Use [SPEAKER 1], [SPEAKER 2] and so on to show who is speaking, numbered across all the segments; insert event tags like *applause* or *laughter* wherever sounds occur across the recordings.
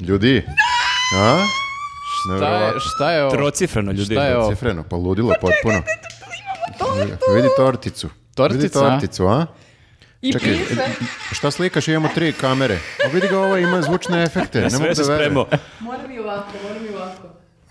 [SPEAKER 1] ljudi. A?
[SPEAKER 2] Šta je, šta je ovo?
[SPEAKER 3] Trocifreno, ljudi.
[SPEAKER 2] Pa, Šta je ovo?
[SPEAKER 1] Cifreno, pa ludilo potpuno. Vidi torticu. Vidi
[SPEAKER 2] Tortica?
[SPEAKER 1] torticu, a?
[SPEAKER 4] I
[SPEAKER 1] Čekaj,
[SPEAKER 4] prince.
[SPEAKER 1] Šta slikaš? Imamo tri kamere. A vidi ga ovo, ima zvučne efekte. ne mogu
[SPEAKER 3] Sve se
[SPEAKER 1] da verujem.
[SPEAKER 3] spremao.
[SPEAKER 4] Mora mi ovako, mora mi ovako.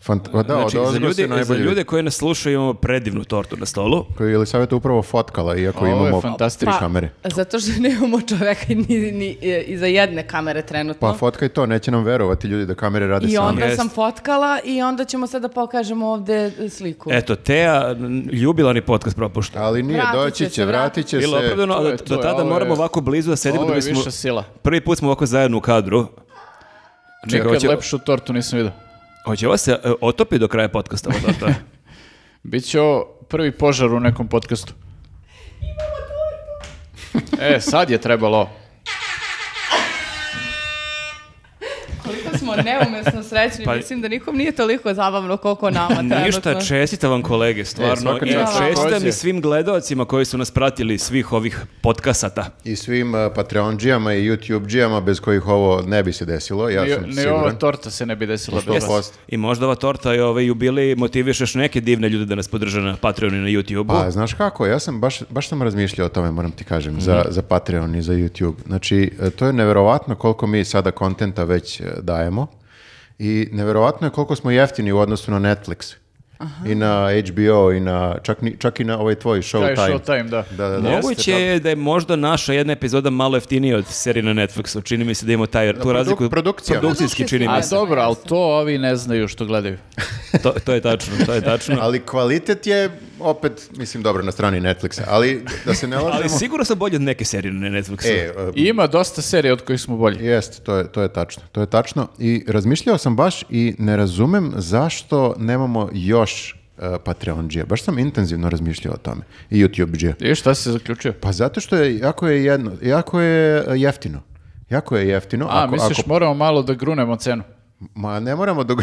[SPEAKER 1] Fant o, da,
[SPEAKER 3] Znači,
[SPEAKER 1] odozgo
[SPEAKER 3] za
[SPEAKER 1] se
[SPEAKER 3] ljude, za
[SPEAKER 1] najbolje.
[SPEAKER 3] ljude koji nas slušaju imamo predivnu tortu na stolu.
[SPEAKER 1] Koju je Elisaveta upravo fotkala, iako
[SPEAKER 2] Ovo je
[SPEAKER 1] imamo
[SPEAKER 2] fantastično.
[SPEAKER 1] tri kamere.
[SPEAKER 4] Pa, Zato što *laughs* nemamo čoveka ni, ni e, iza jedne kamere trenutno.
[SPEAKER 1] Pa fotkaj to, neće nam verovati ljudi da kamere rade
[SPEAKER 4] I
[SPEAKER 1] same.
[SPEAKER 4] onda
[SPEAKER 3] Jest.
[SPEAKER 4] sam fotkala i onda ćemo sad da pokažemo ovde e, sliku.
[SPEAKER 3] Eto, Teja n- ljubila ni podcast propušta.
[SPEAKER 1] Ali nije,
[SPEAKER 4] Vratit
[SPEAKER 1] doći
[SPEAKER 4] će se,
[SPEAKER 1] će, vratit će se.
[SPEAKER 3] Bilo opravdano,
[SPEAKER 2] to je-
[SPEAKER 3] ali
[SPEAKER 2] to
[SPEAKER 3] do
[SPEAKER 2] je,
[SPEAKER 3] tada
[SPEAKER 2] ovo je-
[SPEAKER 3] moramo ovako blizu da sedimo
[SPEAKER 2] Ovo
[SPEAKER 3] da
[SPEAKER 2] je
[SPEAKER 3] bismo...
[SPEAKER 2] viša sila.
[SPEAKER 3] Prvi put smo ovako zajedno u kadru. Čekaj,
[SPEAKER 2] Nikad
[SPEAKER 3] hoće-
[SPEAKER 2] lepšu tortu nisam vidio.
[SPEAKER 3] Hoće ovo se e, otopi do kraja podcasta, ono ova torta.
[SPEAKER 2] *laughs* Biće ovo prvi požar u nekom podcastu. Imamo tortu. E, sad je trebalo ovo.
[SPEAKER 4] Koliko smo neumesno srećni,
[SPEAKER 3] Pa-
[SPEAKER 4] mislim da nikom nije toliko zabavno koliko
[SPEAKER 1] *laughs*
[SPEAKER 4] nama Pa trenutno.
[SPEAKER 3] Ništa, čestitam vam kolege, stvarno.
[SPEAKER 1] svaka
[SPEAKER 3] I
[SPEAKER 1] čast.
[SPEAKER 3] čestitam
[SPEAKER 2] Hvala.
[SPEAKER 3] i svim gledaocima koji su nas pratili svih ovih podkasata.
[SPEAKER 1] I svim uh, Patreon-džijama i YouTube-džijama bez kojih ovo ne bi se desilo, ja sam
[SPEAKER 2] Ni, ni ova
[SPEAKER 1] siguran.
[SPEAKER 2] torta se ne bi desila.
[SPEAKER 1] Pošto-
[SPEAKER 2] bez-
[SPEAKER 3] Jes.
[SPEAKER 1] 100%.
[SPEAKER 3] I možda ova torta i ovaj jubilej motivišeš neke divne ljude da nas podrže na Patreonu i na YouTubeu.
[SPEAKER 1] Pa, znaš kako, ja sam baš, baš sam razmišljao o tome, moram ti kažem, za, za Patreon i za YouTube. Znači, e, to je neverovatno koliko mi sada kontenta već e, dajemo i neverovatno je koliko smo jeftini u odnosu na Netflix. I na HBO i na, čak, ni- čak i na ovaj tvoj
[SPEAKER 2] Taj
[SPEAKER 1] Showtime.
[SPEAKER 2] showtime, da.
[SPEAKER 1] Da, da, da.
[SPEAKER 3] Moguće je da je možda naša jedna epizoda malo jeftinija od serije na Netflixu. Čini mi se da imamo taj, tu
[SPEAKER 1] produ-
[SPEAKER 3] razliku.
[SPEAKER 1] produkcija.
[SPEAKER 3] Produkcijski čini mi
[SPEAKER 2] A
[SPEAKER 3] se.
[SPEAKER 2] dobro, ali to ovi ne znaju što gledaju.
[SPEAKER 3] To, to je tačno, to je tačno.
[SPEAKER 1] Ali kvalitet je, opet, mislim, dobro na strani Netflixa, ali da se ne lažemo...
[SPEAKER 3] Ali sigurno sam bolji od neke serije na Netflixu.
[SPEAKER 1] E, e,
[SPEAKER 2] I ima dosta serija od kojih smo bolji.
[SPEAKER 1] Jeste, to je, to je tačno. To je tačno. I razmišljao sam baš i ne razumem zašto nemamo još uh, Patreon-đija. Baš sam intenzivno razmišljao o tome. I YouTube-đija.
[SPEAKER 2] I šta si zaključio?
[SPEAKER 1] Pa zato što je jako je, jedno, jako je e, jeftino. Jako je jeftino.
[SPEAKER 2] A, misliš moramo malo da grunemo cenu?
[SPEAKER 1] Ma ne moramo da...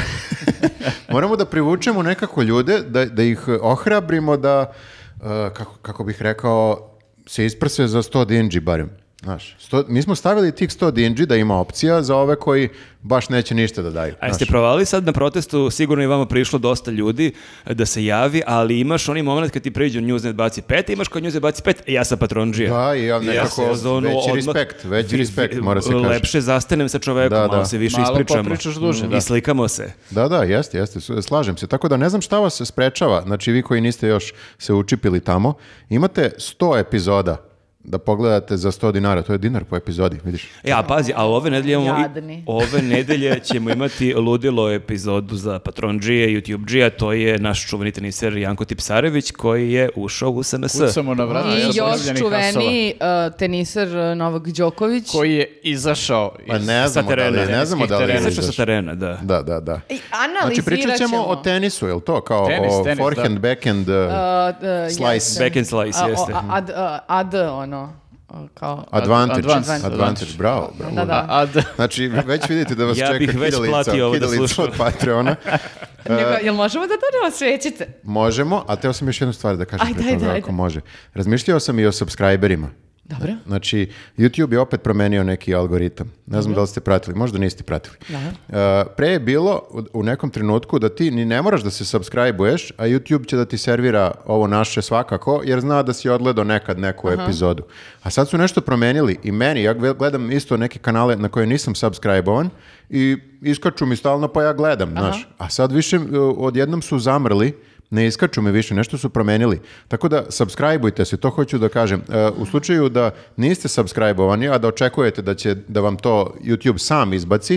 [SPEAKER 1] *laughs* moramo da privučemo nekako ljude, da, da ih ohrabrimo da, uh, kako, kako bih rekao, se isprse za 100 dinđi barem. Znaš, sto- mi smo stavili tih 100 dinđi da ima opcija za ove koji baš neće ništa da daju.
[SPEAKER 3] A jeste provali sad na protestu, sigurno je vama prišlo dosta ljudi e, da se javi, ali imaš onaj moment kad ti priđu Newsnet baci pet, imaš kod Newsnet baci pet, e, ja sam patronđija.
[SPEAKER 1] Da, i ja nekako
[SPEAKER 3] sam za ono
[SPEAKER 1] veći
[SPEAKER 3] odmah-
[SPEAKER 1] respekt, veći
[SPEAKER 3] vi-
[SPEAKER 1] respekt,
[SPEAKER 3] vi-
[SPEAKER 1] mora se kaže.
[SPEAKER 3] Lepše zastanem sa čovekom,
[SPEAKER 1] Da,
[SPEAKER 3] malo
[SPEAKER 1] da.
[SPEAKER 3] se više
[SPEAKER 2] Malo
[SPEAKER 3] ispričamo.
[SPEAKER 2] popričaš duže,
[SPEAKER 3] Mm,
[SPEAKER 2] da.
[SPEAKER 3] I slikamo se.
[SPEAKER 1] Da, da, jeste, jeste, su- slažem se. Tako da ne znam šta vas sprečava, znači vi koji niste još se učipili tamo, imate 100 epizoda da pogledate za 100 dinara, to je dinar po epizodi, vidiš.
[SPEAKER 3] E, a pazi, ali ove nedelje, imamo i-
[SPEAKER 4] Jadni.
[SPEAKER 3] ove nedelje ćemo imati ludilo epizodu za Patron G-a i YouTube G-a, to je naš čuveni teniser Janko Tipsarević koji je ušao u SNS.
[SPEAKER 2] Kucamo na vrata.
[SPEAKER 4] I još
[SPEAKER 2] zaboravljenih hasova,
[SPEAKER 4] čuveni uh, teniser uh, Novak Đoković.
[SPEAKER 2] Koji je izašao iz...
[SPEAKER 1] Pa ne
[SPEAKER 3] sa
[SPEAKER 1] znamo da li,
[SPEAKER 3] terena,
[SPEAKER 1] ne znamo da li je
[SPEAKER 2] terena.
[SPEAKER 3] Izašao sa
[SPEAKER 1] izašao.
[SPEAKER 3] terena, da.
[SPEAKER 1] Da, da, da.
[SPEAKER 4] I
[SPEAKER 1] Znači
[SPEAKER 4] analizirat
[SPEAKER 1] pričat ćemo o tenisu, je li to? Kao
[SPEAKER 2] Tenis,
[SPEAKER 1] o
[SPEAKER 2] tenis,
[SPEAKER 1] forehand,
[SPEAKER 2] da.
[SPEAKER 1] backhand, uh,
[SPEAKER 4] Uh, uh,
[SPEAKER 1] Slice.
[SPEAKER 4] jeste.
[SPEAKER 3] Back and slice,
[SPEAKER 4] A, o-
[SPEAKER 3] jeste.
[SPEAKER 4] a- ad, uh, ad, ono, uh, kao...
[SPEAKER 1] advantage.
[SPEAKER 2] advanced,
[SPEAKER 1] Advantage,
[SPEAKER 2] advantage.
[SPEAKER 1] bravo, bravo.
[SPEAKER 4] Da, da.
[SPEAKER 2] A, da.
[SPEAKER 1] Znači, već vidite da vas
[SPEAKER 3] Ja
[SPEAKER 1] čeka
[SPEAKER 3] bih već
[SPEAKER 1] kidalica,
[SPEAKER 3] platio ovo da
[SPEAKER 1] kidalica
[SPEAKER 3] slušam.
[SPEAKER 1] od
[SPEAKER 3] *laughs*
[SPEAKER 1] Patreona. e-
[SPEAKER 4] Nego, jel možemo da dođemo svećice?
[SPEAKER 1] Možemo, a teo sam još jednu stvar da kažem
[SPEAKER 4] Ajde,
[SPEAKER 1] pre toga,
[SPEAKER 4] ajde, ajde.
[SPEAKER 1] ako može. Razmišljao sam i o subscriberima.
[SPEAKER 4] Dobro.
[SPEAKER 1] Znači, YouTube je opet promenio neki algoritam. Ne znam da li ste pratili, možda niste pratili. E, pre je bilo u- u nekom trenutku da ti ni ne moraš da se subscribe-uješ, a YouTube će da ti servira ovo naše svakako, jer zna da si odgledao nekad neku epizodu. A sad su nešto promenili i meni, ja gve- gledam isto neke kanale na koje nisam subscribe-ovan i iskaču mi stalno pa ja gledam, znaš. A sad više e, odjednom su zamrli ne iskaču mi više, nešto su promenili. Tako da, subscribeujte se, to hoću da kažem. E, u slučaju da niste subscribeovani, a da očekujete da će da vam to YouTube sam izbaci,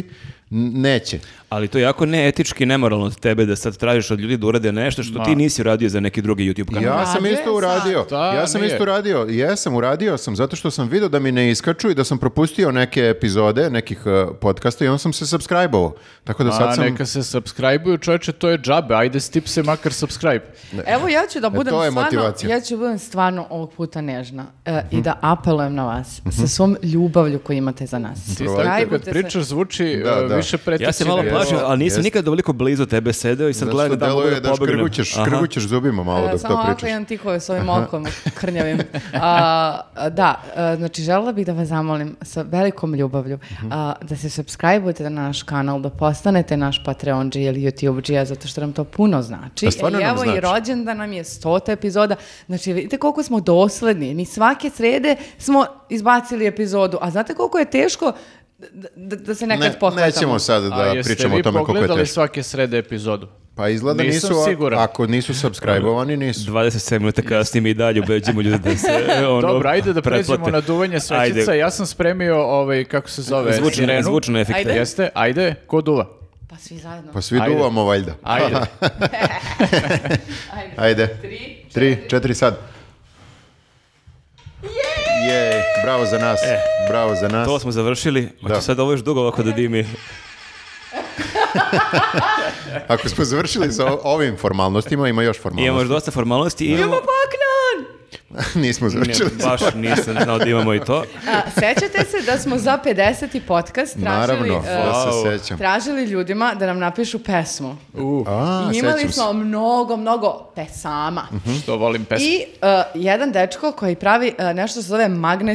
[SPEAKER 1] n- neće.
[SPEAKER 3] Ali to je jako neetički, nemoralno od tebe da sad tražiš od ljudi da urade nešto što ti nisi uradio za neki drugi YouTube kanal.
[SPEAKER 1] Ja sam
[SPEAKER 4] Rade
[SPEAKER 1] isto uradio.
[SPEAKER 2] sad. Da,
[SPEAKER 1] Ja sam
[SPEAKER 2] nije.
[SPEAKER 1] isto uradio. Jesam, uradio sam, zato što sam vidio da mi ne iskaču i da sam propustio neke epizode nekih e, podcasta i onda sam se subscribeovao. Tako da sad
[SPEAKER 2] A,
[SPEAKER 1] sam...
[SPEAKER 2] neka se subscribe-uju, čoveče, to je džabe. Ajde, stip se makar subscribe.
[SPEAKER 4] Evo ja ću da budem
[SPEAKER 1] E, to je
[SPEAKER 4] stvarno,
[SPEAKER 1] motivacija. Mhm.
[SPEAKER 4] ja ću da budem stvarno ovog puta nežna e, i da apelujem na vas sa svom ljubavlju koju imate za nas.
[SPEAKER 2] Ti
[SPEAKER 1] Probajte.
[SPEAKER 2] tako kad
[SPEAKER 4] Subscribe-ujte se.
[SPEAKER 2] pričaš zvuči
[SPEAKER 1] Da,
[SPEAKER 2] e,
[SPEAKER 1] da, da.
[SPEAKER 2] više pretiče.
[SPEAKER 3] Ja se malo
[SPEAKER 1] Jeste,
[SPEAKER 3] plašim, ali nisam
[SPEAKER 1] jeste.
[SPEAKER 3] nikad ovoliko blizu tebe sedeo i sad
[SPEAKER 1] Zato što
[SPEAKER 3] gledam da mogu
[SPEAKER 1] deluje
[SPEAKER 3] da
[SPEAKER 1] da
[SPEAKER 3] pobegnem.
[SPEAKER 1] škrgućeš,
[SPEAKER 3] Aha.
[SPEAKER 1] škrgućeš zubima malo dok
[SPEAKER 4] E, Samo
[SPEAKER 1] to
[SPEAKER 4] ovako
[SPEAKER 1] pričaš.
[SPEAKER 4] imam tikove s ovim
[SPEAKER 1] *laughs*
[SPEAKER 4] okom krnjavim. A, a, da, a, znači želela bih da vas zamolim sa velikom ljubavlju
[SPEAKER 1] Mhm.
[SPEAKER 4] a, da se subscribe-ujete na naš kanal, da postanete naš Patreon ili YouTube zato što nam to puno znači.
[SPEAKER 1] Da, stvarno
[SPEAKER 4] I
[SPEAKER 1] nam
[SPEAKER 4] evo
[SPEAKER 1] znači.
[SPEAKER 4] i rođendan nam je stota epizoda. Znači vidite koliko smo dosledni. Mi svake srede smo izbacili epizodu. A znate koliko je teško da, da, da se nekad
[SPEAKER 1] Ne,
[SPEAKER 4] pohvatamo?
[SPEAKER 1] nećemo sad da pričamo o tome koliko je
[SPEAKER 2] pogledali
[SPEAKER 1] teško.
[SPEAKER 2] svake srede epizodu?
[SPEAKER 1] Pa izgleda
[SPEAKER 2] Nisam
[SPEAKER 1] nisu, a-
[SPEAKER 2] siguran.
[SPEAKER 1] ako nisu subscribe-ovani, nisu.
[SPEAKER 3] 27 minuta kasnije mi i dalje ubeđujemo ljude da se
[SPEAKER 2] *laughs*
[SPEAKER 3] e, ono,
[SPEAKER 2] Dobro, ajde da pređemo
[SPEAKER 3] pretplate.
[SPEAKER 2] na duvanje svećica.
[SPEAKER 3] Ajde.
[SPEAKER 2] Ja sam spremio, ovaj, kako se zove,
[SPEAKER 3] Zvučne,
[SPEAKER 2] sirenu.
[SPEAKER 3] zvučne efekte.
[SPEAKER 4] Ajde.
[SPEAKER 2] Jeste, ajde, ko duva?
[SPEAKER 4] Pa svi zajedno.
[SPEAKER 1] Pa svi
[SPEAKER 2] Ajde.
[SPEAKER 1] duvamo valjda. *laughs*
[SPEAKER 2] Ajde.
[SPEAKER 4] Ajde.
[SPEAKER 1] Ajde.
[SPEAKER 4] Tri,
[SPEAKER 1] Tri, četiri sad. Jej, bravo za nas.
[SPEAKER 2] E.
[SPEAKER 1] Bravo za nas.
[SPEAKER 3] To smo završili. Hoće
[SPEAKER 1] Da.
[SPEAKER 3] sad ovo još dugo ovako da dimi.
[SPEAKER 1] Ako smo završili sa o- ovim formalnostima, ima još formalnosti.
[SPEAKER 3] Imamo još dosta formalnosti. i Imamo
[SPEAKER 4] Paknan!
[SPEAKER 1] *laughs* Nismo završili.
[SPEAKER 3] Ne, baš nisam znao da imamo i to.
[SPEAKER 4] A, sećate se da smo za 50. podcast tražili,
[SPEAKER 1] Naravno,
[SPEAKER 4] e,
[SPEAKER 1] da se
[SPEAKER 3] Wow.
[SPEAKER 1] sećam.
[SPEAKER 4] tražili ljudima da nam napišu pesmu.
[SPEAKER 2] Uh,
[SPEAKER 1] A,
[SPEAKER 4] I imali
[SPEAKER 1] sećam se. Mhm.
[SPEAKER 4] smo mnogo, mnogo pesama.
[SPEAKER 2] što volim pesmu.
[SPEAKER 4] I e, jedan dečko koji pravi e, nešto što se zove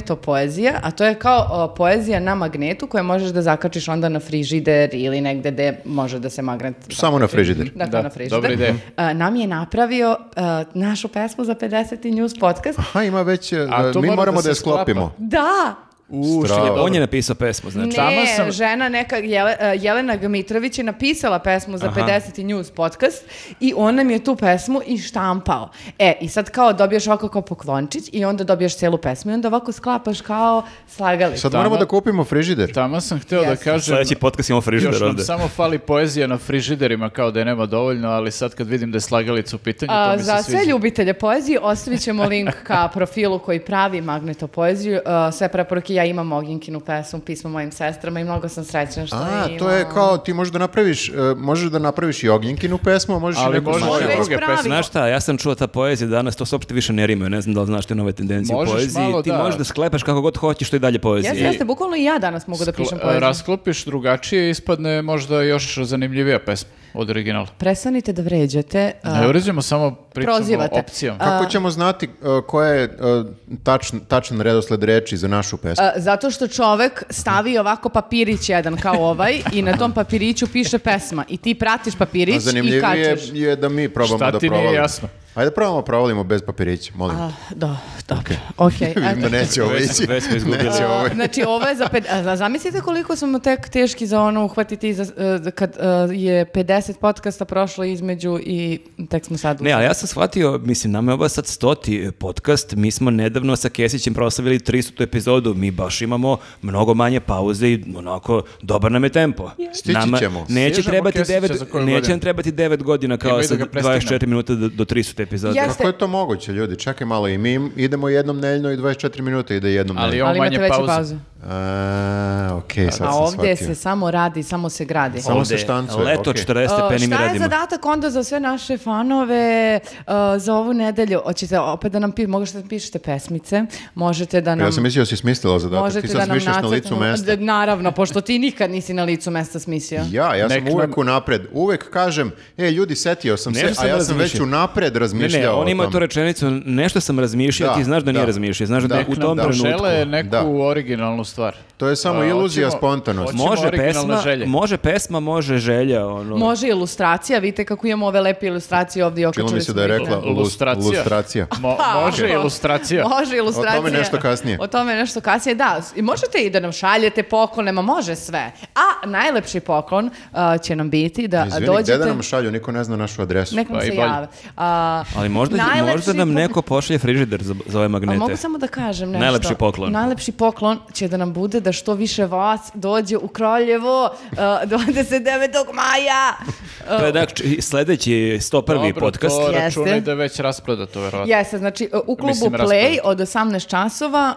[SPEAKER 4] magnetopoezija, a to je kao e, poezija na magnetu koje možeš da zakačiš onda na frižider ili negde gde može da se magnet...
[SPEAKER 1] Samo na frižider.
[SPEAKER 4] Dakle,
[SPEAKER 2] Da,
[SPEAKER 4] na frižider.
[SPEAKER 2] dobra ideja.
[SPEAKER 4] E, nam je napravio e, našu pesmu za 50. news podcast.
[SPEAKER 1] Aha, ima već, e,
[SPEAKER 2] A to
[SPEAKER 1] mi
[SPEAKER 2] mora
[SPEAKER 1] moramo
[SPEAKER 2] da
[SPEAKER 1] da,
[SPEAKER 2] se
[SPEAKER 1] je sklopimo.
[SPEAKER 2] sklapa.
[SPEAKER 4] Da!
[SPEAKER 2] U, što je
[SPEAKER 1] Strava.
[SPEAKER 2] dobro.
[SPEAKER 3] On je napisao pesmu, znači.
[SPEAKER 2] Sama
[SPEAKER 4] Ne,
[SPEAKER 2] sam-
[SPEAKER 4] žena neka Jele- e, Jelena Gmitrović je napisala pesmu za
[SPEAKER 3] Aha.
[SPEAKER 4] 50. News podcast i on nam je tu pesmu i štampao. E, i sad kao dobiješ ovako kao poklončić i onda dobiješ celu pesmu i onda ovako sklapaš kao slagali.
[SPEAKER 1] Sad moramo da kupimo frižider.
[SPEAKER 2] Tamo sam hteo da
[SPEAKER 4] Jeste.
[SPEAKER 2] kažem...
[SPEAKER 3] Sljedeći podcast imamo
[SPEAKER 2] Još
[SPEAKER 3] frižider
[SPEAKER 2] nam
[SPEAKER 3] ovde.
[SPEAKER 2] samo fali poezija na frižiderima, kao da je nema dovoljno, ali sad kad vidim da je slagalica u pitanju,
[SPEAKER 4] A,
[SPEAKER 2] to mi se
[SPEAKER 4] za
[SPEAKER 2] sviđa.
[SPEAKER 4] sve ljubitelje poezije ostavit ćemo link ka profilu koji pravi magnetopoeziju. A, sve preporuke, ja imam Oginkinu pesmu, pismo mojim sestrama i mnogo sam srećna što
[SPEAKER 1] A,
[SPEAKER 4] je
[SPEAKER 1] to je
[SPEAKER 4] imam.
[SPEAKER 1] kao, ti možeš da napraviš, e, možeš da napraviš i Ognjinkinu pesmu, a možeš
[SPEAKER 2] Ali
[SPEAKER 1] i neku
[SPEAKER 2] možeš
[SPEAKER 1] svoju.
[SPEAKER 4] Može
[SPEAKER 2] i
[SPEAKER 4] već
[SPEAKER 2] druge
[SPEAKER 4] pravi.
[SPEAKER 2] pesme.
[SPEAKER 3] Znaš šta, ja sam čuo ta poezija danas, to se uopšte više ne rimuje, ne znam da li znaš te nove tendencije
[SPEAKER 2] Možeš
[SPEAKER 3] u poeziji.
[SPEAKER 2] malo,
[SPEAKER 3] Ti
[SPEAKER 2] da.
[SPEAKER 3] možeš da sklepaš kako god hoćeš, to i dalje poezija.
[SPEAKER 4] Jeste, jeste, bukvalno i ja danas mogu da pišem
[SPEAKER 2] Kla-
[SPEAKER 4] poeziju.
[SPEAKER 2] Rasklopiš drugačije i ispadne možda još zanimljivija pesma od originala.
[SPEAKER 4] Prestanite da vređate. a,
[SPEAKER 2] Ne uređujemo samo pričamo
[SPEAKER 4] Prozivate.
[SPEAKER 2] o opcijama.
[SPEAKER 1] Kako ćemo znati e, koja je e, tačn, tačan redosled reči za našu pesmu?
[SPEAKER 4] A, Zato što čovek stavi ovako papirić jedan kao ovaj i na tom papiriću piše pesma i ti pratiš
[SPEAKER 1] A
[SPEAKER 4] papirić i
[SPEAKER 1] zanimljivije
[SPEAKER 4] kačeš.
[SPEAKER 1] je da mi probamo
[SPEAKER 2] Šta
[SPEAKER 1] da
[SPEAKER 2] ti nije
[SPEAKER 1] provalimo.
[SPEAKER 2] jasno?
[SPEAKER 1] Ajde probamo provalimo bez papirića, molim.
[SPEAKER 4] A, do, dobro, okej.
[SPEAKER 1] *laughs* Vidim da
[SPEAKER 4] eto.
[SPEAKER 1] neće ovaj. ovo
[SPEAKER 3] Već-
[SPEAKER 1] ići.
[SPEAKER 3] već smo izgubili.
[SPEAKER 1] Neće ovo ići.
[SPEAKER 4] Znači, ovo je za... Ped... a, za- Zamislite koliko smo tek teški za ono uhvatiti za, e, kad e, je 50 podcasta prošlo između i tek smo sad... u-
[SPEAKER 3] Ne, ali ja sam shvatio, mislim, nama je ovo sad stoti e, podcast, mi smo nedavno sa Kesićem proslavili 300. epizodu, mi baš imamo mnogo manje pauze i onako, dobar nam je tempo.
[SPEAKER 1] Stići
[SPEAKER 3] Nama
[SPEAKER 1] ćemo.
[SPEAKER 3] Neće,
[SPEAKER 2] Stižemo
[SPEAKER 3] trebati
[SPEAKER 2] Kesića
[SPEAKER 3] devet,
[SPEAKER 2] za koju
[SPEAKER 3] neće
[SPEAKER 2] godinu?
[SPEAKER 3] nam trebati 9 godina kao
[SPEAKER 2] Nemoj da
[SPEAKER 3] sa
[SPEAKER 2] ga prestignemo.
[SPEAKER 3] 24 minuta do, do 300. epizode.
[SPEAKER 4] Ja-
[SPEAKER 1] Kako je to moguće, ljudi? Čekaj malo i mi im- idemo jednom neljno i 24 minuta ide jednom
[SPEAKER 2] Ali
[SPEAKER 1] neljno.
[SPEAKER 2] imamo
[SPEAKER 4] Ali imate
[SPEAKER 2] manje
[SPEAKER 4] veće
[SPEAKER 2] pauze.
[SPEAKER 4] pauze.
[SPEAKER 1] A, okej, sad
[SPEAKER 4] A
[SPEAKER 1] sam
[SPEAKER 4] ovdje
[SPEAKER 1] shvatio.
[SPEAKER 4] se samo radi, samo se gradi.
[SPEAKER 1] Samo se
[SPEAKER 3] Ovde,
[SPEAKER 1] štancuje,
[SPEAKER 3] Leto
[SPEAKER 1] ok.
[SPEAKER 3] 40
[SPEAKER 4] A,
[SPEAKER 3] stepeni mi
[SPEAKER 4] Šta je
[SPEAKER 3] radimo.
[SPEAKER 4] zadatak onda za sve naše fanove a, za ovu nedelju? Hoćete opet da nam pi, možete da pišete pesmice, možete da nam...
[SPEAKER 1] Ja sam mislio da si smislila zadatak,
[SPEAKER 4] Možete
[SPEAKER 1] ti
[SPEAKER 4] da
[SPEAKER 1] sad
[SPEAKER 4] nam
[SPEAKER 1] smišljaš na licu
[SPEAKER 4] nacrtamo-
[SPEAKER 1] mesta.
[SPEAKER 4] Da, Naravno, pošto ti nikad nisi na licu mesta smislio.
[SPEAKER 1] Ja, ja sam
[SPEAKER 2] Nek nam-
[SPEAKER 1] uvek unapred. Uvek kažem, e, ljudi, setio sam se,
[SPEAKER 3] Nešto
[SPEAKER 1] a
[SPEAKER 3] sam
[SPEAKER 1] ja sam već
[SPEAKER 3] razmišljao.
[SPEAKER 1] unapred
[SPEAKER 3] Ne,
[SPEAKER 1] razmišljao
[SPEAKER 3] ne, on
[SPEAKER 1] o
[SPEAKER 3] ima
[SPEAKER 1] tome.
[SPEAKER 3] tu rečenicu, nešto sam razmišljao,
[SPEAKER 1] Da,
[SPEAKER 3] ti znaš da nije
[SPEAKER 1] da.
[SPEAKER 3] razmišljao, znaš da,
[SPEAKER 1] Da.
[SPEAKER 3] u tom
[SPEAKER 1] Da.
[SPEAKER 3] trenutku.
[SPEAKER 2] Žele neku
[SPEAKER 1] Da.
[SPEAKER 2] originalnu stvar.
[SPEAKER 1] To je samo
[SPEAKER 2] A,
[SPEAKER 1] iluzija
[SPEAKER 2] hoćemo-
[SPEAKER 1] spontanosti.
[SPEAKER 2] hoćemo
[SPEAKER 3] Može
[SPEAKER 2] originalne
[SPEAKER 3] pesma,
[SPEAKER 2] želje.
[SPEAKER 3] može pesma, može želja, ono.
[SPEAKER 4] Može ilustracija, vidite kako imamo ove lepe ilustracije ovdje.
[SPEAKER 1] Čilo
[SPEAKER 4] okačili
[SPEAKER 1] mi se
[SPEAKER 4] smo
[SPEAKER 1] da je
[SPEAKER 4] ih na-
[SPEAKER 1] rekla
[SPEAKER 2] Lu- E, lustracija.
[SPEAKER 1] lus- lustracija.
[SPEAKER 2] Mo- može
[SPEAKER 4] Pa,
[SPEAKER 2] ilustracija.
[SPEAKER 4] *laughs* Može ilustracija.
[SPEAKER 1] O tome nešto kasnije.
[SPEAKER 4] O tome nešto kasnije, da. I možete i da nam šaljete poklone, ma može sve. A najlepši poklon a, će nam biti da
[SPEAKER 1] Izvini,
[SPEAKER 4] dođete...
[SPEAKER 1] gde da nam šalju? Niko ne zna našu adresu.
[SPEAKER 4] Nek nam
[SPEAKER 2] Pa i
[SPEAKER 4] se
[SPEAKER 2] bolje.
[SPEAKER 4] jave. A,
[SPEAKER 3] Ali možda,
[SPEAKER 4] najlepši
[SPEAKER 3] možda nam
[SPEAKER 4] poklon-
[SPEAKER 3] neko pošalje frižider za, za ove
[SPEAKER 4] A
[SPEAKER 3] magnete.
[SPEAKER 4] mogu samo da kažem nešto.
[SPEAKER 3] Najlepši poklon.
[SPEAKER 4] Najlepši poklon će da nam bude da što više vas dođe u Kraljevo uh, *laughs* 29. maja.
[SPEAKER 3] To je dakle, či- sledeći 101.
[SPEAKER 2] Dobro,
[SPEAKER 3] podcast.
[SPEAKER 2] to
[SPEAKER 4] Jeste.
[SPEAKER 2] računaj da je već rasprodato, verovatno.
[SPEAKER 4] Jeste, znači uh, u klubu
[SPEAKER 2] Mislim,
[SPEAKER 4] Play
[SPEAKER 2] raspravljati.
[SPEAKER 4] od 18 časova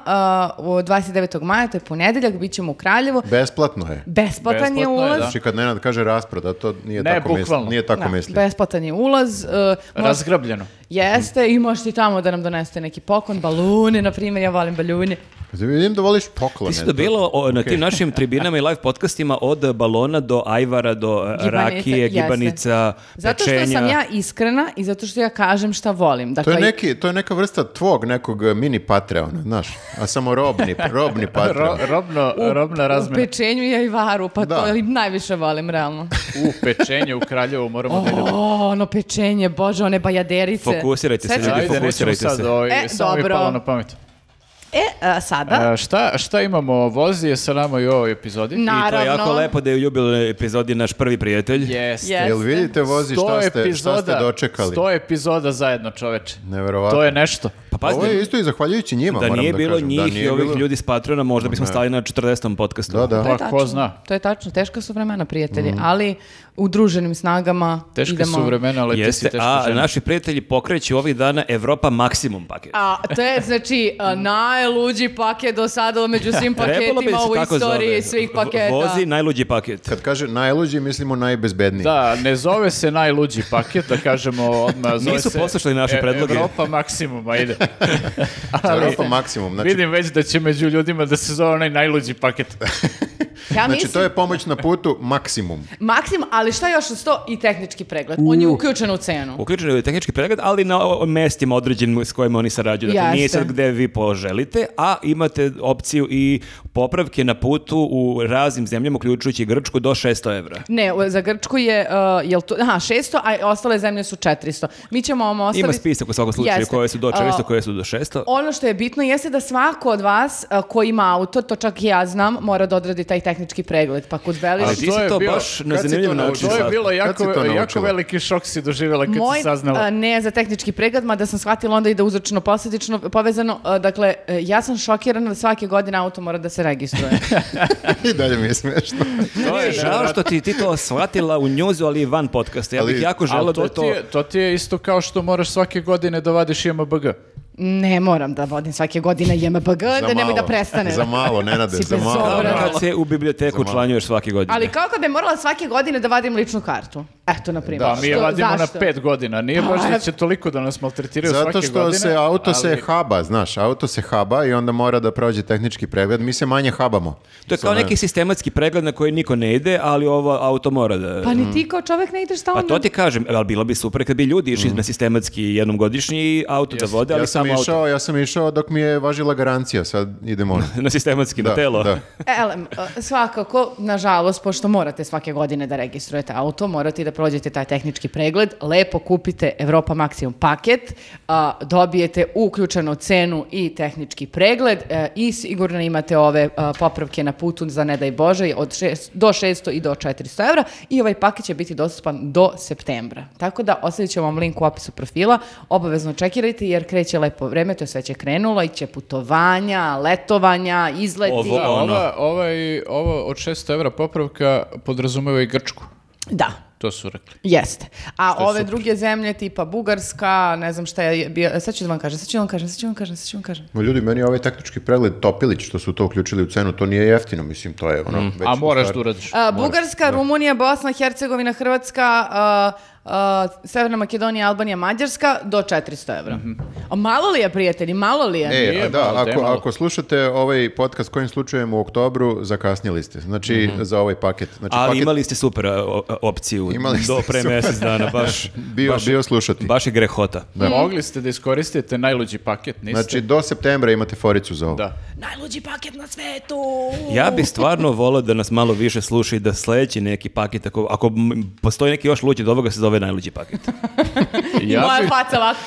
[SPEAKER 4] uh, od 29. maja, to je ponedeljak, bit ćemo u Kraljevu.
[SPEAKER 1] Besplatno je.
[SPEAKER 4] Besplatan je
[SPEAKER 2] Besplatno je,
[SPEAKER 4] ulaz.
[SPEAKER 2] da.
[SPEAKER 1] Znači kad Nenad kaže rasproda, to nije
[SPEAKER 2] Ne,
[SPEAKER 1] tako misli.
[SPEAKER 2] bukvalno.
[SPEAKER 1] Nije tako
[SPEAKER 4] Da,
[SPEAKER 1] misli.
[SPEAKER 4] besplatan je ulaz. Uh, mož-
[SPEAKER 2] Razgrabljeno.
[SPEAKER 4] Jeste, i možete i tamo da nam donesete neki poklon, balune, na primjer, ja volim balune.
[SPEAKER 1] Da Znači, vidim da voliš poklone.
[SPEAKER 3] Ti si dobila o, na tim našim tribinama i live podcastima od balona do ajvara, do e,
[SPEAKER 4] Gibanica,
[SPEAKER 3] rakije,
[SPEAKER 4] jeste.
[SPEAKER 3] gibanica,
[SPEAKER 4] Zato što
[SPEAKER 3] pečenja.
[SPEAKER 4] sam ja iskrena i zato što ja kažem šta volim.
[SPEAKER 1] To
[SPEAKER 4] Dakle,
[SPEAKER 1] je, neki, to je neka vrsta tvog nekog eh, mini Patreona, znaš, a samo
[SPEAKER 3] *laughs*
[SPEAKER 1] robni, robni Patreon.
[SPEAKER 2] Ro- robno, robna
[SPEAKER 4] u
[SPEAKER 2] razmena.
[SPEAKER 4] pečenju ja i varu, pa
[SPEAKER 1] Da.
[SPEAKER 4] to i najviše
[SPEAKER 3] *laughs*
[SPEAKER 4] volim, realno.
[SPEAKER 2] U pečenju u Kraljevu moramo da idemo.
[SPEAKER 4] O, ono pečenje, bože, one bajaderice.
[SPEAKER 3] Fokusirajte se,
[SPEAKER 4] Sećaš
[SPEAKER 3] ljudi,
[SPEAKER 4] se?
[SPEAKER 2] Ajde, nećemo
[SPEAKER 3] fokusirajte
[SPEAKER 2] sad,
[SPEAKER 3] se.
[SPEAKER 2] ovaj,
[SPEAKER 4] E,
[SPEAKER 2] samo mi je
[SPEAKER 4] dobro.
[SPEAKER 2] palo na pamet.
[SPEAKER 4] E, a, sada?
[SPEAKER 2] E, šta, šta imamo? Vozi je sa nama i u ovoj epizodi.
[SPEAKER 3] I to
[SPEAKER 4] Naravno.
[SPEAKER 3] je jako lepo da je u jubilnoj epizodi naš prvi prijatelj.
[SPEAKER 2] Jeste.
[SPEAKER 4] Jeste.
[SPEAKER 1] Jel vidite, vozi, šta ste, šta ste dočekali?
[SPEAKER 2] Sto epizoda zajedno, čoveče.
[SPEAKER 1] Neverovatno.
[SPEAKER 2] To je nešto.
[SPEAKER 3] Pa pazite,
[SPEAKER 1] Ovo je isto i zahvaljujući njima,
[SPEAKER 3] da
[SPEAKER 1] moram
[SPEAKER 3] nije
[SPEAKER 1] da
[SPEAKER 3] bilo
[SPEAKER 1] kažem.
[SPEAKER 3] njih
[SPEAKER 1] nije
[SPEAKER 3] i ovih
[SPEAKER 1] bilo-
[SPEAKER 3] ljudi s Patrona, možda bismo stali na 40. podcastu.
[SPEAKER 1] Da, da.
[SPEAKER 4] To je
[SPEAKER 2] Pa, ko
[SPEAKER 4] tačno.
[SPEAKER 2] zna?
[SPEAKER 4] To je tačno, teška su vremena, prijatelji,
[SPEAKER 3] Mhm.
[SPEAKER 4] ali udruženim snagama
[SPEAKER 2] Teška
[SPEAKER 4] idemo...
[SPEAKER 2] su vremena, ali ti si
[SPEAKER 3] Jeste,
[SPEAKER 2] teško
[SPEAKER 3] a
[SPEAKER 2] žena.
[SPEAKER 3] naši prijatelji pokreću ovih dana Evropa maksimum paket.
[SPEAKER 4] A, to je, znači, a, najluđi paket do sada među svim
[SPEAKER 3] Trebalo bi
[SPEAKER 4] paketima
[SPEAKER 3] se
[SPEAKER 4] u
[SPEAKER 3] tako
[SPEAKER 4] istoriji
[SPEAKER 3] zove.
[SPEAKER 4] svih
[SPEAKER 3] V-
[SPEAKER 4] paketa.
[SPEAKER 3] Vozi najluđi paket.
[SPEAKER 1] Kad kaže najluđi, mislimo najbezbedniji.
[SPEAKER 2] Da, ne zove se najluđi paket, da kažemo odmah. Zove
[SPEAKER 3] Nisu
[SPEAKER 2] se E,
[SPEAKER 3] poslušali naše predloge.
[SPEAKER 2] Evropa maksimum, ajde.
[SPEAKER 1] Europa maksimum. Znači,
[SPEAKER 2] Vidim već da će među ljudima da se zove onaj najluđi paket.
[SPEAKER 4] Ja
[SPEAKER 1] znači,
[SPEAKER 4] mislim,
[SPEAKER 1] to je pomoć na putu maksimum. *laughs*
[SPEAKER 4] Maksim, ali šta još uz to? I tehnički pregled. On je uključen u cenu.
[SPEAKER 3] Uključen je tehnički pregled, ali na o- mestima određenim s kojima oni sarađuju. Dakle, nije
[SPEAKER 4] Jeste.
[SPEAKER 3] sad gde vi poželite, a imate opciju i popravke na putu u raznim zemljama, uključujući Grčku, do 600 evra.
[SPEAKER 4] Ne, u- za Grčku je, uh, jel to, aha, 600, a ostale zemlje su 400. Mi ćemo vam ostaviti...
[SPEAKER 3] Ima spisak u svakom slučaju
[SPEAKER 4] Jeste.
[SPEAKER 3] koje su do
[SPEAKER 4] A,
[SPEAKER 3] 400, koje su do 600.
[SPEAKER 4] Ono što je bitno jeste da svako od vas uh, ko ima auto, to čak i ja znam, mora da odradi taj tehnički pregled. Pa kod Beliš...
[SPEAKER 3] Ali
[SPEAKER 2] A
[SPEAKER 3] ti si
[SPEAKER 2] to je
[SPEAKER 3] to
[SPEAKER 2] bio-
[SPEAKER 3] baš na
[SPEAKER 1] kad si
[SPEAKER 3] zanimljiv
[SPEAKER 1] to
[SPEAKER 3] način
[SPEAKER 1] naučio?
[SPEAKER 2] To je
[SPEAKER 3] saznao.
[SPEAKER 2] bilo jako,
[SPEAKER 1] Kad si to
[SPEAKER 2] jako
[SPEAKER 1] naučila?
[SPEAKER 2] veliki šok si doživjela kad
[SPEAKER 4] Moj,
[SPEAKER 2] si saznala.
[SPEAKER 4] a, ne za tehnički pregled, mada sam shvatila onda i da uzročno posljedično povezano. a, dakle, e, ja sam šokirana da svake godine auto mora da se
[SPEAKER 3] *laughs*
[SPEAKER 4] registruje.
[SPEAKER 1] I dalje mi je smešno.
[SPEAKER 3] To je žao što ti ti to shvatila u njuzu, ali i van podcasta. Ja
[SPEAKER 1] Ali-
[SPEAKER 3] bih jako želao
[SPEAKER 2] Ali
[SPEAKER 3] da
[SPEAKER 2] to,
[SPEAKER 3] je
[SPEAKER 2] ti
[SPEAKER 3] to...
[SPEAKER 2] je, to ti je isto kao što moraš svake godine da vadiš IMBG.
[SPEAKER 4] ne moram da vodim svake godine JMBG, da nemoj da prestane.
[SPEAKER 1] Za malo, Nenade,
[SPEAKER 4] Si
[SPEAKER 1] za malo.
[SPEAKER 4] bezobraza.
[SPEAKER 3] Dobro,
[SPEAKER 4] Dobro.
[SPEAKER 3] kad se u biblioteku učlanjuješ svake godine.
[SPEAKER 4] Ali kako bi morala svake godine da vadim ličnu kartu? Eto, na primjer.
[SPEAKER 2] Pa mi je
[SPEAKER 4] Što-
[SPEAKER 2] vadimo
[SPEAKER 4] zašto? Pa-
[SPEAKER 2] na pet godina. Nije baš da će toliko da nas maltretiraju svake
[SPEAKER 1] Zato
[SPEAKER 2] godine.
[SPEAKER 1] što se auto se
[SPEAKER 2] ali-
[SPEAKER 1] haba, znaš, auto se haba i onda mora da prođe tehnički pregled. Mi se manje habamo.
[SPEAKER 3] To je kao
[SPEAKER 1] Samo-
[SPEAKER 3] neki sistematski pregled na koji niko ne ide, ali ovo auto mora da...
[SPEAKER 4] Pa ni ti kao čovek ne ideš stalno.
[SPEAKER 3] Pa to ti kažem, ali bilo bi super kad bi ljudi išli na sistematski jednom godišnji i auto da vode, ali
[SPEAKER 1] Mhm. Ja sam,
[SPEAKER 3] samo auto.
[SPEAKER 1] išao, ja sam išao dok mi je važila garancija, sad idemo
[SPEAKER 2] *laughs*
[SPEAKER 1] ono.
[SPEAKER 3] *laughs* Na sistematski, na
[SPEAKER 1] Da,
[SPEAKER 3] telo.
[SPEAKER 1] da. Znači,
[SPEAKER 4] Elem, e, svakako, nažalost, pošto morate svake godine da registrujete auto, morate i da prođete taj tehnički pregled, lepo kupite Europa Maximum paket, a, dobijete uključenu cenu i tehnički pregled e, i sigurno imate ove a, popravke na putu za ne daj Bože od šest- do 600 i do 400 evra i ovaj paket će biti dostupan do septembra. Tako da ostavit ćemo vam link u opisu profila, obavezno čekirajte jer kreće lepo vreme, to je sve će krenulo, iće putovanja, letovanja, izleti.
[SPEAKER 3] Ovo-
[SPEAKER 2] Da,
[SPEAKER 3] Ono.
[SPEAKER 2] ova, ovaj, ovo od 600 evra popravka podrazumeva i Grčku.
[SPEAKER 4] Da,
[SPEAKER 2] To su rekli.
[SPEAKER 4] jeste. A
[SPEAKER 2] je
[SPEAKER 4] ove
[SPEAKER 2] super.
[SPEAKER 4] druge zemlje tipa Bugarska, ne znam šta je, bio, e, sad ću da vam kažem, sad ću da vam kažem, sad ću da vam kažem, sad ću da vam kažem.
[SPEAKER 1] Ma ljudi, meni je ovaj tehnički pregled Topilić, što su to uključili u cenu, to nije jeftino, mislim, to je ono... već
[SPEAKER 2] Mm. A moraš
[SPEAKER 1] stvar-
[SPEAKER 2] da uradiš.
[SPEAKER 4] A, Bugarska, Rumunija, Bosna, Hercegovina, Hrvatska, a, a, Severna Makedonija, Albanija, Mađarska do 400 evra. A malo li je, prijatelji, malo li je?
[SPEAKER 1] Mhm. E,
[SPEAKER 2] Nije
[SPEAKER 1] a da,
[SPEAKER 2] malo, da je
[SPEAKER 1] ako,
[SPEAKER 2] malo.
[SPEAKER 1] ako slušate ovaj podcast kojim slučajem u oktobru, zakasnili ste. Znači,
[SPEAKER 2] Mhm.
[SPEAKER 1] za ovaj paket. Znači,
[SPEAKER 3] Ali
[SPEAKER 1] paket
[SPEAKER 3] imali ste super a, o- a, opciju
[SPEAKER 1] Imali ste
[SPEAKER 3] do pre
[SPEAKER 1] super.
[SPEAKER 3] mjesec
[SPEAKER 1] *laughs*
[SPEAKER 3] dana, baš,
[SPEAKER 1] bio,
[SPEAKER 3] baš,
[SPEAKER 1] bio slušati.
[SPEAKER 3] baš je grehota.
[SPEAKER 2] Mogli ste da iskoristite najluđi paket, niste?
[SPEAKER 1] Znači, do septembra imate foricu za ovo.
[SPEAKER 2] da.
[SPEAKER 4] Najluđi paket na svetu!
[SPEAKER 3] Ja bih stvarno volao da nas malo više sluša i da sledeći neki paket, ako, ako m- postoji neki još luđi od ovoga, se zove najluđi paket.
[SPEAKER 1] *laughs*
[SPEAKER 2] Ja
[SPEAKER 4] Moja
[SPEAKER 2] bih,
[SPEAKER 4] faca ovako.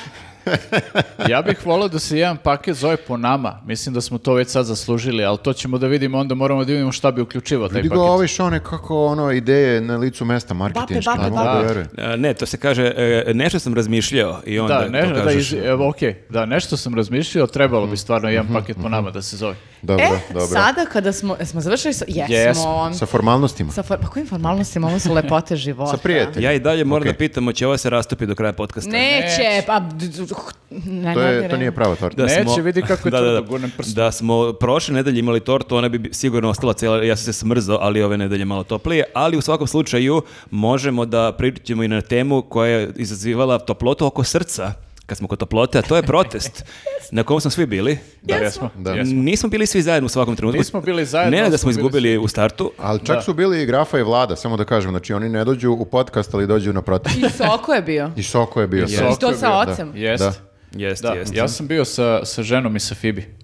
[SPEAKER 2] ja bih volao da se jedan paket zove po nama. Mislim da smo to već sad zaslužili, ali to ćemo da vidimo, onda moramo da vidimo šta bi uključivao taj
[SPEAKER 1] Vidi
[SPEAKER 2] paket.
[SPEAKER 1] ga ovaj Šone kako ono ideje na licu mesta marketinške.
[SPEAKER 4] bape,
[SPEAKER 1] ne mogu
[SPEAKER 2] bape.
[SPEAKER 1] da verujem.
[SPEAKER 3] E, Ne, to se kaže, e, nešto sam razmišljao i onda
[SPEAKER 2] Da, ne,
[SPEAKER 3] to
[SPEAKER 2] da,
[SPEAKER 3] kažeš.
[SPEAKER 2] iz, evo, okej, da, nešto sam razmišljao, trebalo bi stvarno jedan paket po nama da se zove.
[SPEAKER 1] *laughs* Dobro,
[SPEAKER 4] E,
[SPEAKER 1] dobro.
[SPEAKER 4] sada kada smo, smo završili sa, jesmo.
[SPEAKER 1] Sa formalnostima.
[SPEAKER 4] Sa, for- pa kojim formalnostima, ovo
[SPEAKER 1] *laughs*
[SPEAKER 4] su lepote života.
[SPEAKER 1] Sa prijateljima.
[SPEAKER 3] Ja i dalje moram
[SPEAKER 1] Ok.
[SPEAKER 3] da pitam, hoće ovo se rastupi do kraja podcasta?
[SPEAKER 4] Neće,
[SPEAKER 2] Neće.
[SPEAKER 4] pa... d- d- h- ne,
[SPEAKER 1] To, je,
[SPEAKER 4] ne,
[SPEAKER 1] to
[SPEAKER 4] ne.
[SPEAKER 1] nije prava torta.
[SPEAKER 2] Neće, vidi
[SPEAKER 3] *laughs*
[SPEAKER 2] kako je
[SPEAKER 3] da, da,
[SPEAKER 2] tvrdo,
[SPEAKER 3] da.
[SPEAKER 2] gurnem prstom.
[SPEAKER 3] Da smo prošle nedelje imali tortu, ona bi bi sigurno ostala cijela, ja sam se smrzao, ali ove nedelje malo toplije, ali u svakom slučaju možemo da pričamo i na temu koja je izazivala toplotu oko srca kad smo kod toplote, a to je
[SPEAKER 4] *laughs*
[SPEAKER 3] protest na kom smo svi bili.
[SPEAKER 2] Da, jesmo.
[SPEAKER 1] Da.
[SPEAKER 2] jesmo.
[SPEAKER 3] Nismo bili svi zajedno u svakom trenutku.
[SPEAKER 2] Nismo bili zajedno,
[SPEAKER 3] Ne,
[SPEAKER 2] ali
[SPEAKER 3] da
[SPEAKER 2] smo
[SPEAKER 3] smo
[SPEAKER 2] bili
[SPEAKER 3] izgubili u startu.
[SPEAKER 1] Ali čak su bili i Grafa i Vlada, samo da kažem. Znači, oni ne dođu u podcast, ali dođu na protest.
[SPEAKER 4] I Soko je bio.
[SPEAKER 1] I Soko je bio.
[SPEAKER 2] I
[SPEAKER 1] sad.
[SPEAKER 2] Soko
[SPEAKER 4] I to
[SPEAKER 2] je
[SPEAKER 4] sa
[SPEAKER 2] bio,
[SPEAKER 1] da.
[SPEAKER 4] ocem.
[SPEAKER 2] Jest.
[SPEAKER 1] Da.
[SPEAKER 3] Jest,
[SPEAKER 2] Da,
[SPEAKER 3] jest.
[SPEAKER 2] ja sam bio sa, sa ženom i sa Fibi.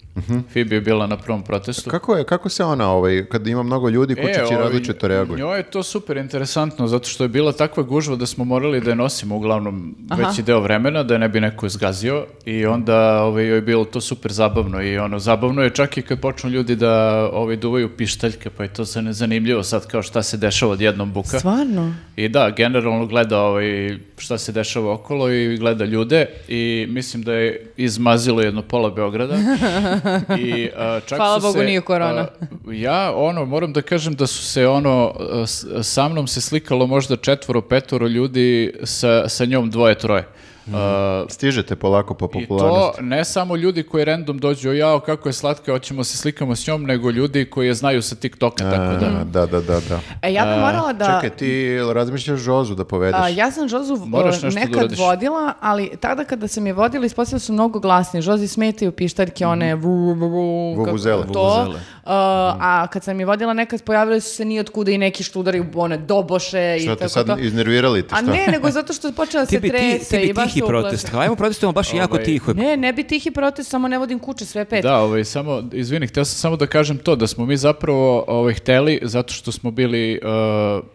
[SPEAKER 2] Fibi je bila na prvom protestu.
[SPEAKER 1] Kako, je, kako se ona, ovaj, kad ima mnogo ljudi, kučići
[SPEAKER 2] E, ovi-
[SPEAKER 1] različito reaguju?
[SPEAKER 2] Njoj je to super interesantno, zato što je bila takva gužva da smo morali da je nosimo uglavnom veći deo vremena, da je ne bi neko izgazio i onda ovaj, joj je bilo to super zabavno i ono, zabavno je čak i kad počnu ljudi da ovaj, duvaju pištaljke, pa je to sad nezanimljivo sad kao šta se dešava od jednom buka.
[SPEAKER 4] Stvarno?
[SPEAKER 2] I da, generalno gleda ovaj, šta se dešava okolo i gleda ljude i mislim da je izmazilo jedno pola Beograda.
[SPEAKER 4] *laughs*
[SPEAKER 2] I, a, čak
[SPEAKER 4] Hvala
[SPEAKER 2] su se,
[SPEAKER 4] Bogu, nije korona.
[SPEAKER 2] a, ja, ono, moram da kažem da su se, ono, a, s- sa mnom se slikalo možda četvoro, petoro ljudi, sa, sa njom dvoje, troje. A,
[SPEAKER 1] Stižete polako po
[SPEAKER 2] i to
[SPEAKER 1] popularnosti.
[SPEAKER 2] ne samo ljudi koji random dođu, "O, jao, kako je slatka, hoćemo se slikamo s njom, nego ljudi koji je znaju sa TikToka, tako Pa da.
[SPEAKER 1] A, E, da, da, da, da.
[SPEAKER 4] E, ja bi morala da...
[SPEAKER 1] Čekaj, ti razmišljaš Žozu da povedeš.
[SPEAKER 4] A, ja sam Žozu v-
[SPEAKER 2] Moraš nešto da
[SPEAKER 4] nekad
[SPEAKER 2] uradiš.
[SPEAKER 4] vodila, ali tada kada sam je vodila, ispostavila su mnogo glasnije. Žozi smetaju pištaljke, one vu, vu, vu, kako
[SPEAKER 1] Vuvuzele.
[SPEAKER 4] To. A, a kad sam je vodila nekad, pojavili su se nijotkuda i neki študari, one doboše i
[SPEAKER 1] Šta
[SPEAKER 4] tako
[SPEAKER 1] te sad
[SPEAKER 4] to.
[SPEAKER 1] iznervirali ti?
[SPEAKER 4] A
[SPEAKER 1] šta?
[SPEAKER 4] ne, nego zato što je počela da
[SPEAKER 3] Ti
[SPEAKER 4] se
[SPEAKER 3] bi, ti,
[SPEAKER 4] trese
[SPEAKER 3] ti bi
[SPEAKER 4] i baš
[SPEAKER 3] tihi
[SPEAKER 4] se uplaše.
[SPEAKER 3] protest. Ajmo protestujemo baš jako
[SPEAKER 2] Ovaj,
[SPEAKER 3] tiho.
[SPEAKER 4] Ne, ne bi tihi protest, samo ne vodim kuće sve pet.
[SPEAKER 2] Da, ovaj, samo, izvini, htio sam samo da kažem to, da smo mi zapravo ovaj, hteli, zato što smo bili eh,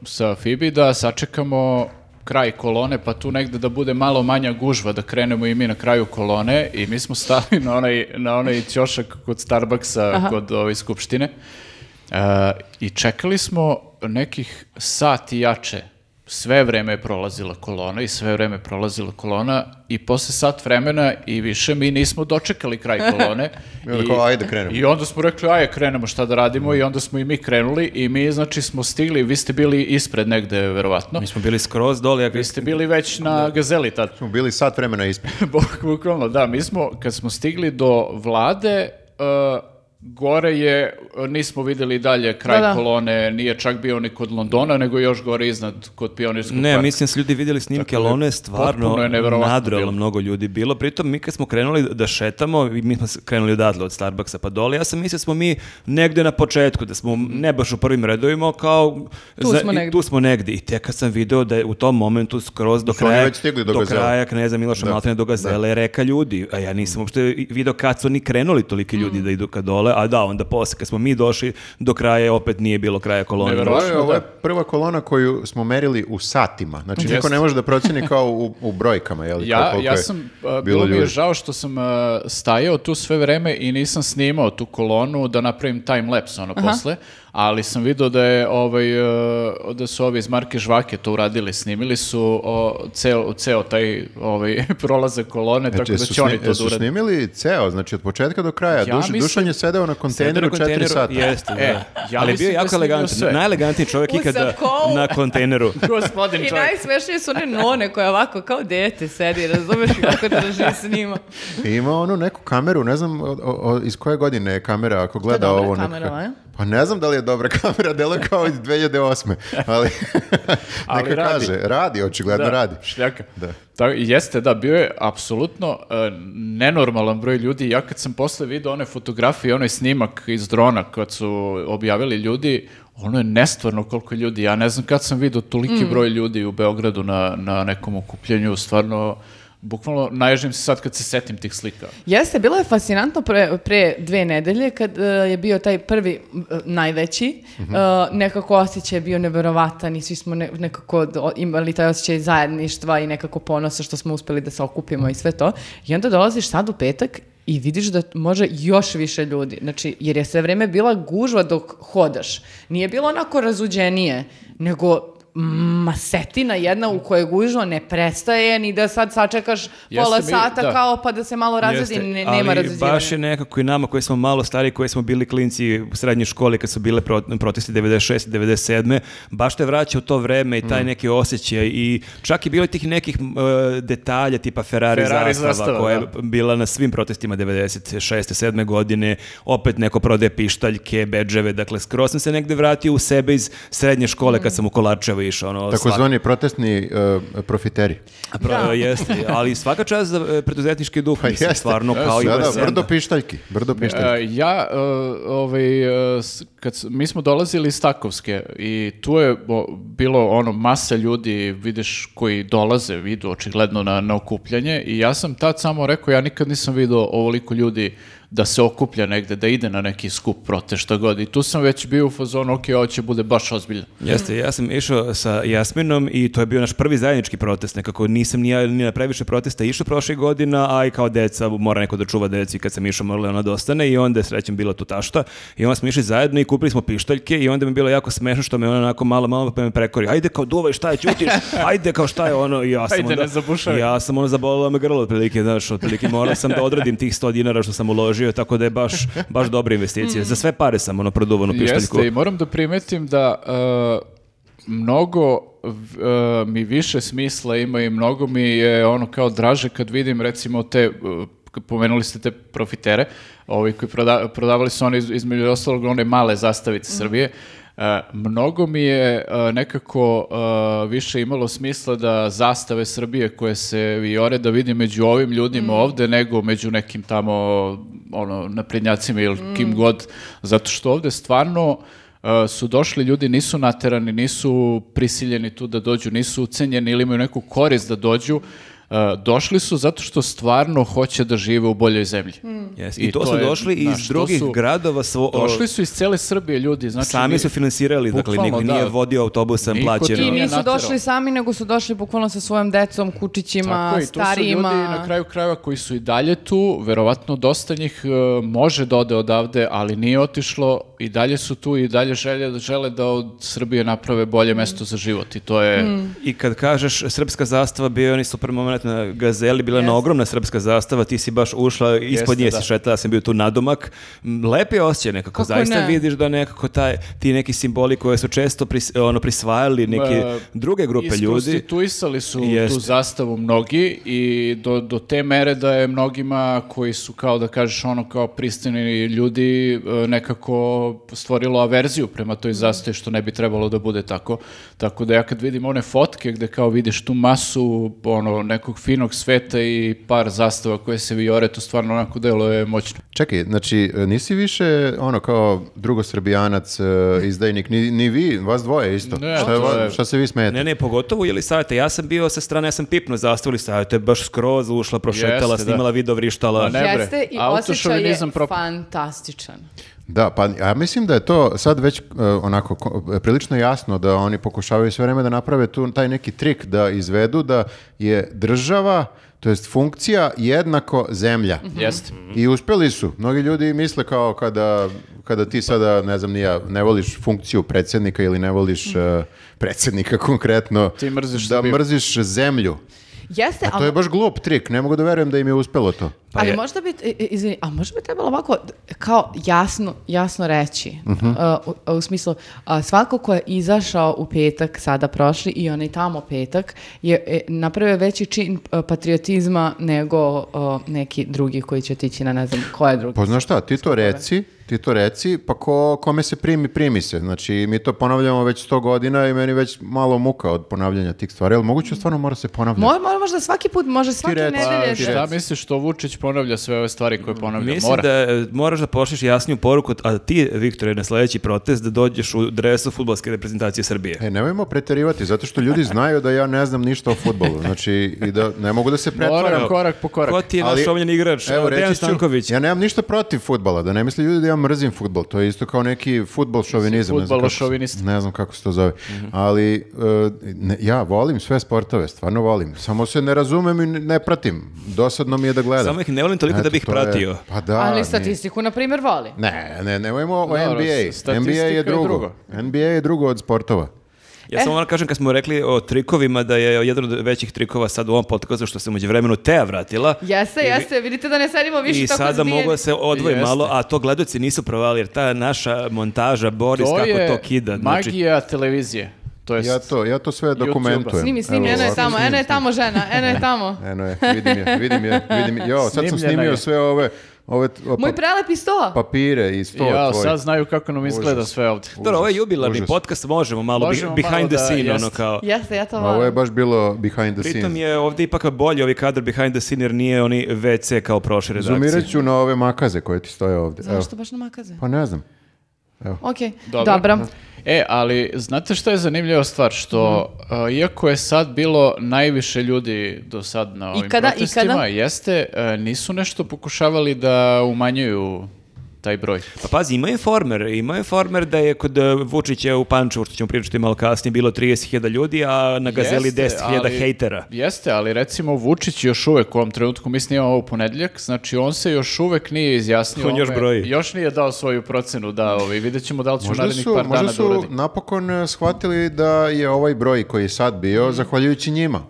[SPEAKER 2] sa Fibi, da sačekamo kraj kolone, pa tu negde da bude malo manja gužva, da krenemo i mi na kraju kolone i mi smo stali na onaj, na onaj ćošak kod Starbucksa, kod ove skupštine Eh, i čekali smo nekih sati jače sve vreme je prolazila kolona i sve vreme je prolazila kolona i posle sat vremena i više mi nismo dočekali kraj kolone.
[SPEAKER 1] I onda kao, ajde, krenemo.
[SPEAKER 2] I onda smo rekli, ajde, krenemo šta da radimo i onda smo i mi krenuli i mi, znači, smo stigli, vi ste bili ispred negde, verovatno.
[SPEAKER 3] Mi smo bili skroz dole. Ja,
[SPEAKER 2] Vi ste bili već na gazeli tad.
[SPEAKER 1] *laughs*
[SPEAKER 2] *laughs*
[SPEAKER 1] Smo bili sat vremena ispred.
[SPEAKER 2] Buk- Bukvalno, da, mi smo, kad smo stigli do vlade, uh, gore je, uh, nismo videli dalje kraj
[SPEAKER 4] Da, da.
[SPEAKER 2] kolone, nije čak bio ni kod Londona, nego još gore iznad, kod Pionirskog
[SPEAKER 3] Ne,
[SPEAKER 2] parka.
[SPEAKER 3] mislim da su ljudi vidjeli snimke, ali ono je stvarno
[SPEAKER 2] potpuno je neverovatno
[SPEAKER 3] nadralo
[SPEAKER 2] bilo.
[SPEAKER 3] mnogo ljudi bilo. Pritom mi kad smo krenuli da šetamo, i mi smo s- krenuli odatle od Starbucksa pa dole, ja sam mislio da smo mi negde na početku, da smo
[SPEAKER 1] Mhm.
[SPEAKER 3] ne baš u prvim redovima, kao
[SPEAKER 4] Tu smo
[SPEAKER 3] i-
[SPEAKER 4] negde.
[SPEAKER 3] tu smo negde. I tek kad sam video da je u tom momentu skroz do
[SPEAKER 1] su oni
[SPEAKER 3] kraja,
[SPEAKER 1] već stigli do Gazele.
[SPEAKER 3] kraja kneza Miloša
[SPEAKER 1] Da.
[SPEAKER 3] Maltene do Gazele reka ljudi, a ja nisam uopšte i- video kad su ni krenuli toliki
[SPEAKER 4] Mhm.
[SPEAKER 3] ljudi da idu ka dole, a da, onda posle kad smo mi došli do kraja, opet nije bilo kraja kolone.
[SPEAKER 2] Neverovatno.
[SPEAKER 1] Ovo je,
[SPEAKER 2] Prošlo,
[SPEAKER 1] ovo je
[SPEAKER 2] da.
[SPEAKER 1] prva kolona koju smo merili u satima. Znači, niko ne može da proceni kao u, u brojkama, je li? kao
[SPEAKER 2] Ja,
[SPEAKER 1] koliko
[SPEAKER 2] ja
[SPEAKER 1] je
[SPEAKER 2] sam, a, bilo mi je
[SPEAKER 1] ljudi.
[SPEAKER 2] žao što sam a, stajao tu sve vreme i nisam snimao tu kolonu da napravim time lapse ono posle, ali sam vidio da je ovaj e, da su ovi iz Marke Žvake to uradili, snimili su o, ceo, ceo taj ovaj *laughs* prolazak kolone,
[SPEAKER 1] Znači,
[SPEAKER 2] tako da
[SPEAKER 1] jesu,
[SPEAKER 2] će oni
[SPEAKER 1] sni-
[SPEAKER 2] to da
[SPEAKER 1] jesu
[SPEAKER 2] urade.
[SPEAKER 1] snimili ceo, znači od početka do kraja.
[SPEAKER 2] Ja
[SPEAKER 1] Duš-
[SPEAKER 2] mislim-
[SPEAKER 1] Dušan je sedeo na kontejneru
[SPEAKER 3] Sedeo na
[SPEAKER 1] četiri sata.
[SPEAKER 3] Jeste,
[SPEAKER 2] E,
[SPEAKER 3] da.
[SPEAKER 2] ja
[SPEAKER 3] Ali bio
[SPEAKER 2] mislim
[SPEAKER 3] je
[SPEAKER 2] da
[SPEAKER 3] jako
[SPEAKER 2] snimio
[SPEAKER 3] elegantan.
[SPEAKER 2] sve.
[SPEAKER 3] Najelegantniji čovjek
[SPEAKER 4] U
[SPEAKER 3] ikada
[SPEAKER 4] sakou.
[SPEAKER 3] na
[SPEAKER 2] *laughs*
[SPEAKER 3] kontejneru.
[SPEAKER 2] Gospodin
[SPEAKER 4] I
[SPEAKER 2] čovjek.
[SPEAKER 4] najsmešnije su one none koje ovako kao dete sedi, razumeš kako drži i snima.
[SPEAKER 1] I ima onu neku kameru, ne znam o- o- o- iz koje godine je kamera, ako gleda
[SPEAKER 4] dobra
[SPEAKER 1] ovo. neka-
[SPEAKER 4] kamera, a?
[SPEAKER 1] Pa ne znam da li je dobra *laughs* kamera, delo je kao iz 2008. Ali neka
[SPEAKER 2] Ali radi.
[SPEAKER 1] kaže, radi, očigledno radi.
[SPEAKER 2] Šljaka. Da. jeste, da, bio je apsolutno e, nenormalan broj ljudi. Ja kad sam posle vidio one fotografije, onaj snimak iz drona kad su objavili ljudi, ono je nestvarno koliko je ljudi. Ja ne znam kad sam vidio toliki broj ljudi u Beogradu na, na nekom okupljenju, stvarno bukvalno naježim se sad kad se setim tih slika.
[SPEAKER 4] Jeste, bilo je fascinantno pre, pre dve nedelje kad e, je bio taj prvi m, e, najveći,
[SPEAKER 2] Mhm.
[SPEAKER 4] e, nekako osjećaj je bio neverovatan i svi smo ne- nekako do- imali taj osjećaj zajedništva i nekako ponosa što smo uspeli da se okupimo i sve to. I onda dolaziš sad u petak i vidiš da može još više ljudi. Znači, jer je sve vreme bila gužva dok hodaš. Nije bilo onako razuđenije, nego masetina jedna u kojoj gužva ne prestaje ni da sad sačekaš pola
[SPEAKER 2] mi-
[SPEAKER 4] sata
[SPEAKER 2] da.
[SPEAKER 4] kao pa da se malo razredi, ne, nema
[SPEAKER 3] ali
[SPEAKER 4] razređivanja.
[SPEAKER 3] baš je nekako i nama koji smo malo stari, koji smo bili klinci u srednjoj školi kad su bile pro- protesti 96. 97. Baš te vraća u to vreme
[SPEAKER 1] Mm.
[SPEAKER 3] i taj neki osjećaj i čak i bilo je tih nekih m, e, detalja tipa Ferrari,
[SPEAKER 2] Ferrari
[SPEAKER 3] zastava,
[SPEAKER 2] zastava,
[SPEAKER 3] koja je
[SPEAKER 2] da.
[SPEAKER 3] bila na svim protestima 96. 7. godine. Opet neko
[SPEAKER 4] Mm.
[SPEAKER 3] prodaje pištaljke, bedževe, dakle skroz sam se negde vratio u sebe iz srednje škole kad sam u Kolarčeva evo išao. Ono, svaka-
[SPEAKER 1] Takozvani protestni uh, profiteri.
[SPEAKER 3] A pro-
[SPEAKER 4] Da.
[SPEAKER 3] jeste, ali svaka čast za e, preduzetnički duh,
[SPEAKER 1] Pa
[SPEAKER 3] mislim,
[SPEAKER 1] jeste.
[SPEAKER 3] stvarno kao i
[SPEAKER 1] Da, da,
[SPEAKER 3] Wes Enda.
[SPEAKER 1] brdo pištaljki. Brdo pištaljki.
[SPEAKER 2] E, ja, e, ovaj, e, s- kad, s- mi smo dolazili iz Takovske i tu je o, bilo ono masa ljudi, vidiš, koji dolaze, vidu očigledno na, na okupljanje i ja sam tad samo rekao, ja nikad nisam vidio ovoliko ljudi da se okuplja negde, da ide na neki skup prote, šta god. I tu sam već bio u fazonu, ok, ovo će bude baš ozbiljno.
[SPEAKER 3] Jeste, ja sam išao sa Jasminom i to je bio naš prvi zajednički protest, nekako nisam ni ja ni na previše protesta išao prošle godina, a i kao deca, mora neko da čuva deci kad sam išao, morala je ona da ostane i onda je srećem bila tu tašta i onda smo išli zajedno i kupili smo pištaljke i onda mi je bilo jako smešno što me ona onako malo, malo pa me prekori, ajde kao duvaj šta je, ćutiš, ajde kao šta je ono i ja sam
[SPEAKER 2] Ajde,
[SPEAKER 3] onda,
[SPEAKER 2] ne zabušavaj.
[SPEAKER 3] ja sam ono zabolila me grlo otprilike, znaš, otprilike morao sam da odradim tih 100 dinara što sam uložio, tako da je baš, baš dobra investicija, za sve pare sam ono produvanu pištaljku.
[SPEAKER 2] Jeste, i moram da primetim da e, mnogo v- e, mi više smisla ima i mnogo mi je ono kao draže kad vidim recimo te e, k- pomenuli ste te profitere, ovi koji proda- prodavali su oni iz- između ostalog one male zastavice Srbije. E, mnogo mi je e, nekako e, više imalo smisla da zastave Srbije koje se vijore da vidim među ovim ljudima ovde nego među nekim tamo ono naprednjacima ili kim god zato što ovde stvarno e, su došli ljudi, nisu naterani, nisu prisiljeni tu da dođu, nisu ucenjeni ili imaju neku korist da dođu. E, došli su zato što stvarno hoće da žive u boljoj zemlji.
[SPEAKER 3] Yes. I,
[SPEAKER 2] I
[SPEAKER 3] to,
[SPEAKER 2] to
[SPEAKER 3] su
[SPEAKER 2] je,
[SPEAKER 3] došli
[SPEAKER 2] znaš,
[SPEAKER 3] iz
[SPEAKER 2] to
[SPEAKER 3] drugih
[SPEAKER 2] su-
[SPEAKER 3] gradova. Svo,
[SPEAKER 2] Došli su iz cele Srbije ljudi. Znači,
[SPEAKER 3] sami
[SPEAKER 2] mi-
[SPEAKER 3] su finansirali, dakle niko
[SPEAKER 2] Bukvalno, da.
[SPEAKER 3] nije vodio autobusom
[SPEAKER 2] Niko ti nije
[SPEAKER 4] I
[SPEAKER 3] plaćeno.
[SPEAKER 4] nisu
[SPEAKER 2] naterao.
[SPEAKER 4] došli sami, nego su došli bukvalno sa svojom decom, kučićima,
[SPEAKER 2] Tako je, i tu su ljudi
[SPEAKER 4] starijima.
[SPEAKER 2] na kraju krajeva koji su i dalje tu, verovatno dosta njih e, može da ode odavde, ali nije otišlo, i dalje su tu i dalje žele, žele da od Srbije naprave bolje mesto za život i to je...
[SPEAKER 3] I kad kažeš srpska zastava, bio je onaj super moment na Gazeli, bila je ona
[SPEAKER 4] Jeste.
[SPEAKER 3] ogromna srpska zastava, ti si baš ušla, ispod nje
[SPEAKER 2] da.
[SPEAKER 3] si šetala, ja sam bio tu nadomak. M, Lep je osjećaj nekako,
[SPEAKER 4] Kako
[SPEAKER 3] zaista
[SPEAKER 4] ne?
[SPEAKER 3] vidiš da nekako taj, ti neki simboli koje su često pris- ono, prisvajali neke
[SPEAKER 2] E,
[SPEAKER 3] druge grupe ljudi.
[SPEAKER 2] Isprostituisali su
[SPEAKER 3] Jeste.
[SPEAKER 2] tu zastavu mnogi i do, do te mere da je mnogima koji su kao da kažeš ono kao pristojni ljudi e, nekako stvorilo averziju prema toj zastavi što ne bi trebalo da bude tako. Tako da ja kad vidim one fotke gde kao vidiš tu masu ono nekog finog sveta i par zastava koje se vijore, to stvarno onako deluje moćno.
[SPEAKER 1] Čekaj, znači e, nisi više ono kao drugosrbijanac, e, izdajnik, ni, ni vi, vas dvoje isto.
[SPEAKER 2] Ne,
[SPEAKER 1] šta, je
[SPEAKER 2] to
[SPEAKER 1] va-
[SPEAKER 2] je-
[SPEAKER 1] šta se vi smijete?
[SPEAKER 3] Ne, ne, pogotovo je Jelisaveta. Ja sam bio sa strane, ja sam pipno zastavu Jelisaveta, je baš skroz ušla, prošetala,
[SPEAKER 2] Jeste, da.
[SPEAKER 3] snimala video, vrištala.
[SPEAKER 2] A ne bre,
[SPEAKER 4] Jeste i osjećaj je
[SPEAKER 2] autošovinizam propa-
[SPEAKER 4] fantastičan.
[SPEAKER 1] Da, pa ja mislim da je to sad već e, onako ko- e, prilično jasno da oni pokušavaju sve vreme da naprave tu taj neki trik da izvedu da je država, to jest funkcija jednako zemlja.
[SPEAKER 2] Jeste.
[SPEAKER 1] I uspjeli su. Mnogi ljudi misle kao kada, kada ti sada, ne znam, ni ja, ne voliš funkciju predsjednika ili ne voliš e, predsjednika konkretno.
[SPEAKER 2] Ti mrziš
[SPEAKER 1] Da
[SPEAKER 2] Srbiju.
[SPEAKER 1] mrziš zemlju.
[SPEAKER 4] Jeste,
[SPEAKER 1] A to je baš glup trik. Ne mogu da verujem da im je uspjelo to.
[SPEAKER 3] Pa
[SPEAKER 4] ali
[SPEAKER 3] je-
[SPEAKER 4] možda bi, i- i- izvini, a možda bi trebalo ovako d- kao jasno, jasno reći, uh, u, u smislu, a, svako ko je izašao u petak, sada prošli, i onaj tamo petak, je e, napravio veći čin e, patriotizma nego e, neki drugi koji će otići na ne znam koje drugi.
[SPEAKER 1] Pa znaš šta, ti to reci, ti to reci, pa ko, kome se primi, primi se. Znači, mi to ponavljamo već sto godina i meni već malo muka od ponavljanja tih stvari, ali moguće stvarno mora se ponavljati.
[SPEAKER 4] Mo, mo- možda svaki put, može svake
[SPEAKER 1] reci,
[SPEAKER 4] nedelje.
[SPEAKER 1] ti
[SPEAKER 4] da-
[SPEAKER 2] Šta misliš što Vučić ponavlja sve ove stvari koje ponavlja?
[SPEAKER 3] Mislim
[SPEAKER 2] Mora.
[SPEAKER 3] da e, moraš da pošliš jasniju poruku, a ti, Viktore, na sledeći protest da dođeš u dresu futbolske reprezentacije Srbije.
[SPEAKER 1] E, nemojmo preterivati, zato što ljudi znaju da ja ne znam ništa o futbolu. Znači, i da ne mogu da se pretvaram.
[SPEAKER 2] Moram korak po korak.
[SPEAKER 3] Ko ti je naš
[SPEAKER 1] Ali-
[SPEAKER 3] omljeni igrač?
[SPEAKER 1] Evo,
[SPEAKER 3] Dejan
[SPEAKER 1] reći ću,
[SPEAKER 3] Stanković.
[SPEAKER 1] ja nemam ništa protiv futbala, da ne misle ljudi da ja mrzim futbol, to je isto kao neki futbol šovinizam. ne znam kako se-
[SPEAKER 2] Fudbalošovinist.
[SPEAKER 1] Ne znam kako se to zove,
[SPEAKER 2] Mhm.
[SPEAKER 1] ali e, ne- ja volim sve sportove, stvarno volim, samo se ne razumem i ne pratim, dosadno mi je da gledam.
[SPEAKER 3] Samo ih ne volim toliko da
[SPEAKER 1] Eto,
[SPEAKER 3] bih
[SPEAKER 1] to je-
[SPEAKER 3] pratio.
[SPEAKER 1] pa da,
[SPEAKER 4] Ali
[SPEAKER 1] ni-
[SPEAKER 4] statistiku, na primjer, voli.
[SPEAKER 1] Ne, ne, nemojmo o
[SPEAKER 2] Dobro,
[SPEAKER 1] NBA.
[SPEAKER 2] statistika
[SPEAKER 1] NBA je
[SPEAKER 2] je
[SPEAKER 1] drugo.
[SPEAKER 2] drugo.
[SPEAKER 1] NBA je drugo od sportova.
[SPEAKER 3] Ja samo moram kažem kad smo rekli o trikovima da je jedan od većih trikova sad u ovom podcastu što se među vremenu Teja vratila.
[SPEAKER 4] Jeste,
[SPEAKER 3] I-
[SPEAKER 4] jeste, vidite da ne sedimo više
[SPEAKER 3] I
[SPEAKER 4] tako
[SPEAKER 3] sada
[SPEAKER 4] zbijeni.
[SPEAKER 3] mogu da se odvoji
[SPEAKER 2] Jeste.
[SPEAKER 3] malo, a to gledoci nisu provali jer ta naša montaža, Boris, kako to kida. znači,
[SPEAKER 2] magija televizije. To jest,
[SPEAKER 1] Ja to, ja to sve dokumentujem.
[SPEAKER 4] Snimi, snimi,
[SPEAKER 1] Evo,
[SPEAKER 4] eno je
[SPEAKER 1] ovako
[SPEAKER 4] tamo,
[SPEAKER 1] snimim,
[SPEAKER 4] eno je
[SPEAKER 1] snimim.
[SPEAKER 4] tamo žena, eno je tamo.
[SPEAKER 1] Eno je, vidim je, vidim je, vidim je. Jo, sad sam
[SPEAKER 2] Snimljena
[SPEAKER 1] snimio
[SPEAKER 2] je.
[SPEAKER 1] sve ove, ove o,
[SPEAKER 4] Moj
[SPEAKER 1] pa-
[SPEAKER 4] prelepi sto.
[SPEAKER 1] papire i sto
[SPEAKER 2] ja,
[SPEAKER 1] tvoje.
[SPEAKER 2] sad znaju kako nam izgleda
[SPEAKER 1] Užas.
[SPEAKER 2] sve ovdje.
[SPEAKER 3] Dobro, ovo je jubilarni
[SPEAKER 1] užas.
[SPEAKER 3] podcast, možemo malo bi-
[SPEAKER 2] Možemo
[SPEAKER 3] behind
[SPEAKER 2] malo
[SPEAKER 3] the
[SPEAKER 2] da-
[SPEAKER 3] scene, ono
[SPEAKER 2] jest.
[SPEAKER 3] kao...
[SPEAKER 4] Jeste, ja to
[SPEAKER 1] A Ovo je
[SPEAKER 4] volim.
[SPEAKER 1] baš bilo behind the
[SPEAKER 3] Pritom
[SPEAKER 1] scenes.
[SPEAKER 3] je ovdje ipak bolji ovi kadar behind the scene jer nije oni WC kao prošle redakcije.
[SPEAKER 1] Zoomirat ću na ove makaze koje ti stoje ovdje. Evo.
[SPEAKER 4] Zašto baš na makaze?
[SPEAKER 1] Pa ne znam.
[SPEAKER 4] Ok,
[SPEAKER 2] Dobro.
[SPEAKER 4] dobro.
[SPEAKER 2] E, ali znate što je zanimljiva stvar? Što,
[SPEAKER 4] Mhm.
[SPEAKER 2] a, iako je sad bilo najviše ljudi do sad na ovim
[SPEAKER 4] kada- i
[SPEAKER 2] protestima,
[SPEAKER 4] kada?
[SPEAKER 2] jeste, e, nisu nešto pokušavali da umanjuju taj broj.
[SPEAKER 3] Pa pazi, ima informer, ima informer da je kod e, Vučića u Pančevu, što ćemo pričati malo kasnije, bilo 30.000 ljudi, a na Gazeli
[SPEAKER 2] Jeste,
[SPEAKER 3] 10.000
[SPEAKER 2] ali-
[SPEAKER 3] hejtera.
[SPEAKER 2] Jeste, ali recimo Vučić još uvek u ovom trenutku, mi snimamo ovo u ponedjeljak, znači on se još uvek nije izjasnio.
[SPEAKER 3] On još
[SPEAKER 2] ome-
[SPEAKER 3] broji.
[SPEAKER 2] Još nije dao svoju procenu, da, ovaj, vidjet ćemo da li će u
[SPEAKER 1] Možda
[SPEAKER 2] narednih
[SPEAKER 1] su,
[SPEAKER 2] par
[SPEAKER 1] možda
[SPEAKER 2] dana da
[SPEAKER 1] su
[SPEAKER 2] uradi.
[SPEAKER 1] napokon eh, shvatili da je ovaj broj koji je sad bio zahvaljujući njima.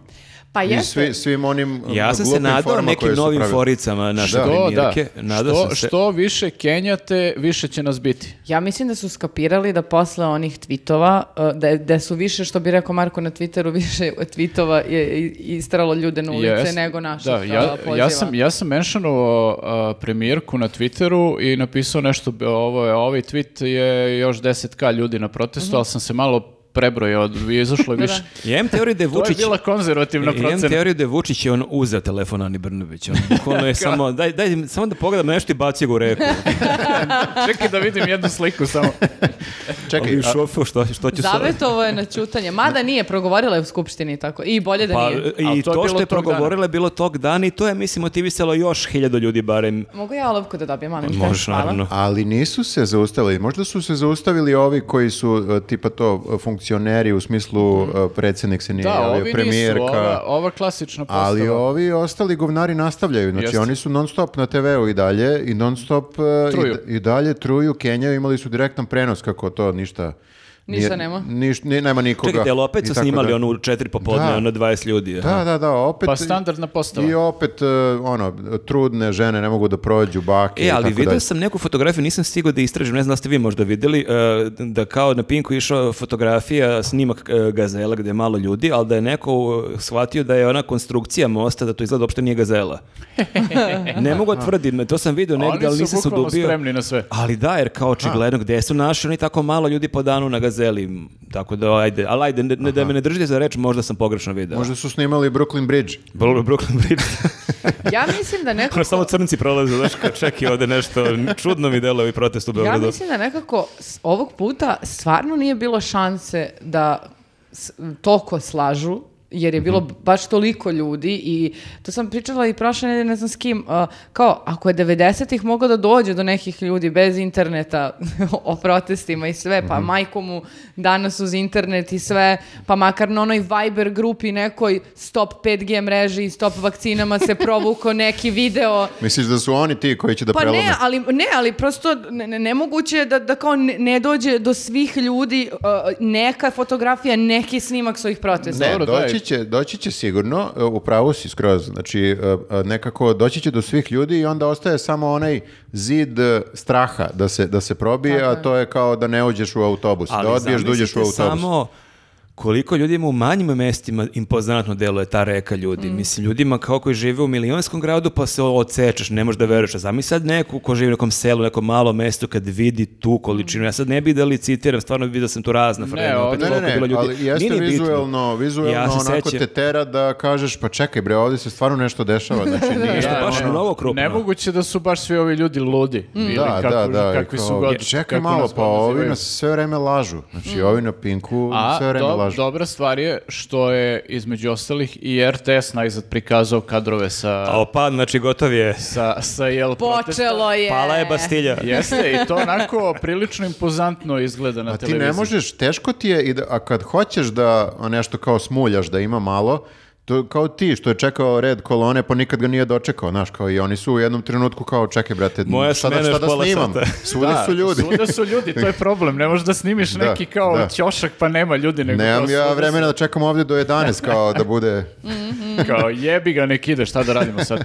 [SPEAKER 4] Pa
[SPEAKER 1] I
[SPEAKER 4] Mm. jeste.
[SPEAKER 1] svi, svim onim
[SPEAKER 2] ono,
[SPEAKER 1] eh,
[SPEAKER 3] Ja sam se
[SPEAKER 1] glupim
[SPEAKER 3] nadao
[SPEAKER 1] formama koje
[SPEAKER 3] nekim
[SPEAKER 1] su
[SPEAKER 3] novim
[SPEAKER 1] pravili.
[SPEAKER 3] foricama naše
[SPEAKER 1] Da.
[SPEAKER 2] To, da.
[SPEAKER 3] premijerke. Nadao
[SPEAKER 2] što,
[SPEAKER 3] sam se.
[SPEAKER 2] što više kenjate, više će nas biti.
[SPEAKER 4] Ja mislim da su skapirali da posle onih tvitova, uh, da, da su više, što bi rekao Marko na Twitteru, *laughs* više tvitova je i- istralo ljude na ulice
[SPEAKER 2] Jes-
[SPEAKER 4] nego naših
[SPEAKER 2] da, ja,
[SPEAKER 4] uh, poziva.
[SPEAKER 2] ja sam, ja sam menšanovao premijerku na Twitteru i napisao nešto, b- ovo je, ovaj tweet je još 10k ljudi na
[SPEAKER 4] Mhm.
[SPEAKER 2] protestu, ali sam se malo prebrojao, od- izašlo
[SPEAKER 4] *laughs*
[SPEAKER 2] je više.
[SPEAKER 3] Ja
[SPEAKER 2] *laughs*
[SPEAKER 3] imam teoriju da je
[SPEAKER 2] To je
[SPEAKER 3] Vučić...
[SPEAKER 2] bila konzervativna
[SPEAKER 3] Ja imam
[SPEAKER 2] procena.
[SPEAKER 3] teoriju da je Vučić je on uzeo telefon Ani Brnović. On bukvalno
[SPEAKER 2] *laughs*
[SPEAKER 3] je samo, daj, daj, samo da pogledam nešto i baci ga u reku.
[SPEAKER 2] Čekaj da vidim jednu sliku samo.
[SPEAKER 1] Čekaj,
[SPEAKER 3] Ali u
[SPEAKER 1] a-
[SPEAKER 3] šofu, što, što ću sad?
[SPEAKER 4] Zavetovo je na ćutanje. Mada nije, progovorila je u skupštini i tako. I bolje da
[SPEAKER 3] Pa,
[SPEAKER 4] nije.
[SPEAKER 2] Ali
[SPEAKER 3] i
[SPEAKER 2] to je
[SPEAKER 3] to,
[SPEAKER 2] bilo
[SPEAKER 3] što je
[SPEAKER 2] tog
[SPEAKER 3] progovorila je bilo tog dana i to je, mislim, motivisalo još hiljadu ljudi barem.
[SPEAKER 4] Mogu ja olovku da dobijem, molim te?
[SPEAKER 3] Možeš,
[SPEAKER 4] Hvala.
[SPEAKER 3] naravno.
[SPEAKER 1] Ali nisu se zaustavili. Možda su se zaustavili ovi koji su eh, tipa to eh, funkcioneri u smislu eh, predsjednik se nije
[SPEAKER 2] Mhm. Da,
[SPEAKER 1] javio,
[SPEAKER 2] ovi nisu, ono,
[SPEAKER 1] premijerka.
[SPEAKER 2] ova, ova klasična postava.
[SPEAKER 1] Ali ovi ostali govnari nastavljaju, znači
[SPEAKER 2] Jeste.
[SPEAKER 1] oni su non stop na TV-u i dalje i non stop eh,
[SPEAKER 2] Truju.
[SPEAKER 1] i, i dalje truju Kenjaju, imali su direktan prenos kako to ništa.
[SPEAKER 4] Ništa
[SPEAKER 1] nije-
[SPEAKER 4] nema.
[SPEAKER 1] niš- ni- nema nikoga.
[SPEAKER 3] Čekajte, ali opet
[SPEAKER 1] i
[SPEAKER 3] su
[SPEAKER 1] tako
[SPEAKER 3] snimali
[SPEAKER 1] da-
[SPEAKER 3] ono u četiri popodne,
[SPEAKER 1] Da.
[SPEAKER 3] ono 20 ljudi.
[SPEAKER 1] Da, da, da, opet.
[SPEAKER 2] Pa standardna postava.
[SPEAKER 1] I opet, eh, ono, trudne žene ne mogu da prođu, bake i
[SPEAKER 3] E, ali
[SPEAKER 1] tako
[SPEAKER 3] vidio
[SPEAKER 1] dalje.
[SPEAKER 3] sam neku fotografiju, nisam stigao da istražim, ne znam da ste vi možda videli, e, da kao na Pinku išla fotografija, snimak e, gazela gde je malo ljudi, ali da je neko e, shvatio da je ona konstrukcija mosta, da to izgleda uopšte nije
[SPEAKER 2] *laughs*
[SPEAKER 3] gazela. ne mogu tvrdim, to sam vidio negdje, ali
[SPEAKER 2] Oni su
[SPEAKER 3] nisam se
[SPEAKER 2] bukvalno
[SPEAKER 3] udubio.
[SPEAKER 2] spremni na sve.
[SPEAKER 3] Ali da, jer kao očigledno gde su naši, oni tako malo ljudi po danu na gazeli. Tako da, ajde, ali ajde, ne, ne- da me ne držite za reč, možda sam pogrešno video. Možda...
[SPEAKER 1] Možda su snimali Brooklyn Bridge.
[SPEAKER 3] Brooklyn *laughs* Bridge.
[SPEAKER 4] Ja mislim da nekako...
[SPEAKER 3] Ono, Samo crnci prolaze, znaš, kao čekaj ovde nešto, čudno mi delo ovi protest u
[SPEAKER 4] Ja
[SPEAKER 3] Beogradu.
[SPEAKER 4] mislim da nekako s ovog puta stvarno nije bilo šanse da s- toliko slažu jer je bilo baš toliko ljudi i to sam pričala i prošle nedelje ne znam s kim, a, kao ako je 90-ih mogao da dođe do nekih ljudi bez interneta *laughs* o protestima i sve, pa majku mu danas uz internet i sve, pa makar na onoj Viber grupi nekoj stop 5G mreži i stop vakcinama se provuko neki video
[SPEAKER 1] Misliš da su oni ti koji će da
[SPEAKER 4] pa
[SPEAKER 1] prelome?
[SPEAKER 4] ne, ali, ne, ali prosto ne, ne- nemoguće je da, da kao ne, ne dođe do svih ljudi uh, neka fotografija, neki snimak svojih protesta.
[SPEAKER 1] Ne,
[SPEAKER 2] Dobro,
[SPEAKER 1] doći
[SPEAKER 2] daj.
[SPEAKER 1] će, doći će sigurno, e, u pravu si skroz, znači e, e, nekako doći će do svih ljudi i onda ostaje samo onaj zid e, straha da se, da se probije, a
[SPEAKER 4] Tako je.
[SPEAKER 1] to je kao da ne uđeš u autobus, da odbiješ da uđeš u
[SPEAKER 3] zamislite
[SPEAKER 1] autobus.
[SPEAKER 3] Samo koliko ljudima u manjim mestima impozantno deluje ta reka ljudi. Mislim, ljudima kao koji žive u milionskom gradu pa se ocečeš, ne možeš da veruješ. A Zamisli sad neku ko živi u nekom selu, nekom malom mestu kad vidi tu količinu. Ja sad ne bi da licitiram, stvarno vidio sam tu razna vremena, opet
[SPEAKER 1] Pa Ne, ne,
[SPEAKER 3] koliko je
[SPEAKER 1] ne,
[SPEAKER 3] bilo ljudi.
[SPEAKER 1] ali jeste
[SPEAKER 3] Nije ni bitno.
[SPEAKER 1] vizuelno, vizuelno
[SPEAKER 3] Ja se
[SPEAKER 1] onako
[SPEAKER 3] sećam.
[SPEAKER 1] te tera da kažeš pa čekaj bre, ovdje se stvarno nešto
[SPEAKER 4] *laughs*
[SPEAKER 1] dešava, znači nije
[SPEAKER 3] Nešto
[SPEAKER 2] Da,
[SPEAKER 3] baš
[SPEAKER 2] ono,
[SPEAKER 3] mnogo krupno.
[SPEAKER 2] Nemoguće da su baš svi ovi ljudi ludi. Ili
[SPEAKER 1] Mm. Da,
[SPEAKER 2] kako-
[SPEAKER 1] da, da. i
[SPEAKER 2] Kakvi su
[SPEAKER 1] kao,
[SPEAKER 2] god.
[SPEAKER 1] Čekaj
[SPEAKER 2] kako
[SPEAKER 1] malo,
[SPEAKER 2] nas
[SPEAKER 1] pa
[SPEAKER 2] god
[SPEAKER 1] ovi
[SPEAKER 2] nazivaju.
[SPEAKER 1] nas sve vreme lažu.
[SPEAKER 4] Mm.
[SPEAKER 1] Znači, ovi na Pinku
[SPEAKER 2] A
[SPEAKER 1] sve vreme
[SPEAKER 2] do-
[SPEAKER 1] lažu.
[SPEAKER 2] dobra stvar je što je između ostalih i RTS najzad prikazao kadrove sa,
[SPEAKER 3] A opa, znači gotov je.
[SPEAKER 2] sa, sa jel, protesta.
[SPEAKER 4] Počelo je.
[SPEAKER 3] Pala je Bastilja.
[SPEAKER 2] Jeste, i to onako prilično impozantno izgleda na
[SPEAKER 1] A ti
[SPEAKER 2] televiziji.
[SPEAKER 1] ne možeš, teško ti je, i da, a kad hoćeš da nešto kao smuljaš, da ima malo, To je kao ti što je čekao red kolone pa nikad ga nije dočekao, znaš, kao i oni su u jednom trenutku kao čekaj brate,
[SPEAKER 3] Moja
[SPEAKER 1] šta da,
[SPEAKER 3] smena
[SPEAKER 1] šta
[SPEAKER 3] još
[SPEAKER 1] da
[SPEAKER 3] pola
[SPEAKER 1] snimam?
[SPEAKER 3] sata.
[SPEAKER 1] Svuda su ljudi.
[SPEAKER 2] svuda su ljudi, to je problem. Ne možeš da snimiš
[SPEAKER 1] Da,
[SPEAKER 2] neki kao
[SPEAKER 1] da.
[SPEAKER 2] ćošak pa nema ljudi. Nego
[SPEAKER 1] Nemam
[SPEAKER 2] kao
[SPEAKER 1] ja
[SPEAKER 2] svuda
[SPEAKER 1] vremena da čekam ovdje do 11 kao da
[SPEAKER 4] *laughs*
[SPEAKER 1] bude...
[SPEAKER 2] su- Kao jebi ga, nek ide, šta da
[SPEAKER 1] *laughs*
[SPEAKER 2] radimo sad?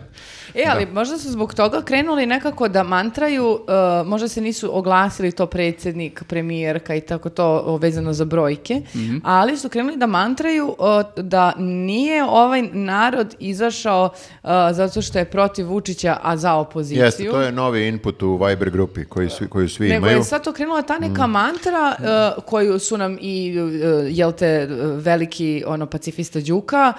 [SPEAKER 4] E, ali možda su zbog toga krenuli nekako da mantraju, uh, možda se nisu oglasili to predsjednik, premijerka i tako to o, vezano za brojke,
[SPEAKER 1] Mhm.
[SPEAKER 4] ali su krenuli da mantraju uh, da nije ovaj narod izašao uh, zato što je protiv Vučića, a za opoziciju.
[SPEAKER 1] Jeste, to je novi input u Viber grupi koji svi, koju svi
[SPEAKER 4] Nego
[SPEAKER 1] imaju. Mm.
[SPEAKER 4] je sad to krenula ta neka mantra uh, koju su nam i, uh, jel te, uh, veliki ono, pacifista Đuka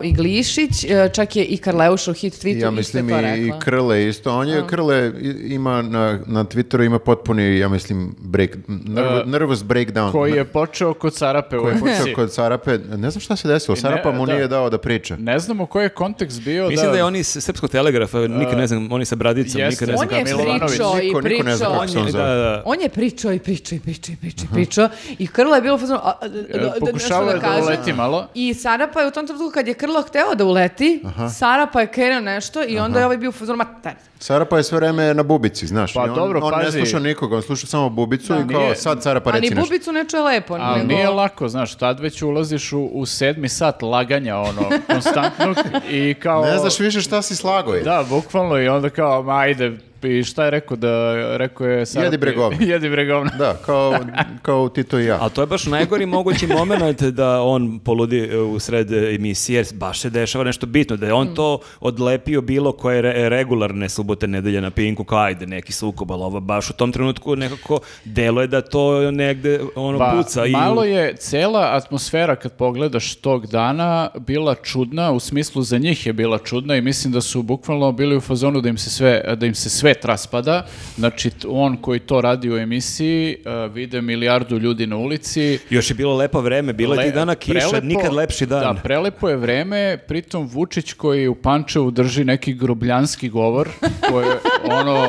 [SPEAKER 4] uh, i Glišić, uh, čak je i Karleuš u hit tweetu
[SPEAKER 1] ja
[SPEAKER 4] isto
[SPEAKER 1] mislim
[SPEAKER 4] to
[SPEAKER 1] i, i
[SPEAKER 4] rekla.
[SPEAKER 1] Krle isto. On je Krle i- ima na, na Twitteru ima potpuni, ja mislim, break, nerv-
[SPEAKER 2] E,
[SPEAKER 1] nervous breakdown.
[SPEAKER 2] Koji je počeo kod Sarape u
[SPEAKER 1] Koji je počeo
[SPEAKER 2] emisiji.
[SPEAKER 1] kod Sarape. Ne znam šta se desilo.
[SPEAKER 2] ne,
[SPEAKER 1] Sarapa mu
[SPEAKER 2] da.
[SPEAKER 1] nije dao da priča.
[SPEAKER 2] Ne znamo koji je kontekst bio.
[SPEAKER 3] Mislim
[SPEAKER 2] da,
[SPEAKER 3] da je oni iz Srpskog telegrafa, nikad ne znam, oni sa bradicom,
[SPEAKER 2] Jeste.
[SPEAKER 3] nikad ne znam
[SPEAKER 4] On je
[SPEAKER 3] kako se zove.
[SPEAKER 2] Milanović.
[SPEAKER 4] pričao i
[SPEAKER 1] Niko- niko ne zna
[SPEAKER 4] pričao.
[SPEAKER 1] kako se on
[SPEAKER 3] Da,
[SPEAKER 1] zove.
[SPEAKER 3] da.
[SPEAKER 4] On je pričao i pričao i pričao i pričao i pričao i Krlo je bilo u fazonu, a, a,
[SPEAKER 2] e,
[SPEAKER 4] da- da- nešto
[SPEAKER 2] pokušavao je da
[SPEAKER 4] kaže.
[SPEAKER 2] uleti malo.
[SPEAKER 4] I Sarapa je u tom trenutku kad je Krlo hteo da uleti, Sarapa je krenuo nešto i onda je ovaj bio u fazonu, ma taj,
[SPEAKER 1] Sarapa je sve vreme na bubici, znaš.
[SPEAKER 2] Pa
[SPEAKER 1] I on,
[SPEAKER 2] dobro,
[SPEAKER 1] on ne
[SPEAKER 2] pazi.
[SPEAKER 1] sluša nikoga, on sluša samo bubicu i kao
[SPEAKER 2] Nije-
[SPEAKER 1] sad Sarapa
[SPEAKER 4] a
[SPEAKER 1] Pa reci
[SPEAKER 4] ni
[SPEAKER 1] nešto.
[SPEAKER 4] bubicu ne čuje lepo.
[SPEAKER 2] Ali
[SPEAKER 4] nego-
[SPEAKER 2] nije lako, znaš, tad već ulaziš u, u sedmi sat laganja, ono, konstantnog i kao...
[SPEAKER 1] Ne znaš više šta si slago je.
[SPEAKER 2] Da, bukvalno i onda kao, ma ajde, i šta je rekao da, rekao je... Sarapi-
[SPEAKER 1] Jedi bregovno.
[SPEAKER 2] *laughs* Jedi bregovno.
[SPEAKER 1] Da, kao, kao Tito i ja.
[SPEAKER 3] Ali to je baš najgori mogući moment da on poludi e, u sred e, emisije, jer baš se dešava nešto bitno, da je on to odlepio bilo koje re- regularne subote, nedelje na Pinku, kao ajde, neki sukob, ali ovo baš u tom trenutku nekako deluje da to negde ono
[SPEAKER 2] Pa,
[SPEAKER 3] puca. i-
[SPEAKER 2] malo je cela atmosfera kad pogledaš tog dana bila čudna, u smislu za njih je bila čudna i mislim da su bukvalno bili u fazonu da im se sve, da im se svet raspada. Znači t- on koji to radi u emisiji, e, vide milijardu ljudi na ulici.
[SPEAKER 3] Još je bilo lepo vreme, bilo je
[SPEAKER 2] Le-
[SPEAKER 3] tih dana kiša,
[SPEAKER 2] prelepo-
[SPEAKER 3] nikad lepši dan.
[SPEAKER 2] Da, prelepo je vreme, pritom Vučić koji u Pančevu drži neki grobljanski govor, koji je ono,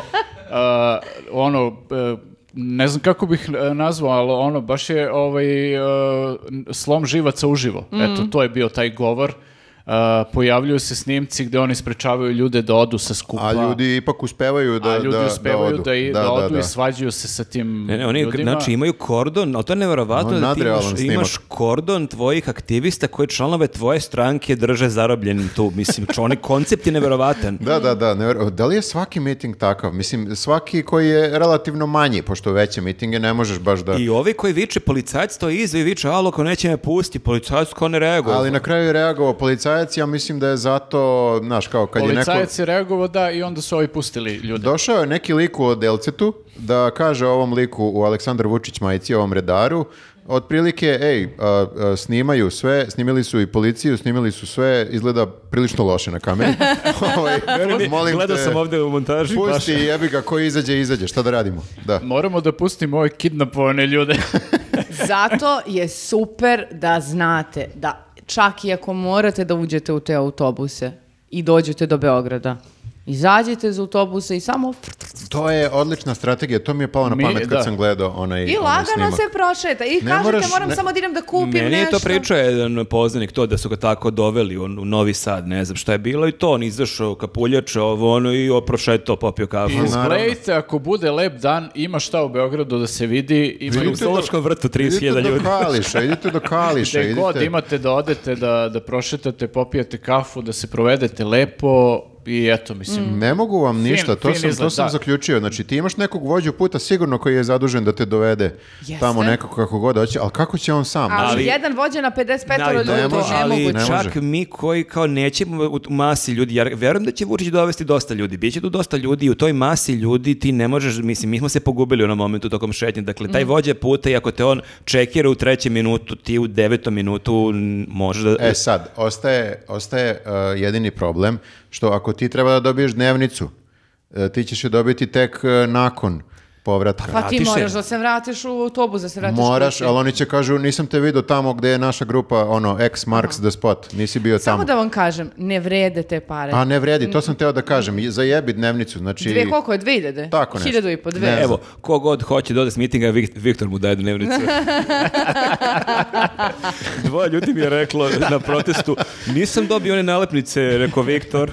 [SPEAKER 2] a, ono, e, ne znam kako bih e, nazvao, ali ono, baš je ovaj, e, slom živaca uživo. Eto, to je bio taj govor. E, pojavljuju se snimci gde oni sprečavaju ljude da odu sa skupa.
[SPEAKER 1] A ljudi ipak uspevaju da,
[SPEAKER 2] pa- a ljudi
[SPEAKER 1] da, da
[SPEAKER 2] uspevaju
[SPEAKER 1] odu.
[SPEAKER 2] da, i- da odu
[SPEAKER 1] da.
[SPEAKER 2] i svađaju se sa tim
[SPEAKER 3] Ne, ne, oni
[SPEAKER 2] ljudima.
[SPEAKER 3] znači imaju kordon, ali to je nevjerovatno
[SPEAKER 1] Ono je
[SPEAKER 3] da ti
[SPEAKER 1] nadrealan
[SPEAKER 3] imaš,
[SPEAKER 1] snimak.
[SPEAKER 3] imaš kordon tvojih aktivista koji članove tvoje stranke drže zarobljenim tu. Mislim, čo, onaj koncept
[SPEAKER 2] *laughs*
[SPEAKER 3] je nevjerovatan.
[SPEAKER 1] Da, da, da. nevjero- Da li je svaki miting takav? Mislim, svaki koji je relativno manji, pošto veće mitinge ne možeš baš da...
[SPEAKER 3] I ovi koji viče policajac to izve i viče, alo, ko neće me pusti, policajac ko ne reaguje.
[SPEAKER 1] Ali na kraju je reagovao policajac, ja mislim da je zato, znaš, kao kad je neko...
[SPEAKER 2] Policajac je reagovao da i onda su ovi pustili ljude.
[SPEAKER 1] Došao je neki lik u Delcetu da kaže ovom liku u Aleksandar Vučić majici, ovom redaru, otprilike, ej, a, a, snimaju sve, snimili su i policiju, snimili su sve, izgleda prilično loše na kameri. Ovaj, *laughs* molim
[SPEAKER 3] Gledao
[SPEAKER 1] te,
[SPEAKER 3] sam ovdje u montaži. baš.
[SPEAKER 1] Pusti jebi ga, ko izađe, izađe, šta da radimo? Da.
[SPEAKER 2] Moramo da pustimo ove kidnapovane
[SPEAKER 1] *laughs*
[SPEAKER 2] ljude.
[SPEAKER 4] Zato je super da znate da čak i ako morate da uđete u te autobuse i dođete do Beograda, izađite iz autobusa i samo
[SPEAKER 1] To je odlična strategija, to mi je palo na
[SPEAKER 2] Mi-
[SPEAKER 1] pamet kad
[SPEAKER 2] da.
[SPEAKER 1] sam gledao onaj,
[SPEAKER 4] i
[SPEAKER 1] onaj
[SPEAKER 4] lagano
[SPEAKER 1] E, snimak.
[SPEAKER 4] se prošeta i kažete
[SPEAKER 1] moraš-
[SPEAKER 4] moram
[SPEAKER 1] ne-
[SPEAKER 4] samo da idem da kupim
[SPEAKER 3] Meni je
[SPEAKER 4] nešto.
[SPEAKER 3] to pričao jedan poznanik to da su ga tako doveli u, u Novi Sad, ne znam šta je bilo i to, on izašao kapuljač, ovo ono i oprošetao, popio kafu.
[SPEAKER 2] Izgledajte, ako bude lep dan, ima šta u Beogradu da se vidi. Ima
[SPEAKER 3] U Zološkom vrtu
[SPEAKER 1] Idite
[SPEAKER 3] 30.000
[SPEAKER 1] do
[SPEAKER 3] ljudi.
[SPEAKER 1] Kališa, idite do Kališa,
[SPEAKER 2] Gde god
[SPEAKER 1] idite.
[SPEAKER 2] imate da odete, da, da prošetate, popijete kafu, da se provedete lepo i eto, mislim,
[SPEAKER 1] Ne mogu vam ništa, to
[SPEAKER 2] fin
[SPEAKER 1] sam, to
[SPEAKER 2] izgled,
[SPEAKER 1] sam
[SPEAKER 2] da.
[SPEAKER 1] zaključio. Znači, ti imaš nekog vođu puta sigurno koji je zadužen da te dovede
[SPEAKER 4] Jeste.
[SPEAKER 1] tamo nekako kako god hoće, ali kako će on sam?
[SPEAKER 4] Ali,
[SPEAKER 3] Ali-
[SPEAKER 4] jedan vođa na 55
[SPEAKER 3] Ali
[SPEAKER 4] ljudi,
[SPEAKER 3] to
[SPEAKER 1] ne
[SPEAKER 4] ne
[SPEAKER 1] može,
[SPEAKER 4] moguće.
[SPEAKER 3] ali
[SPEAKER 1] Ne
[SPEAKER 3] čak
[SPEAKER 1] može.
[SPEAKER 3] mi koji kao nećemo u u masi ljudi, ja verujem da će Vučić dovesti dosta ljudi, bit će tu dosta ljudi i u toj masi ljudi ti ne možeš, mislim, mi smo se pogubili u onom momentu tokom šetnje, dakle,
[SPEAKER 4] Mm.
[SPEAKER 3] taj vođa puta i ako te on čekira u trećem minutu, ti u devetom minutu n- možeš da...
[SPEAKER 1] E sad, ostaje, ostaje uh, jedini problem e, što ako ti treba da dobiješ dnevnicu, uh, ti ćeš je dobiti tek uh, nakon povratka.
[SPEAKER 4] Pa ti
[SPEAKER 3] Vratiš se.
[SPEAKER 4] moraš da se vratiš u autobus, da se vratiš
[SPEAKER 1] Moraš,
[SPEAKER 4] kući.
[SPEAKER 1] ali oni će kažu nisam te vidio tamo gde je naša grupa ono X marks the spot, nisi bio
[SPEAKER 4] Samo
[SPEAKER 1] tamo.
[SPEAKER 4] da vam kažem, ne vrede te pare.
[SPEAKER 1] A ne vredi, to sam teo da kažem, i zajebi dnevnicu, znači
[SPEAKER 4] Dve, koliko je? Dve hiljade?
[SPEAKER 1] Tako nešto.
[SPEAKER 4] Hiljadu i po dve.
[SPEAKER 1] Ne
[SPEAKER 3] Evo, ko god hoće da ode s mitinga, Vik- Viktor mu daje
[SPEAKER 4] *laughs*
[SPEAKER 3] dnevnicu. Dvoje ljudi mi je reklo na protestu, nisam dobio one nalepnice, rekao Viktor.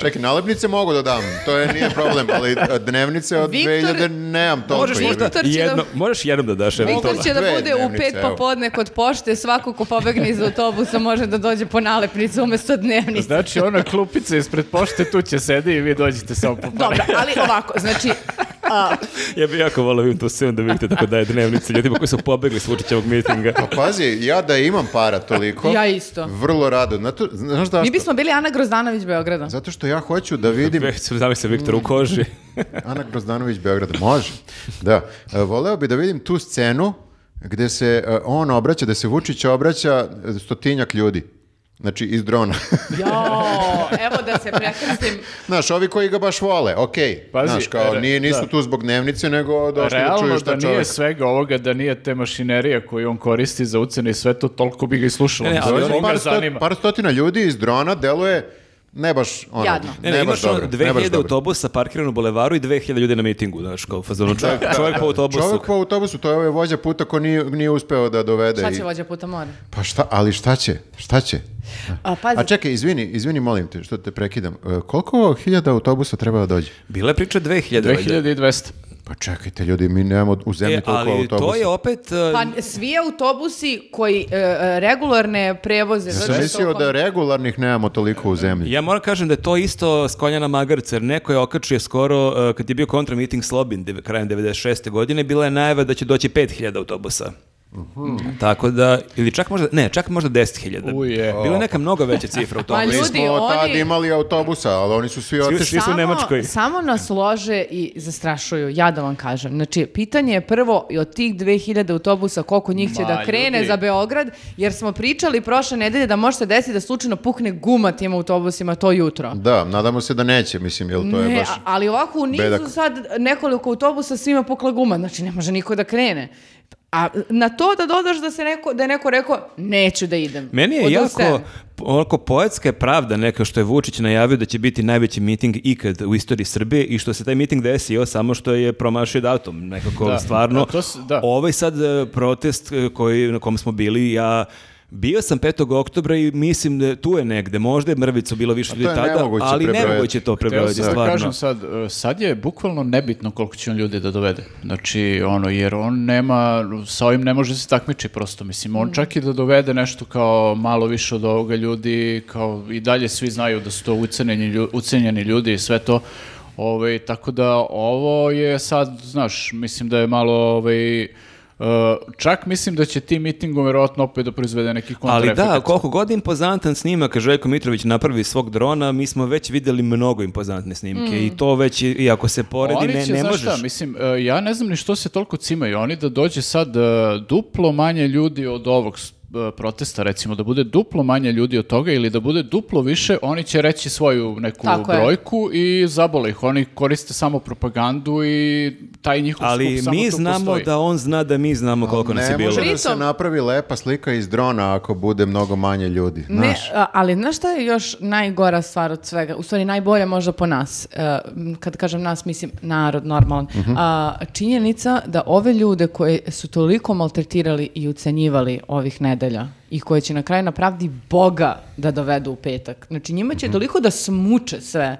[SPEAKER 1] čekaj, nalepnice mogu da dam, to je nije problem, ali e, dnevnice od
[SPEAKER 4] Viktor-
[SPEAKER 1] 2000 nemam toliko.
[SPEAKER 3] Možeš
[SPEAKER 1] jebi.
[SPEAKER 3] možda
[SPEAKER 4] Viktor će
[SPEAKER 3] jedno,
[SPEAKER 4] da-
[SPEAKER 3] možeš jednom da daš eventualno.
[SPEAKER 4] Viktor će da
[SPEAKER 1] Dve
[SPEAKER 4] bude u
[SPEAKER 1] dnevnice,
[SPEAKER 4] pet
[SPEAKER 1] evo.
[SPEAKER 4] popodne kod pošte, svako ko pobegne iz autobusa može da dođe po nalepnicu umjesto dnevnice.
[SPEAKER 2] Znači, ona klupica ispred pošte tu će sedi i vi dođete samo po pare.
[SPEAKER 4] Dobro, ali ovako, znači, a,
[SPEAKER 3] Ja bih jako volao vidjeti tu scenu da vidite tako daje dnevnice ljudima koji su pobegli s Vučićevog mitinga.
[SPEAKER 1] Pa pazi, ja da imam para toliko,
[SPEAKER 4] Ja isto.
[SPEAKER 1] vrlo rado. Znato- znaš zašto?
[SPEAKER 4] mi bismo bili Ana Grozdanović Beograda.
[SPEAKER 1] Zato što ja hoću da vidim
[SPEAKER 2] *laughs*
[SPEAKER 3] Već sam zamislio Viktor u koži.
[SPEAKER 1] Ana Grozdanović Beograd, može. Da, E, voleo bi da vidim tu scenu gde se e, on obraća, da se Vučić obraća e, stotinjak ljudi. Znači, iz drona. *laughs*
[SPEAKER 4] Jo, evo da se prekrstim.
[SPEAKER 1] Znaš, ovi koji ga baš vole, okej.
[SPEAKER 2] Pazi,
[SPEAKER 1] Znaš, kao,
[SPEAKER 2] re-
[SPEAKER 1] nije, nisu
[SPEAKER 2] da.
[SPEAKER 1] tu zbog dnevnice, nego došli da
[SPEAKER 2] Realno
[SPEAKER 1] čuju
[SPEAKER 2] da
[SPEAKER 1] šta
[SPEAKER 2] nije
[SPEAKER 1] čovjek.
[SPEAKER 2] svega ovoga, da nije te mašinerije koju on koristi za ucene i sve to, toliko bi ga i slušalo.
[SPEAKER 3] Ne, ne,
[SPEAKER 2] Mislim,
[SPEAKER 3] ali
[SPEAKER 2] to
[SPEAKER 1] Dođe
[SPEAKER 2] ga
[SPEAKER 1] par, sto-
[SPEAKER 2] zanima.
[SPEAKER 1] par stotina ljudi iz drona deluje ne baš ono,
[SPEAKER 4] Jadno.
[SPEAKER 3] Ne,
[SPEAKER 1] ne,
[SPEAKER 3] ne,
[SPEAKER 1] baš
[SPEAKER 3] imaš ono
[SPEAKER 1] dobro. ne baš
[SPEAKER 3] 2000
[SPEAKER 1] dobro.
[SPEAKER 3] autobusa parkiran u bulevaru i 2000 ljudi na mitingu, znaš, kao fazonu čovjek, čovjek po autobusu.
[SPEAKER 1] Čovjek po autobusu, to je ovaj vođa puta ko nije, nije uspeo da dovede.
[SPEAKER 4] Šta
[SPEAKER 1] i-
[SPEAKER 4] će vođa puta mora?
[SPEAKER 1] Pa šta, ali šta će? Šta će?
[SPEAKER 4] A, pazi,
[SPEAKER 1] A čekaj, izvini, izvini, molim te, što te prekidam. E, Koliko hiljada autobusa treba da dođe?
[SPEAKER 3] Bila je priča 2000. valjda.
[SPEAKER 2] 2200.
[SPEAKER 1] Pa čekajte, ljudi, mi nemamo u zemlji
[SPEAKER 3] E,
[SPEAKER 1] toliko
[SPEAKER 3] ali
[SPEAKER 1] autobusa.
[SPEAKER 3] to je opet... uh,
[SPEAKER 4] pa svi autobusi koji e, e, regularne prevoze.
[SPEAKER 1] Ja
[SPEAKER 4] zato
[SPEAKER 1] sam
[SPEAKER 4] što
[SPEAKER 1] mislio
[SPEAKER 4] oko-
[SPEAKER 1] da regularnih nemamo toliko u zemlji.
[SPEAKER 3] Ja moram kažem da je to isto skonja na magarcu, jer neko je okačio skoro, uh, kad je bio kontra miting Slobin deve- krajem 96. godine, bila je najava da će doći 5000 autobusa. Tako da, ili čak možda, ne, čak možda 10.000.
[SPEAKER 2] Uje.
[SPEAKER 3] Bila je neka mnogo veća cifra
[SPEAKER 4] Pa
[SPEAKER 3] autobusa.
[SPEAKER 1] Mi
[SPEAKER 4] ljudi,
[SPEAKER 1] smo tad
[SPEAKER 4] oni-
[SPEAKER 1] imali autobusa, ali oni su svi otišli.
[SPEAKER 3] Svi su u Nemačkoj.
[SPEAKER 4] Samo nas lože i zastrašuju, ja da vam kažem. Znači, pitanje je prvo i od tih 2000 autobusa koliko njih će
[SPEAKER 2] Ma,
[SPEAKER 4] da krene
[SPEAKER 2] ljudi.
[SPEAKER 4] za Beograd, jer smo pričali prošle nedelje da može se desiti da slučajno pukne guma tim autobusima to jutro.
[SPEAKER 1] Da, nadamo se da neće, mislim, jel to je
[SPEAKER 4] Ne,
[SPEAKER 1] baš...
[SPEAKER 4] a- ali ovako u nizu
[SPEAKER 1] bedak.
[SPEAKER 4] sad nekoliko autobusa svima pukla guma, znači ne može niko da krene. A na to da dodaš da, se neko, da je neko rekao, neću da idem.
[SPEAKER 3] Meni je
[SPEAKER 4] Odustajem.
[SPEAKER 3] jako onako poetska je pravda neka što je Vučić najavio da će biti najveći miting ikad u istoriji Srbije i što se taj miting desio samo što je promašio datum nekako
[SPEAKER 2] Da,
[SPEAKER 3] stvarno.
[SPEAKER 2] da, to s- da.
[SPEAKER 3] Ovaj sad e, protest e, koji, na kom smo bili ja Bio sam 5. oktobra i mislim da tu je negde, možda je mrvicu bilo više
[SPEAKER 1] to
[SPEAKER 3] ljudi
[SPEAKER 1] je
[SPEAKER 3] tada,
[SPEAKER 1] nemoguće
[SPEAKER 3] ali
[SPEAKER 1] prebrojati.
[SPEAKER 3] nemoguće to
[SPEAKER 2] Htio
[SPEAKER 3] prebrojati
[SPEAKER 2] sam da
[SPEAKER 3] stvarno.
[SPEAKER 2] kažem sad, e, sad je bukvalno nebitno koliko će on ljudi da dovede. Znači, ono, jer on nema, sa ovim ne može se takmiči prosto, mislim, on čak i da dovede nešto kao malo više od ovoga ljudi, kao i dalje svi znaju da su to ucenjeni, lju- ucenjeni ljudi i sve to, ovaj, tako da ovo je sad, znaš, mislim da je malo, ovaj, e, čak mislim da će tim mitingom vjerojatno opet da proizvede neki
[SPEAKER 3] Ali
[SPEAKER 2] kontraefekt.
[SPEAKER 3] da, koliko god impozantan snimak Željko Mitrović napravi iz svog drona, mi smo već videli mnogo impozantne snimke i to već, i- i ako se poredi,
[SPEAKER 2] Oni
[SPEAKER 3] ne,
[SPEAKER 2] će,
[SPEAKER 3] ne
[SPEAKER 2] znaš
[SPEAKER 3] možeš.
[SPEAKER 2] šta, mislim, e, ja ne znam ni što se toliko cimaju. Oni da dođe sad e, duplo manje ljudi od ovog s- e, protesta, recimo, da bude duplo manje ljudi od toga ili da bude duplo više, oni će reći svoju neku
[SPEAKER 4] Tako je.
[SPEAKER 2] brojku i zabole ih. Oni koriste samo propagandu i taj njihov
[SPEAKER 3] Ali
[SPEAKER 2] skup samo
[SPEAKER 3] mi
[SPEAKER 2] tu
[SPEAKER 3] znamo
[SPEAKER 2] postoji.
[SPEAKER 3] da on zna da mi znamo koliko nas je
[SPEAKER 1] Ne
[SPEAKER 3] bilo.
[SPEAKER 1] može da se
[SPEAKER 4] Pritom-
[SPEAKER 1] napravi lepa slika iz drona ako bude mnogo manje ljudi,
[SPEAKER 4] Ne,
[SPEAKER 1] znaš.
[SPEAKER 4] a- ali znaš šta je još najgora stvar od svega? U stvari najbolja možda po nas. E, m, Kad kažem nas, mislim narod, normalan.
[SPEAKER 1] Mhm.
[SPEAKER 4] A, činjenica da ove ljude koje su toliko maltretirali i ucenjivali ovih nedelja i koje će na kraju na pravdi Boga da dovedu u petak. Znači njima
[SPEAKER 1] Mhm.
[SPEAKER 4] će toliko da smuče sve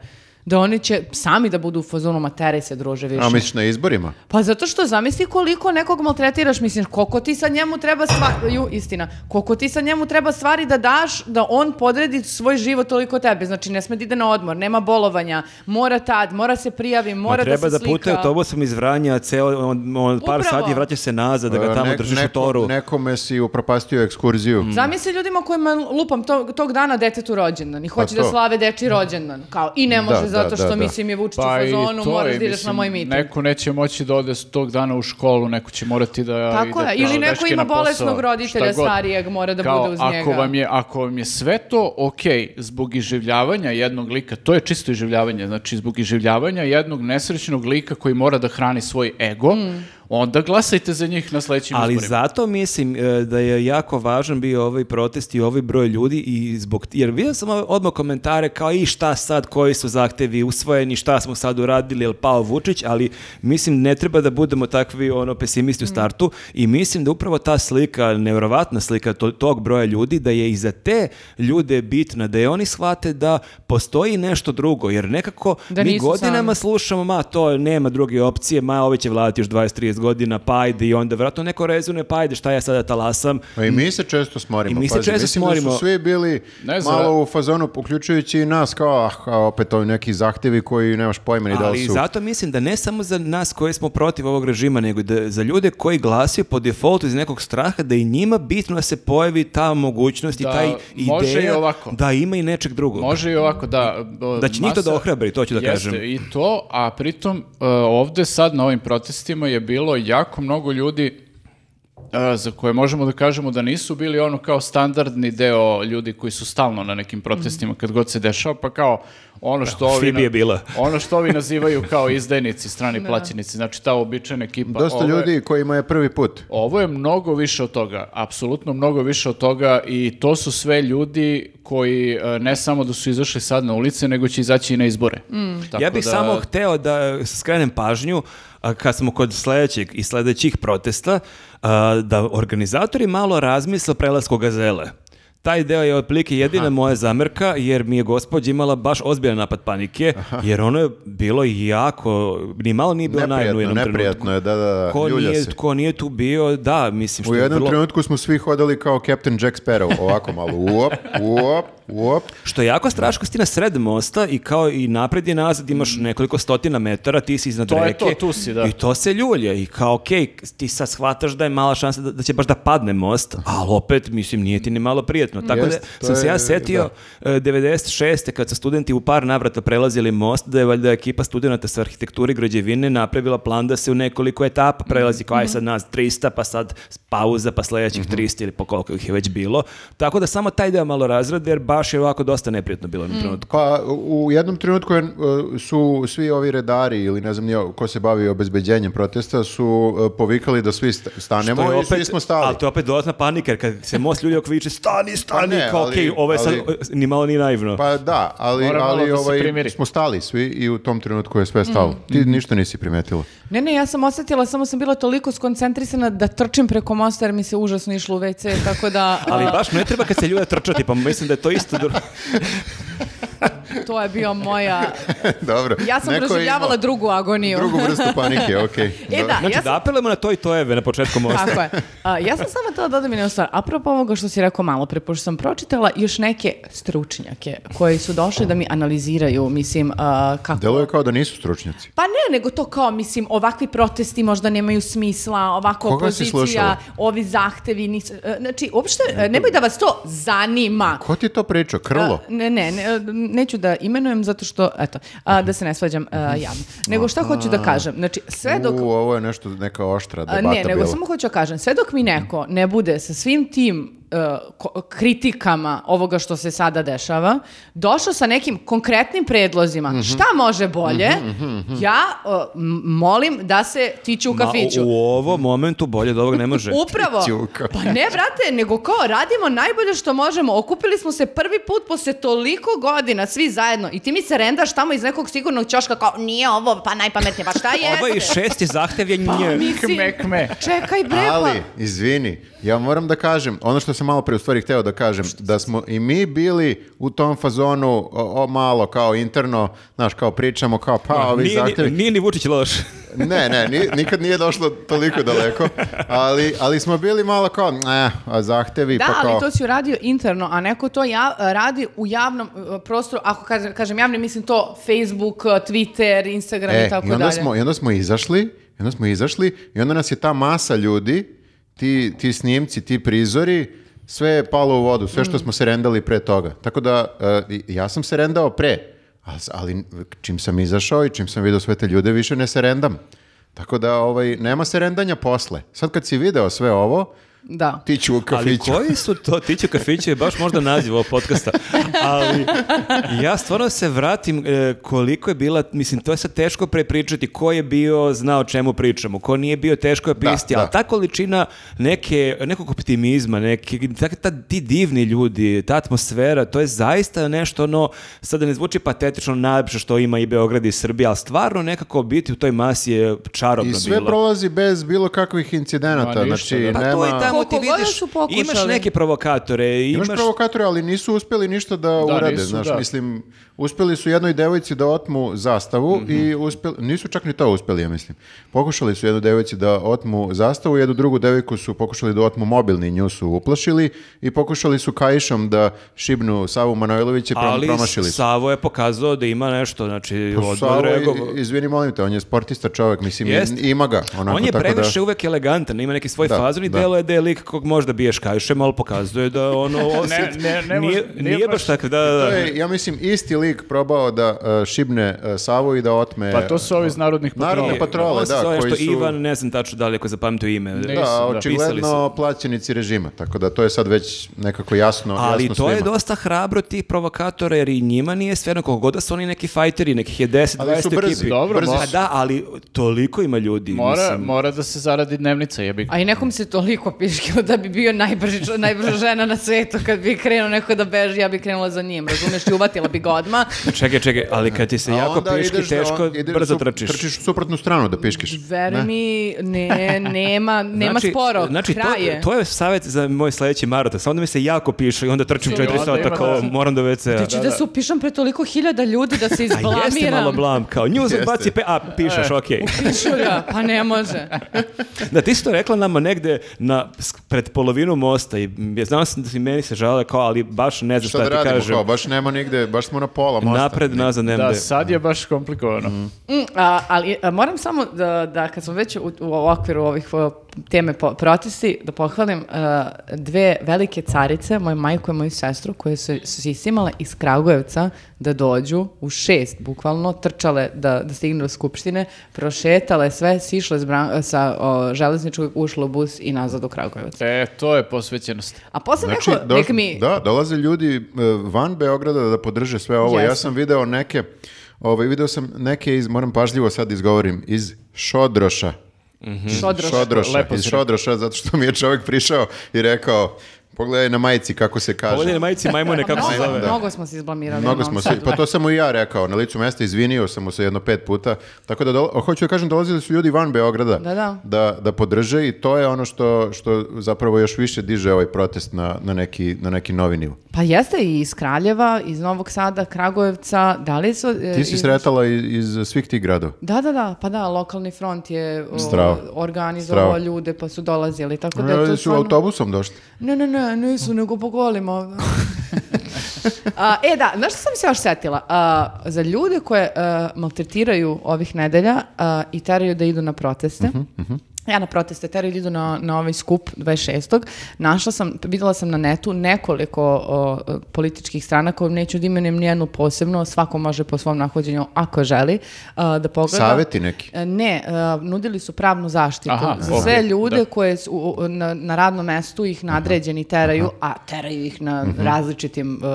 [SPEAKER 4] da oni će sami da budu u fazonu matere se druže više.
[SPEAKER 1] A misliš na izborima?
[SPEAKER 4] Pa zato što zamisli koliko nekog maltretiraš, mislim, koliko ti sad njemu treba stvari, ju, istina, koliko ti sad njemu treba stvari da daš da on podredi svoj život toliko tebe, znači ne sme da ide na odmor, nema bolovanja, mora tad, mora se prijavi,
[SPEAKER 3] Ma
[SPEAKER 4] mora
[SPEAKER 3] treba
[SPEAKER 4] da
[SPEAKER 3] da,
[SPEAKER 4] se
[SPEAKER 3] putuje
[SPEAKER 4] slika.
[SPEAKER 3] autobusom iz Vranja, ceo, on, on par
[SPEAKER 4] Upravo.
[SPEAKER 3] sati i vraća se nazad, da ga tamo
[SPEAKER 1] Ne-
[SPEAKER 3] držiš u
[SPEAKER 1] neko-
[SPEAKER 3] toru.
[SPEAKER 1] Nekome si upropastio ekskurziju.
[SPEAKER 4] Zamisli ljudima kojima lupam to- tog dana detetu rođendan i hoće
[SPEAKER 1] to.
[SPEAKER 4] da slave deči rođendan, kao i ne može
[SPEAKER 1] Da,
[SPEAKER 4] zato što
[SPEAKER 1] da, da.
[SPEAKER 4] mislim je Vučić u
[SPEAKER 2] Pa i
[SPEAKER 4] fazonu,
[SPEAKER 2] to je,
[SPEAKER 4] moraš da ideš na
[SPEAKER 2] mislim,
[SPEAKER 4] moj miting.
[SPEAKER 2] Neko neće moći da ode s tog dana u školu, neko će morati da
[SPEAKER 4] Tako
[SPEAKER 2] ide
[SPEAKER 4] je, ili
[SPEAKER 2] pravo
[SPEAKER 4] neko
[SPEAKER 2] dečke
[SPEAKER 4] ima
[SPEAKER 2] na posao,
[SPEAKER 4] bolesnog roditelja
[SPEAKER 2] šta god.
[SPEAKER 4] starijeg, mora da
[SPEAKER 2] Kao,
[SPEAKER 4] bude uz
[SPEAKER 2] ako
[SPEAKER 4] njega.
[SPEAKER 2] Vam je, ako vam je sve to ok zbog iživljavanja jednog lika, to je čisto iživljavanje, znači zbog iživljavanja jednog nesrećnog lika koji mora da hrani svoj ego,
[SPEAKER 4] Mm.
[SPEAKER 2] onda glasajte za njih na sledećim
[SPEAKER 3] Ali
[SPEAKER 2] izborima.
[SPEAKER 3] zato mislim e, da je jako važan bio ovaj protest i ovaj broj ljudi i zbog jer vidio sam odmah komentare kao i šta sad koji su zahtevi usvojeni, šta smo sad uradili, jel pao Vučić, ali mislim ne treba da budemo takvi ono pesimisti u startu i mislim da upravo ta slika, nevjerovatna slika to- tog broja ljudi da je i za te ljude bitna da je oni shvate da postoji nešto drugo jer nekako
[SPEAKER 4] Da
[SPEAKER 3] mi
[SPEAKER 4] nisu
[SPEAKER 3] godinama
[SPEAKER 4] sami.
[SPEAKER 3] slušamo, ma to nema druge opcije, ma ovi će vladati još 20-30 godina, pa ajde i onda vratno neko rezone, pa ajde šta ja sada talasam.
[SPEAKER 1] Pa i mi se često smorimo.
[SPEAKER 3] I mi se
[SPEAKER 1] pazi,
[SPEAKER 3] često
[SPEAKER 1] mislim da
[SPEAKER 3] smorimo.
[SPEAKER 1] su svi bili
[SPEAKER 2] Ne znam.
[SPEAKER 1] malo u fazonu, uključujući i nas, kao, ah, a opet ovi neki zahtevi koji nemaš
[SPEAKER 2] E
[SPEAKER 1] pojma ni da li
[SPEAKER 3] Ali
[SPEAKER 1] su.
[SPEAKER 3] zato mislim da ne samo za nas koji smo protiv ovog režima, nego da za ljude koji glasaju po defaultu iz nekog straha da je njima bitno da se pojavi ta mogućnost
[SPEAKER 2] Da,
[SPEAKER 3] i taj
[SPEAKER 2] može
[SPEAKER 3] ideja
[SPEAKER 2] i ovako.
[SPEAKER 3] da ima i nečeg drugog.
[SPEAKER 2] Može i ovako, da. b-
[SPEAKER 3] Da će njih to
[SPEAKER 2] masa-
[SPEAKER 3] da ohrabri, to ću da
[SPEAKER 2] Jeste,
[SPEAKER 3] kažem.
[SPEAKER 2] i to, a pritom e, ovde sad na ovim protestima je bilo jako mnogo ljudi e, za koje možemo da kažemo da nisu bili ono kao standardni deo ljudi koji su stalno na nekim protestima kad god se dešava, pa kao ono što ovi,
[SPEAKER 3] Phoebe je bila.
[SPEAKER 2] ono što ovi nazivaju kao izdajnici, strani plaćenici, znači ta običajna ekipa.
[SPEAKER 1] Dosta
[SPEAKER 2] Ovo je-
[SPEAKER 1] ljudi kojima je prvi put.
[SPEAKER 2] ovo je mnogo više od toga, apsolutno mnogo više od toga i to su sve ljudi koji e, ne samo da su izašli sad na ulice, nego će izaći i na izbore.
[SPEAKER 4] Mm.
[SPEAKER 2] Tako
[SPEAKER 3] ja bih
[SPEAKER 2] da-
[SPEAKER 3] samo hteo da skrenem pažnju a, kad smo kod sledećeg i sledećih protesta a, da organizatori malo razmisle o prelasku gazele. Taj deo je otprilike jedina moja zamrka jer mi je gospođa imala baš ozbiljan napad panike jer ono je bilo jako, ni malo nije bilo najno u
[SPEAKER 1] Neprijatno,
[SPEAKER 3] jednom trenutku.
[SPEAKER 1] neprijatno je, da, da, da,
[SPEAKER 3] Ko
[SPEAKER 1] ljulja
[SPEAKER 3] nije,
[SPEAKER 1] se.
[SPEAKER 3] ko nije tu bio, da, mislim što
[SPEAKER 1] U
[SPEAKER 3] je
[SPEAKER 1] jednom
[SPEAKER 3] vrlo-
[SPEAKER 1] trenutku smo svi hodali kao Captain Jack Sparrow, ovako malo, uop, uop, uop.
[SPEAKER 3] Što je jako strašno, si ti na sred mosta i kao i napred i nazad imaš nekoliko stotina metara, ti si iznad
[SPEAKER 2] Mm. To je
[SPEAKER 3] reke.
[SPEAKER 2] to, tu si, da.
[SPEAKER 3] I to se ljulje i kao, okej, ti sad shvataš da je mala šansa da, da će baš da padne most, ali opet, mislim, nije ti ni malo
[SPEAKER 2] Mm.
[SPEAKER 3] prijetno. Tako
[SPEAKER 1] Jest,
[SPEAKER 3] da
[SPEAKER 1] to
[SPEAKER 3] sam se ja
[SPEAKER 1] je,
[SPEAKER 3] setio e, 96. kad su studenti u par navrata prelazili most, da je valjda ekipa studenta sa arhitekture i građevine napravila plan da se u nekoliko etapa prelazi, kao
[SPEAKER 1] Mhm.
[SPEAKER 3] aj sad nas 300, pa sad pauza, pa sledećih 300 ili po koliko ih je već bilo. Tako da samo taj deo malo razrade, jer baš je ovako dosta neprijatno bilo u jednom trenutku.
[SPEAKER 1] Pa u jednom trenutku je, uh, su svi ovi redari ili ne znam nije, ko se bavi obezbeđenjem protesta su uh, povikali da svi sta- stanemo
[SPEAKER 3] To je
[SPEAKER 1] i svi smo stali. Pa
[SPEAKER 3] Ali to je opet dodatna panika, jer kad se most ljudi okviče, stani, stani,
[SPEAKER 1] ne,
[SPEAKER 3] kao,
[SPEAKER 1] ali-
[SPEAKER 3] okej, ovo je sad,
[SPEAKER 1] ali-
[SPEAKER 3] o, ni malo ni naivno.
[SPEAKER 1] Pa da, ali,
[SPEAKER 2] Mora malo
[SPEAKER 1] ali
[SPEAKER 2] da se Mhm.
[SPEAKER 1] ovaj,
[SPEAKER 2] primiri.
[SPEAKER 1] smo stali svi i u tom trenutku je sve stalo. Ti ništa nisi primetila. *laughs*
[SPEAKER 4] Ne, ne, ja sam osjetila, samo sam bila toliko skoncentrisana da trčim preko mosta jer mi se užasno išlo u WC, tako da
[SPEAKER 3] ali
[SPEAKER 4] a,
[SPEAKER 3] baš ne treba kad se ljude trčati, pa mislim da je to
[SPEAKER 1] *laughs*
[SPEAKER 3] isto... Znači, dru-
[SPEAKER 4] to je bio moja...
[SPEAKER 1] Dobro.
[SPEAKER 4] Ja sam
[SPEAKER 1] neko je
[SPEAKER 4] proživljavala
[SPEAKER 1] imao
[SPEAKER 4] drugu agoniju.
[SPEAKER 1] drugu vrstu
[SPEAKER 4] *laughs*
[SPEAKER 1] panike, okej.
[SPEAKER 4] E
[SPEAKER 1] Dobro.
[SPEAKER 4] da,
[SPEAKER 3] Znači,
[SPEAKER 4] ja sam
[SPEAKER 3] da apelujemo na to i tojeve na početku mosta.
[SPEAKER 4] Tako je. A, ja sam samo htjela da dodam jednu stvar. Apropo ovoga što si rekao malo pre, pošto sam pročitala još neke stručnjake koji su došli da mi analiziraju, mislim, a, kako...
[SPEAKER 1] Deluje kao da nisu stručnjaci.
[SPEAKER 4] Pa ne, nego to kao, mislim, ovakvi protesti možda nemaju smisla, ovako
[SPEAKER 1] Koga si slušala?
[SPEAKER 4] opozicija, ovi zahtevi nisu... e, Znači, uopšte, e, nemoj da vas to zanima.
[SPEAKER 1] Ko ti to pričao? Krlo?
[SPEAKER 4] A, Ne, ne, ne, neću da imenujem zato što, eto, a, da se ne svađam a,
[SPEAKER 1] Mhm.
[SPEAKER 4] javno. Nego šta hoću da kažem? Znači, sve dok...
[SPEAKER 1] U, ovo je nešto, neka oštra
[SPEAKER 4] A,
[SPEAKER 1] debata
[SPEAKER 4] Ne, nego
[SPEAKER 1] bila.
[SPEAKER 4] samo hoću da kažem, sve dok mi neko ne bude sa svim tim e, ko- kritikama ovoga što se sada dešava, došao sa nekim konkretnim predlozima,
[SPEAKER 1] Mhm.
[SPEAKER 4] šta može bolje, ja e, m- molim da se tiče u
[SPEAKER 3] Ma,
[SPEAKER 4] kafiću.
[SPEAKER 3] u ovom momentu bolje od ovog ne
[SPEAKER 4] *laughs*
[SPEAKER 3] može.
[SPEAKER 1] *laughs*
[SPEAKER 4] Upravo.
[SPEAKER 1] Tići u kafiću.
[SPEAKER 4] Pa ne, brate, nego kao, radimo najbolje što možemo. Okupili smo se prvi put posle toliko godina, svi zajedno. I ti mi se rendaš tamo iz nekog sigurnog ćoška kao, nije ovo, pa najpametnije,
[SPEAKER 1] *laughs*
[SPEAKER 4] pa šta
[SPEAKER 1] Ovaj
[SPEAKER 4] je?
[SPEAKER 3] Ovo je i Ovaj šesti zahtev je
[SPEAKER 4] Pa,
[SPEAKER 3] nje.
[SPEAKER 2] Kme, kme.
[SPEAKER 4] Čekaj bre, pa-
[SPEAKER 1] Ali, izvini, ja moram da kažem, ono što sam malo pre u stvari hteo da kažem, da smo i mi bili u tom fazonu o, o, malo kao interno, znaš, kao pričamo, kao pa ovi
[SPEAKER 3] Nije, ni-
[SPEAKER 1] zahtevi.
[SPEAKER 3] nije ni Vučić loš.
[SPEAKER 1] Ne, ne, ni- nikad nije došlo toliko daleko, ali, ali smo bili malo kao, ne, a zahtevi,
[SPEAKER 4] Da,
[SPEAKER 1] pa kao...
[SPEAKER 4] ali to si uradio interno, a neko to ja, radi u javnom e, prostoru, ako kažem, kažem javni, mislim to Facebook, e, Twitter, Instagram i
[SPEAKER 1] E,
[SPEAKER 4] tako
[SPEAKER 1] i onda
[SPEAKER 4] dalje.
[SPEAKER 1] smo, i onda smo izašli, i onda smo izašli i onda nas je ta masa ljudi, ti, ti snimci, ti prizori,
[SPEAKER 4] Mm.
[SPEAKER 1] sve je palo u vodu, sve što smo se rendali pre toga. Tako da, e, i- ja sam se rendao pre, A s- Ali čim sam izašao i čim sam vidio sve te ljude, više ne serendam. Tako da ovaj, nema serendanja posle. Sad kad si video sve ovo,
[SPEAKER 4] Da.
[SPEAKER 1] ti ću u
[SPEAKER 3] Ali
[SPEAKER 1] kafiću.
[SPEAKER 3] koji su to tiću kafiće je baš možda naziv ovog podcasta. Ali ja stvarno se vratim e, koliko je bila, mislim, to je sad teško prepričati ko je bio, znao o čemu pričamo, ko nije bio, teško je pisti,
[SPEAKER 1] da.
[SPEAKER 3] ali ta količina neke, nekog optimizma, neke, ta, ta, ti divni ljudi, ta atmosfera, to je zaista nešto ono, sad da ne zvuči patetično najlepše što ima i Beograd i Srbija, ali stvarno nekako biti u toj masi je čarobno
[SPEAKER 1] I
[SPEAKER 3] bilo.
[SPEAKER 1] sve prolazi bez bilo kakvih incidenata.
[SPEAKER 2] Ma ništa,
[SPEAKER 1] znači,
[SPEAKER 2] da.
[SPEAKER 1] nema...
[SPEAKER 3] Pa to i tamo ti
[SPEAKER 4] Koliko god da
[SPEAKER 3] vidiš,
[SPEAKER 4] su pokušali.
[SPEAKER 3] imaš neke provokatore,
[SPEAKER 1] Imaš,
[SPEAKER 3] imaš...
[SPEAKER 1] provokatore, ali nisu uspjeli ništa da, urade.
[SPEAKER 2] nisu,
[SPEAKER 1] znaš,
[SPEAKER 2] da.
[SPEAKER 1] mislim, uspjeli su jednoj devojci da otmu zastavu i
[SPEAKER 3] Mhm.
[SPEAKER 1] uspjeli, nisu čak ni to uspjeli, ja mislim. Pokušali su jednoj devojci da otmu zastavu, jednu drugu devojku su pokušali da otmu mobilni, nju su uplašili i pokušali su kaišom da šibnu Savu Manojlovića i prom-
[SPEAKER 3] Ali
[SPEAKER 1] promašili su.
[SPEAKER 3] Savo je pokazao da ima nešto, znači
[SPEAKER 1] Pa,
[SPEAKER 3] odmah
[SPEAKER 1] Savo,
[SPEAKER 3] reagovao.
[SPEAKER 1] i- izvini, molim te, on je sportista čovjek, mislim,
[SPEAKER 3] Jest.
[SPEAKER 1] ima ga. Onako,
[SPEAKER 3] On je
[SPEAKER 1] tako
[SPEAKER 3] previše
[SPEAKER 1] da...
[SPEAKER 3] uvek elegantan, ima neki svoj
[SPEAKER 1] Da,
[SPEAKER 3] fazon i
[SPEAKER 1] da.
[SPEAKER 3] delo je da je lik kog možda biješ kajšem, ali pokazuje da ono
[SPEAKER 2] *laughs*
[SPEAKER 3] osjet,
[SPEAKER 2] ne, ne može-
[SPEAKER 3] nije,
[SPEAKER 2] nije
[SPEAKER 3] nije baš
[SPEAKER 2] baš-
[SPEAKER 3] tako, da, da.
[SPEAKER 1] To je, ja mislim, isti lik probao da e, šibne e, Savu i da otme...
[SPEAKER 2] Pa to su ovi iz narodnih
[SPEAKER 1] Narodne
[SPEAKER 2] patrola.
[SPEAKER 1] pa- patrole,
[SPEAKER 3] On se
[SPEAKER 1] da,
[SPEAKER 3] zove
[SPEAKER 1] koji
[SPEAKER 3] što
[SPEAKER 1] su-
[SPEAKER 3] Ivan, ne znam tačno da li ako je zapamtio ime.
[SPEAKER 1] Da,
[SPEAKER 2] Ne, Mislim, da.
[SPEAKER 1] očigledno plaćenici režima, tako da to je sad već nekako jasno,
[SPEAKER 3] Ali
[SPEAKER 1] jasno
[SPEAKER 3] to je
[SPEAKER 1] svima.
[SPEAKER 3] dosta hrabro tih provokatora jer i njima nije sve jedno koliko god da su oni neki fajteri, nekih je 10, 20
[SPEAKER 1] Ali su brzi,
[SPEAKER 3] ekipi.
[SPEAKER 2] Dobro, brzi
[SPEAKER 3] Pa
[SPEAKER 2] su.
[SPEAKER 3] da, ali toliko ima ljudi.
[SPEAKER 2] Mora,
[SPEAKER 3] mislim.
[SPEAKER 2] mora da se zaradi dnevnica, jebi.
[SPEAKER 4] A i nekom se toliko *laughs* piškilo da bi bio najbrži, čo- *laughs* najbrža žena na svetu. Kad bi krenuo neko da beži, ja bi krenula za njim. Razumeš, i uvatila bi ga odmah.
[SPEAKER 3] Čekaj, čekaj, ali kad ti se
[SPEAKER 1] A
[SPEAKER 3] jako
[SPEAKER 1] onda
[SPEAKER 3] piški
[SPEAKER 1] ideš da-
[SPEAKER 3] teško,
[SPEAKER 1] ideš
[SPEAKER 3] brzo
[SPEAKER 1] su-
[SPEAKER 3] trčiš.
[SPEAKER 1] Trčiš u suprotnu stranu da piškiš.
[SPEAKER 4] Mm, Veruj
[SPEAKER 1] Ne?
[SPEAKER 4] mi, ne, nema, nema sporo.
[SPEAKER 3] Znači,
[SPEAKER 4] kraje.
[SPEAKER 3] To, to je savjet za moj sledeći maraton. Samo da mi se jako piše i onda trčim
[SPEAKER 2] Čuj,
[SPEAKER 3] 4
[SPEAKER 2] onda
[SPEAKER 3] sata
[SPEAKER 2] ima
[SPEAKER 3] kao
[SPEAKER 2] razlike.
[SPEAKER 3] moram do WC-a.
[SPEAKER 4] Znači da, se upišem pre toliko hiljada ljudi da
[SPEAKER 3] A
[SPEAKER 4] se
[SPEAKER 3] jeste malo
[SPEAKER 4] izblamiram.
[SPEAKER 3] blam, kao nju se baci pe, a
[SPEAKER 1] E.
[SPEAKER 3] pišeš, okej.
[SPEAKER 4] Pišu ga, pa ne može.
[SPEAKER 3] Da, ti si to rekla nama negde na, s- pred polovinu mosta i mm, ja znam sam da si meni se žale kao, ali baš ne znam
[SPEAKER 1] Šta
[SPEAKER 3] šta,
[SPEAKER 1] da
[SPEAKER 3] ti
[SPEAKER 1] radimo,
[SPEAKER 3] kažem.
[SPEAKER 1] kao, baš nema nigde, baš smo na pola mosta.
[SPEAKER 3] Napred, nazad, nemam
[SPEAKER 2] Da,
[SPEAKER 3] gde.
[SPEAKER 2] sad je baš komplikovano.
[SPEAKER 4] Mm, a, ali a, moram samo da, da kad smo već u, u okviru ovih o, teme po- protesti, da pohvalim a, dve velike carice, moju majku i moju sestru, koje su, su se isimale iz Kragujevca da dođu u šest, bukvalno, trčale da, da stignu do skupštine, prošetale sve, sišle s bran- sa o, železničkog, ušle u bus i nazad u Kragujevac.
[SPEAKER 2] E, to je posvećenost.
[SPEAKER 4] A posle
[SPEAKER 1] Znači,
[SPEAKER 4] neko,
[SPEAKER 1] do-
[SPEAKER 4] nek mi...
[SPEAKER 1] da, dolaze ljudi e, van Beograda da podrže sve ovo. Ja
[SPEAKER 4] Jeste.
[SPEAKER 1] sam video neke, ovaj, video sam neke iz, moram pažljivo sad izgovorim, iz Šodroša. Mhm.
[SPEAKER 4] Šodroš.
[SPEAKER 1] Šodroša,
[SPEAKER 2] Lepo
[SPEAKER 1] iz
[SPEAKER 2] si
[SPEAKER 1] Šodroša, zato što mi je čovjek prišao i rekao, pogledaj na majici kako se kaže.
[SPEAKER 3] Ovdje na majici majmune kako se
[SPEAKER 4] Mnogo,
[SPEAKER 3] zove.
[SPEAKER 4] mnogo smo se izblamirali. u
[SPEAKER 1] Mnogo
[SPEAKER 4] Novom
[SPEAKER 1] smo se,
[SPEAKER 4] Sadu.
[SPEAKER 1] pa to sam mu i ja rekao, na licu mesta izvinio sam mu se jedno pet puta, tako da dola- hoću da kažem dolazili su ljudi van Beograda
[SPEAKER 4] Da, da.
[SPEAKER 1] da, da podrže i to je ono što, što zapravo još više diže ovaj protest na, na, neki, na neki novi nivo.
[SPEAKER 4] Pa jeste i iz Kraljeva, iz Novog Sada, Kragujevca, da li su... e,
[SPEAKER 1] Ti si
[SPEAKER 4] iz-
[SPEAKER 1] sretala i- iz, svih tih gradova.
[SPEAKER 4] Da, da, da, pa da, lokalni front je o,
[SPEAKER 1] Strava.
[SPEAKER 4] organizovao
[SPEAKER 1] Strava.
[SPEAKER 4] ljude pa su dolazili, tako da je
[SPEAKER 1] Ljudi
[SPEAKER 4] to
[SPEAKER 1] su
[SPEAKER 4] stvarno...
[SPEAKER 1] autobusom došli.
[SPEAKER 4] Ne, ne, ne, nisu, nego po golima. *laughs* A, e da, znaš što sam se još setila? A, za ljude koje a, maltretiraju ovih nedelja a, i teraju da idu na proteste,
[SPEAKER 2] Mhm,
[SPEAKER 4] Ja na proteste teraju da idu na, na ovaj skup 26. Našla sam, videla sam na netu nekoliko o, o, političkih strana koje neću da imenujem nijednu posebno, svako može po svom nahođenju ako želi a, da pogleda.
[SPEAKER 1] Saveti neki.
[SPEAKER 4] E, Ne, e, nudili su pravnu zaštitu
[SPEAKER 2] Aha,
[SPEAKER 4] za
[SPEAKER 2] ok,
[SPEAKER 4] sve ljude
[SPEAKER 2] da.
[SPEAKER 4] koje su u- u- na, na radnom mestu ih nadređeni teraju, a teraju ih na
[SPEAKER 3] Mhm.
[SPEAKER 4] različitim, e,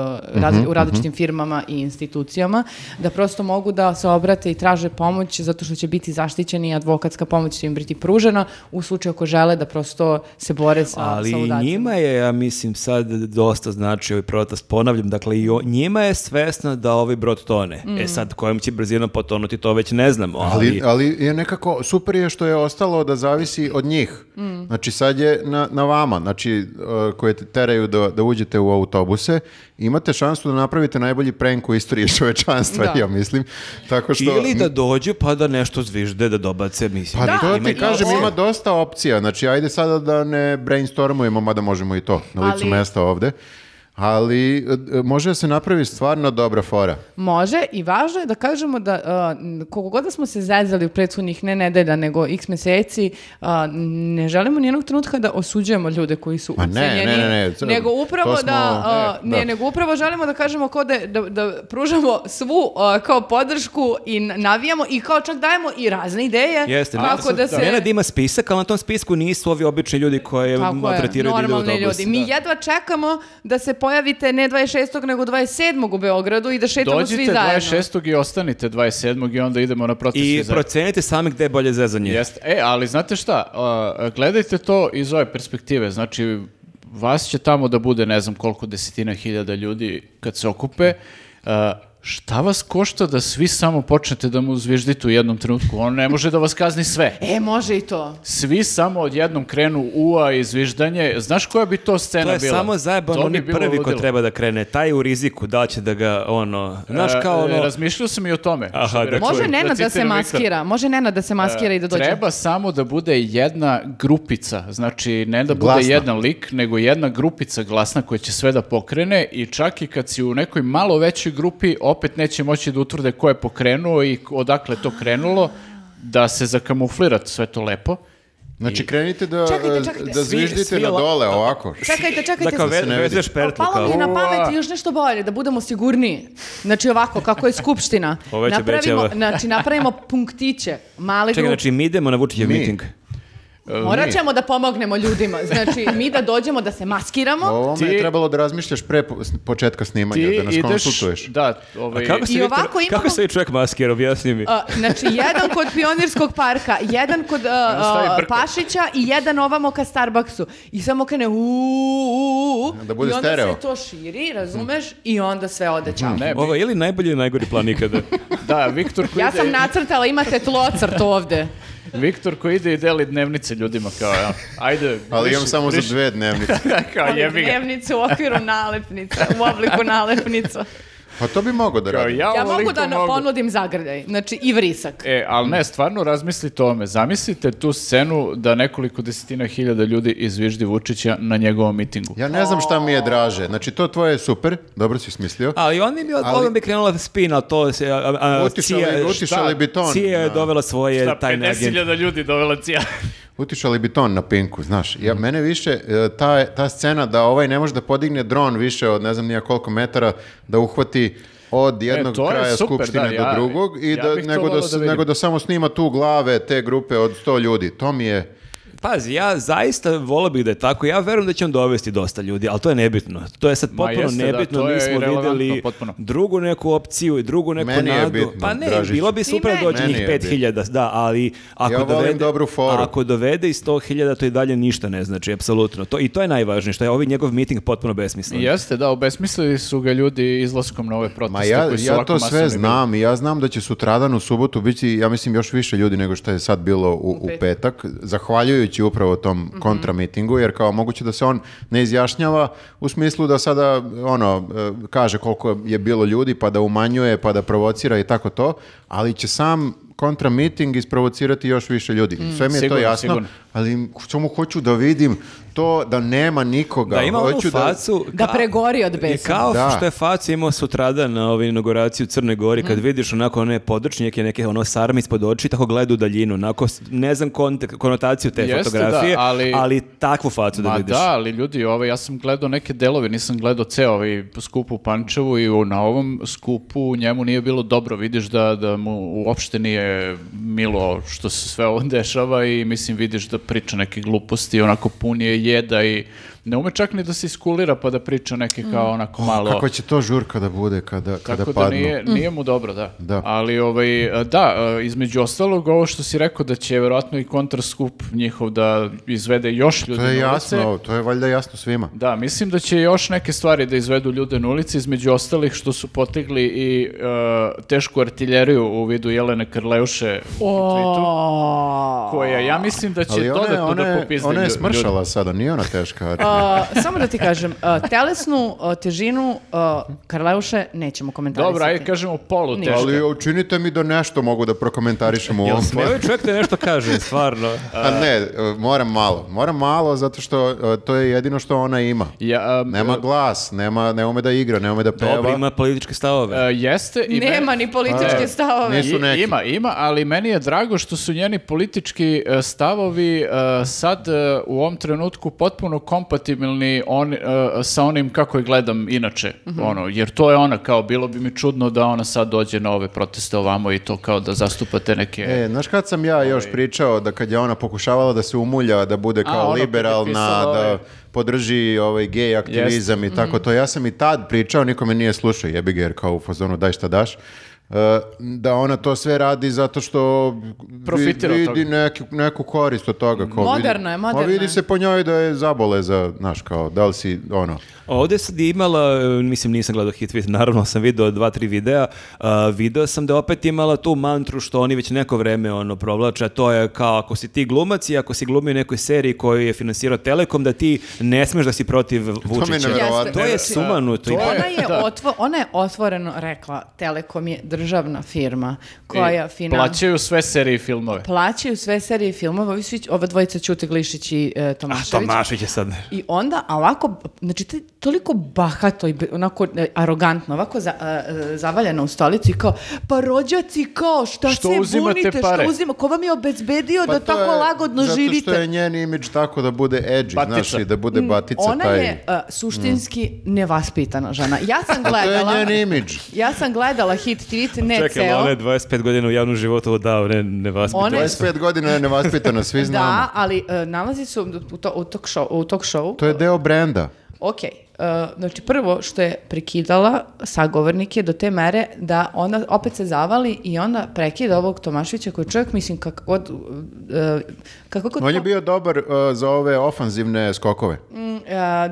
[SPEAKER 4] razli- u različitim firmama i institucijama, da prosto mogu da se obrate i traže pomoć zato što će biti zaštićeni i advokatska pomoć će im biti pružena u slučaju ako žele da prosto se bore sa,
[SPEAKER 3] Ali
[SPEAKER 4] sa
[SPEAKER 3] i
[SPEAKER 4] ludacima.
[SPEAKER 3] njima je, ja mislim, sad dosta znači ovaj protest, ponavljam, dakle i o- njima je svesno da ovaj brod tone.
[SPEAKER 4] Mm.
[SPEAKER 3] E sad, kojom će brzinom potonuti, to već ne znamo, ali...
[SPEAKER 1] Ali, ali je nekako, super je što je ostalo da zavisi od njih.
[SPEAKER 4] Mm.
[SPEAKER 1] Znači sad je na, na vama, znači e, koje te teraju da, da uđete u autobuse, imate šansu da napravite najbolji prank u istoriji *laughs* čovečanstva,
[SPEAKER 4] Da.
[SPEAKER 1] ja mislim. Tako što,
[SPEAKER 3] Ili da dođu pa da nešto zvižde, da dobace, mislim.
[SPEAKER 1] Pa
[SPEAKER 4] Da,
[SPEAKER 1] to
[SPEAKER 4] ima
[SPEAKER 1] ti
[SPEAKER 4] i
[SPEAKER 1] kažem,
[SPEAKER 4] opcija.
[SPEAKER 1] ima dosta opcija. Znači, ajde sada da ne brainstormujemo, mada možemo i to na licu
[SPEAKER 4] Ali-
[SPEAKER 1] mesta ovde. ali e, može da se napravi stvarno dobra fora.
[SPEAKER 4] Može i važno je da kažemo da uh, koliko god da smo se zezali u prethodnih ne nedelja nego x meseci, uh, ne želimo nijednog trenutka da osuđujemo ljude koji su
[SPEAKER 1] Ma ne,
[SPEAKER 4] ucenjeni,
[SPEAKER 1] ne, ne, ne, to-
[SPEAKER 4] nego upravo
[SPEAKER 1] to smo-
[SPEAKER 4] da, uh,
[SPEAKER 1] ne, da.
[SPEAKER 4] ne, nego upravo želimo da kažemo kao da, da, da pružamo svu uh, kao podršku i n- navijamo i kao čak dajemo i razne ideje
[SPEAKER 3] Jeste, Nenad-
[SPEAKER 4] kako da se...
[SPEAKER 3] Nenad ima spisak, ali na tom spisku nisu ovi obični ljudi koje
[SPEAKER 4] Tako je,
[SPEAKER 3] maltretiraju da idu u
[SPEAKER 4] normalni
[SPEAKER 3] autobus.
[SPEAKER 4] ljudi. Mi
[SPEAKER 3] Da.
[SPEAKER 4] jedva čekamo da se pojavite ne 26. nego 27. u Beogradu i da šetamo svi
[SPEAKER 2] Dođite
[SPEAKER 4] zajedno.
[SPEAKER 2] 26. i ostanite 27. i onda idemo na proces.
[SPEAKER 3] I
[SPEAKER 2] svi
[SPEAKER 3] procenite sami gde je bolje zezanje.
[SPEAKER 2] Jeste. E, ali znate šta, a, gledajte to iz ove perspektive, znači vas će tamo da bude ne znam koliko desetina hiljada ljudi kad se okupe, a, šta vas košta da svi samo počnete da mu zviždite u jednom trenutku, on ne može da vas kazni sve.
[SPEAKER 4] E, može i to.
[SPEAKER 2] Svi samo odjednom krenu ua i zviždanje, znaš koja bi to scena
[SPEAKER 3] To
[SPEAKER 2] bila?
[SPEAKER 3] je samo zajebano,
[SPEAKER 2] To
[SPEAKER 3] on
[SPEAKER 2] bi
[SPEAKER 3] je
[SPEAKER 2] bilo
[SPEAKER 3] prvi ko
[SPEAKER 2] ludilo.
[SPEAKER 3] treba da krene. Taj je u riziku da li će da ga, ono, znaš kao
[SPEAKER 2] E,
[SPEAKER 3] ono...
[SPEAKER 2] Razmišljao sam i o tome.
[SPEAKER 3] Aha,
[SPEAKER 2] što bi
[SPEAKER 3] da
[SPEAKER 2] rekao-
[SPEAKER 4] Može
[SPEAKER 3] čujem.
[SPEAKER 4] Nenad da se
[SPEAKER 2] citiram Viktora.
[SPEAKER 4] maskira. Može Nenad da se maskira i da dođe.
[SPEAKER 2] Treba samo da bude jedna grupica, znači ne da bude
[SPEAKER 1] Glasna.
[SPEAKER 2] jedan lik, nego jedna grupica glasna koja će sve da pokrene i čak i kad si u nekoj malo većoj grupi, opet neće moći da utvrde ko je pokrenuo i odakle je to krenulo, da se zakamuflira sve to lepo.
[SPEAKER 1] Znači, krenite da,
[SPEAKER 4] Čekajte, čekajte.
[SPEAKER 1] da
[SPEAKER 4] Svi-
[SPEAKER 1] zviždite
[SPEAKER 3] svi
[SPEAKER 1] na
[SPEAKER 3] la-
[SPEAKER 1] dole ovako.
[SPEAKER 4] Čekajte, čekajte. Pa,
[SPEAKER 3] Da kao
[SPEAKER 1] se
[SPEAKER 3] ve-
[SPEAKER 1] ne vidi.
[SPEAKER 3] vezeš pertlu
[SPEAKER 4] Palo
[SPEAKER 3] kao.
[SPEAKER 4] mi je na pamet
[SPEAKER 2] Ua.
[SPEAKER 4] još nešto bolje, da budemo sigurniji. Znači ovako, kako je skupština.
[SPEAKER 3] *laughs* Ovo već
[SPEAKER 4] napravimo,
[SPEAKER 3] obećava.
[SPEAKER 4] znači, napravimo punktiće, male
[SPEAKER 3] Čekaj,
[SPEAKER 4] grupe.
[SPEAKER 3] znači mi Pa idemo na Vučićev
[SPEAKER 1] Mi.
[SPEAKER 3] miting.
[SPEAKER 2] E,
[SPEAKER 4] Morat
[SPEAKER 2] mi-
[SPEAKER 4] ćemo da pomognemo ljudima. Znači, mi da dođemo, da se maskiramo.
[SPEAKER 1] O ovome je
[SPEAKER 2] Ti-
[SPEAKER 1] trebalo da razmišljaš pre po- s- početka snimanja,
[SPEAKER 2] Ti
[SPEAKER 1] da nas
[SPEAKER 2] ideš-
[SPEAKER 1] konsultuješ.
[SPEAKER 2] Da, ovaj,
[SPEAKER 3] Kako se,
[SPEAKER 4] I
[SPEAKER 3] Viktor-
[SPEAKER 4] ovako imamo-
[SPEAKER 3] kako se i čovjek maskira, objasni mi.
[SPEAKER 4] A, znači, jedan kod Pionirskog parka, jedan kod a,
[SPEAKER 2] stavi
[SPEAKER 4] a,
[SPEAKER 2] brko.
[SPEAKER 4] Pašića i jedan ovamo ka Starbucksu. I samo krene u, u, u,
[SPEAKER 1] Da bude
[SPEAKER 4] I onda
[SPEAKER 1] stereo.
[SPEAKER 4] se to širi, razumeš? I onda sve
[SPEAKER 3] Mhm.
[SPEAKER 4] ode ćao.
[SPEAKER 2] Ne,
[SPEAKER 3] Ovo je ili najbolji ili najgori plan ikada.
[SPEAKER 2] da, Viktor koji
[SPEAKER 4] Ja
[SPEAKER 2] ide-
[SPEAKER 4] sam nacrtala, imate tlocrt ovde.
[SPEAKER 2] Viktor koji ide i deli dnevnice ljudima kao, ja, ajde.
[SPEAKER 1] Ali
[SPEAKER 2] briši,
[SPEAKER 1] imam samo za
[SPEAKER 2] briši.
[SPEAKER 1] dve dnevnice.
[SPEAKER 2] *laughs* kao, jebi ga.
[SPEAKER 4] Dnevnicu u okviru nalepnica, u obliku nalepnica.
[SPEAKER 1] Pa to bi mogo da
[SPEAKER 2] Kao,
[SPEAKER 1] radi.
[SPEAKER 2] ja,
[SPEAKER 4] Ja
[SPEAKER 2] ovoliko
[SPEAKER 4] mogu da na-
[SPEAKER 2] mogu.
[SPEAKER 4] ponudim zagrljaj, znači i vrisak.
[SPEAKER 2] E, ali ne, stvarno razmislite o tome. Zamislite tu scenu da nekoliko desetina hiljada ljudi izviždi Vučića na njegovom mitingu.
[SPEAKER 1] Ja ne znam šta mi je draže. Znači, to tvoje je super, dobro si smislio.
[SPEAKER 3] *laughs* Ali on bi,
[SPEAKER 1] Ali-
[SPEAKER 3] ali... bi krenula spina, to se... A, a,
[SPEAKER 1] Utišali,
[SPEAKER 3] Cija-
[SPEAKER 1] utišali
[SPEAKER 2] šta?
[SPEAKER 1] bi ton.
[SPEAKER 3] Cija je
[SPEAKER 1] na-
[SPEAKER 3] dovela svoje
[SPEAKER 2] Šta,
[SPEAKER 3] tajne agente.
[SPEAKER 2] 50.000 ljudi dovela cija.
[SPEAKER 1] Utišali bi ton na pinku, znaš. Ja, mene više, e, ta, ta scena da ovaj ne može da podigne dron više od ne znam nija koliko metara, da uhvati od jednog
[SPEAKER 2] E, to je
[SPEAKER 1] kraja
[SPEAKER 2] super,
[SPEAKER 1] skupštine
[SPEAKER 2] da, ja-
[SPEAKER 1] do drugog i
[SPEAKER 2] ja
[SPEAKER 1] da,
[SPEAKER 2] bih to
[SPEAKER 1] nego, da,
[SPEAKER 2] voleo
[SPEAKER 1] s-
[SPEAKER 2] da vidim.
[SPEAKER 1] nego da samo snima tu glave te grupe od 100 ljudi. To mi je...
[SPEAKER 3] Pazi, ja zaista volio bih da je tako. Ja verujem da će on dovesti dosta ljudi, ali to je nebitno. To je sad potpuno
[SPEAKER 2] jeste, da,
[SPEAKER 3] nebitno.
[SPEAKER 2] to je
[SPEAKER 3] Mi smo
[SPEAKER 2] irelevantno
[SPEAKER 3] videli
[SPEAKER 2] potpuno.
[SPEAKER 3] drugu neku opciju i drugu neku
[SPEAKER 1] Meni je
[SPEAKER 3] nadu.
[SPEAKER 1] bitno,
[SPEAKER 3] pa ne,
[SPEAKER 1] Dražiću.
[SPEAKER 3] bilo bi super
[SPEAKER 4] Time-
[SPEAKER 3] doći
[SPEAKER 1] Meni
[SPEAKER 3] njih
[SPEAKER 1] je
[SPEAKER 3] 5000, da, ali ako
[SPEAKER 1] Ja volim
[SPEAKER 3] dovede
[SPEAKER 1] dobru foru.
[SPEAKER 3] ako dovede i 100.000 to i dalje ništa ne znači, apsolutno. To i to je najvažnije, što je ovaj njegov miting potpuno besmislen.
[SPEAKER 2] Jeste, da, obesmislili su ga ljudi izlaskom na ove proteste.
[SPEAKER 1] Ma ja,
[SPEAKER 2] koji su
[SPEAKER 1] ja
[SPEAKER 2] ovako
[SPEAKER 1] to sve
[SPEAKER 2] masovni
[SPEAKER 1] znam i ja znam da će sutradan u subotu biti, ja mislim, još više ljudi nego što je sad bilo u, u petak, zahvaljujući upravo
[SPEAKER 2] Mhm.
[SPEAKER 1] tom kontramitingu, jer kao moguće da se on ne izjašnjava u smislu da sada ono, e, kaže koliko je bilo ljudi, pa da umanjuje, pa da provocira i tako to, ali će sam kontramiting isprovocirati još više ljudi. Sve mi je
[SPEAKER 2] Mhm. sigurno,
[SPEAKER 1] to jasno,
[SPEAKER 2] sigurno.
[SPEAKER 1] ali samo hoću da vidim to da nema nikoga.
[SPEAKER 3] Da ima onu
[SPEAKER 1] Hoću da-
[SPEAKER 3] facu...
[SPEAKER 4] Da
[SPEAKER 3] ka-
[SPEAKER 4] pregori od
[SPEAKER 3] I
[SPEAKER 4] besa.
[SPEAKER 3] kao
[SPEAKER 1] Da.
[SPEAKER 3] što je facu imao sutradan na ovoj inauguraciji u Crnoj Gori, kad vidiš onako one područnjake, neke ono sarme ispod oči, tako gleda u daljinu, onako, s- ne znam kontek- konotaciju te
[SPEAKER 2] Jeste,
[SPEAKER 3] fotografije,
[SPEAKER 2] da, ali-
[SPEAKER 3] takvu facu da
[SPEAKER 2] Ma
[SPEAKER 3] vidiš.
[SPEAKER 2] da, ali ljudi, ovaj, ja sam gledao neke delove, nisam gledao ceo ovaj skup u Pančevu i u- na ovom skupu njemu nije bilo dobro. Vidiš da, da mu uopšte nije milo što se sve ovo *laughs* dešava i mislim vidiš da priča neke gluposti, onako pun je jeda i ne ume čak ni da se iskulira pa da priča neke kao onako malo...
[SPEAKER 1] Kako će to žurka da bude kada, kada
[SPEAKER 2] Tako da
[SPEAKER 1] padnu?
[SPEAKER 2] nije, nije mu dobro, da.
[SPEAKER 1] Da.
[SPEAKER 2] Ali ovaj, da, između ostalog, ovo što si rekao da će verovatno i kontraskup njihov da izvede još ljudi
[SPEAKER 1] To je
[SPEAKER 2] na ulice.
[SPEAKER 1] jasno, to je valjda jasno svima.
[SPEAKER 2] Da, mislim da će još neke stvari da izvedu ljude na ulici, između ostalih što su potegli i e, tešku artiljeriju u vidu Jelene Krleuše u tweetu,
[SPEAKER 4] O,
[SPEAKER 2] koja ja mislim da će
[SPEAKER 1] Ali
[SPEAKER 2] još
[SPEAKER 1] ona je-
[SPEAKER 2] dodatno
[SPEAKER 1] ona
[SPEAKER 2] da
[SPEAKER 1] je-
[SPEAKER 2] popizne
[SPEAKER 1] Ona je
[SPEAKER 2] lju- ljude.
[SPEAKER 1] smršala sada, nije ona teška.
[SPEAKER 4] A, samo da ti kažem, a, telesnu a, težinu a, Karleuše nećemo komentarisati.
[SPEAKER 2] Dobro, ajde kažemo polu
[SPEAKER 4] Ništa.
[SPEAKER 2] teška.
[SPEAKER 1] Ali učinite mi da nešto mogu da prokomentarišem u ovom
[SPEAKER 3] Smeo je čovjek da nešto kaže, stvarno.
[SPEAKER 1] A ne, e, moram malo. Moram malo zato što e, to je jedino što ona ima.
[SPEAKER 2] Ja, um,
[SPEAKER 1] Nema glas, nema, ne ume da igra, ne ume da peva.
[SPEAKER 3] Dobro, ima političke
[SPEAKER 2] e,
[SPEAKER 3] stavove.
[SPEAKER 2] jeste. i me-
[SPEAKER 4] Nema ni političke
[SPEAKER 2] Ne.
[SPEAKER 4] stavove.
[SPEAKER 1] Nisu
[SPEAKER 2] I-
[SPEAKER 1] neki.
[SPEAKER 2] Ima, ima, ali meni je drago što su njeni politički e, stavovi e, sad e, u ovom trenutku potpuno kompatibilni on, e, sa onim kako je gledam inače.
[SPEAKER 1] Mhm.
[SPEAKER 2] ono, jer to je ona kao, bilo bi mi čudno da ona sad dođe na ove proteste ovamo i to kao da zastupate neke...
[SPEAKER 1] E, znaš kad sam ja još pričao da kad je ona pokušavala da se umulja, da bude kao
[SPEAKER 2] ono kad je
[SPEAKER 1] liberalna,
[SPEAKER 2] pisala, ovaj-
[SPEAKER 1] da podrži ovaj gej aktivizam i tako to. Ja sam i tad pričao, niko me nije slušao, jebi ga jer kao u fazonu daj šta daš. E, da ona to sve radi zato što vi-
[SPEAKER 2] Profitira od
[SPEAKER 1] vidi
[SPEAKER 2] toga.
[SPEAKER 1] neku, neku korist od toga. Kao vidi-
[SPEAKER 4] Moderno je, moderno
[SPEAKER 1] Ma vidi
[SPEAKER 4] je.
[SPEAKER 1] se po njoj da je zabole za, znaš, kao, da li si, ono,
[SPEAKER 3] Ovdje sad je imala, e, mislim nisam gledao hit tweet, naravno sam video dva, tri videa, a, video sam da je opet imala tu mantru što oni već neko vreme ono provlače, a to je kao ako si ti glumac i ako si glumio u nekoj seriji koju je finansirao Telekom, da ti ne smeš da si protiv
[SPEAKER 1] to mi je
[SPEAKER 3] Vučića.
[SPEAKER 1] neverovatno.
[SPEAKER 3] To je sumanuto.
[SPEAKER 2] To je-
[SPEAKER 4] Ona je, otvo, ona je otvoreno rekla, Telekom je državna firma koja
[SPEAKER 2] I
[SPEAKER 4] finan...
[SPEAKER 2] E, Plaćaju sve serije i filmove.
[SPEAKER 4] plaćaju sve serije i filmove, ovi, svi, ova dvojica Ćute Glišić i e,
[SPEAKER 3] A
[SPEAKER 4] Tomašević.
[SPEAKER 3] Tomašić je sad.
[SPEAKER 4] I onda, a ovako, znači te, toliko bahato i be- onako e, arogantno, ovako za, e, e, zavaljeno u stolicu i kao, pa rođaci kao, šta
[SPEAKER 2] Što
[SPEAKER 4] se
[SPEAKER 2] uzimate
[SPEAKER 4] bunite,
[SPEAKER 2] pare?"
[SPEAKER 4] što uzima, ko vam je obezbedio
[SPEAKER 1] Pa
[SPEAKER 4] da
[SPEAKER 1] to
[SPEAKER 4] tako
[SPEAKER 1] je
[SPEAKER 4] lagodno živite? Mm,
[SPEAKER 1] Zato što je njen imidž tako da bude edgy, znaš,
[SPEAKER 2] Batica.
[SPEAKER 1] i da bude batica
[SPEAKER 4] Ona
[SPEAKER 1] taj.
[SPEAKER 4] je e, suštinski nevaspitana žena. Ja sam
[SPEAKER 1] A to
[SPEAKER 4] gledala...
[SPEAKER 1] je njen imidž.
[SPEAKER 4] Ja sam gledala hit tweet,
[SPEAKER 1] E,
[SPEAKER 4] ne
[SPEAKER 3] Čekaj,
[SPEAKER 4] ceo.
[SPEAKER 3] ona je 25 godina u javnom životu odao, ne, ne vaspitao.
[SPEAKER 4] Ona je-
[SPEAKER 1] 25 godina je nevaspitana, svi znamo.
[SPEAKER 4] *laughs* Da, ali e, nalazi su u, to, u, talk show, u talk show.
[SPEAKER 1] To je deo brenda.
[SPEAKER 4] Ok, e, znači prvo što je prekidala sagovornike do te mere da ona opet se zavali i onda prekida ovog Tomaševića koji čovjek, mislim, kako god... e, kako god
[SPEAKER 1] On je bio dobar uh, za ove ofanzivne skokove.
[SPEAKER 4] Mm, e,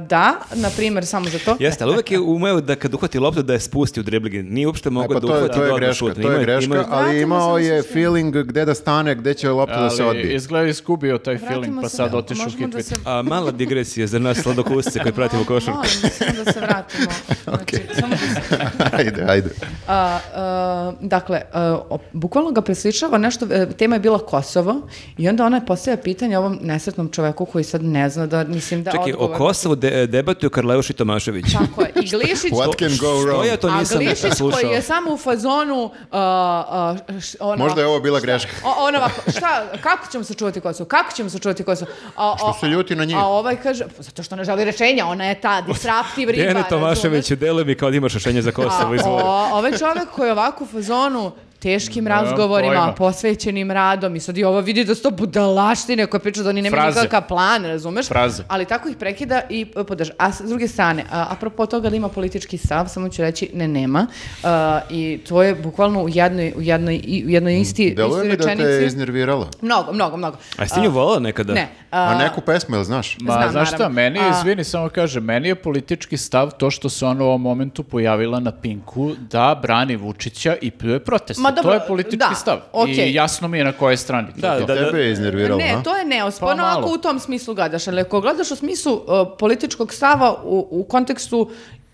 [SPEAKER 4] da, na primjer, samo za to.
[SPEAKER 3] Jeste, ali uvek je umeo da kad uhvati loptu da je spusti u driblingi. Nije uopšte
[SPEAKER 1] E,
[SPEAKER 3] mogao
[SPEAKER 1] pa
[SPEAKER 3] da
[SPEAKER 1] to, je,
[SPEAKER 3] uhvati
[SPEAKER 1] to je
[SPEAKER 3] dobro
[SPEAKER 1] greška,
[SPEAKER 3] šut.
[SPEAKER 1] to
[SPEAKER 3] Imao
[SPEAKER 1] je greška,
[SPEAKER 3] imao-
[SPEAKER 1] ali
[SPEAKER 4] Vratimo
[SPEAKER 1] imao
[SPEAKER 4] se na
[SPEAKER 1] je
[SPEAKER 4] suštinu.
[SPEAKER 1] feeling gde da stane, gde će lopta da Pa, se
[SPEAKER 2] Ali
[SPEAKER 1] odbije.
[SPEAKER 2] izgleda je iskubio taj feeling,
[SPEAKER 4] Vratimo
[SPEAKER 2] pa
[SPEAKER 4] se
[SPEAKER 2] sad
[SPEAKER 4] na-
[SPEAKER 2] otišao u
[SPEAKER 4] možemo
[SPEAKER 2] hit
[SPEAKER 4] da se-
[SPEAKER 2] tweet.
[SPEAKER 3] A mala digresija za nas sladokusce koji pratimo košarku.
[SPEAKER 4] Molim, samo da se
[SPEAKER 1] *laughs*
[SPEAKER 4] vratimo. Znači, samo da se-
[SPEAKER 1] *laughs* ajde, ajde.
[SPEAKER 4] A, a, dakle, a, o- bukvalno ga presličava nešto, e, tema je bila Kosovo i onda ona je postavlja pitanje ovom nesretnom čoveku koji sad ne zna da, mislim da
[SPEAKER 3] Čekaj, o
[SPEAKER 4] odgovor...
[SPEAKER 3] Kosovu de, debatuju Karleuš i Tomašević.
[SPEAKER 4] Tako je, i Glišić...
[SPEAKER 1] What can go
[SPEAKER 3] Što
[SPEAKER 1] wrong?
[SPEAKER 3] ja to
[SPEAKER 4] A
[SPEAKER 3] nisam
[SPEAKER 4] Glišić
[SPEAKER 3] slušao?
[SPEAKER 4] koji je samo u fazonu... a, a, š- ono-
[SPEAKER 1] Možda je ovo bila greška.
[SPEAKER 4] O, ono ovako, šta, kako ćemo sačuvati Kosovo? Kako ćemo sačuvati Kosovo? A,
[SPEAKER 1] Što
[SPEAKER 4] a-
[SPEAKER 1] se ljuti na njih?
[SPEAKER 4] A ovaj kaže, "Pa zato što ne želi rešenja, ona je ta disruptive riba.
[SPEAKER 3] Dejane
[SPEAKER 4] razumeš?
[SPEAKER 3] Tomaševiću, deluje mi kao da imaš rešenje za Kosovo, izvoli.
[SPEAKER 4] o, ovaj čovjek koji je ovako u fazonu teškim razgovorima,
[SPEAKER 2] pojma.
[SPEAKER 4] posvećenim radom i sad i ovo vidi da su to budalaštine koje priča da oni nemaju
[SPEAKER 2] Fraze.
[SPEAKER 4] nikakav plan, razumeš?
[SPEAKER 2] Fraze.
[SPEAKER 4] Ali tako ih prekida i e, podrža. A s druge strane, a, apropo toga da ima politički stav, samo ću reći ne nema. A, I to je bukvalno u jednoj, u jednoj, i- u jednoj isti,
[SPEAKER 1] Deluje
[SPEAKER 4] istoj
[SPEAKER 1] mi da te je
[SPEAKER 4] rečenici.
[SPEAKER 1] iznervirala.
[SPEAKER 4] Mnogo, mnogo, mnogo.
[SPEAKER 3] A jesi ti nju volao nekada?
[SPEAKER 4] Ne.
[SPEAKER 1] A
[SPEAKER 4] a,
[SPEAKER 1] neku pesmu, jel znaš?
[SPEAKER 2] Ma,
[SPEAKER 4] Znam,
[SPEAKER 2] znaš šta,
[SPEAKER 4] naravno.
[SPEAKER 2] meni, je,
[SPEAKER 4] A-
[SPEAKER 2] izvini, samo kažem, meni je politički stav to što se ona u ovom momentu pojavila na Pinku da brani Vučića i pljuje proteste.
[SPEAKER 4] Ma dobro,
[SPEAKER 2] to je politički
[SPEAKER 4] da,
[SPEAKER 2] stav.
[SPEAKER 4] okej.
[SPEAKER 2] I jasno mi je na kojoj strani. to je
[SPEAKER 3] Da,
[SPEAKER 2] to.
[SPEAKER 3] da,
[SPEAKER 1] Tebe je iznervirala,
[SPEAKER 4] Ne,
[SPEAKER 1] a?
[SPEAKER 4] to je neosporno
[SPEAKER 2] Pa malo.
[SPEAKER 4] ako u tom smislu gledaš, ali ako gledaš u smislu uh, političkog stava u, u kontekstu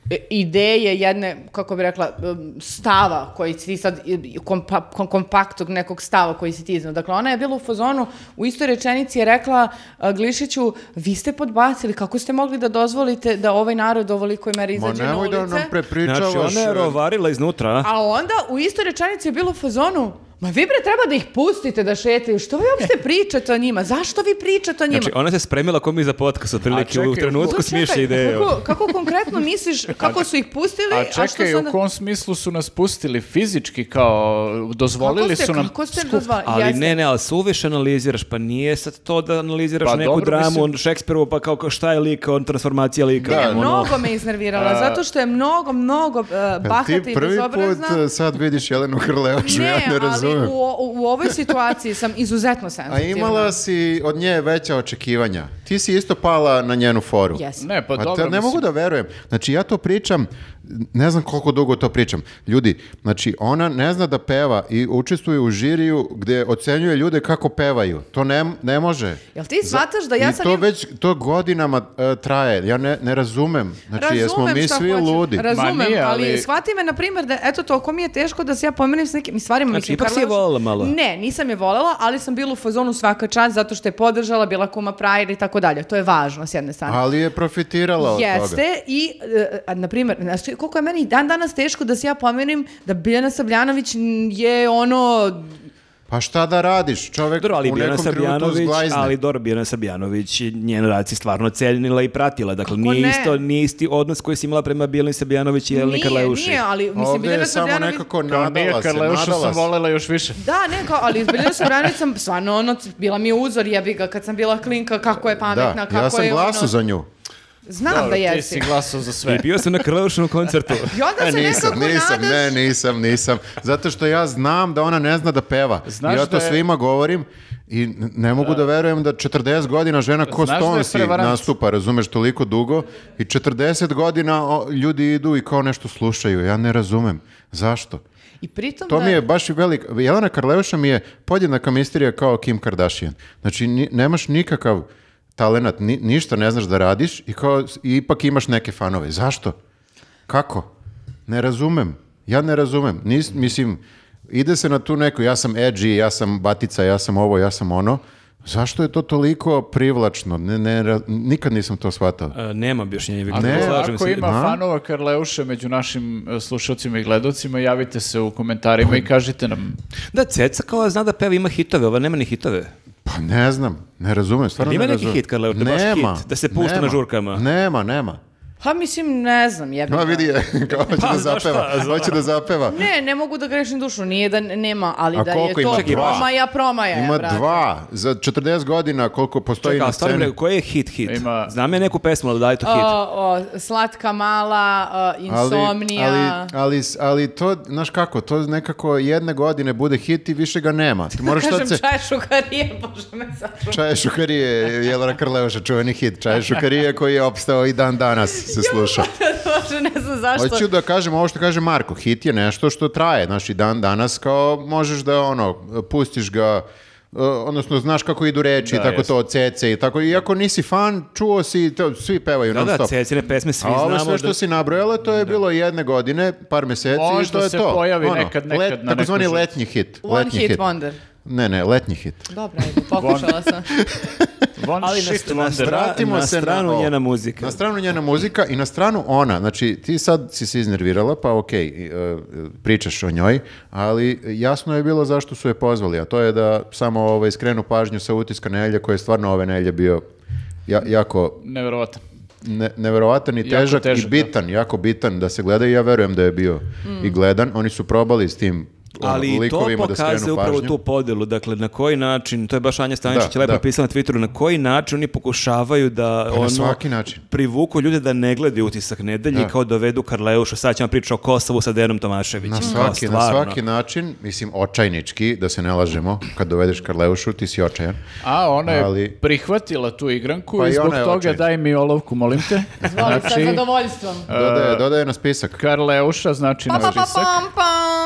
[SPEAKER 4] e, ideje jedne, kako bi rekla, um, stava koji si ti sad, i- kompa, kom- kompaktog nekog stava koji si ti iznao. Dakle, ona je bila u fazonu, u istoj rečenici je rekla uh, Glišiću, vi ste podbacili, kako ste mogli da dozvolite da ovaj narod u ovolikoj meri
[SPEAKER 1] Ma
[SPEAKER 4] izađe na
[SPEAKER 1] nemoj
[SPEAKER 4] ulice?
[SPEAKER 1] da nam prepričavaš.
[SPEAKER 3] Znači, ona je rovarila iznutra, a?
[SPEAKER 4] *laughs* A onda u istoj rečenici je bilo u fazonu Ma vi bre treba da ih pustite da šetaju, što vi uopšte pričate o njima, zašto vi pričate o njima?
[SPEAKER 3] Znači, ona se spremila ko mi za podcast, otprilike
[SPEAKER 2] A čekaj,
[SPEAKER 3] u trenutku
[SPEAKER 4] Pa
[SPEAKER 3] smišlja
[SPEAKER 4] čekaj,
[SPEAKER 3] ideju.
[SPEAKER 4] Kako, kako konkretno misliš, kako su ih pustili, a,
[SPEAKER 2] A
[SPEAKER 4] što
[SPEAKER 2] čekaj,
[SPEAKER 4] su
[SPEAKER 2] u kom smislu su nas pustili fizički kao dozvolili
[SPEAKER 4] kako ste,
[SPEAKER 2] su nam
[SPEAKER 4] kako ste
[SPEAKER 2] skup?
[SPEAKER 4] dozvali?
[SPEAKER 3] Ali
[SPEAKER 4] Jeste.
[SPEAKER 3] ne, ne, ali suviše analiziraš, pa nije sad to da analiziraš
[SPEAKER 2] Pa
[SPEAKER 3] neku
[SPEAKER 2] dobro,
[SPEAKER 3] dramu
[SPEAKER 2] mislim-
[SPEAKER 3] on Šekspirovu, pa kao kao šta je lik, on transformacija lika.
[SPEAKER 1] Da,
[SPEAKER 3] ono.
[SPEAKER 4] Mnogo me iznervirala, zato što je mnogo, mnogo uh,
[SPEAKER 1] Jel
[SPEAKER 4] bahata
[SPEAKER 1] Ti
[SPEAKER 4] i
[SPEAKER 1] prvi put *laughs*
[SPEAKER 4] bezobrazna.
[SPEAKER 1] e, sad vidiš Jelenu Hrleošu, ja ne
[SPEAKER 4] ali
[SPEAKER 1] razumem.
[SPEAKER 4] u, o- u ovoj situaciji sam izuzetno
[SPEAKER 1] A
[SPEAKER 4] senzitivna.
[SPEAKER 1] imala si od nje veća očekivanja. Ti si isto pala na njenu foru.
[SPEAKER 4] Jesam.
[SPEAKER 2] Ne, pa,
[SPEAKER 1] Pa
[SPEAKER 2] dobro,
[SPEAKER 1] te- ne
[SPEAKER 2] mislim,
[SPEAKER 1] mogu da verujem. Znači ja to pričam, ne znam koliko dugo to pričam. Ljudi, znači ona ne zna da peva i učestvuje u žiriju gdje ocenjuje ljude kako pevaju. To ne, ne može.
[SPEAKER 4] Jel ti shvataš da Pa ja
[SPEAKER 1] I
[SPEAKER 4] sam...
[SPEAKER 1] to
[SPEAKER 4] im-
[SPEAKER 1] već to godinama e, traje. Ja ne, ne razumem. Znači jesmo
[SPEAKER 4] Razumem
[SPEAKER 1] mi
[SPEAKER 4] šta
[SPEAKER 1] svi
[SPEAKER 4] hoćeš.
[SPEAKER 1] ludi.
[SPEAKER 4] Razumem,
[SPEAKER 2] Ma nije,
[SPEAKER 4] ali...
[SPEAKER 2] ali-
[SPEAKER 4] shvati me, na primjer, da eto, toliko mi je teško da se ja pomirim s nekim stvarima.
[SPEAKER 3] Znači,
[SPEAKER 4] mislim,
[SPEAKER 3] ipak si
[SPEAKER 4] Karla
[SPEAKER 3] je
[SPEAKER 4] Jož-
[SPEAKER 3] voljela malo.
[SPEAKER 4] Ne, nisam je voljela, ali sam bila u fazonu svaka čast zato što je podržala, bila kuma prajer i tako dalje. To je važno s jedne strane.
[SPEAKER 1] Ali je profitirala od
[SPEAKER 4] Jeste
[SPEAKER 1] toga.
[SPEAKER 4] i, e, a, na primjer, znači, koliko je meni i dan danas teško da se ja pomerim da Biljana Sabljanović m, je ono,
[SPEAKER 1] Pa šta da radiš? Čovek
[SPEAKER 3] Dobro, ali
[SPEAKER 1] u
[SPEAKER 3] Biljana
[SPEAKER 1] nekom trenutku
[SPEAKER 3] Srbjanović,
[SPEAKER 1] zglajzne.
[SPEAKER 3] ali dobro, Biljana Srbjanović, njen rad si stvarno cenila i pratila. Dakle,
[SPEAKER 4] Kako
[SPEAKER 3] nije,
[SPEAKER 4] ne?
[SPEAKER 3] isto, nije isti odnos koji si imala prema Biljani Srbjanović i Jeleni
[SPEAKER 4] nije,
[SPEAKER 3] Karleuši.
[SPEAKER 4] nije, ali mislim,
[SPEAKER 1] Ovdje
[SPEAKER 4] Biljana
[SPEAKER 1] je samo
[SPEAKER 4] Srbljanović...
[SPEAKER 1] nekako
[SPEAKER 2] Kao nije
[SPEAKER 1] nadala se,
[SPEAKER 2] Karleušu
[SPEAKER 1] nadala
[SPEAKER 2] sam
[SPEAKER 1] se.
[SPEAKER 2] volela još više.
[SPEAKER 4] Da, ne, kao, ali Biljana Srbljanović sam stvarno, ono, bila mi je uzor jebi ga kad sam bila klinka, kako je pametna,
[SPEAKER 1] Da,
[SPEAKER 4] kako
[SPEAKER 1] ja sam
[SPEAKER 4] je
[SPEAKER 1] glasu
[SPEAKER 4] ono...
[SPEAKER 1] za nju.
[SPEAKER 4] Znam da
[SPEAKER 2] Dobro, ti
[SPEAKER 4] jesi.
[SPEAKER 2] si glasao za sve.
[SPEAKER 3] I *laughs* bio sam na Karleušinom koncertu.
[SPEAKER 4] *laughs* I onda
[SPEAKER 1] E,
[SPEAKER 4] se
[SPEAKER 1] nisam,
[SPEAKER 4] nekako
[SPEAKER 1] nisam,
[SPEAKER 4] nadaš...
[SPEAKER 1] ne, nisam, nisam. Zato što ja znam da ona ne zna da peva.
[SPEAKER 2] Znaš
[SPEAKER 1] I ja
[SPEAKER 2] da
[SPEAKER 1] to
[SPEAKER 2] je-
[SPEAKER 1] svima govorim i n- ne mogu da verujem da 40 godina žena ko
[SPEAKER 2] Znaš da je
[SPEAKER 1] Stonsi
[SPEAKER 2] prevarant?
[SPEAKER 1] nastupa, razumeš, toliko dugo i 40 godina o, ljudi idu i kao nešto slušaju. Ja ne razumem. Zašto?
[SPEAKER 4] I pritom
[SPEAKER 1] To
[SPEAKER 4] da...
[SPEAKER 1] mi je baš i velik... Jelena Karleuša mi je podjednaka misterija kao Kim Kardashian. Znači, ni- nemaš nikakav talenat, ni- ništa ne znaš da radiš i kao, s- i ipak imaš neke fanove. Zašto? Kako? Ne razumem. Ja ne razumem. Nis, mislim, ide se na tu neku, ja sam edgy, ja sam batica, ja sam ovo, ja sam ono. Zašto je to toliko privlačno? Ne, ne, ra- nikad nisam to shvatao.
[SPEAKER 3] E, Nema objašnjenja, Viktor,
[SPEAKER 1] Ne.
[SPEAKER 3] slažem
[SPEAKER 2] Ako
[SPEAKER 3] se.
[SPEAKER 2] ima
[SPEAKER 1] Da.
[SPEAKER 2] fanova Karleuše među našim e, slušalcima i gledocima, javite se u komentarima i kažite nam.
[SPEAKER 3] Da, Ceca kao zna da peva, ima hitove, ova nema ni hitove.
[SPEAKER 1] Pa ne znam, ne razumem, stvarno
[SPEAKER 3] Jel ima
[SPEAKER 1] ne
[SPEAKER 3] Pa neki
[SPEAKER 1] razumem.
[SPEAKER 3] hit, Karla, da baš
[SPEAKER 1] Nema,
[SPEAKER 3] hit, da se pušta na
[SPEAKER 1] nema.
[SPEAKER 3] žurkama?
[SPEAKER 1] Nema, nema.
[SPEAKER 4] Pa mislim, ne znam, jebi
[SPEAKER 1] Ma
[SPEAKER 4] ga.
[SPEAKER 1] Pa vidi je, kao hoće
[SPEAKER 3] Pa,
[SPEAKER 1] da
[SPEAKER 3] znaš
[SPEAKER 1] zapeva,
[SPEAKER 3] šta, znaš.
[SPEAKER 1] hoće da zapeva.
[SPEAKER 4] Ne, ne mogu da grešim dušu, nije da n- nema, ali
[SPEAKER 1] A
[SPEAKER 4] da je
[SPEAKER 1] koliko
[SPEAKER 4] to
[SPEAKER 1] ima? Čekaj, dva.
[SPEAKER 4] promaja, promaja je,
[SPEAKER 1] Ima
[SPEAKER 4] brate.
[SPEAKER 1] dva, za 40 godina koliko postoji
[SPEAKER 3] Čekaj,
[SPEAKER 1] na
[SPEAKER 3] ali stvarno
[SPEAKER 1] sceni.
[SPEAKER 3] bre, koji je hit hit?
[SPEAKER 2] Ima-
[SPEAKER 3] Znam ja neku pesmu, ali da je to hit?
[SPEAKER 4] O, o, slatka mala, o,
[SPEAKER 1] Ali,
[SPEAKER 4] insomnija.
[SPEAKER 1] ali, ali, ali to, znaš kako, to nekako jedne godine bude hit i više ga nema. Ti moraš sad
[SPEAKER 4] Kažem
[SPEAKER 1] se...
[SPEAKER 4] čaj šukarije, *laughs* bože me sačuvaj.
[SPEAKER 1] Čaje šukarije, Jelena Karleuša, čuveni hit. Čaje šukarije koji je opstao i dan danas se sluša.
[SPEAKER 4] Bože, ne znam zašto.
[SPEAKER 1] Hoću da kažem ovo što kaže Marko, hit je nešto što traje, znači dan danas kao možeš da ono, pustiš ga, e, odnosno znaš kako idu reči i tako
[SPEAKER 2] jest.
[SPEAKER 1] to, cece i tako, iako nisi fan, čuo si, to, svi pevaju
[SPEAKER 3] Da,
[SPEAKER 1] non
[SPEAKER 3] da,
[SPEAKER 1] stop.
[SPEAKER 3] Cecine pesme svi
[SPEAKER 1] A ovo
[SPEAKER 3] znamo.
[SPEAKER 1] sve što
[SPEAKER 3] da-
[SPEAKER 1] si nabrojala, to je bilo jedne godine, par meseci i
[SPEAKER 2] Možda
[SPEAKER 1] to je
[SPEAKER 2] se
[SPEAKER 1] to. Ono,
[SPEAKER 2] pojavi nekad, nekad na
[SPEAKER 1] takozvani
[SPEAKER 2] nekoj žurci.
[SPEAKER 1] letnji hit.
[SPEAKER 4] One
[SPEAKER 1] letnji
[SPEAKER 4] hit wonder.
[SPEAKER 1] Ne, ne, letnji hit.
[SPEAKER 4] Dobro, ajde, pokušala sam.
[SPEAKER 2] Von
[SPEAKER 3] Ali na,
[SPEAKER 2] shit
[SPEAKER 3] na
[SPEAKER 2] wonder.
[SPEAKER 3] stra-
[SPEAKER 1] Vratimo
[SPEAKER 3] na
[SPEAKER 1] se na
[SPEAKER 3] stranu
[SPEAKER 1] ovo.
[SPEAKER 3] njena muzika.
[SPEAKER 1] Na stranu njena muzika i na stranu ona. Znači, ti sad si se iznervirala, pa okej, i, e, pričaš o njoj, ali jasno je bilo zašto su je pozvali, a to je da samo ovaj, skrenu pažnju sa utiska Nelje, koji je stvarno ove Nelje bio ja- jako
[SPEAKER 2] Nevjerovatan.
[SPEAKER 1] ne, neverovatan i
[SPEAKER 2] Jako
[SPEAKER 1] težak,
[SPEAKER 2] težak,
[SPEAKER 1] i bitan, jako bitan da se gleda i ja verujem da je bio
[SPEAKER 2] Mm.
[SPEAKER 1] i gledan. Oni su probali s tim ono,
[SPEAKER 3] Ali i to
[SPEAKER 1] likovima da
[SPEAKER 3] pokazuje
[SPEAKER 1] skrenu
[SPEAKER 3] upravo
[SPEAKER 1] pažnju.
[SPEAKER 3] tu podelu, dakle na koji način, to je baš Anja Stanišić
[SPEAKER 1] Da,
[SPEAKER 3] lepo
[SPEAKER 1] da.
[SPEAKER 3] pisala na Twitteru, na koji način oni pokušavaju da
[SPEAKER 1] Pa na
[SPEAKER 3] ono,
[SPEAKER 1] svaki način.
[SPEAKER 3] privuku ljude da ne gledaju utisak nedelji i kao dovedu Karleušu, sad ćemo pričati o Kosovu sa Dejanom Tomaševićem.
[SPEAKER 1] Na
[SPEAKER 3] Kao,
[SPEAKER 1] svaki, na
[SPEAKER 3] stvarno.
[SPEAKER 1] svaki način, mislim, očajnički, da se ne lažemo, kad dovedeš Karleušu, ti si očajan.
[SPEAKER 2] A ona je
[SPEAKER 1] Ali-
[SPEAKER 2] prihvatila tu igranku
[SPEAKER 1] Pa i
[SPEAKER 2] i zbog
[SPEAKER 1] ona je
[SPEAKER 2] toga
[SPEAKER 1] očajna.
[SPEAKER 2] daj mi olovku, molim
[SPEAKER 4] *laughs*
[SPEAKER 2] te.
[SPEAKER 4] Zvoli
[SPEAKER 2] Znači-
[SPEAKER 4] sa zadovoljstvom.
[SPEAKER 3] E.
[SPEAKER 1] Dodaje, dodaje na spisak.
[SPEAKER 2] Karleuša znači
[SPEAKER 4] Pa,
[SPEAKER 2] na
[SPEAKER 4] pa, pa,
[SPEAKER 2] spisak.
[SPEAKER 4] pam, pam.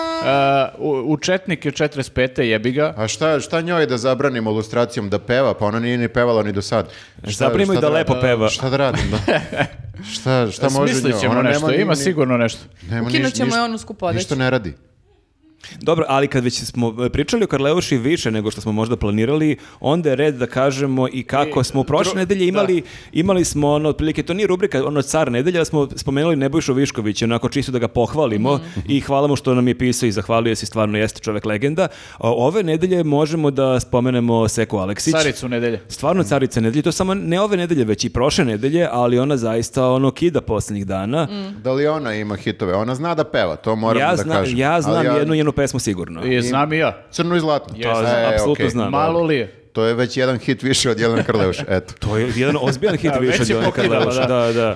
[SPEAKER 2] E, u, u Četnik je 45. jebi ga.
[SPEAKER 1] A šta, šta njoj da zabranimo ilustracijom da peva? Pa ona nije ni pevala ni do sad. Šta-
[SPEAKER 3] Zabranimo
[SPEAKER 1] šta
[SPEAKER 3] i da lepo peva.
[SPEAKER 1] Šta da radim,
[SPEAKER 3] *laughs*
[SPEAKER 1] da? Šta, šta može njoj?
[SPEAKER 2] Smislit ćemo
[SPEAKER 1] Ona nema
[SPEAKER 2] nešto,
[SPEAKER 1] ni-
[SPEAKER 2] ima
[SPEAKER 1] ni-
[SPEAKER 2] sigurno nešto.
[SPEAKER 1] nema ni-
[SPEAKER 4] Ukinut ćemo
[SPEAKER 1] ništa-
[SPEAKER 4] i onu skupu odeću.
[SPEAKER 1] Ništa ne radi.
[SPEAKER 3] Dobro, ali kad već smo e, pričali o Karleuši više nego što smo možda planirali, onda je red da kažemo i kako smo prošle nedelje imali, imali smo ono, otprilike, to nije rubrika, ono car nedelje, ali smo spomenuli Nebojšu Viškovića, onako čisto da ga pohvalimo i hvala mu što nam je pisao i zahvalio se, stvarno jeste čovek legenda. A Ove nedelje možemo da spomenemo Seku Aleksić.
[SPEAKER 2] Caricu nedelje.
[SPEAKER 3] Stvarno carica nedelje, to samo ne ove nedelje, već i prošle nedelje, ali ona zaista ono kida posljednjih dana.
[SPEAKER 4] Mhm.
[SPEAKER 1] Da li ona ima hitove? Ona zna da peva, to moram
[SPEAKER 3] Ja,
[SPEAKER 1] da
[SPEAKER 3] zna-
[SPEAKER 1] kažem.
[SPEAKER 3] ja
[SPEAKER 1] Ali
[SPEAKER 3] znam jednu njenu pesmu sigurno.
[SPEAKER 2] I znam i ja.
[SPEAKER 1] Crno i zlatno.
[SPEAKER 2] Jesam,
[SPEAKER 1] E,
[SPEAKER 3] apsolutno
[SPEAKER 1] okej.
[SPEAKER 3] znam.
[SPEAKER 2] Malo li je?
[SPEAKER 1] To je već jedan hit više od Jelena Karleuša, eto.
[SPEAKER 3] To je jedan ozbiljan hit
[SPEAKER 2] Da,
[SPEAKER 3] više
[SPEAKER 2] već
[SPEAKER 3] od
[SPEAKER 2] je
[SPEAKER 3] Jovana
[SPEAKER 2] pokidala,
[SPEAKER 3] Karleuša, Da, da.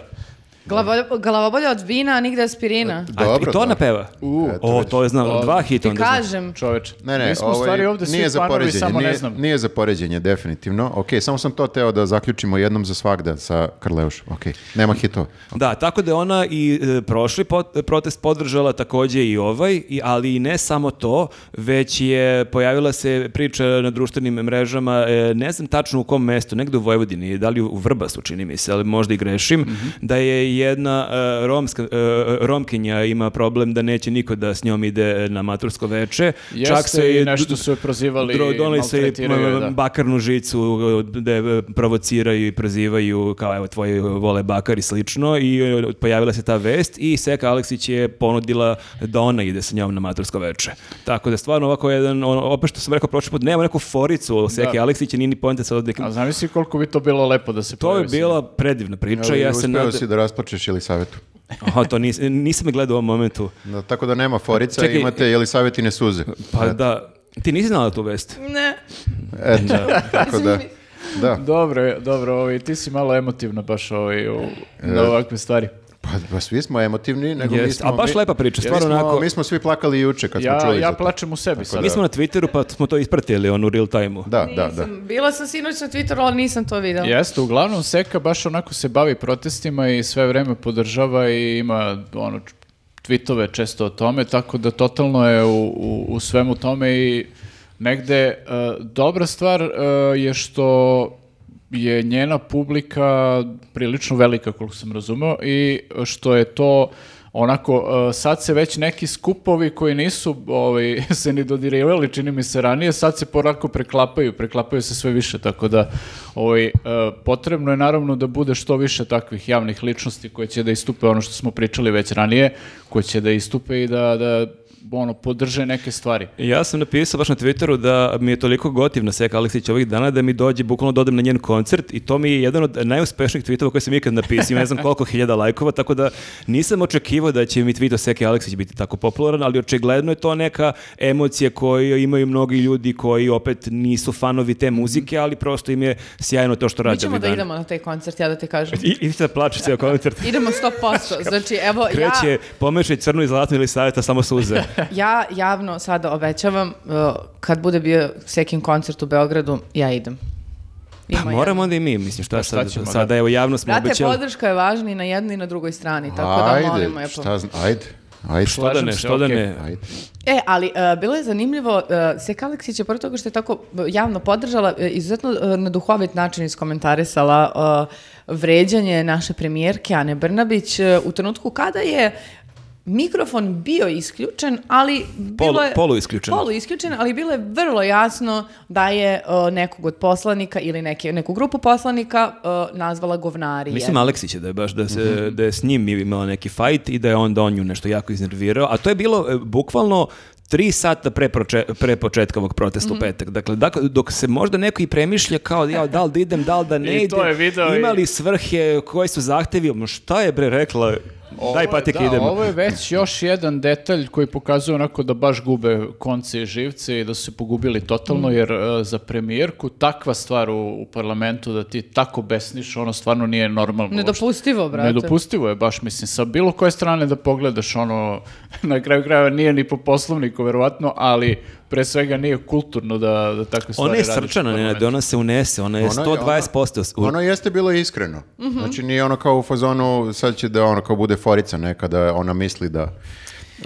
[SPEAKER 4] Glavo- Glavobolja od vina, a nigde aspirina.
[SPEAKER 3] A,
[SPEAKER 1] Dobro,
[SPEAKER 3] I
[SPEAKER 1] da.
[SPEAKER 3] to ona peva?
[SPEAKER 2] U,
[SPEAKER 1] Eto,
[SPEAKER 3] o,
[SPEAKER 1] vidiš.
[SPEAKER 3] to je znao. Dva hita
[SPEAKER 4] Ti
[SPEAKER 3] onda znači. znam.
[SPEAKER 4] kažem.
[SPEAKER 2] čoveče.
[SPEAKER 1] Ne, ne,
[SPEAKER 2] Mi smo u
[SPEAKER 1] ovaj,
[SPEAKER 2] stvari ovde svi
[SPEAKER 1] nije za
[SPEAKER 2] fanovi,
[SPEAKER 1] poređenje,
[SPEAKER 2] samo
[SPEAKER 1] nije,
[SPEAKER 2] ne znam.
[SPEAKER 1] nije za poređenje, definitivno. Ok, samo sam to teo da zaključimo jednom za svagda sa Karleušom. Ok, nema hitova.
[SPEAKER 3] Da, tako da je ona i e, prošli pot- protest podržala takođe i ovaj, i, ali i ne samo to, već je pojavila se priča na društvenim mrežama, e, ne znam tačno u kom mestu, negde u Vojvodini, da li u Vrbasu čini mi se, ali možda i grešim,
[SPEAKER 2] Mhm.
[SPEAKER 3] da je jedna e, romska, e, romkinja ima problem da neće niko da s njom ide na matursko veče.
[SPEAKER 2] Jeste
[SPEAKER 3] je
[SPEAKER 2] i nešto su je prozivali,
[SPEAKER 3] dro- doneli su je
[SPEAKER 2] maltretiraju je,
[SPEAKER 3] m,
[SPEAKER 2] da.
[SPEAKER 3] bakarnu žicu e, da je e, provociraju i prozivaju kao evo tvoji vole bakar i slično i e, pojavila se ta vest i Seka Aleksić je ponudila da ona ide sa njom na matursko veče. Tako da stvarno ovako jedan, ono, opet što sam rekao prošli put, nema neku foricu o Seke
[SPEAKER 2] Da.
[SPEAKER 3] Aleksić i nije ni pojenta sad nekim...
[SPEAKER 2] A zamisli koliko bi to bilo lepo da se
[SPEAKER 3] To je
[SPEAKER 2] pojavi sa
[SPEAKER 3] bila predivna priča,
[SPEAKER 1] Ali
[SPEAKER 3] ja se
[SPEAKER 1] uspeo
[SPEAKER 3] nadam...
[SPEAKER 1] si da rasplačeš Jelisavetu.
[SPEAKER 3] Aha, to nis, nisam je gledao u ovom momentu.
[SPEAKER 1] Da, tako da nema forica,
[SPEAKER 3] Čekaj,
[SPEAKER 1] imate Jelisavetine
[SPEAKER 3] *laughs*
[SPEAKER 1] suze.
[SPEAKER 3] Pa da, ti nisi znala tu vest?
[SPEAKER 4] Ne.
[SPEAKER 1] Eto, tako da... Da,
[SPEAKER 2] Dobro, je, dobro, ovaj, ti si malo emotivna baš ovaj, u,
[SPEAKER 1] E,
[SPEAKER 2] na ovakve stvari.
[SPEAKER 1] pa, pa svi smo emotivni, nego mi
[SPEAKER 3] Jest,
[SPEAKER 1] smo...
[SPEAKER 3] a baš
[SPEAKER 1] mi-
[SPEAKER 3] lepa priča,
[SPEAKER 1] mi
[SPEAKER 3] stvarno
[SPEAKER 1] smo-
[SPEAKER 3] onako-
[SPEAKER 1] Mi smo svi plakali juče kad smo
[SPEAKER 2] Ja,
[SPEAKER 1] čuli
[SPEAKER 2] ja
[SPEAKER 1] za to.
[SPEAKER 2] plačem u sebi sada.
[SPEAKER 3] Mi smo na Twitteru pa smo to ispratili on u real time-u.
[SPEAKER 1] Da, da, da.
[SPEAKER 4] Nisam- Bila sam sinoć na Twitteru, ali nisam to videla.
[SPEAKER 2] Jeste, uglavnom Seka baš onako se bavi protestima i sve vreme podržava i ima ono č- tweetove često o tome, tako da totalno je u, u, u svemu tome i negde e, dobra stvar e, je što je njena publika prilično velika, koliko sam razumeo, i što je to onako, e, sad se već neki skupovi koji nisu ovaj, *laughs* se ni dodirivali, čini mi se ranije, sad se polako preklapaju, preklapaju se sve više, tako da ovaj, e, potrebno je naravno da bude što više takvih javnih ličnosti koje će da istupe ono što smo pričali već ranije, koje će da istupe i da, da ono, podrže neke stvari.
[SPEAKER 3] Ja sam napisao baš na Twitteru da mi je toliko gotivna Seka Aleksić ovih dana da mi dođe bukvalno da odem na njen koncert i to mi je jedan od najuspešnijih tweetova koje sam ikad napisao, Ima ne znam koliko hiljada lajkova, tako da nisam očekivao da će mi tweet o Seke Aleksić biti tako popularan, ali očigledno je to neka emocija koju imaju mnogi ljudi koji opet nisu fanovi te muzike, ali prosto im je sjajno to što
[SPEAKER 4] Mi
[SPEAKER 3] rade
[SPEAKER 4] ćemo
[SPEAKER 3] ovih
[SPEAKER 4] da
[SPEAKER 3] dana.
[SPEAKER 4] idemo na taj koncert, ja da ti kažem.
[SPEAKER 3] I, i sad plače ceo koncert.
[SPEAKER 4] Idemo 100%. Znači, evo,
[SPEAKER 3] Kreće,
[SPEAKER 4] ja,
[SPEAKER 3] pomešaj crnu i zlatnu ili savjeta, samo suze.
[SPEAKER 4] ja javno sada obećavam, uh, kad bude bio sekin koncert u Beogradu, ja idem.
[SPEAKER 3] Pa
[SPEAKER 4] Ima
[SPEAKER 3] moramo onda i mi, mislim, šta,
[SPEAKER 2] Pa šta
[SPEAKER 3] sad,
[SPEAKER 2] ćemo, da?
[SPEAKER 3] sada, evo, javno smo
[SPEAKER 4] Brate,
[SPEAKER 3] obećali.
[SPEAKER 4] podrška je važna i na jednoj i na drugoj strani, tako da
[SPEAKER 1] Ajde,
[SPEAKER 4] molimo je.
[SPEAKER 1] šta zna, ajde, ajde.
[SPEAKER 3] Što da
[SPEAKER 2] Slažem
[SPEAKER 3] ne,
[SPEAKER 2] se,
[SPEAKER 3] što da
[SPEAKER 2] okej.
[SPEAKER 3] ne.
[SPEAKER 1] Ajde.
[SPEAKER 4] E, ali e, bilo je zanimljivo, uh, Seka Aleksić je pored toga što je tako e, javno podržala, e, izuzetno e, na duhovit način iskomentarisala e, vređanje naše premijerke Ane Brnabić e, u trenutku kada je mikrofon bio isključen, ali bilo
[SPEAKER 3] Polu-
[SPEAKER 4] je...
[SPEAKER 3] poluisključen.
[SPEAKER 4] Poluisključen, ali bilo je vrlo jasno da je e, nekog od poslanika ili neke, neku grupu poslanika e, nazvala govnarije.
[SPEAKER 3] Mislim Aleksić je da je baš da, se,
[SPEAKER 2] Mhm.
[SPEAKER 3] da je s njim imala neki fajt i da je onda on nju nešto jako iznervirao, a to je bilo e, bukvalno tri sata pre, proče- pre početka ovog
[SPEAKER 2] Mhm.
[SPEAKER 3] protesta u petak. Dakle, dak- dok se možda neko i premišlja kao ja, da li da idem, da li da ne
[SPEAKER 2] *laughs* I to
[SPEAKER 3] idem,
[SPEAKER 2] je video i-
[SPEAKER 3] ima li svrhe, koji su zahtevi, ma šta je bre rekla, daj
[SPEAKER 2] je-
[SPEAKER 3] patik
[SPEAKER 2] da,
[SPEAKER 3] idemo.
[SPEAKER 2] Ovo je već još jedan detalj koji pokazuje onako da baš gube konce i živce i da su se pogubili totalno, jer e, za premijerku takva stvar u, u parlamentu da ti tako besniš, ono stvarno nije normalno. uopšte.
[SPEAKER 4] Nedopustivo, brate.
[SPEAKER 2] Nedopustivo je baš, mislim, sa bilo koje strane da pogledaš ono, *laughs* na kraju krajeva nije ni po poslovniku, verovatno, ali pre svega nije kulturno da, da takve stvari
[SPEAKER 3] Ona je
[SPEAKER 2] radiš u
[SPEAKER 3] srčana, ne,
[SPEAKER 2] parlamentu.
[SPEAKER 3] ona se unese, ona je
[SPEAKER 1] Ono je-
[SPEAKER 3] 120%. u-
[SPEAKER 1] Ono jeste bilo iskreno.
[SPEAKER 4] Mhm.
[SPEAKER 1] Znači nije ono kao u fazonu, sad će da ono kao bude forica neka da ona misli da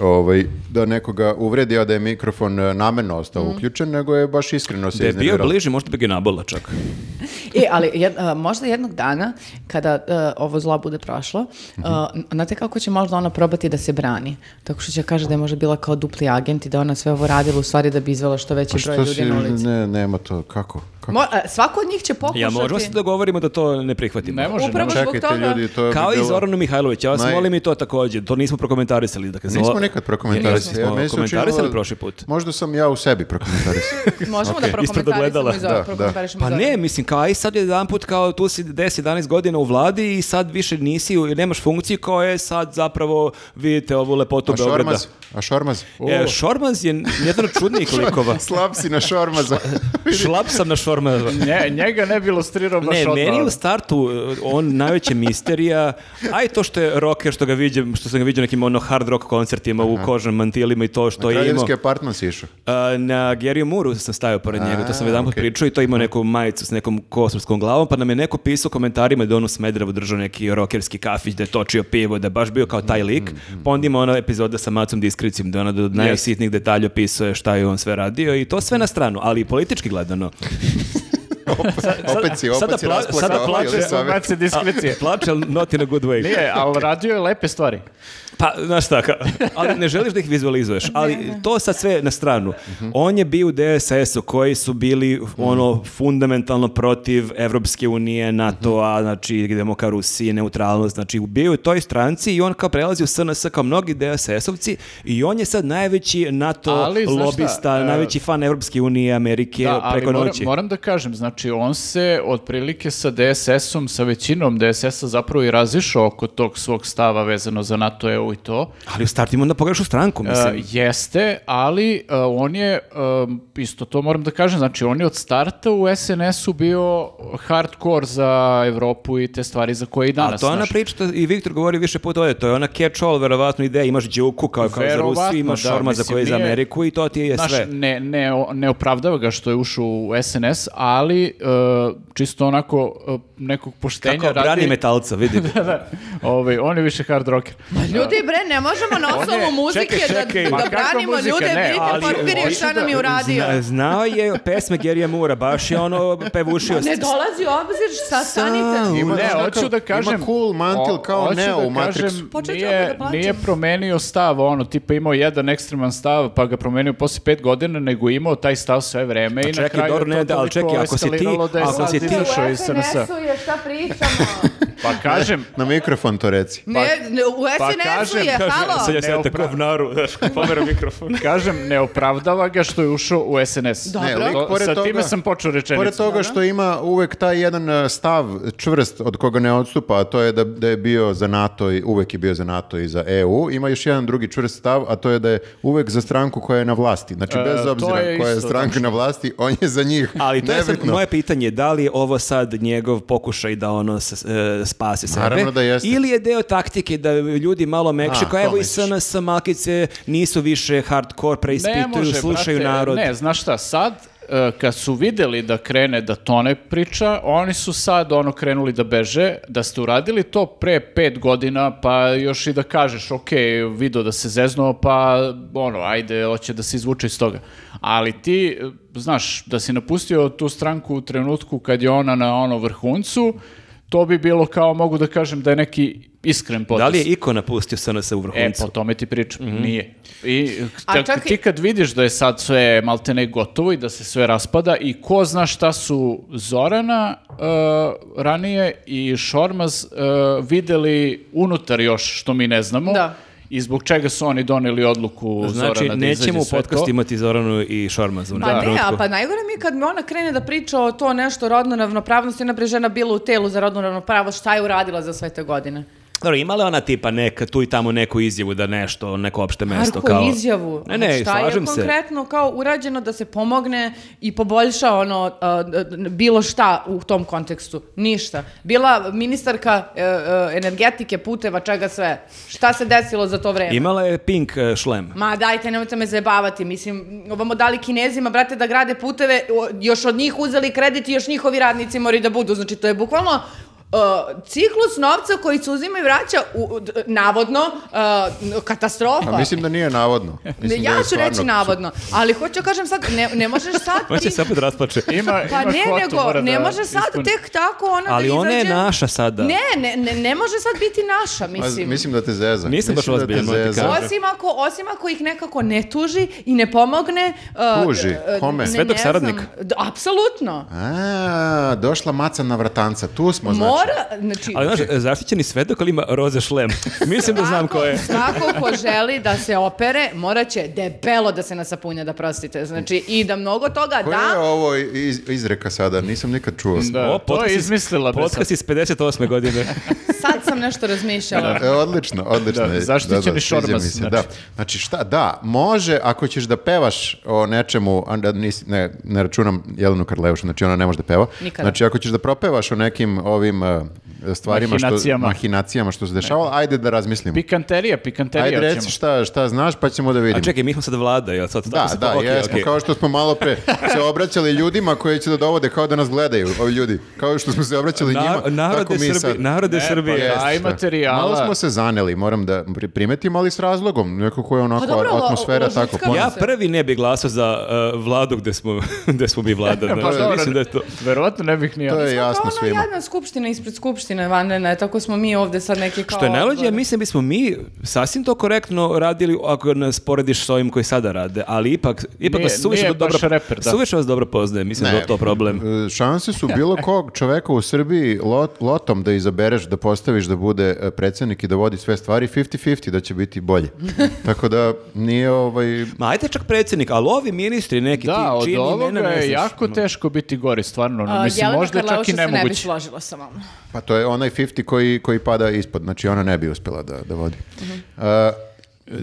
[SPEAKER 1] ovaj, da nekoga uvredi, a da je mikrofon e, namerno ostao
[SPEAKER 4] Mhm.
[SPEAKER 1] uključen, nego je baš iskreno se
[SPEAKER 3] Da je bio
[SPEAKER 1] iznervirala.
[SPEAKER 3] bliži, možda bi ga nabola čak.
[SPEAKER 4] E, ali jed- a, možda jednog dana, kada a, ovo zlo bude prošlo, a, n- znate kako će možda ona probati da se brani? Tako što će kaže da je možda bila kao dupli agent i da ona sve ovo radila u stvari da bi izvela što veći
[SPEAKER 1] Pa što
[SPEAKER 4] broj ljudi
[SPEAKER 1] si,
[SPEAKER 4] na ulici.
[SPEAKER 1] ne, pa- nema to, kako? kako?
[SPEAKER 4] Mo- a, svako od njih će pokušati...
[SPEAKER 3] Ja možemo se dogovorimo da to ne prihvatimo.
[SPEAKER 2] Ne može, ne
[SPEAKER 4] Upravo
[SPEAKER 2] može.
[SPEAKER 4] zbog
[SPEAKER 1] Čekajte
[SPEAKER 4] toga-
[SPEAKER 1] ljudi, to je
[SPEAKER 3] Kao i
[SPEAKER 1] bilo-
[SPEAKER 3] Zoranu Mihajlović, ja vas
[SPEAKER 1] Naj-
[SPEAKER 3] molim i to također, to nismo prokomentarisali. Dakle,
[SPEAKER 1] Nismo
[SPEAKER 3] Zola-
[SPEAKER 1] nikad prokomentarisali.
[SPEAKER 3] Jesmo,
[SPEAKER 1] Ja,
[SPEAKER 3] smo
[SPEAKER 1] meni se
[SPEAKER 3] komentarisali
[SPEAKER 1] učinilo-
[SPEAKER 3] prošli put.
[SPEAKER 1] Možda sam ja u sebi
[SPEAKER 3] *laughs*
[SPEAKER 1] prokomentarisao.
[SPEAKER 4] Možemo da
[SPEAKER 3] Okej. Ispred
[SPEAKER 4] prokomentarišemo
[SPEAKER 3] ogledala.
[SPEAKER 4] iz
[SPEAKER 1] Da,
[SPEAKER 4] ovog.
[SPEAKER 1] da.
[SPEAKER 4] prokomentarišemo
[SPEAKER 3] Pa
[SPEAKER 4] iz ovog.
[SPEAKER 3] ne, mislim, kao i sad jedan put, kao tu si 10-11 godina u vladi i sad više nisi, u- nemaš funkciju koja je sad zapravo, vidite ovu lepotu
[SPEAKER 1] A
[SPEAKER 3] Beograda.
[SPEAKER 1] šormaz? A šormaz? *laughs*
[SPEAKER 3] E, šormaz je jedan od čudnijih likova.
[SPEAKER 1] Slab si na šormaza.
[SPEAKER 3] Šlap sam na forma.
[SPEAKER 2] Nje- njega ne bi ilustrirao baš
[SPEAKER 3] Ne,
[SPEAKER 2] odmah.
[SPEAKER 3] meni u startu eh, on najveća misterija, a i to što je rocker, što ga viđem, što sam ga viđao na nekim ono hard rock koncertima u kožnim mantilima i to što je imao.
[SPEAKER 1] Kraljevski apartman si išao.
[SPEAKER 3] A, na Geriju Muru sam stavio pored njega, to sam jedan put
[SPEAKER 1] okej.
[SPEAKER 3] pričao i to ima neku majicu s nekom kosovskom glavom, pa nam je neko pisao u komentarima da je on u Smedrevu držao neki rokerski kafić, da je točio pivo, da je baš bio kao taj lik. Pa onda ima ona epizoda sa Macom Diskricijom, da je ona do najsitnijih detalja opisuje šta je on sve radio i to sve na stranu, ali i politički gledano.
[SPEAKER 1] Opet si, opet
[SPEAKER 3] sada
[SPEAKER 1] si
[SPEAKER 3] pla-
[SPEAKER 1] raspao
[SPEAKER 3] sada
[SPEAKER 1] sa ovaj,
[SPEAKER 3] plače-
[SPEAKER 1] ili sa ovaj?
[SPEAKER 2] Mace diskrecije.
[SPEAKER 3] Plače, ali not in a good way. *laughs*
[SPEAKER 2] Nije, ali radio je lepe stvari.
[SPEAKER 3] Pa, znaš šta, ka- ali ne želiš da ih vizualizuješ, ali to sad sve na stranu.
[SPEAKER 2] Mhm.
[SPEAKER 3] On je bio u DSS-u koji su bili ono fundamentalno protiv Evropske
[SPEAKER 2] Mhm.
[SPEAKER 3] unije, NATO-a, znači idemo ka Rusiji, neutralnost, znači bio je u toj stranci i on kao prelazi u SNS kao mnogi DSS-ovci i on je sad najveći NATO
[SPEAKER 2] Ali, znaš šta,
[SPEAKER 3] lobista,
[SPEAKER 2] e,
[SPEAKER 3] najveći fan Evropske unije, Amerike
[SPEAKER 2] Da, ali
[SPEAKER 3] preko
[SPEAKER 2] moram,
[SPEAKER 3] noći.
[SPEAKER 2] moram da kažem, znači on se otprilike sa DSS-om, sa većinom DSS-a zapravo i razišao oko tog svog stava vezano za NATO, EU i to.
[SPEAKER 3] Ali u startu ima onda pogrešu stranku, mislim.
[SPEAKER 2] E, jeste, ali e, on je, em, isto to moram da kažem, znači on je od starta u SNS-u bio hardcore za Evropu i te stvari za koje i danas.
[SPEAKER 3] A to je ona
[SPEAKER 2] znaš.
[SPEAKER 3] priča što i Viktor govori više puta ovdje, to je ona catch-all, verovatno ideja, imaš džuku kao, kao za
[SPEAKER 2] Verovatno,
[SPEAKER 3] Rusiju, imaš
[SPEAKER 2] da,
[SPEAKER 3] šorma za
[SPEAKER 2] mislim,
[SPEAKER 3] koje za
[SPEAKER 2] nije-
[SPEAKER 3] Ameriku i to ti je
[SPEAKER 2] Znaš,
[SPEAKER 3] sve.
[SPEAKER 2] ne, ne, o- ne opravdava ga što je ušao u SNS, ali e, čisto onako e, nekog poštenja
[SPEAKER 3] Kako
[SPEAKER 2] radi.
[SPEAKER 3] brani metalca,
[SPEAKER 2] *laughs*
[SPEAKER 3] vidi.
[SPEAKER 2] Ovaj, on je više hard rocker.
[SPEAKER 4] Ma Pa ljudi bre, ne možemo na osnovu muzike
[SPEAKER 3] čekaj, čekaj.
[SPEAKER 4] da,
[SPEAKER 3] Ma
[SPEAKER 4] da
[SPEAKER 2] kakva
[SPEAKER 4] branimo
[SPEAKER 2] muzika,
[SPEAKER 4] ljude,
[SPEAKER 2] ne, ali
[SPEAKER 4] vidite porfiriju
[SPEAKER 2] hoću
[SPEAKER 4] šta
[SPEAKER 2] da-
[SPEAKER 4] nam je uradio.
[SPEAKER 3] Zna- znao je pesme Gerija Mura, baš je ono pevušio.
[SPEAKER 4] Ne dolazi u obzir, šta stanite?
[SPEAKER 1] Ima,
[SPEAKER 2] ne,
[SPEAKER 1] znaš
[SPEAKER 2] hoću
[SPEAKER 1] kakav-
[SPEAKER 2] da kažem...
[SPEAKER 1] Ima cool mantil
[SPEAKER 2] o-
[SPEAKER 1] kao
[SPEAKER 2] hoću
[SPEAKER 1] Neo u
[SPEAKER 2] da
[SPEAKER 1] Matrixu.
[SPEAKER 2] kažem,
[SPEAKER 4] Počet ću opet
[SPEAKER 2] nije,
[SPEAKER 4] da plačem.
[SPEAKER 2] nije promenio stav, ono, tipa imao jedan ekstreman stav, pa ga promenio posle pet godina, nego je imao taj stav sve vreme i na
[SPEAKER 3] čekaj,
[SPEAKER 2] kraju je
[SPEAKER 3] dobro, ne, da,
[SPEAKER 2] to
[SPEAKER 3] ali
[SPEAKER 2] toliko
[SPEAKER 3] čekaj, ako si ti-
[SPEAKER 2] eskaliralo da je
[SPEAKER 3] ako
[SPEAKER 2] sad
[SPEAKER 3] si ti-
[SPEAKER 2] izašao iz SNS.
[SPEAKER 4] je, šta pričamo?
[SPEAKER 2] Pa kažem,
[SPEAKER 1] *laughs* Na mikrofon to reci.
[SPEAKER 4] Ne, ne, u
[SPEAKER 2] pa
[SPEAKER 4] SNS-u
[SPEAKER 2] kažem-
[SPEAKER 4] je, halo.
[SPEAKER 3] Sad ja
[SPEAKER 2] Ne
[SPEAKER 3] sve
[SPEAKER 2] opra-
[SPEAKER 3] tako
[SPEAKER 2] *laughs*
[SPEAKER 3] vnaru, znaš, pomera mikrofon.
[SPEAKER 2] kažem, ne opravdava ga što je ušao u SNS.
[SPEAKER 1] Ne,
[SPEAKER 4] Dobro.
[SPEAKER 1] lik,
[SPEAKER 2] To-
[SPEAKER 1] pored
[SPEAKER 2] sa
[SPEAKER 1] toga-
[SPEAKER 2] time sam počeo rečenicu.
[SPEAKER 1] Pored toga što ima uvek taj jedan e, stav čvrst od koga ne odstupa, a to je da, da je bio za NATO i uvek je bio za NATO i za EU, ima još jedan drugi čvrst stav, a to je da je uvek za stranku koja je na vlasti. Znači,
[SPEAKER 2] E,
[SPEAKER 1] bez
[SPEAKER 2] to
[SPEAKER 1] obzira
[SPEAKER 2] je
[SPEAKER 1] koja je
[SPEAKER 2] isto,
[SPEAKER 1] stranka
[SPEAKER 2] znači.
[SPEAKER 1] na vlasti, on je za njih.
[SPEAKER 3] Ali to je sad
[SPEAKER 1] Nebitno.
[SPEAKER 3] moje pitanje, da li je ovo sad njegov pokušaj da ono s- e, spasi sebe?
[SPEAKER 1] Naravno da jeste.
[SPEAKER 3] Ili je deo taktike da ljudi malo mekše,
[SPEAKER 1] A,
[SPEAKER 3] kao
[SPEAKER 1] to
[SPEAKER 3] evo i
[SPEAKER 1] misliš.
[SPEAKER 3] SNS malkice nisu više hardcore,
[SPEAKER 2] Ne
[SPEAKER 3] preispituju,
[SPEAKER 2] može,
[SPEAKER 3] slušaju
[SPEAKER 2] brate,
[SPEAKER 3] narod.
[SPEAKER 2] Ne, znaš šta, sad e, kad su videli da krene da tone priča, oni su sad ono krenuli da beže, da ste uradili to pre pet godina, pa još i da kažeš, ok, video da se zeznuo, pa ono, ajde, hoće da se izvuče iz toga. Ali ti, e, znaš, da si napustio tu stranku u trenutku kad je ona na ono vrhuncu, to bi bilo kao, mogu da kažem, da je neki iskren potes.
[SPEAKER 3] Da li je Iko napustio SNS u
[SPEAKER 2] E,
[SPEAKER 3] vrhuncu?
[SPEAKER 2] po tome ti pričam, nije. I
[SPEAKER 4] Mhm. A
[SPEAKER 2] tak-
[SPEAKER 4] čak i-
[SPEAKER 2] ti kad vidiš da je sad sve maltene gotovo i da se sve raspada i ko zna šta su Zorana e, ranije i Šormaz e, videli unutar još što mi ne znamo.
[SPEAKER 4] Da.
[SPEAKER 2] I zbog čega su oni doneli odluku
[SPEAKER 3] Znači,
[SPEAKER 2] pa, Zorana da izađe
[SPEAKER 3] nećemo u
[SPEAKER 2] sve
[SPEAKER 3] podcastu
[SPEAKER 2] to?
[SPEAKER 3] imati Zoranu i Šormazu. u
[SPEAKER 4] Pa
[SPEAKER 3] nekom
[SPEAKER 4] ne, a
[SPEAKER 3] trenutku.
[SPEAKER 4] pa najgore mi je kad mi ona krene da priča o to nešto rodno ravnopravnosti, ona bre žena bila u telu za rodnu ravnopravnost, šta je uradila za sve te godine?
[SPEAKER 3] Dobro, imala je ona tipa neka, tu i tamo neku izjavu da nešto, neko opšte mesto
[SPEAKER 4] Marko,
[SPEAKER 3] kao...
[SPEAKER 4] izjavu. Znači,
[SPEAKER 3] Ne, ne,
[SPEAKER 4] šta je
[SPEAKER 3] slažem se.
[SPEAKER 4] konkretno kao urađeno da se pomogne i poboljša ono, a, d- d- bilo šta u tom kontekstu? Ništa. Bila ministarka e, e, energetike, puteva, čega sve. Šta se desilo za to vreme?
[SPEAKER 3] Imala je pink e, šlem.
[SPEAKER 4] Ma dajte, nemojte me zajebavati, mislim, ovamo dali kinezima, brate, da grade puteve, o- još od njih uzeli kredit i još njihovi radnici moraju da budu, znači to je bukvalno uh, ciklus novca koji se uzima i vraća, u, u- d- navodno, uh, katastrofa.
[SPEAKER 1] A Pa mislim da nije navodno. Mislim
[SPEAKER 4] ja
[SPEAKER 1] da je
[SPEAKER 4] ću reći
[SPEAKER 1] stvarno-
[SPEAKER 4] navodno, ali hoću da kažem sad, ne, ne možeš sad
[SPEAKER 3] Ona će
[SPEAKER 4] ti...
[SPEAKER 3] se opet rasplače.
[SPEAKER 2] Ima,
[SPEAKER 4] Pa
[SPEAKER 2] ima
[SPEAKER 4] ne,
[SPEAKER 2] kvotu, mora
[SPEAKER 4] nego, ne
[SPEAKER 2] da
[SPEAKER 4] može sad
[SPEAKER 2] ispuni.
[SPEAKER 4] tek tako ona da
[SPEAKER 3] Ali ona je
[SPEAKER 4] izađe-
[SPEAKER 3] naša sada.
[SPEAKER 4] Ne, ne, ne, ne može sad biti naša,
[SPEAKER 1] A,
[SPEAKER 4] mislim.
[SPEAKER 1] mislim da te zeza.
[SPEAKER 3] Nisam baš
[SPEAKER 1] Mislim da te
[SPEAKER 3] ozbiljan, moram ti
[SPEAKER 1] zeza.
[SPEAKER 3] kažem.
[SPEAKER 4] Osim ako, osim ako ih nekako ne tuži i ne pomogne... uh,
[SPEAKER 1] Tuži?
[SPEAKER 4] uh,
[SPEAKER 1] Kome?
[SPEAKER 4] ne-
[SPEAKER 3] Svedok
[SPEAKER 4] ne
[SPEAKER 3] saradnik?
[SPEAKER 4] znam. D- Apsolutno.
[SPEAKER 1] A, došla maca na vratanca. Tu smo, znači.
[SPEAKER 4] Mora, znači,
[SPEAKER 3] Ali znaš, zaštićeni svedok ali ima roze šlem. Mislim da znam ko je.
[SPEAKER 4] Svako ko želi da se opere, morat će debelo da se nasapunja, da prostite. Znači, i da mnogo toga
[SPEAKER 1] Koja je
[SPEAKER 4] da...
[SPEAKER 1] ovo iz- izreka sada? Nisam nikad čuo.
[SPEAKER 2] Da, to
[SPEAKER 3] O, podcast
[SPEAKER 2] je
[SPEAKER 3] iz-
[SPEAKER 2] izmislila. bre, sad.
[SPEAKER 3] Podcast iz 58. godine.
[SPEAKER 4] Sad sam nešto razmišljala.
[SPEAKER 1] E, odlično, odlično.
[SPEAKER 2] Da,
[SPEAKER 1] je.
[SPEAKER 2] zaštićeni
[SPEAKER 1] sviđa
[SPEAKER 2] šormaz,
[SPEAKER 1] mi se,
[SPEAKER 2] znači.
[SPEAKER 1] Da. Znači šta, da, može ako ćeš da pevaš o nečemu, a da nisi- ne, ne računam Jelenu Karleušu, znači ona ne može da peva.
[SPEAKER 4] Nikada.
[SPEAKER 1] Znači ako ćeš da propevaš o nekim ovim e, stvarima,
[SPEAKER 2] Mahinacijama.
[SPEAKER 1] Što, mahinacijama što se dešavalo, ajde da razmislimo.
[SPEAKER 2] Pikanterija, pikanterija
[SPEAKER 1] Ajde
[SPEAKER 2] ćemo.
[SPEAKER 1] reci šta, šta znaš pa ćemo da vidimo.
[SPEAKER 3] A čekaj, mi smo sad vlada, jel sad?
[SPEAKER 1] Da,
[SPEAKER 3] Tako se-
[SPEAKER 1] da,
[SPEAKER 3] ok,
[SPEAKER 1] jesmo,
[SPEAKER 3] ok.
[SPEAKER 1] kao što smo malo pre se obraćali ljudima koji će da dovode, kao da nas gledaju ovi ljudi. Kao što smo se obraćali
[SPEAKER 3] Na-
[SPEAKER 1] njima, tako
[SPEAKER 3] narode
[SPEAKER 1] mi
[SPEAKER 3] Srbije,
[SPEAKER 1] sad. E, pa
[SPEAKER 3] narode Srbije.
[SPEAKER 2] Jeste. A i
[SPEAKER 1] šta.
[SPEAKER 2] materijala.
[SPEAKER 1] Malo smo se zaneli, moram da pri- primetim, ali s razlogom. Nekako je onako
[SPEAKER 4] Pa dobro, ali
[SPEAKER 1] atmosfera
[SPEAKER 4] o- o
[SPEAKER 1] tako.
[SPEAKER 4] ljudskom-
[SPEAKER 1] pon-
[SPEAKER 3] Ja
[SPEAKER 4] se.
[SPEAKER 3] prvi ne bih glasao za uh, vladu gde smo, *laughs* gde smo mi vlada. *laughs*
[SPEAKER 2] Pa
[SPEAKER 3] znači,
[SPEAKER 2] dobro,
[SPEAKER 3] mislim da je to...
[SPEAKER 2] Verovatno ne bih ni ja.
[SPEAKER 1] To je jasno
[SPEAKER 4] ono
[SPEAKER 1] svima.
[SPEAKER 4] jadna skupština ispred skupštine, vanredna, je, tako smo mi ovde sad neki kao...
[SPEAKER 3] Što je najlođe, ja
[SPEAKER 4] odbor.
[SPEAKER 3] mislim bismo mi sasvim to korektno radili ako nas porediš s ovim koji sada rade, ali ipak, ipak
[SPEAKER 2] Nije-
[SPEAKER 3] vas suviše
[SPEAKER 2] nije
[SPEAKER 3] dobro,
[SPEAKER 2] baš reper, da.
[SPEAKER 3] suviše vas dobro poznaje, mislim da je to problem.
[SPEAKER 1] e, Šanse su bilo kog čoveka u Srbiji lot- lotom da izabereš, da postaviš da bude e, predsjednik i da vodi sve stvari 50-50, da će biti
[SPEAKER 4] *laughs*
[SPEAKER 1] bolje. Tako da nije ovaj...
[SPEAKER 3] Ma ajde čak predsjednik, ali ovi ministri neki,
[SPEAKER 2] Da,
[SPEAKER 3] ti
[SPEAKER 2] od
[SPEAKER 3] čini
[SPEAKER 2] ovoga
[SPEAKER 3] imena, ne
[SPEAKER 2] je
[SPEAKER 3] znaš. ono.
[SPEAKER 2] jako teško biti gori, stvarno.
[SPEAKER 4] A,
[SPEAKER 2] No, mislim,
[SPEAKER 4] Jelena
[SPEAKER 2] možda čak
[SPEAKER 4] Karleuša
[SPEAKER 2] i
[SPEAKER 4] se ne bi
[SPEAKER 2] nemoguće.
[SPEAKER 4] složila sa vama.
[SPEAKER 1] Pa to je onaj 50 koji, koji pada ispod, znači ona ne bi uspjela da, da vodi.
[SPEAKER 4] Mhm.
[SPEAKER 1] E,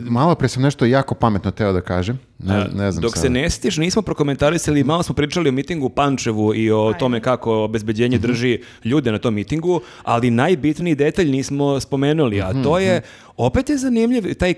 [SPEAKER 1] malo pre sam nešto jako pametno teo da kažem. Ne, ne znam
[SPEAKER 3] Dok se
[SPEAKER 1] sada.
[SPEAKER 3] ne stiš, nismo prokomentarisali, malo smo pričali o mitingu u Pančevu i o tome kako obezbeđenje
[SPEAKER 1] Mhm.
[SPEAKER 3] drži ljude na tom mitingu, ali najbitniji detalj nismo spomenuli,
[SPEAKER 1] Mhm,
[SPEAKER 3] a to je, opet je zanimljiv taj e,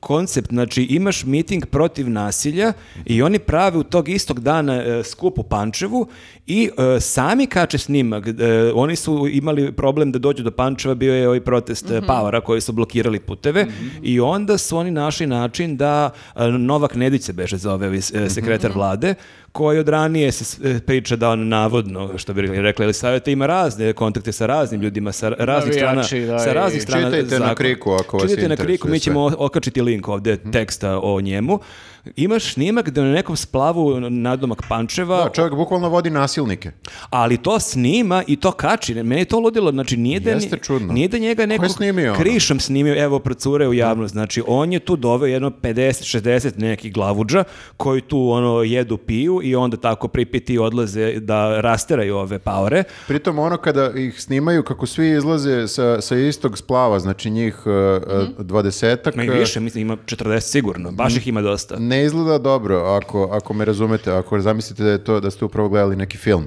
[SPEAKER 3] koncept, znači imaš miting protiv nasilja i oni prave u tog istog dana e, skup u Pančevu i e, sami kače snimak, e, oni su imali problem da dođu do Pančeva, bio je ovaj protest
[SPEAKER 2] Mhm.
[SPEAKER 3] e, Pavara koji su blokirali puteve i onda su oni našli način da e, Novak Nedić se beže zove ovaj,
[SPEAKER 2] Mhm.
[SPEAKER 3] e, sekretar vlade, koji od ranije se s- e, priča da on navodno, što bi rekli, rekli savjeta ima razne kontakte sa raznim ljudima, sa ra- raznih strana,
[SPEAKER 2] Navijači, da,
[SPEAKER 3] sa raznih
[SPEAKER 2] i-
[SPEAKER 3] strana
[SPEAKER 1] Čitajte na
[SPEAKER 3] zakona.
[SPEAKER 1] Kriku ako vas
[SPEAKER 3] Čitajte na
[SPEAKER 1] interesuje
[SPEAKER 3] kriku, mi
[SPEAKER 1] sve.
[SPEAKER 3] ćemo o- okačiti link ovdje
[SPEAKER 2] Mhm.
[SPEAKER 3] teksta o njemu. Imaš snimak da na nekom splavu nadomak Pančeva
[SPEAKER 1] Da, čovjek bukvalno vodi nasilnike.
[SPEAKER 3] ali to snima i to kači. Mene je to ludilo, znači nije da,
[SPEAKER 1] Jeste čudno.
[SPEAKER 3] Nije da njega neko
[SPEAKER 1] je snimio ono?
[SPEAKER 3] krišom snimio, evo procure u javnost. Znači on je tu doveo jedno 50, 60 nekih glavuđa koji tu ono jedu, piju i onda tako pripiti odlaze da rasteraju ove paore.
[SPEAKER 1] Pritom ono kada ih snimaju kako svi izlaze sa, sa istog splava, znači njih e, e,
[SPEAKER 2] Mhm.
[SPEAKER 1] dvadesetak,
[SPEAKER 3] Ma i više, mislim ima 40 sigurno, baš ih ima dosta.
[SPEAKER 1] e, ne izgleda dobro ako, ako me razumete, ako zamislite da je to da ste upravo gledali neki film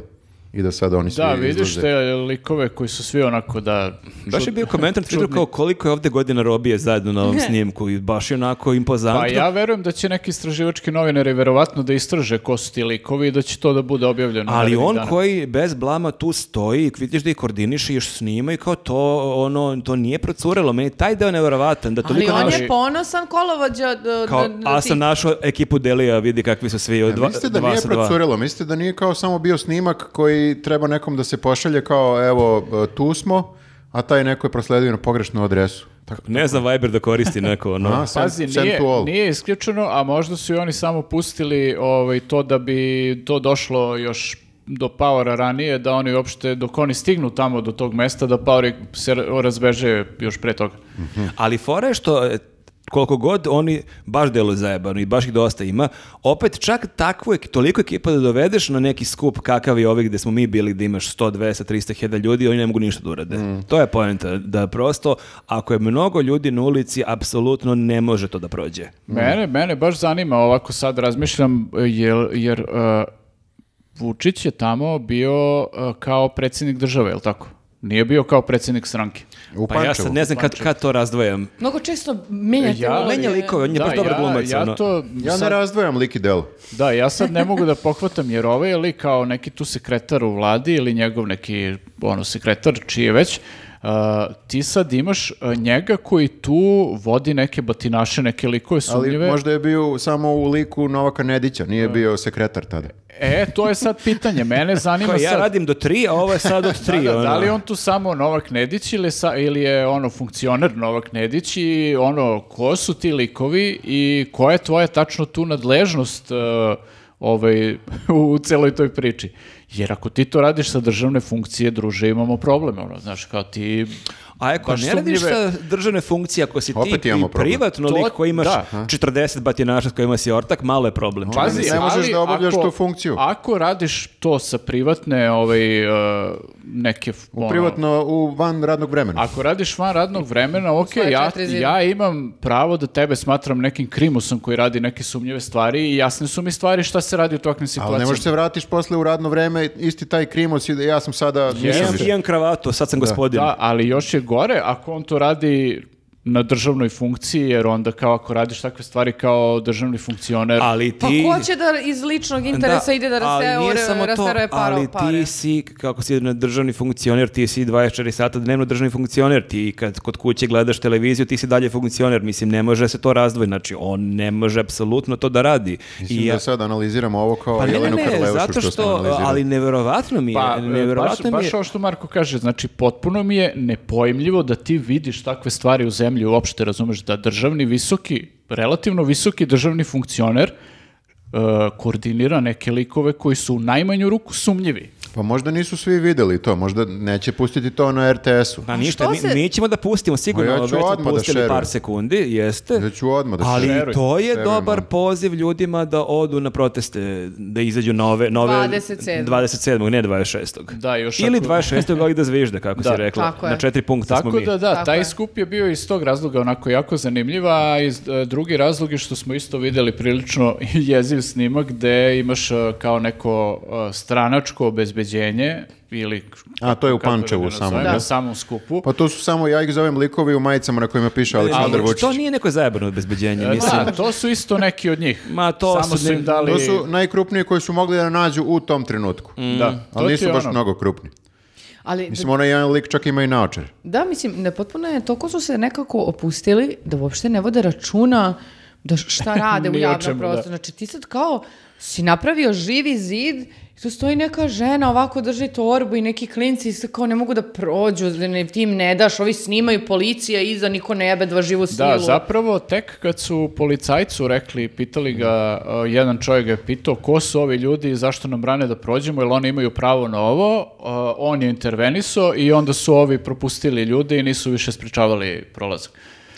[SPEAKER 1] i da sada oni svi
[SPEAKER 2] Da, vidiš
[SPEAKER 1] izlaze.
[SPEAKER 2] te likove koji su svi onako da...
[SPEAKER 3] Baš je bio
[SPEAKER 1] *laughs*
[SPEAKER 3] komentar na Twitteru kao koliko je ovdje godina robije zajedno na ovom snimku i baš je onako impozantno.
[SPEAKER 2] Pa ja verujem da će neki istraživački novinari verovatno da istraže ko su ti likovi i da će to da bude objavljeno.
[SPEAKER 3] Ali
[SPEAKER 2] narednih
[SPEAKER 3] on
[SPEAKER 2] dana.
[SPEAKER 3] koji bez blama tu stoji, vidiš da ih koordiniše i još snima i kao to, ono, to nije procurelo. Meni je taj deo nevjerovatan da
[SPEAKER 4] Ali
[SPEAKER 3] toliko
[SPEAKER 4] on
[SPEAKER 3] nemaš-
[SPEAKER 4] je ponosan kolovođa. d-
[SPEAKER 3] Kao,
[SPEAKER 4] d- d-
[SPEAKER 3] a
[SPEAKER 4] tih-
[SPEAKER 3] sam našao ekipu Delija, vidi kakvi su svi od
[SPEAKER 1] E,
[SPEAKER 3] dva,
[SPEAKER 1] Mislite da
[SPEAKER 3] dva
[SPEAKER 1] nije
[SPEAKER 3] sa dva.
[SPEAKER 1] procurelo, mislite da nije kao samo bio snimak koji treba nekom da se pošalje kao evo e, tu smo, a taj neko je prosledio na pogrešnu adresu. Tako,
[SPEAKER 3] Ne znam Viber da
[SPEAKER 1] *laughs*
[SPEAKER 3] koristi neko, ono.
[SPEAKER 1] a, send-
[SPEAKER 2] Pa Pazi,
[SPEAKER 1] send
[SPEAKER 2] nije,
[SPEAKER 1] to all.
[SPEAKER 2] nije isključeno, a možda su i oni samo pustili ovaj, to da bi to došlo još do Powera ranije, da oni uopšte, dok oni stignu tamo do tog mesta, da Poweri se ra- razbeže još pre toga.
[SPEAKER 3] Ali fora je što e, koliko god oni baš delo zajebano i baš ih dosta ima, opet čak takvu, ek- toliko ekipa da dovedeš na neki skup kakav je ovih gde smo mi bili da imaš 100, 200, 300 hiljada ljudi, oni ne mogu ništa da urade.
[SPEAKER 1] Mm.
[SPEAKER 3] To je poenta, da prosto ako je mnogo ljudi na ulici, apsolutno ne može to da prođe.
[SPEAKER 2] Mene, mene baš zanima, ovako sad razmišljam, jer, jer e, Vučić je tamo bio e, kao predsjednik države, je li tako? Nije bio kao predsjednik stranke.
[SPEAKER 1] U
[SPEAKER 3] Pa ja
[SPEAKER 1] Pančevu.
[SPEAKER 3] sad ne znam kad, kad to razdvajam.
[SPEAKER 4] Mnogo često menjate uloge.
[SPEAKER 3] Menja likove, on je
[SPEAKER 2] Da,
[SPEAKER 3] baš dobar
[SPEAKER 2] ja-
[SPEAKER 3] glumac.
[SPEAKER 2] Ja,
[SPEAKER 3] ono.
[SPEAKER 2] to
[SPEAKER 1] Ja ne
[SPEAKER 2] sad-
[SPEAKER 1] razdvojam lik i delo.
[SPEAKER 2] Da, ja sad ne mogu da pohvatam jer ovaj je lik kao neki tu sekretar u vladi ili njegov neki ono, sekretar čiji je već, uh, ti sad imaš uh, njega koji tu vodi neke batinaše, neke likove
[SPEAKER 1] Ali
[SPEAKER 2] sumnjive.
[SPEAKER 1] možda je bio samo u liku Novaka Nedića, nije bio sekretar tada.
[SPEAKER 2] E, to je sad pitanje.
[SPEAKER 3] *laughs*
[SPEAKER 2] Mene zanima
[SPEAKER 3] Kao, ja
[SPEAKER 2] sad...
[SPEAKER 3] radim do tri, a ovo je sad od tri.
[SPEAKER 2] *laughs* Da, da, da
[SPEAKER 3] ono.
[SPEAKER 2] li je on tu samo Novak Nedić ili, sa, ili je ono funkcioner Novak Nedić i ono ko su ti likovi i koja *laughs* je tvoja tačno tu nadležnost e, ovaj, u celoj toj priči? Jer ako ti to radiš sa državne funkcije, druže, imamo problem, ono, znaš, kao ti...
[SPEAKER 3] A ako
[SPEAKER 2] baš
[SPEAKER 3] ne radiš
[SPEAKER 2] sumnjive-
[SPEAKER 3] sa državne funkcije, ako si
[SPEAKER 1] Opet
[SPEAKER 3] ti
[SPEAKER 1] imamo
[SPEAKER 3] i
[SPEAKER 1] problem.
[SPEAKER 3] privatno
[SPEAKER 2] To-
[SPEAKER 3] lik koji imaš
[SPEAKER 2] da.
[SPEAKER 3] 40 batinaša s kojima si ortak, malo je problem. čini mi
[SPEAKER 2] Pazi,
[SPEAKER 3] se.
[SPEAKER 1] Ne možeš
[SPEAKER 2] ali
[SPEAKER 1] da obavljaš
[SPEAKER 2] ako-
[SPEAKER 1] tu funkciju.
[SPEAKER 2] Ako radiš to sa privatne, ovaj, e, neke... ono,
[SPEAKER 1] Privatno u van radnog vremena.
[SPEAKER 2] Ako radiš van radnog vremena, ok,
[SPEAKER 4] svoja
[SPEAKER 2] ja,
[SPEAKER 4] četiri zida.
[SPEAKER 2] ja imam pravo da tebe smatram nekim krimusom koji radi neke sumnjive stvari i jasne su mi stvari šta se radi u takvim situacijama.
[SPEAKER 1] Ali ne možeš se vratiš posle u radno vreme, isti taj krimos, i da ja sam sada... nisam
[SPEAKER 3] Imam
[SPEAKER 1] više.
[SPEAKER 3] pijan kravatu, sad sam gospodin.
[SPEAKER 2] Da, ali još je gore ako on to radi na državnoj funkciji, jer onda kao ako radiš takve stvari kao državni funkcioner,
[SPEAKER 3] Ali ti...
[SPEAKER 4] Pa ko će da iz ličnog interesa ide da
[SPEAKER 3] ali
[SPEAKER 4] rasteruje
[SPEAKER 3] nije samo to,
[SPEAKER 4] rasteruje paro-
[SPEAKER 3] ali
[SPEAKER 4] pare?
[SPEAKER 3] ti si, kako si na državni funkcioner, ti si 24 sata dnevno državni funkcioner, ti kad kod kuće gledaš televiziju, ti si dalje funkcioner, mislim, ne može se to razdvoji, znači, on ne može apsolutno to da radi.
[SPEAKER 1] Mislim
[SPEAKER 3] I ja-
[SPEAKER 1] da sad analiziramo ovo kao
[SPEAKER 3] Pa ne, ne,
[SPEAKER 1] Jelenu
[SPEAKER 3] ne,
[SPEAKER 1] Karlevušku
[SPEAKER 3] zato
[SPEAKER 1] smo
[SPEAKER 3] što,
[SPEAKER 1] analizirali.
[SPEAKER 3] ali neverovatno mi je,
[SPEAKER 2] Pa, e, baš,
[SPEAKER 3] neverovatno mi
[SPEAKER 2] baš
[SPEAKER 3] je,
[SPEAKER 2] ovo što Marko kaže, znači potpuno mi je nepojmljivo da ti vidiš takve stvari u zemlji uopšte, razumeš, da državni visoki, relativno visoki državni funkcioner e, koordinira neke likove koji su u najmanju ruku sumnjivi.
[SPEAKER 1] Pa možda nisu svi videli to, možda neće pustiti to na RTS-u.
[SPEAKER 3] Pa ništa,
[SPEAKER 4] što
[SPEAKER 3] mi,
[SPEAKER 4] se-
[SPEAKER 3] mi ćemo da pustimo, sigurno,
[SPEAKER 1] Ma ja ću
[SPEAKER 3] već smo
[SPEAKER 1] odmah da
[SPEAKER 3] pustili
[SPEAKER 1] šerujem.
[SPEAKER 3] par sekundi, jeste.
[SPEAKER 1] Ja ću odmah da
[SPEAKER 3] Ali
[SPEAKER 1] šerujem.
[SPEAKER 3] to je
[SPEAKER 1] Šerujemo.
[SPEAKER 3] dobar poziv ljudima da odu na proteste, da izađu na ove... nove
[SPEAKER 4] 27..
[SPEAKER 3] 27. ne 26.
[SPEAKER 2] Da, još
[SPEAKER 3] Ili
[SPEAKER 2] ako-
[SPEAKER 3] 26. ali da zvižde, kako
[SPEAKER 2] Da.
[SPEAKER 3] si rekla.
[SPEAKER 4] Tako je.
[SPEAKER 3] na četiri punkta smo
[SPEAKER 2] Tako
[SPEAKER 3] mi.
[SPEAKER 2] da da,
[SPEAKER 4] Tako
[SPEAKER 2] taj
[SPEAKER 4] je.
[SPEAKER 2] skup je bio iz tog razloga onako jako zanimljiv, a iz, e, drugi razlog je što smo isto videli prilično *laughs* jeziv snimak gde imaš e, kao neko e, stranačko obezbeđenje ili...
[SPEAKER 1] A, to je u
[SPEAKER 2] kako da ga
[SPEAKER 1] Pančevu
[SPEAKER 2] nazovem,
[SPEAKER 1] samo,
[SPEAKER 2] Na
[SPEAKER 1] da?
[SPEAKER 2] samom skupu.
[SPEAKER 1] Pa to su samo, ja ih zovem likovi u majicama na kojima piše Aleksandar
[SPEAKER 3] E, Ali
[SPEAKER 1] Vučić.
[SPEAKER 3] to nije neko zajebano obezbeđenje, mislim.
[SPEAKER 2] Da, to su isto neki od njih.
[SPEAKER 3] Ma, to
[SPEAKER 2] E, pa- Samo
[SPEAKER 3] su
[SPEAKER 2] su
[SPEAKER 3] ne-
[SPEAKER 2] im dali...
[SPEAKER 1] To su najkrupniji koji su mogli da nađu u tom trenutku.
[SPEAKER 3] Mm.
[SPEAKER 2] Da, to
[SPEAKER 1] Ali
[SPEAKER 2] ti
[SPEAKER 1] nisu
[SPEAKER 2] je
[SPEAKER 1] baš
[SPEAKER 2] ono.
[SPEAKER 1] mnogo krupni.
[SPEAKER 4] Ali,
[SPEAKER 1] Mislim, onaj jedan lik čak ima i naočar.
[SPEAKER 4] da, mislim, ne potpuno je, toliko su se nekako opustili da uopšte ne vode računa da š- šta rade u
[SPEAKER 2] Ni o
[SPEAKER 4] javnom
[SPEAKER 2] čemu, da.
[SPEAKER 4] prostoru. Znači, ti sad kao si napravio živi zid i tu stoji neka žena, ovako drži torbu i neki klinci i sad kao ne mogu da prođu, da ne, ti im ne daš, ovi snimaju policija iza, niko ne jebe dva živu silu.
[SPEAKER 2] Da, zapravo tek kad su policajcu rekli, pitali ga, uh, jedan čovjek ga je pitao ko su ovi ljudi i zašto nam brane da prođemo, jer oni imaju pravo na ovo, uh, on je intervenisao i onda su ovi propustili ljude i nisu više sprečavali prolazak.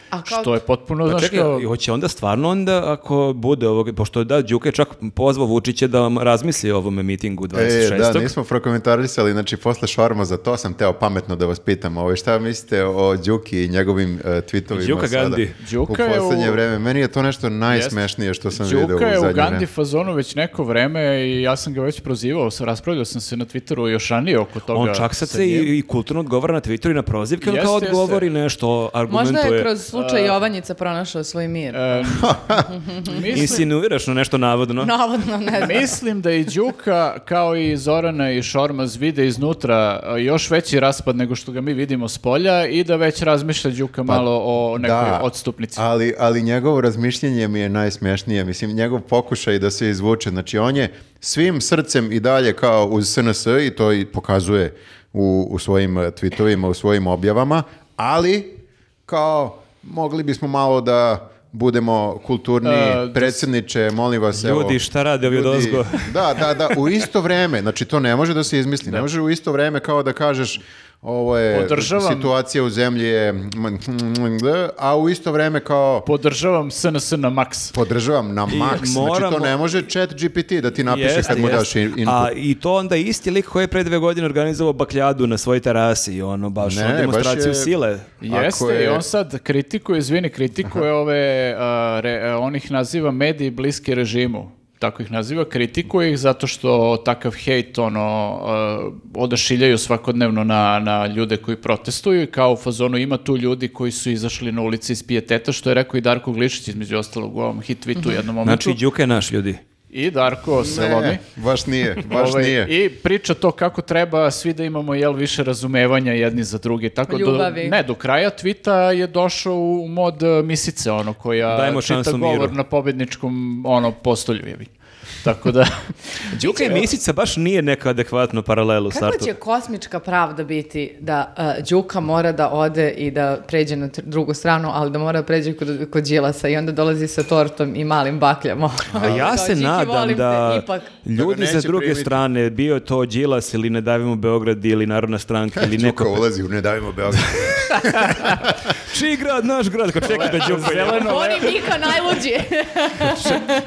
[SPEAKER 4] A kao-
[SPEAKER 2] Što je potpuno,
[SPEAKER 3] Pa
[SPEAKER 2] znaš,
[SPEAKER 3] čekaj,
[SPEAKER 2] kao-
[SPEAKER 3] i hoće onda stvarno onda ako bude ovog, pošto da, Đuka je čak pozvao Vučića da vam razmisli o ovom mitingu 26.
[SPEAKER 1] E, da, nismo prokomentarisali, znači posle šorma za to sam teo pametno da vas pitam, ovaj, šta mislite o Đuki i njegovim uh, tweetovima
[SPEAKER 3] Đuka
[SPEAKER 1] sada?
[SPEAKER 3] Gandhi.
[SPEAKER 2] Đuka
[SPEAKER 1] u
[SPEAKER 2] je
[SPEAKER 1] poslednje
[SPEAKER 2] u-
[SPEAKER 1] vreme. Meni je to nešto najsmešnije što sam vidio u
[SPEAKER 2] Đuka je
[SPEAKER 1] zadnje
[SPEAKER 2] u Gandhi
[SPEAKER 1] vreme.
[SPEAKER 2] fazonu već neko vreme i ja sam ga već prozivao, sam- raspravljao sam se na Twitteru još ranije oko toga.
[SPEAKER 3] On čak sad
[SPEAKER 2] sa
[SPEAKER 3] se
[SPEAKER 2] njim.
[SPEAKER 3] i, i kulturno odgovara na Twitteru i na prozivke, on
[SPEAKER 2] Jeste,
[SPEAKER 3] kao
[SPEAKER 2] jeste.
[SPEAKER 3] odgovori nešto,
[SPEAKER 4] Možda
[SPEAKER 3] argumentuje.
[SPEAKER 4] je kroz slučaj Jovanjica pronašao svoj mir.
[SPEAKER 2] E, Mhm. mislim-
[SPEAKER 3] Insinuiraš na nešto navodno.
[SPEAKER 4] Navodno, ne znam.
[SPEAKER 2] Mislim da i Đuka, kao i Zorana i Šormaz, vide iznutra a, još veći raspad nego što ga mi vidimo s polja i da već razmišlja Đuka malo o nekoj odstupnici.
[SPEAKER 1] Ali, ali njegovo razmišljenje mi je najsmešnije. Mislim, njegov pokušaj da se izvuče. Znači, on je svim srcem i dalje kao uz SNS i to i pokazuje u, u svojim eh, tweetovima, u svojim objavama, ali kao mogli bismo malo da budemo kulturni
[SPEAKER 2] E, da-
[SPEAKER 1] predsjedniče, molim vas.
[SPEAKER 3] Ljudi,
[SPEAKER 1] evo,
[SPEAKER 3] šta rade ovi
[SPEAKER 1] ljudi-
[SPEAKER 3] odozgo?
[SPEAKER 1] *laughs* Da, da, da, u isto vreme, znači to ne može da se izmisli, ne može u isto vreme kao da kažeš ovo je
[SPEAKER 2] Podržavam.
[SPEAKER 1] situacija u zemlji je, a u isto vreme kao
[SPEAKER 2] Podržavam SNS na maks.
[SPEAKER 1] podržavam na maks, znači
[SPEAKER 3] moramo-
[SPEAKER 1] to ne može chat GPT da ti napiše kad mu daš in- input.
[SPEAKER 3] A i to onda isti lik koji je pre dve godine organizovao bakljadu na svoj terasi i ono baš
[SPEAKER 1] Ne,
[SPEAKER 3] ono
[SPEAKER 1] baš
[SPEAKER 3] demonstraciju
[SPEAKER 1] je-
[SPEAKER 3] sile.
[SPEAKER 1] Ako
[SPEAKER 2] Jeste,
[SPEAKER 1] je-
[SPEAKER 2] i on sad kritikuje, izvini, kritikuje ove, a, re- a, on ih naziva mediji bliski režimu. Tako ih naziva, kritikuje ih zato što takav hejt ono, a, odašiljaju svakodnevno na, na ljude koji protestuju i kao u fazonu ima tu ljudi koji su izašli na ulici iz pijeteta, što je rekao i Darko Glišić između ostalog u ovom hit tweetu u jednom momentu.
[SPEAKER 3] Znači, Đuka je naš, ljudi.
[SPEAKER 2] I Darko se lomi.
[SPEAKER 1] Mhm. ne, baš nije, baš
[SPEAKER 2] Ovaj,
[SPEAKER 1] nije.
[SPEAKER 2] I priča to kako treba svi da imamo jel više razumevanja jedni za druge. Tako do,
[SPEAKER 4] Ljubavi.
[SPEAKER 2] ne, do kraja tvita je došao u mod e, misice ono koja
[SPEAKER 3] Dajmo
[SPEAKER 2] čita
[SPEAKER 3] šansu
[SPEAKER 2] govor
[SPEAKER 3] miru.
[SPEAKER 2] na pobedničkom ono postolju. jebi. Tako da,
[SPEAKER 3] *laughs* Đuka i Misica baš nije neka adekvatno paralelu u startu.
[SPEAKER 4] Kako će kosmička pravda biti da a, Đuka mora da ode i da pređe na tr- drugu stranu, ali da mora da pređe kod, kod Đilasa i onda dolazi sa tortom i malim bakljama.
[SPEAKER 3] A ja
[SPEAKER 4] Kao,
[SPEAKER 3] se
[SPEAKER 4] "Điki,
[SPEAKER 3] nadam
[SPEAKER 4] volim te,
[SPEAKER 3] da
[SPEAKER 4] ipak."
[SPEAKER 1] Da
[SPEAKER 3] ljudi
[SPEAKER 1] ga
[SPEAKER 3] sa
[SPEAKER 1] neće
[SPEAKER 3] druge
[SPEAKER 1] primiti.
[SPEAKER 3] strane, bio to Đilas ili Ne davimo Beograd ili Narodna stranka
[SPEAKER 1] *laughs*
[SPEAKER 3] ili
[SPEAKER 1] Đuka
[SPEAKER 3] neko...
[SPEAKER 1] ulazi u Ne davimo Beograd.
[SPEAKER 3] Čiji grad, naš grad, ko čeka da Đuka...
[SPEAKER 2] zeleno,
[SPEAKER 4] Oni Mika najluđi.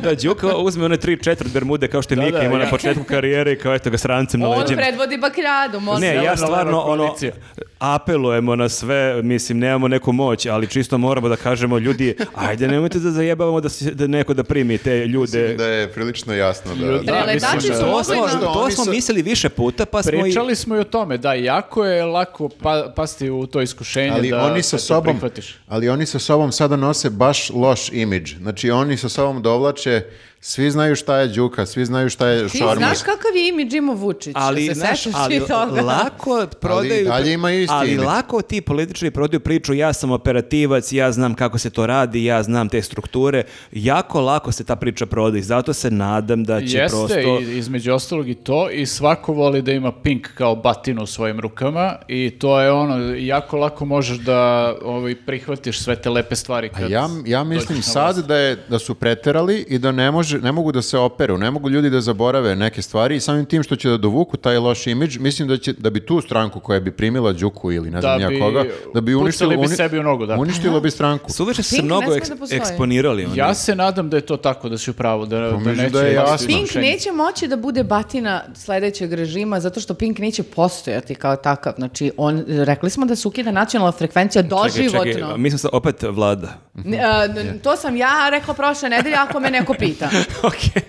[SPEAKER 3] Da, Đuka uzme one tri četvrt bermude kao što je
[SPEAKER 2] Da,
[SPEAKER 3] Mika
[SPEAKER 2] da,
[SPEAKER 3] imao
[SPEAKER 2] ja.
[SPEAKER 3] na početku karijere i kao eto ga srancem na
[SPEAKER 4] On
[SPEAKER 3] leđima.
[SPEAKER 4] predvodi bakljadu, molim.
[SPEAKER 3] Ono Ne, ja
[SPEAKER 2] Zeleno-leva
[SPEAKER 3] stvarno ono,
[SPEAKER 2] koalicija.
[SPEAKER 3] apelujemo na sve, mislim, nemamo neku moć, ali čisto moramo da kažemo ljudi, ajde, nemojte da zajebavamo da, se, da neko da primi te ljude.
[SPEAKER 1] da je Znači prilično jasno da...
[SPEAKER 2] Da,
[SPEAKER 4] Preletači
[SPEAKER 2] mislim
[SPEAKER 4] su
[SPEAKER 2] da-
[SPEAKER 3] To
[SPEAKER 4] mogli
[SPEAKER 3] smo,
[SPEAKER 1] Možda
[SPEAKER 4] na-
[SPEAKER 3] to
[SPEAKER 1] oni
[SPEAKER 3] smo
[SPEAKER 1] su-
[SPEAKER 3] mislili više puta, pa smo i...
[SPEAKER 2] Pričali smo i o tome, da, jako je lako pa, pasti u to iskušenje
[SPEAKER 1] Ali
[SPEAKER 2] da
[SPEAKER 1] oni sa
[SPEAKER 2] da to
[SPEAKER 1] sobom,
[SPEAKER 2] prihvatiš.
[SPEAKER 1] ali oni sa sobom sada nose baš loš imidž. Znači oni sa sobom dovlače, svi znaju šta je Đuka, svi znaju šta je
[SPEAKER 4] Ti
[SPEAKER 1] Šormaz.
[SPEAKER 4] znaš kakav je imi Džimo Vučić?
[SPEAKER 3] ali,
[SPEAKER 4] se
[SPEAKER 3] znaš,
[SPEAKER 4] sećaš
[SPEAKER 3] ali
[SPEAKER 4] ti toga?
[SPEAKER 3] lako prodaju
[SPEAKER 1] dalje ima isti
[SPEAKER 3] ali
[SPEAKER 1] imidž.
[SPEAKER 3] lako ti političari prodaju priču ja sam operativac, ja znam kako se to radi ja znam te strukture jako lako se ta priča prodaje zato se nadam da
[SPEAKER 1] Znači,
[SPEAKER 3] će
[SPEAKER 2] Jeste,
[SPEAKER 3] prosto
[SPEAKER 2] i- između ostalog i to, i svako voli da ima pink kao batinu u svojim rukama i to je ono, jako lako možeš da ovaj, prihvatiš sve te lepe stvari.
[SPEAKER 1] A
[SPEAKER 2] kad
[SPEAKER 1] ja, ja
[SPEAKER 2] dođeš na
[SPEAKER 1] mislim
[SPEAKER 2] vlast.
[SPEAKER 1] sad da, je, da su preterali i da ne, može, ne mogu da se operu, ne mogu ljudi da zaborave neke stvari i samim tim što će da dovuku taj loš imidž, mislim da, će, da bi tu stranku koja bi primila Đuku ili ne znam
[SPEAKER 2] Da
[SPEAKER 1] ja
[SPEAKER 2] bi-
[SPEAKER 1] koga, da bi uništilo,
[SPEAKER 2] pucali bi sebi u nogu, da.
[SPEAKER 1] uništilo bi stranku.
[SPEAKER 3] suviše su se
[SPEAKER 4] Pink ne
[SPEAKER 3] mnogo
[SPEAKER 4] sme
[SPEAKER 3] eks-
[SPEAKER 4] da postoji.
[SPEAKER 3] eksponirali oni.
[SPEAKER 2] Ja se nadam da je to tako, da si u pravu, da, da
[SPEAKER 1] Pa mislim
[SPEAKER 2] neće...
[SPEAKER 1] da je
[SPEAKER 2] imati
[SPEAKER 1] jasno.
[SPEAKER 4] Pink
[SPEAKER 2] iskušenje.
[SPEAKER 4] neće moći da bude batina sledećeg režima zato što Pink neće postojati kao takav. Znači, on, rekli smo da se ukida nacionalna frekvencija
[SPEAKER 3] Čekaj,
[SPEAKER 4] doživotno.
[SPEAKER 3] čekaj, mi smo sad opet vlada.
[SPEAKER 2] *laughs*
[SPEAKER 1] Mhm.
[SPEAKER 4] Ne, a, n- to sam ja rekla prošle nedelje ako me neko pita.
[SPEAKER 3] Okej.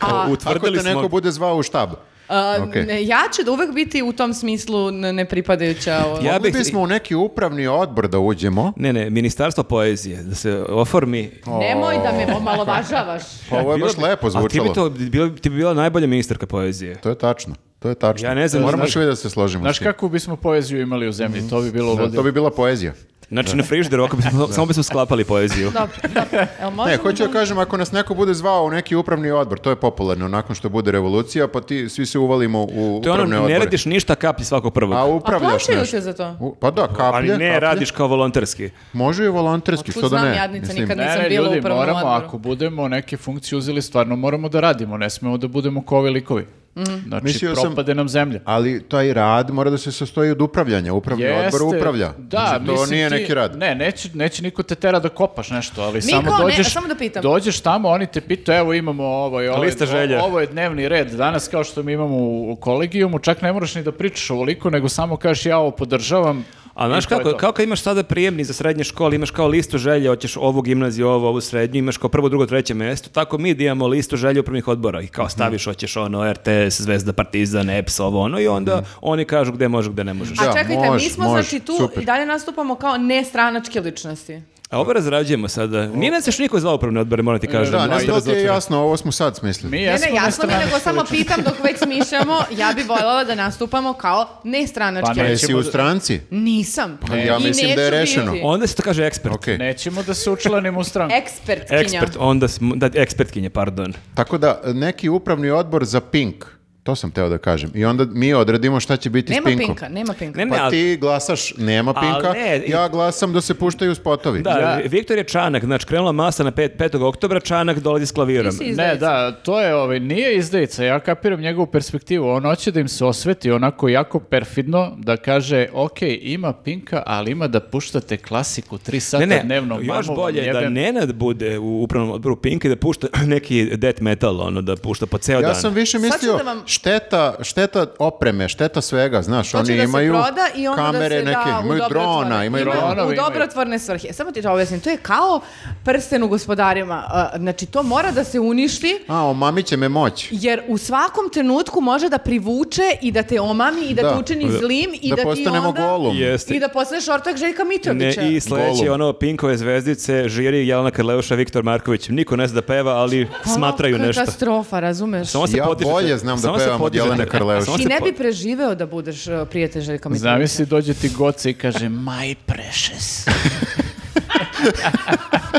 [SPEAKER 4] A-
[SPEAKER 1] Ako
[SPEAKER 3] Utvrdili
[SPEAKER 1] te
[SPEAKER 3] smo...
[SPEAKER 1] neko bude zvao u štab. *laughs*
[SPEAKER 4] A,
[SPEAKER 1] Okej.
[SPEAKER 4] ne, ja ću da uvek biti u tom smislu n- nepripadajuća. o-
[SPEAKER 3] Ja
[SPEAKER 1] Mogli
[SPEAKER 3] bih-
[SPEAKER 1] bismo u neki upravni odbor da uđemo.
[SPEAKER 3] Ne, ne, ministarstvo poezije, da se oformi.
[SPEAKER 4] Nemoj da me
[SPEAKER 1] *laughs*
[SPEAKER 4] omalovažavaš.
[SPEAKER 1] Pa ovo je
[SPEAKER 3] Bilo
[SPEAKER 1] baš
[SPEAKER 3] bi-
[SPEAKER 1] lepo
[SPEAKER 3] A ti bi,
[SPEAKER 1] zvučalo.
[SPEAKER 3] to, bilo, ti bi bila najbolja ministarka poezije.
[SPEAKER 1] To je tačno. To je tačno.
[SPEAKER 3] Ja ne znam,
[SPEAKER 1] Moramo
[SPEAKER 3] znaš-
[SPEAKER 1] što da se složimo.
[SPEAKER 2] Znaš
[SPEAKER 1] svi.
[SPEAKER 2] kako bismo poeziju imali u zemlji, to bi bilo
[SPEAKER 1] Da,
[SPEAKER 2] ludilo.
[SPEAKER 1] to bi bila poezija.
[SPEAKER 3] Znači na
[SPEAKER 1] *laughs*
[SPEAKER 3] frižderu, ako bismo, samo bismo sklapali poeziju.
[SPEAKER 4] Dobro, dobro. Jel
[SPEAKER 1] Ne,
[SPEAKER 4] možemo
[SPEAKER 1] hoću da
[SPEAKER 4] da-
[SPEAKER 1] kažem, ako nas neko bude zvao u neki upravni odbor, to je popularno, nakon što bude revolucija, pa ti svi se uvalimo u
[SPEAKER 3] To je ono,
[SPEAKER 1] upravne
[SPEAKER 3] ne
[SPEAKER 1] odbore.
[SPEAKER 3] radiš ništa, kapi svako prvog.
[SPEAKER 1] A
[SPEAKER 4] A
[SPEAKER 1] upravljaš
[SPEAKER 4] plaćaju
[SPEAKER 1] nešto.
[SPEAKER 4] te za to?
[SPEAKER 1] U- Pa da,
[SPEAKER 3] Ali
[SPEAKER 1] kaplje.
[SPEAKER 3] ne,
[SPEAKER 1] kaplje.
[SPEAKER 3] radiš kao volonterski.
[SPEAKER 1] Može i volonterski,
[SPEAKER 4] Otkud
[SPEAKER 1] što da
[SPEAKER 4] znam,
[SPEAKER 1] ne.
[SPEAKER 4] jadnica,
[SPEAKER 1] mislim.
[SPEAKER 4] nikad
[SPEAKER 2] Ne,
[SPEAKER 4] Nisam
[SPEAKER 2] ne,
[SPEAKER 4] bila u
[SPEAKER 2] ljudi,
[SPEAKER 4] upravnom
[SPEAKER 2] moramo,
[SPEAKER 4] odboru.
[SPEAKER 2] ako budemo neke funkcije uzeli, stvarno moramo da radimo, ne smemo da budemo kovi likovi.
[SPEAKER 4] Mhm.
[SPEAKER 2] Znači,
[SPEAKER 1] Mislio sam-
[SPEAKER 2] propade nam zemlja.
[SPEAKER 1] Ali taj rad mora da se sastoji od upravljanja. Upravni odbor upravlja.
[SPEAKER 2] Da,
[SPEAKER 1] Znači, to
[SPEAKER 2] mislim
[SPEAKER 1] nije
[SPEAKER 2] ti-
[SPEAKER 1] neki rad.
[SPEAKER 2] Ne, neće, neće niko te tera da kopaš nešto, ali
[SPEAKER 4] Miko,
[SPEAKER 2] samo
[SPEAKER 4] ne,
[SPEAKER 2] dođeš,
[SPEAKER 4] samo da pitam.
[SPEAKER 2] dođeš tamo, oni te pitaju, evo imamo ovo i ovo,
[SPEAKER 3] Lista želja.
[SPEAKER 2] o- ovo je dnevni red danas, kao što mi imamo u, u kolegijumu, čak ne moraš ni da pričaš ovoliko, nego samo kažeš ja ovo podržavam.
[SPEAKER 3] A
[SPEAKER 2] i
[SPEAKER 3] znaš
[SPEAKER 2] to je
[SPEAKER 3] kako,
[SPEAKER 2] to.
[SPEAKER 3] kako imaš sada prijemni za srednje škole, imaš kao listu želje, hoćeš ovu gimnaziju, ovo, ovu srednju, imaš kao prvo, drugo, treće mesto, tako mi da imamo listu želje upravnih odbora i kao
[SPEAKER 1] Mhm.
[SPEAKER 3] staviš, hoćeš ono, RTS, Zvezda, Partizan, EPS, ovo, ono i
[SPEAKER 1] Mhm.
[SPEAKER 3] onda oni kažu gde možeš, gde ne možeš.
[SPEAKER 1] Da,
[SPEAKER 4] A čekajte,
[SPEAKER 1] može,
[SPEAKER 4] mi smo
[SPEAKER 1] može,
[SPEAKER 4] znači tu
[SPEAKER 1] super.
[SPEAKER 4] i dalje nastupamo kao nestranačke ličnosti.
[SPEAKER 3] A ovo razrađujemo sada. Nije nas još niko zvao upravne odbore, moram ti kažem.
[SPEAKER 1] Da, ne
[SPEAKER 3] Dosta
[SPEAKER 1] znam da li ti je
[SPEAKER 3] razočaran.
[SPEAKER 1] jasno, ovo smo sad smislili.
[SPEAKER 2] Mi
[SPEAKER 4] Ne,
[SPEAKER 2] jesmo
[SPEAKER 4] ne, jasno mi, je, nego
[SPEAKER 2] nestranački
[SPEAKER 4] samo
[SPEAKER 2] lični.
[SPEAKER 4] pitam dok već smišljamo, ja bi voljela da nastupamo kao nestranačke
[SPEAKER 2] Pa
[SPEAKER 1] Pa
[SPEAKER 2] ne.
[SPEAKER 4] ličnosti.
[SPEAKER 1] jesi u stranci?
[SPEAKER 4] Nisam.
[SPEAKER 1] Pa ja
[SPEAKER 4] I
[SPEAKER 1] mislim da je
[SPEAKER 4] neću
[SPEAKER 1] rešeno.
[SPEAKER 4] biti.
[SPEAKER 3] Onda se to kaže ekspert.
[SPEAKER 1] Okej.
[SPEAKER 2] Nećemo da se učlanimo u stranku.
[SPEAKER 4] Ekspertkinja.
[SPEAKER 3] Ekspert, onda, smo- da, ekspertkinje, pardon.
[SPEAKER 1] Tako da, neki upravni odbor za Pink, to sam teo da kažem. I onda mi odredimo šta će biti s
[SPEAKER 4] Nema
[SPEAKER 1] Pinkom.
[SPEAKER 4] pinka, nema pinka.
[SPEAKER 3] Ne, ne,
[SPEAKER 1] Pa
[SPEAKER 3] ali-
[SPEAKER 1] ti glasaš, nema
[SPEAKER 3] Ali
[SPEAKER 1] Pinka,
[SPEAKER 3] ne, i-
[SPEAKER 1] ja glasam da se puštaju spotovi.
[SPEAKER 3] Da,
[SPEAKER 2] Ja-
[SPEAKER 3] Viktor je Čanak, znači krenula masa na pet- 5. oktobra, Čanak dolazi s klavirom.
[SPEAKER 4] Ti si
[SPEAKER 2] Ne,
[SPEAKER 4] izdajica.
[SPEAKER 2] da, to je, ovaj, nije izdajica, ja kapiram njegovu perspektivu, on hoće da im se osveti onako jako perfidno, da kaže, ok, ima Pinka, ali ima da puštate klasiku tri sata
[SPEAKER 3] Ne, ne,
[SPEAKER 2] dnevno.
[SPEAKER 3] još
[SPEAKER 2] mamu vam
[SPEAKER 3] bolje da
[SPEAKER 2] Dakle, jebem.
[SPEAKER 3] Nenad bude u upravnom odboru Pinka i da pušta *clears throat* neki death metal, ono, da pušta po ceo
[SPEAKER 1] Ja
[SPEAKER 3] dan.
[SPEAKER 1] sam više
[SPEAKER 4] Sad ću
[SPEAKER 1] mislio
[SPEAKER 4] da vam-
[SPEAKER 1] šteta, šteta opreme, šteta svega, znaš,
[SPEAKER 4] To će
[SPEAKER 1] oni
[SPEAKER 4] Znači da se
[SPEAKER 1] imaju
[SPEAKER 4] proda i onda da
[SPEAKER 1] kamere
[SPEAKER 4] se da
[SPEAKER 1] neke,
[SPEAKER 4] u
[SPEAKER 1] imaju
[SPEAKER 4] dobrotvorne-
[SPEAKER 1] drona, imaju
[SPEAKER 2] Ima-
[SPEAKER 1] drona.
[SPEAKER 2] dronove,
[SPEAKER 4] u
[SPEAKER 2] imaju.
[SPEAKER 4] dobrotvorne svrhe. E, Samo ti to objasnim, to je kao prsten u gospodarima. A, Znači, to mora da se uništi
[SPEAKER 1] A, omamit će me moć.
[SPEAKER 4] Jer u svakom trenutku može da privuče i da te omami i da,
[SPEAKER 1] Da.
[SPEAKER 4] te učini zlim i
[SPEAKER 1] da
[SPEAKER 4] da, ti
[SPEAKER 1] postanemo
[SPEAKER 4] onda...
[SPEAKER 1] golum.
[SPEAKER 3] Jeste.
[SPEAKER 4] I da postaneš ortak Željka
[SPEAKER 3] Ne,
[SPEAKER 4] Mitrovića.
[SPEAKER 3] I sledeći
[SPEAKER 1] Golub.
[SPEAKER 3] ono Pinkove zvezdice, žiri Jelena Karleuša, Viktor Marković. Niko ne zna da peva, ali
[SPEAKER 4] Ono,
[SPEAKER 3] smatraju nešto.
[SPEAKER 4] Katastrofa, razumeš?
[SPEAKER 3] Samo se
[SPEAKER 1] Ja
[SPEAKER 3] podižete.
[SPEAKER 1] bolje znam da
[SPEAKER 3] Samo se
[SPEAKER 1] pevam od
[SPEAKER 3] podižete.
[SPEAKER 1] Jelene Karleuše.
[SPEAKER 3] *laughs* Samo se
[SPEAKER 4] Ti ne
[SPEAKER 3] po-
[SPEAKER 4] bi preživeo da budeš uh, prijatelj Željka Mitrovića.
[SPEAKER 2] Zamisli, dođe ti goca i kaže, my precious.
[SPEAKER 4] *laughs*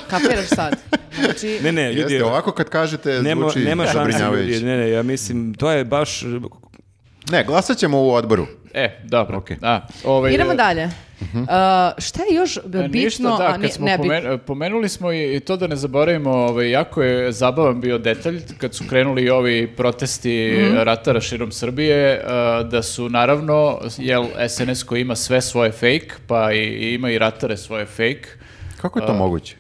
[SPEAKER 4] Kapiraš sad? Znači,
[SPEAKER 3] Ne, ne, ljudi,
[SPEAKER 1] Jeste, ovako kad kažete
[SPEAKER 3] nema,
[SPEAKER 1] zvuči
[SPEAKER 3] nema šanse,
[SPEAKER 1] zabrinjavajuće.
[SPEAKER 3] ljudi, ne, ne, ja mislim, to je baš,
[SPEAKER 1] Ne, glasat ćemo u odboru.
[SPEAKER 2] E, dobro. Da, ovaj,
[SPEAKER 4] Idemo
[SPEAKER 2] e,
[SPEAKER 4] dalje.
[SPEAKER 1] Mhm.
[SPEAKER 4] Uh, šta je još
[SPEAKER 2] e,
[SPEAKER 4] bitno,
[SPEAKER 2] Ništa, da,
[SPEAKER 4] a
[SPEAKER 2] kad
[SPEAKER 4] ni-
[SPEAKER 2] smo
[SPEAKER 4] nebitno?
[SPEAKER 2] pomen- e, pomenuli smo i, i to da ne zaboravimo, ovaj, jako je zabavan bio detalj kad su krenuli ovi protesti
[SPEAKER 4] Mhm.
[SPEAKER 2] ratara širom Srbije, e, da su naravno, jel SNS koji ima sve svoje fake, pa i, i ima i ratare svoje fake,
[SPEAKER 1] Kako je to moguće?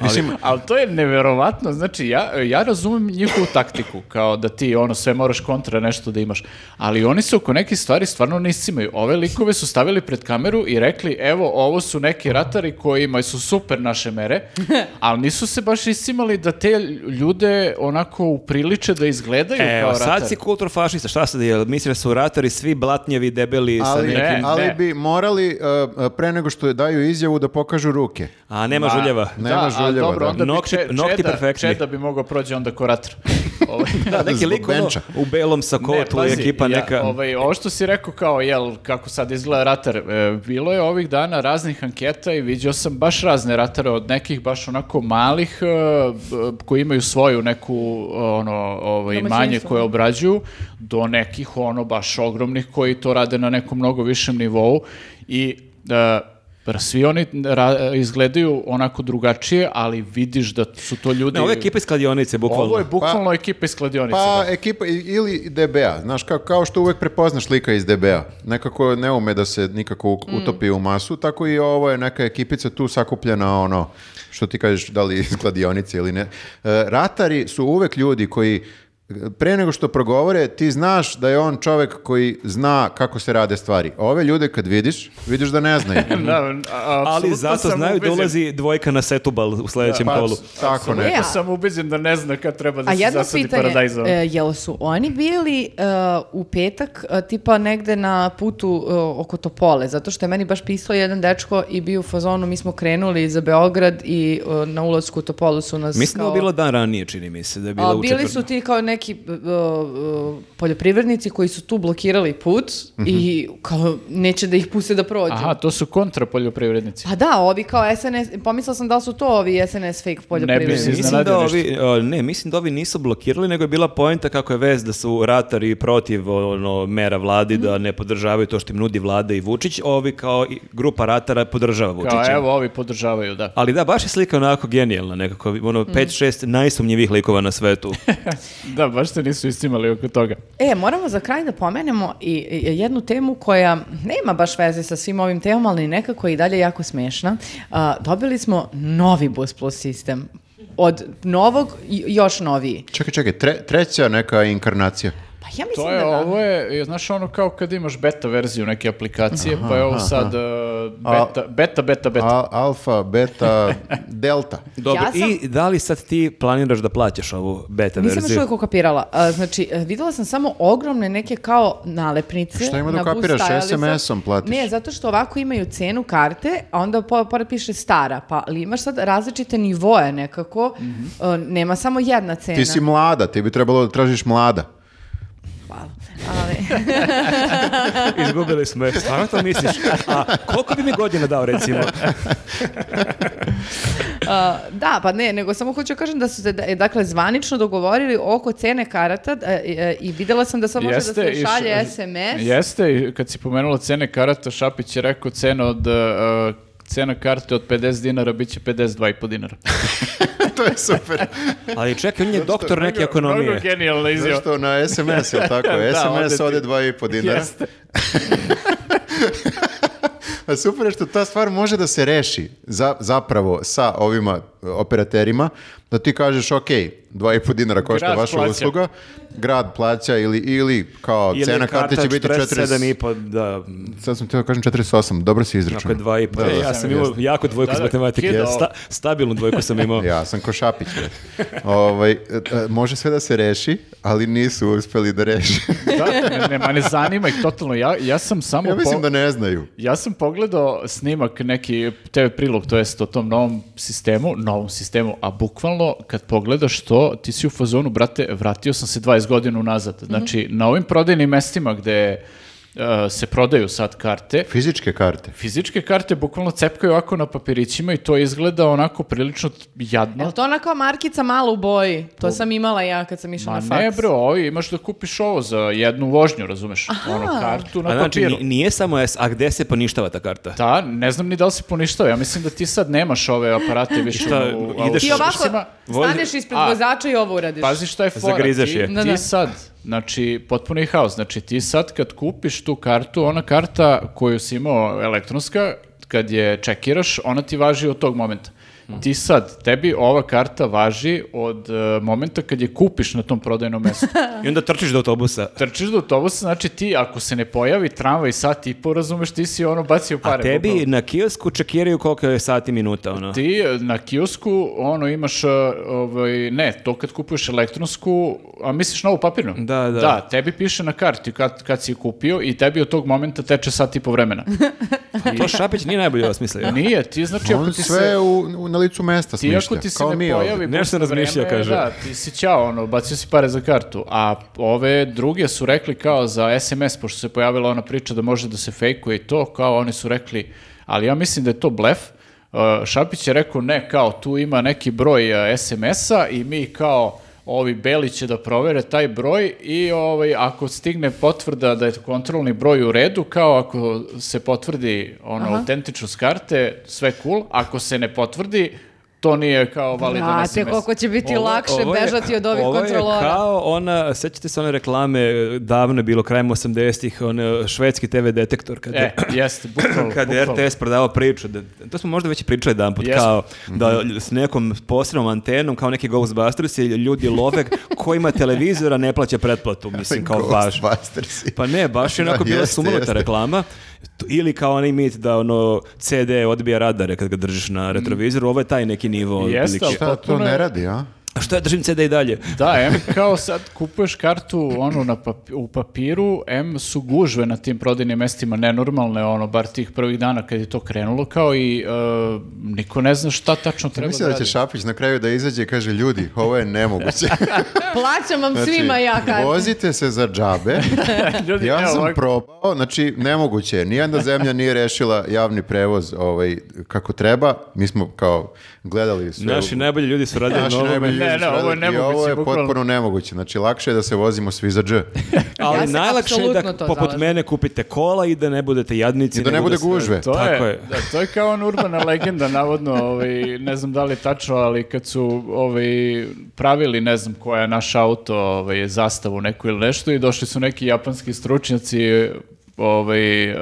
[SPEAKER 2] Ali, ali to je neverovatno, znači ja, ja razumem njihovu taktiku, kao da ti ono sve moraš kontra nešto da imaš, ali oni se oko nekih stvari stvarno ne iscimaju. Ove likove su stavili pred kameru i rekli evo ovo su neki ratari kojima su super naše
[SPEAKER 3] *laughs*
[SPEAKER 2] mere, ali nisu se baš iscimali da te ljude onako upriliče da izgledaju kao
[SPEAKER 3] evo, sad
[SPEAKER 2] ratari.
[SPEAKER 3] si kulturfašista, šta sad je, misliš da su ratari svi blatnjavi,
[SPEAKER 2] e,
[SPEAKER 3] debeli, sa
[SPEAKER 1] Ali,
[SPEAKER 3] nekim,
[SPEAKER 2] ne.
[SPEAKER 1] ali bi morali uh, pre nego što daju izjavu da pokažu ruke.
[SPEAKER 3] a nema
[SPEAKER 2] *laughs*
[SPEAKER 3] žuljeva.
[SPEAKER 2] Da,
[SPEAKER 1] Nema
[SPEAKER 2] a
[SPEAKER 1] žuljeva,
[SPEAKER 2] dobro,
[SPEAKER 1] da.
[SPEAKER 2] onda bi
[SPEAKER 3] Nokti-
[SPEAKER 2] Če-
[SPEAKER 3] nokti
[SPEAKER 2] Čeda-
[SPEAKER 3] perfektni.
[SPEAKER 2] Čeda bi mogao prođe onda ko ratar.
[SPEAKER 3] *laughs*
[SPEAKER 2] Ovaj,
[SPEAKER 3] Da, neki
[SPEAKER 1] Zbog
[SPEAKER 3] lik ono,
[SPEAKER 1] benča.
[SPEAKER 3] u belom sakotu,
[SPEAKER 2] pazi,
[SPEAKER 3] ekipa
[SPEAKER 2] ja,
[SPEAKER 3] neka...
[SPEAKER 2] ovaj, ovo što si rekao kao, jel, kako sad izgleda ratar, e, bilo je ovih dana raznih anketa i viđao sam baš razne ratare od nekih baš onako malih e, b- koji imaju svoju neku ono, ovaj,
[SPEAKER 4] Domaćinstvo.
[SPEAKER 2] manje koje obrađuju do nekih ono baš ogromnih koji to rade na nekom mnogo višem nivou i e, svi oni ra- izgledaju onako drugačije, ali vidiš da su to ljudi...
[SPEAKER 3] Ne, Pa- ovo je ekipa iz kladionice, bukvalno.
[SPEAKER 2] Ovo je bukvalno ekipa iz kladionice. da.
[SPEAKER 1] Pa ekipa i- ili DBA, znaš kao, kao što uvek prepoznaš lika iz DBA, nekako ne ume da se nikako u- utopi u masu, tako i ovo je neka ekipica tu sakupljena ono, što ti kažeš da li iz kladionice ili ne. E, ratari su uvek ljudi koji e, pre nego što progovore, ti znaš da je on čovek koji zna kako se rade stvari. A Ove ljude kad vidiš, vidiš da ne znaju.
[SPEAKER 2] *laughs* Da, a-
[SPEAKER 3] Ali
[SPEAKER 2] apsolutno
[SPEAKER 3] zato
[SPEAKER 2] sam
[SPEAKER 3] znaju da
[SPEAKER 2] ubeđen-
[SPEAKER 3] ulazi dvojka na setubal u sljedećem
[SPEAKER 1] Pa,
[SPEAKER 3] kolu.
[SPEAKER 1] tako
[SPEAKER 2] Apsolutno
[SPEAKER 1] ne.
[SPEAKER 4] E, a-
[SPEAKER 2] sam ubeđen da ne zna kad treba da
[SPEAKER 4] A
[SPEAKER 2] se
[SPEAKER 4] jedno
[SPEAKER 2] zasadi
[SPEAKER 4] pitanje,
[SPEAKER 2] paradajza.
[SPEAKER 4] e, jel su oni bili e, u petak e, tipa negde na putu e, oko Topole? Zato što je meni baš pisao jedan dečko i bio u fazonu, mi smo krenuli za Beograd i e, na ulazku u Topolu su nas
[SPEAKER 3] Mislim da
[SPEAKER 4] kao-
[SPEAKER 3] je bilo dan ranije, čini mi se, da je bilo
[SPEAKER 4] A,
[SPEAKER 3] u
[SPEAKER 4] bili
[SPEAKER 3] četvrtak.
[SPEAKER 4] su ti kao neki e, e, poljoprivrednici koji su tu blokirali put i kao neće da ih puste da prođu.
[SPEAKER 2] Aha, to su kontra poljoprivrednici.
[SPEAKER 4] Pa da, ovi kao SNS, pomislila sam da li su to ovi SNS fake poljoprivrednici.
[SPEAKER 2] si
[SPEAKER 3] Mislim
[SPEAKER 2] iznenadio
[SPEAKER 3] da, ovi, o, ne, mislim da ovi nisu blokirali, nego je bila poenta kako je vez da su ratari protiv ono, mera vladi,
[SPEAKER 4] Mhm.
[SPEAKER 3] da ne podržavaju to što im nudi vlada i Vučić, ovi kao i grupa ratara podržava
[SPEAKER 2] Kao,
[SPEAKER 3] Vučića.
[SPEAKER 2] evo, ovi podržavaju, da.
[SPEAKER 3] Ali da, baš je slika onako genijalna nekako, ono,
[SPEAKER 4] Mm.
[SPEAKER 3] 5-6 najsumnjivih likova na
[SPEAKER 4] *laughs*
[SPEAKER 3] svetu.
[SPEAKER 2] Da, baš se nisu istimali oko toga.
[SPEAKER 4] E, moramo za kraj da pomenemo i, i jednu temu koja nema baš veze sa svim ovim temama, ali nekako je i dalje jako smešna. A, dobili smo novi Bus Plus sistem. Od novog, i- još noviji.
[SPEAKER 1] Čekaj, čekaj, tre- treća neka inkarnacija.
[SPEAKER 4] Pa ja mislim
[SPEAKER 2] To je,
[SPEAKER 4] da da.
[SPEAKER 2] ovo je, je, znaš, ono kao kad imaš beta verziju neke aplikacije, pa je ovo sad e, beta, beta, beta, beta.
[SPEAKER 1] A- alfa, beta, delta.
[SPEAKER 3] Dobro,
[SPEAKER 4] Ja sam-
[SPEAKER 3] i da li sad ti planiraš da plaćaš ovu beta
[SPEAKER 4] Nisam još
[SPEAKER 3] verziju?
[SPEAKER 4] uvijek ukapirala. A, znači, e, videla sam samo ogromne neke kao nalepnice.
[SPEAKER 1] Šta ima da
[SPEAKER 4] na bus
[SPEAKER 1] ukapiraš?
[SPEAKER 4] stajalica.
[SPEAKER 1] SMS-om platiš.
[SPEAKER 4] Ne, zato što ovako imaju cenu karte, a onda po, pored piše stara. Pa ali imaš sad različite nivoje nekako. E, nema samo jedna cena.
[SPEAKER 1] Mhm. Ti si mlada, ti bi trebalo da tražiš mlada.
[SPEAKER 4] Hvala. Ali...
[SPEAKER 3] Izgubili smo je. Stvarno to misliš? A koliko bi mi godina dao, recimo?
[SPEAKER 4] A, da, pa ne, nego samo hoću da kažem da su se, da- e, dakle, zvanično dogovorili oko cene karata d- e, e, i videla sam da sad može da se
[SPEAKER 2] i š-
[SPEAKER 4] šalje SMS.
[SPEAKER 2] Jeste, i kad si pomenula cene karata, Šapić je rekao cena od... e, cena karte od 50 dinara bit će 52,5 dinara.
[SPEAKER 1] *laughs* to je *laughs* super.
[SPEAKER 3] Ali čekaj, on je doktor neke ekonomije.
[SPEAKER 2] Mnogo genijalna izjava.
[SPEAKER 1] Zašto na SMS, je
[SPEAKER 3] *laughs*
[SPEAKER 1] tako?
[SPEAKER 2] Da, ode
[SPEAKER 1] SMS
[SPEAKER 2] ti.
[SPEAKER 1] ode dva i po dinara.
[SPEAKER 2] Jeste.
[SPEAKER 1] *laughs* A Pa super je što ta stvar može da se reši za, zapravo sa ovima e, operaterima, da ti kažeš, ok, dva i po dinara košta
[SPEAKER 2] Grad
[SPEAKER 1] vaša
[SPEAKER 2] plaća.
[SPEAKER 1] usluga, grad plaća ili, ili kao
[SPEAKER 3] Ili
[SPEAKER 1] cena
[SPEAKER 3] je karta
[SPEAKER 1] karte će biti
[SPEAKER 3] 47
[SPEAKER 1] 40...
[SPEAKER 3] i po, da,
[SPEAKER 1] Sad sam teo kažem 48, dobro si
[SPEAKER 3] ako
[SPEAKER 1] izračunao.
[SPEAKER 3] je 2 i po. E,
[SPEAKER 1] Da, da,
[SPEAKER 3] ja sam imao jako dvojku
[SPEAKER 2] Da,
[SPEAKER 3] iz
[SPEAKER 2] da,
[SPEAKER 3] matematike.
[SPEAKER 2] kidao.
[SPEAKER 3] Sta- stabilnu dvojku sam imao.
[SPEAKER 1] *laughs* Ja sam ko Šapić. bre. ovaj, e, e, može sve da se reši, ali nisu uspeli da reše.
[SPEAKER 2] da, ne, ne, ma ne zanima ih totalno. Ja, ja sam
[SPEAKER 1] *laughs*
[SPEAKER 2] samo...
[SPEAKER 1] ja
[SPEAKER 2] po-
[SPEAKER 1] mislim da ne znaju.
[SPEAKER 2] Ja sam pogledao snimak neki TV prilog, to jest o tom novom sistemu, novom sistemu, a bukvalno kad pogledaš to, ti si u
[SPEAKER 1] Mhm.
[SPEAKER 2] fazonu, brate, vratio sam se 20 godina unazad. Znači, na ovim prodajnim mestima gde e, se prodaju sad karte,
[SPEAKER 1] Fizičke karte.
[SPEAKER 2] fizičke karte bukvalno cepkaju ovako na papirićima i to izgleda onako prilično jadno.
[SPEAKER 4] Jel to ona kao markica malo u boji? To sam imala ja kad sam išla
[SPEAKER 2] Ma
[SPEAKER 4] na faks.
[SPEAKER 2] ne bro, ovi, imaš da kupiš ovo za jednu vožnju, razumeš? Ono, kartu na
[SPEAKER 3] A znači,
[SPEAKER 2] papiru.
[SPEAKER 3] ni- nije samo S, a gde se poništava ta karta?
[SPEAKER 2] Da, ne znam ni da li si poništao. Ja mislim da ti sad nemaš ove aparate više
[SPEAKER 3] šta,
[SPEAKER 2] u
[SPEAKER 3] ideš-
[SPEAKER 4] Ti ovako
[SPEAKER 2] autobusima.
[SPEAKER 3] vozi-
[SPEAKER 4] staneš ispred
[SPEAKER 2] A.
[SPEAKER 4] vozača i ovo uradiš.
[SPEAKER 2] Pazi šta je fora.
[SPEAKER 3] Zagrizeš
[SPEAKER 2] ti,
[SPEAKER 3] je.
[SPEAKER 2] ti
[SPEAKER 4] Da, da.
[SPEAKER 2] sad, znači, potpuno je haos. Znači, ti sad kad kupiš tu kartu, ona karta koju si imao elektronska, kad je čekiraš, ona ti važi od tog momenta. Ti sad, tebi ova karta važi od e, momenta kad je kupiš na tom prodajnom
[SPEAKER 4] *laughs*
[SPEAKER 2] mestu.
[SPEAKER 3] I onda trčiš do autobusa.
[SPEAKER 2] Trčiš do autobusa, znači ti ako se ne pojavi tramvaj sat i po, razumeš, ti si ono bacio pare.
[SPEAKER 3] A tebi
[SPEAKER 2] bukvalno.
[SPEAKER 3] na kiosku čekiraju koliko je sati minuta, ono.
[SPEAKER 2] Ti e, na kiosku, ono, imaš, e, ovaj, ne, to kad kupuješ elektronsku, a misliš na ovu papirnu?
[SPEAKER 3] Da, da.
[SPEAKER 2] Da, tebi piše na karti kad, kad si je kupio i tebi od tog momenta teče sat i po
[SPEAKER 3] *laughs*
[SPEAKER 2] vremena.
[SPEAKER 3] To Šapić nije najbolje *laughs* osmislio.
[SPEAKER 2] Nije, ti znači, ako
[SPEAKER 1] On
[SPEAKER 2] ti
[SPEAKER 1] sve
[SPEAKER 2] se...
[SPEAKER 1] u, u- na licu mesta
[SPEAKER 2] Ti
[SPEAKER 1] smišlja.
[SPEAKER 2] ako ti se
[SPEAKER 1] kao mi
[SPEAKER 2] ne
[SPEAKER 1] ovdje.
[SPEAKER 2] *laughs* pojavi...
[SPEAKER 3] Nešto sam
[SPEAKER 2] posle
[SPEAKER 3] razmišljao,
[SPEAKER 2] vremena,
[SPEAKER 3] kaže.
[SPEAKER 2] Da, ti si ćao, ono, bacio si pare za kartu. A ove druge su rekli kao za SMS, pošto se pojavila ona priča da može da se fejkuje i to, kao oni su rekli, ali ja mislim da je to blef, Uh, Šapić je rekao ne, kao tu ima neki broj uh, SMS-a i mi kao ovi beli će da provere taj broj i ovaj, ako stigne potvrda da je kontrolni broj u redu, kao ako se potvrdi ono, autentičnost karte, sve cool, ako se ne potvrdi, to nije kao validan
[SPEAKER 4] Znate
[SPEAKER 2] SMS.
[SPEAKER 4] koliko će biti
[SPEAKER 3] Ovo-
[SPEAKER 4] lakše
[SPEAKER 3] ovo je-
[SPEAKER 4] bežati od ovih kontrolora.
[SPEAKER 3] Ovo je kao ona, sećate se one reklame, eh, davno je bilo, krajem 80-ih, on eh, švedski TV detektor, kad
[SPEAKER 2] E,
[SPEAKER 3] je...
[SPEAKER 2] jeste, bukvalno.
[SPEAKER 3] *clears throat* Kad je
[SPEAKER 2] bukvalno.
[SPEAKER 3] RTS prodavao priču, da, to smo možda već i pričali jedan put,
[SPEAKER 2] Jesmo.
[SPEAKER 3] kao da s nekom posebnom antenom, kao neki Ghostbusters ljudi love *laughs* ko ima televizora ne plaća pretplatu, mislim, kao baš.
[SPEAKER 1] Ghostbustersi.
[SPEAKER 3] Pa ne, baš je
[SPEAKER 1] *laughs*
[SPEAKER 3] onako
[SPEAKER 1] Da,
[SPEAKER 3] bila
[SPEAKER 1] jeste,
[SPEAKER 3] sumnuta
[SPEAKER 1] jeste.
[SPEAKER 3] reklama. T- Ili kao onaj mit da ono CD odbija radare kad ga držiš na retrovizoru, ovo je taj neki nivo.
[SPEAKER 2] Jeste,
[SPEAKER 3] otprilike.
[SPEAKER 2] ali-
[SPEAKER 1] Šta to
[SPEAKER 2] Potpuno je-
[SPEAKER 1] ne radi, a?
[SPEAKER 3] A što ja držim CD i dalje?
[SPEAKER 2] Da, em kao sad kupuješ kartu ono na papi- u papiru, em su gužve na tim prodajnim mestima nenormalne, ono bar tih prvih dana kad je to krenulo, kao i e, niko ne zna šta tačno treba
[SPEAKER 1] Mislim
[SPEAKER 2] da
[SPEAKER 1] da
[SPEAKER 2] radi.
[SPEAKER 1] će Šapić na kraju da izađe i kaže ljudi, ovo je
[SPEAKER 2] *laughs*
[SPEAKER 1] nemoguće.
[SPEAKER 4] Plaćam vam svima ja
[SPEAKER 1] Znači,
[SPEAKER 4] kad.
[SPEAKER 1] Vozite se za džabe.
[SPEAKER 2] Ljudi,
[SPEAKER 1] Ja
[SPEAKER 2] evo,
[SPEAKER 1] sam
[SPEAKER 2] ovako-
[SPEAKER 1] probao, znači nemoguće, je. nijedna zemlja nije rešila javni prevoz ovaj, kako treba. Mi smo kao gledali sve.
[SPEAKER 3] Naši najbolji ljudi su radili
[SPEAKER 1] Naši
[SPEAKER 3] na ovome,
[SPEAKER 1] najbolji ljudi
[SPEAKER 2] Ne,
[SPEAKER 1] su
[SPEAKER 2] ne, ovo je
[SPEAKER 1] radili i ovo
[SPEAKER 2] nemoguće,
[SPEAKER 1] je
[SPEAKER 2] bukvalno.
[SPEAKER 1] potpuno nemoguće. Znači, lakše je da se vozimo svi za dž.
[SPEAKER 3] ali
[SPEAKER 4] Ja se
[SPEAKER 3] najlakše je da
[SPEAKER 4] apsolutno to
[SPEAKER 3] poput
[SPEAKER 4] zalažem.
[SPEAKER 3] mene kupite kola i da ne budete jadnici.
[SPEAKER 1] I da ne
[SPEAKER 3] nego
[SPEAKER 1] bude
[SPEAKER 3] sve-
[SPEAKER 1] gužve.
[SPEAKER 2] To
[SPEAKER 3] Tako
[SPEAKER 2] je,
[SPEAKER 3] je.
[SPEAKER 2] Da, to je kao ona urbana legenda, navodno, ovaj, ne znam da li je tačno, ali kad su ovaj, pravili, ne znam koja je naš auto, ovaj, zastavu neku ili nešto, i došli su neki japanski stručnjaci ovaj, eh,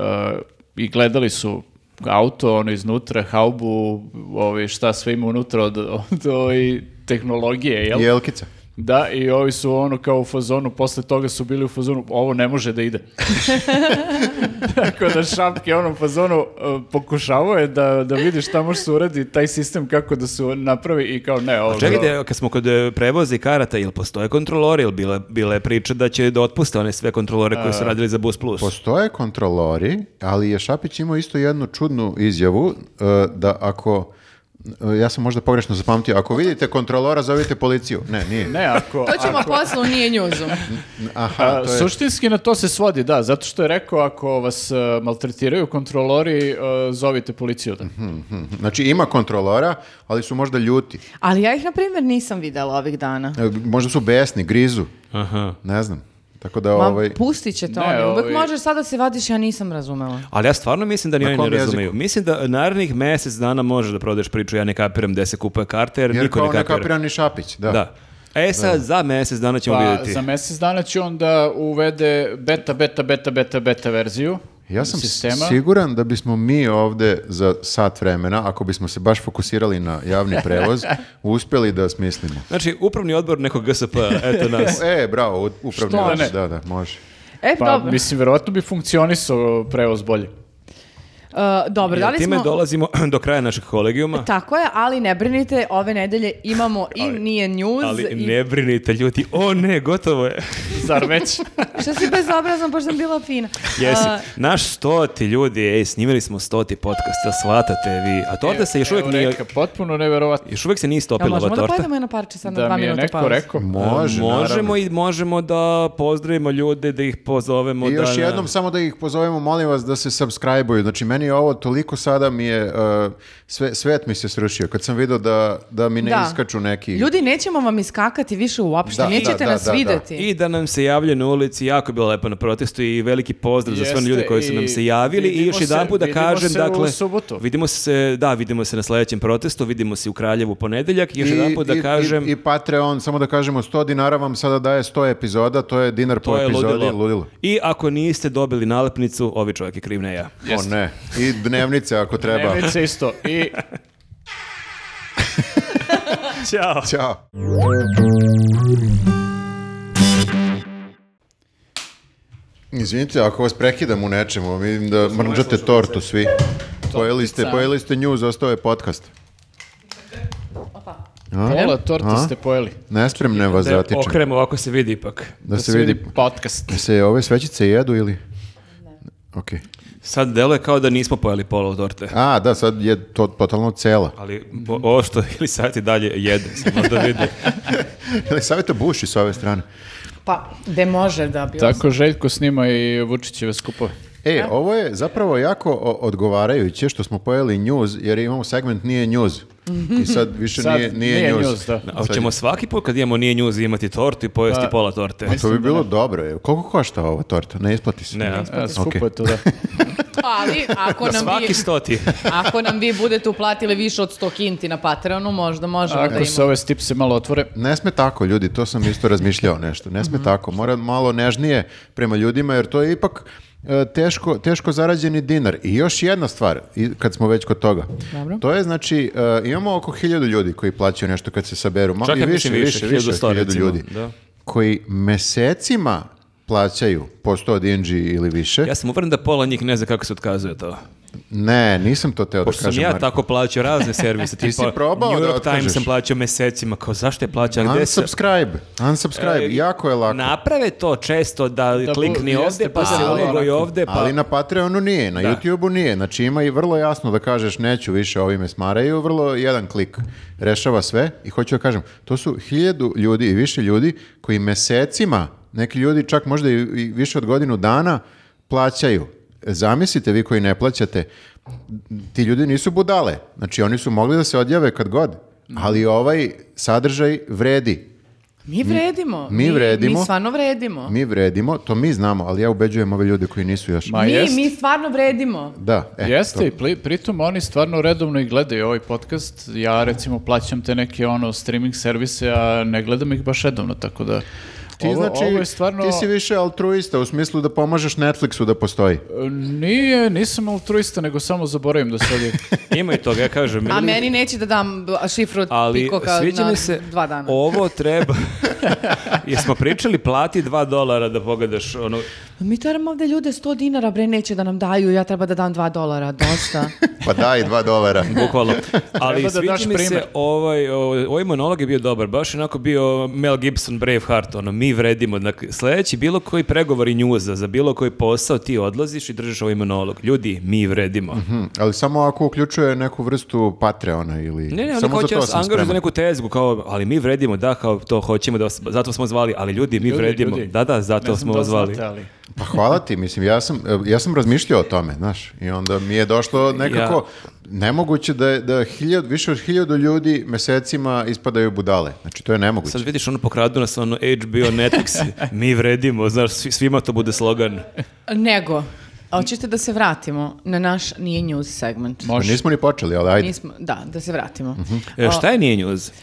[SPEAKER 2] i gledali su auto, ono iznutra, haubu, ovaj, šta sve ima unutra od, od ovaj, tehnologije, jel?
[SPEAKER 1] Jelkica.
[SPEAKER 2] Da, i ovi su ono kao u fazonu, posle toga su bili u fazonu, ovo ne može da
[SPEAKER 4] *laughs*
[SPEAKER 2] ide. Tako da šapke onom fazonu uh, pokušavao je da, da vidi šta može se uradi, taj sistem kako da se napravi i kao ne, ovo...
[SPEAKER 3] Čekajte, kad smo kod e, prevoza i karata, jel postoje kontrolori, jel bila, bila je priča da će da otpuste one sve kontrolore koji su radili za Bus Plus?
[SPEAKER 1] Postoje kontrolori, ali je Šapić imao isto jednu čudnu izjavu e, da ako e, ja sam možda pogrešno zapamtio. Ako vidite kontrolora, zovite policiju. Ne, nije.
[SPEAKER 2] Ne, ako...
[SPEAKER 4] To ćemo poslu, nije njuzu.
[SPEAKER 1] Aha,
[SPEAKER 2] A,
[SPEAKER 1] to je-
[SPEAKER 2] suštinski na to se svodi, da, zato što je rekao ako vas e, maltretiraju kontrolori, e, zovite policiju. Da.
[SPEAKER 1] Mhm. Znači, ima kontrolora, ali su možda ljuti.
[SPEAKER 4] Ali ja ih, na primjer, nisam videla ovih dana.
[SPEAKER 1] E, Možda su besni, grizu.
[SPEAKER 3] Aha.
[SPEAKER 1] Ne znam. Tako da,
[SPEAKER 4] Ma,
[SPEAKER 1] ovaj...
[SPEAKER 4] pustit će to
[SPEAKER 2] Ne,
[SPEAKER 4] oni. Uvek
[SPEAKER 2] ovaj-
[SPEAKER 4] možeš sad da se vadiš, ja nisam razumela.
[SPEAKER 3] Ali ja stvarno mislim da ni
[SPEAKER 1] Na
[SPEAKER 3] oni
[SPEAKER 1] kom
[SPEAKER 3] ne razumeju.
[SPEAKER 1] jeziku?
[SPEAKER 3] Mislim da narednih mjesec dana možeš da prodaješ priču, ja ne kapiram gde se kupuje karta, jer,
[SPEAKER 1] Jer
[SPEAKER 3] niko ne
[SPEAKER 1] kao ne
[SPEAKER 3] kapira.
[SPEAKER 1] kapira ni Šapić, da.
[SPEAKER 3] Da. E sad, za mjesec dana ćemo
[SPEAKER 2] Pa,
[SPEAKER 3] vidjeti.
[SPEAKER 2] za mjesec dana će on da uvede beta, beta, beta, beta, beta verziju
[SPEAKER 1] Ja sam
[SPEAKER 2] sistema.
[SPEAKER 1] siguran da bismo mi ovde za sat vremena, ako bismo se baš fokusirali na javni
[SPEAKER 4] *laughs*
[SPEAKER 1] prevoz, uspjeli da smislimo.
[SPEAKER 3] Znači, upravni odbor nekog GSP,
[SPEAKER 2] *laughs*
[SPEAKER 3] eto nas.
[SPEAKER 1] E, bravo, u- upravni
[SPEAKER 2] Što da
[SPEAKER 1] odbor,
[SPEAKER 2] ne?
[SPEAKER 1] da, da, može.
[SPEAKER 4] E,
[SPEAKER 2] Pa,
[SPEAKER 4] dobro.
[SPEAKER 2] mislim, verovatno bi funkcionisao prevoz bolje.
[SPEAKER 4] E, dobro, da
[SPEAKER 3] Jer
[SPEAKER 4] li
[SPEAKER 3] time
[SPEAKER 4] smo...
[SPEAKER 3] dolazimo *clears throat* do kraja našeg kolegijuma.
[SPEAKER 4] Tako je, ali ne brinite, ove nedelje imamo i
[SPEAKER 3] Ali-
[SPEAKER 4] nije news.
[SPEAKER 3] Ali
[SPEAKER 4] i...
[SPEAKER 3] ne brinite ljudi, o ne, gotovo
[SPEAKER 4] *laughs*
[SPEAKER 3] je.
[SPEAKER 2] Zar već?
[SPEAKER 4] Što si bezobrazan, pošto sam bila fina.
[SPEAKER 3] *laughs*
[SPEAKER 4] E,
[SPEAKER 3] Jesi,
[SPEAKER 4] A,
[SPEAKER 3] naš stoti ljudi, ej, snimili smo stoti podcast, da shvatate vi. A to ovde se još uvijek
[SPEAKER 2] Evo
[SPEAKER 3] nije,
[SPEAKER 2] neka, potpuno neverovatno.
[SPEAKER 3] još uvijek se nije
[SPEAKER 4] jel
[SPEAKER 3] stopila ova
[SPEAKER 4] možemo da
[SPEAKER 3] torta.
[SPEAKER 4] pojedemo jedno parče sad na dva
[SPEAKER 2] Da mi je
[SPEAKER 4] minuta
[SPEAKER 2] neko
[SPEAKER 4] pauze?
[SPEAKER 2] rekao.
[SPEAKER 1] Može,
[SPEAKER 3] možemo
[SPEAKER 1] naravno.
[SPEAKER 3] i možemo da pozdravimo ljude, da ih pozovemo.
[SPEAKER 1] I
[SPEAKER 3] da,
[SPEAKER 1] još
[SPEAKER 3] na-
[SPEAKER 1] jednom samo da ih pozovemo, molim vas da se subscribe-uju. Znači meni je ovo toliko sada mi je, uh, sve, svet mi se srušio. Kad sam vidio da, da mi ne
[SPEAKER 4] Da.
[SPEAKER 1] iskaču neki...
[SPEAKER 4] Ljudi, nećemo vam iskakati više uopšte,
[SPEAKER 1] Da,
[SPEAKER 4] nećete
[SPEAKER 1] da, da,
[SPEAKER 4] nas
[SPEAKER 1] da, da.
[SPEAKER 4] videti.
[SPEAKER 3] I da nam se javljaju na ulici, jako je bilo lepo na protestu i veliki pozdrav za sve one
[SPEAKER 2] Jeste,
[SPEAKER 3] ljude koji su nam se
[SPEAKER 2] i
[SPEAKER 3] javili i
[SPEAKER 2] vidimo
[SPEAKER 3] još
[SPEAKER 2] se-
[SPEAKER 3] jedan put da
[SPEAKER 2] vidimo
[SPEAKER 3] kažem,
[SPEAKER 2] se u
[SPEAKER 3] dakle,
[SPEAKER 2] subotu.
[SPEAKER 3] vidimo se, da, vidimo se na sledećem protestu, vidimo se u Kraljevu u ponedeljak i još
[SPEAKER 1] I-
[SPEAKER 3] jedan put
[SPEAKER 1] i-
[SPEAKER 3] da
[SPEAKER 1] i-
[SPEAKER 3] kažem,
[SPEAKER 1] I, Patreon, samo da kažemo, 100 dinara vam sada daje 100 epizoda, to je dinar po
[SPEAKER 3] to je
[SPEAKER 1] epizodi.
[SPEAKER 3] ludilo. I ako niste dobili nalepnicu, ovi čovjek je kriv, ne ja.
[SPEAKER 1] O ne, i dnevnice ako treba.
[SPEAKER 2] Dnevnice isto. I
[SPEAKER 3] Ćao!
[SPEAKER 1] Ćao. Izvinite, ako vas prekidam u nečemu, vidim da mrđate tortu svi. Pojeli ste, pojeli ste news, ostao je podcast.
[SPEAKER 2] pola torte ste pojeli.
[SPEAKER 1] Nespremne vas
[SPEAKER 3] Da
[SPEAKER 1] zatičem.
[SPEAKER 3] okrem, ovako se vidi ipak.
[SPEAKER 1] Da se vidi,
[SPEAKER 2] podcast.
[SPEAKER 1] se ove svećice jedu ili? Ok.
[SPEAKER 3] Sad deluje kao da nismo pojeli pola torte.
[SPEAKER 1] A, da, sad je to totalno cela.
[SPEAKER 3] Ali bo-
[SPEAKER 2] Mm.
[SPEAKER 3] ovo što ili sad i dalje jede, samo da
[SPEAKER 2] *laughs*
[SPEAKER 3] vidi.
[SPEAKER 1] Ili savjeta buši s ove strane.
[SPEAKER 4] Pa, gde može da bi...
[SPEAKER 2] Tako Željko snima i Vučićeve skupove.
[SPEAKER 1] E, ovo je zapravo jako o- odgovarajuće što smo pojeli news, jer imamo segment nije news. I sad više
[SPEAKER 2] Sad
[SPEAKER 1] nije, nije, news.
[SPEAKER 2] da.
[SPEAKER 3] A hoćemo svaki put kad imamo nije njuz imati tortu i pojesti
[SPEAKER 2] Pa,
[SPEAKER 3] pola torte.
[SPEAKER 1] To bi bilo dobro. je. Koliko košta ova torta? Ne isplati se.
[SPEAKER 3] Ne, a?
[SPEAKER 2] E, skupo
[SPEAKER 1] Ok.
[SPEAKER 2] je to,
[SPEAKER 1] *laughs*
[SPEAKER 2] da.
[SPEAKER 4] Ali, ako nam, vi,
[SPEAKER 3] Svaki stoti.
[SPEAKER 4] ako nam vi budete uplatili više od 100 kinti na Patreonu, možda možemo da
[SPEAKER 2] Ako
[SPEAKER 4] imamo.
[SPEAKER 2] se ove stipse malo otvore,
[SPEAKER 1] Ne sme tako, ljudi, to sam isto razmišljao nešto. Ne sme tako, mora malo nežnije prema ljudima, jer to je ipak e, teško, teško zarađeni dinar. I još jedna stvar, i kad smo već kod toga.
[SPEAKER 4] Dobro.
[SPEAKER 1] To je, znači, e, imamo oko hiljadu ljudi koji plaćaju nešto kad se saberu. Malo
[SPEAKER 3] Čak
[SPEAKER 1] i
[SPEAKER 3] ja
[SPEAKER 1] više,
[SPEAKER 3] mislim
[SPEAKER 1] više, više, od
[SPEAKER 3] 1100
[SPEAKER 1] hiljadu
[SPEAKER 3] recimo,
[SPEAKER 1] ljudi.
[SPEAKER 3] da.
[SPEAKER 1] Koji mesecima plaćaju po 100 dinđi ili više.
[SPEAKER 3] Ja sam uveren da pola njih ne zna kako se otkazuje to.
[SPEAKER 1] Ne, nisam to teo da
[SPEAKER 3] Pošto sam
[SPEAKER 1] kažem.
[SPEAKER 3] ja
[SPEAKER 1] Marko.
[SPEAKER 3] tako plaćao razne
[SPEAKER 1] *laughs*
[SPEAKER 3] servise.
[SPEAKER 1] Ti si
[SPEAKER 3] tipa
[SPEAKER 1] probao
[SPEAKER 3] New
[SPEAKER 1] da
[SPEAKER 3] York Times
[SPEAKER 1] otkažeš?
[SPEAKER 3] sam plaćao mesecima. Kao zašto je plaćao? Gde se... E,
[SPEAKER 1] Unsubscribe, unsubscribe, jako je lako.
[SPEAKER 3] Naprave to često da,
[SPEAKER 2] bu-
[SPEAKER 3] klikni
[SPEAKER 2] jeste,
[SPEAKER 3] ovdje, pa
[SPEAKER 2] pa
[SPEAKER 3] se
[SPEAKER 2] da,
[SPEAKER 4] ono
[SPEAKER 3] logoj
[SPEAKER 2] onako.
[SPEAKER 3] ovdje, pa...
[SPEAKER 1] Ali na Patreonu nije, na
[SPEAKER 3] Da.
[SPEAKER 1] YouTubeu nije. Znači ima i vrlo jasno da kažeš neću više, ovi me smaraju, vrlo jedan klik rešava sve. I hoću da kažem, to su hiljadu ljudi i više ljudi koji mesecima, neki ljudi čak možda i, i više od godinu dana plaćaju. Zamislite vi koji ne plaćate, ti ljudi nisu budale. Znači oni su mogli da se odjave kad god, ali ovaj sadržaj vredi.
[SPEAKER 4] Mi vredimo.
[SPEAKER 1] mi vredimo.
[SPEAKER 4] Mi stvarno vredimo. Mi,
[SPEAKER 1] Mi vredimo, to mi znamo, ali ja ubeđujem ove ljude koji nisu još.
[SPEAKER 2] Ma
[SPEAKER 4] mi,
[SPEAKER 2] jest.
[SPEAKER 4] stvarno vredimo.
[SPEAKER 1] Da, e,
[SPEAKER 2] Jeste,
[SPEAKER 1] to.
[SPEAKER 2] i pli- pritom oni stvarno redovno i gledaju ovaj podcast. Ja recimo plaćam te neke ono streaming servise, a ne gledam ih baš redovno, tako da...
[SPEAKER 1] Ti,
[SPEAKER 2] ovo,
[SPEAKER 1] znači,
[SPEAKER 2] ovo je stvarno...
[SPEAKER 1] ti si više altruista u smislu da pomažeš Netflixu da postoji.
[SPEAKER 2] Nije, nisam altruista, nego samo zaboravim da
[SPEAKER 1] *laughs*
[SPEAKER 2] se odjavim.
[SPEAKER 3] Ima i toga, ja kažem.
[SPEAKER 4] A
[SPEAKER 3] ili-
[SPEAKER 4] meni neće da dam b- šifru od
[SPEAKER 3] Ali
[SPEAKER 4] pikoka
[SPEAKER 3] sviđa
[SPEAKER 4] na
[SPEAKER 3] mi se,
[SPEAKER 4] dva dana.
[SPEAKER 3] ovo
[SPEAKER 4] *laughs*
[SPEAKER 3] treba, jesmo pričali plati dva dolara da pogledaš ono,
[SPEAKER 4] Mi trebamo ovde ljude 100 dinara, bre, neće da nam daju, ja treba da dam 2 dolara, dosta.
[SPEAKER 1] Pa daj, dva
[SPEAKER 3] *laughs*
[SPEAKER 1] dolara.
[SPEAKER 3] bukvalno.
[SPEAKER 2] *laughs*
[SPEAKER 3] Ali
[SPEAKER 2] Treba da
[SPEAKER 3] sviđa
[SPEAKER 2] daš
[SPEAKER 3] mi se,
[SPEAKER 2] primer.
[SPEAKER 3] ovaj, ovaj, ovaj monolog je bio dobar, baš je onako bio Mel Gibson, Braveheart, ono, mi vredimo. Dakle, sledeći, bilo koji pregovori njuza, za bilo koji posao, ti odlaziš i držiš ovaj monolog. Ljudi, mi vredimo.
[SPEAKER 2] Mhm.
[SPEAKER 1] Hm, ali samo ako uključuje neku vrstu Patreona ili...
[SPEAKER 3] Ne, ne, oni
[SPEAKER 1] samo
[SPEAKER 3] hoće
[SPEAKER 1] to
[SPEAKER 3] nas
[SPEAKER 1] sam
[SPEAKER 3] angažuju za
[SPEAKER 1] spreman.
[SPEAKER 3] neku tezgu, kao, ali mi vredimo, da, kao to hoćemo, da, vas- zato smo zvali, ali ljudi, mi
[SPEAKER 2] Ljudi,
[SPEAKER 3] vredimo.
[SPEAKER 2] ljudi,
[SPEAKER 3] Da, da,
[SPEAKER 2] ne
[SPEAKER 3] zato
[SPEAKER 2] znam
[SPEAKER 3] smo
[SPEAKER 2] da
[SPEAKER 3] vas
[SPEAKER 2] li
[SPEAKER 3] zvali.
[SPEAKER 2] znate, ali-
[SPEAKER 1] Pa hvala ti, mislim, ja sam, e, ja sam razmišljao o tome, znaš, i onda mi je došlo nekako nemoguće da, je- da hiljad, više od hiljadu ljudi mesecima ispadaju budale. Znači, to je nemoguće.
[SPEAKER 3] Sad vidiš ono pokradu nas ono HBO
[SPEAKER 2] *laughs*
[SPEAKER 3] Netflix, mi vredimo, znaš, svi- svima to bude slogan.
[SPEAKER 4] *laughs* Nego, a hoćete da se vratimo na naš nije news segment.
[SPEAKER 1] Pa
[SPEAKER 2] Može.
[SPEAKER 1] nismo ni počeli, ali ajde.
[SPEAKER 4] Nismo, da, da se vratimo.
[SPEAKER 3] E, šta je nije njuz? *laughs*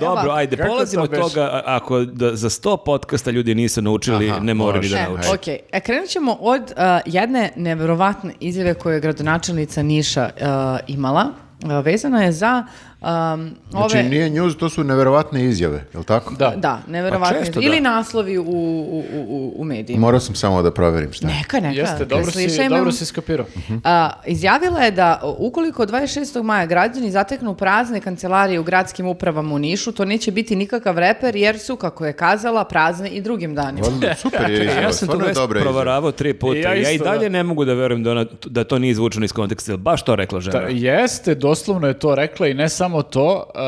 [SPEAKER 3] Dobro,
[SPEAKER 4] Evo,
[SPEAKER 3] ajde,
[SPEAKER 2] kako
[SPEAKER 3] polazimo od
[SPEAKER 2] to beše?
[SPEAKER 3] toga, a- ako da, za sto podcasta ljudi nisu naučili, ne moraju ni
[SPEAKER 1] može.
[SPEAKER 3] da
[SPEAKER 4] E,
[SPEAKER 1] Evo,
[SPEAKER 3] nauče.
[SPEAKER 1] nauči.
[SPEAKER 4] ok. E, krenut ćemo od uh, jedne neverovatne izjave koju je gradonačelnica Niša uh, imala. Uh, e, vezana je za uh, Um,
[SPEAKER 1] Znači
[SPEAKER 4] ove-
[SPEAKER 1] nije news, to su neverovatne izjave, je li tako?
[SPEAKER 2] Da.
[SPEAKER 4] Da, neverovatno.
[SPEAKER 3] Pa često da.
[SPEAKER 4] Ili naslovi u, u, u- u, u medijima.
[SPEAKER 1] Morao sam samo da proverim šta.
[SPEAKER 4] Neka, neka.
[SPEAKER 2] Jeste, dobro si,
[SPEAKER 4] Slišajmo.
[SPEAKER 2] dobro si skapirao.
[SPEAKER 4] Mhm. A, izjavila je da ukoliko 26. maja građani zateknu prazne kancelarije u gradskim upravama u Nišu, to neće biti nikakav reper jer su, kako je kazala, prazne i drugim danima.
[SPEAKER 1] Odlično, Super je izjava,
[SPEAKER 3] *laughs* Ja sam tu
[SPEAKER 1] stvarno je
[SPEAKER 3] već
[SPEAKER 1] dobra izjava.
[SPEAKER 3] provaravao tri puta.
[SPEAKER 2] Ja
[SPEAKER 3] Ja, i
[SPEAKER 2] isto, da.
[SPEAKER 3] dalje ne mogu da verujem da, ona, da to nije izvučeno iz konteksta. jel Baš to rekla žena.
[SPEAKER 2] Da, jeste, doslovno je to rekla i ne samo to, e,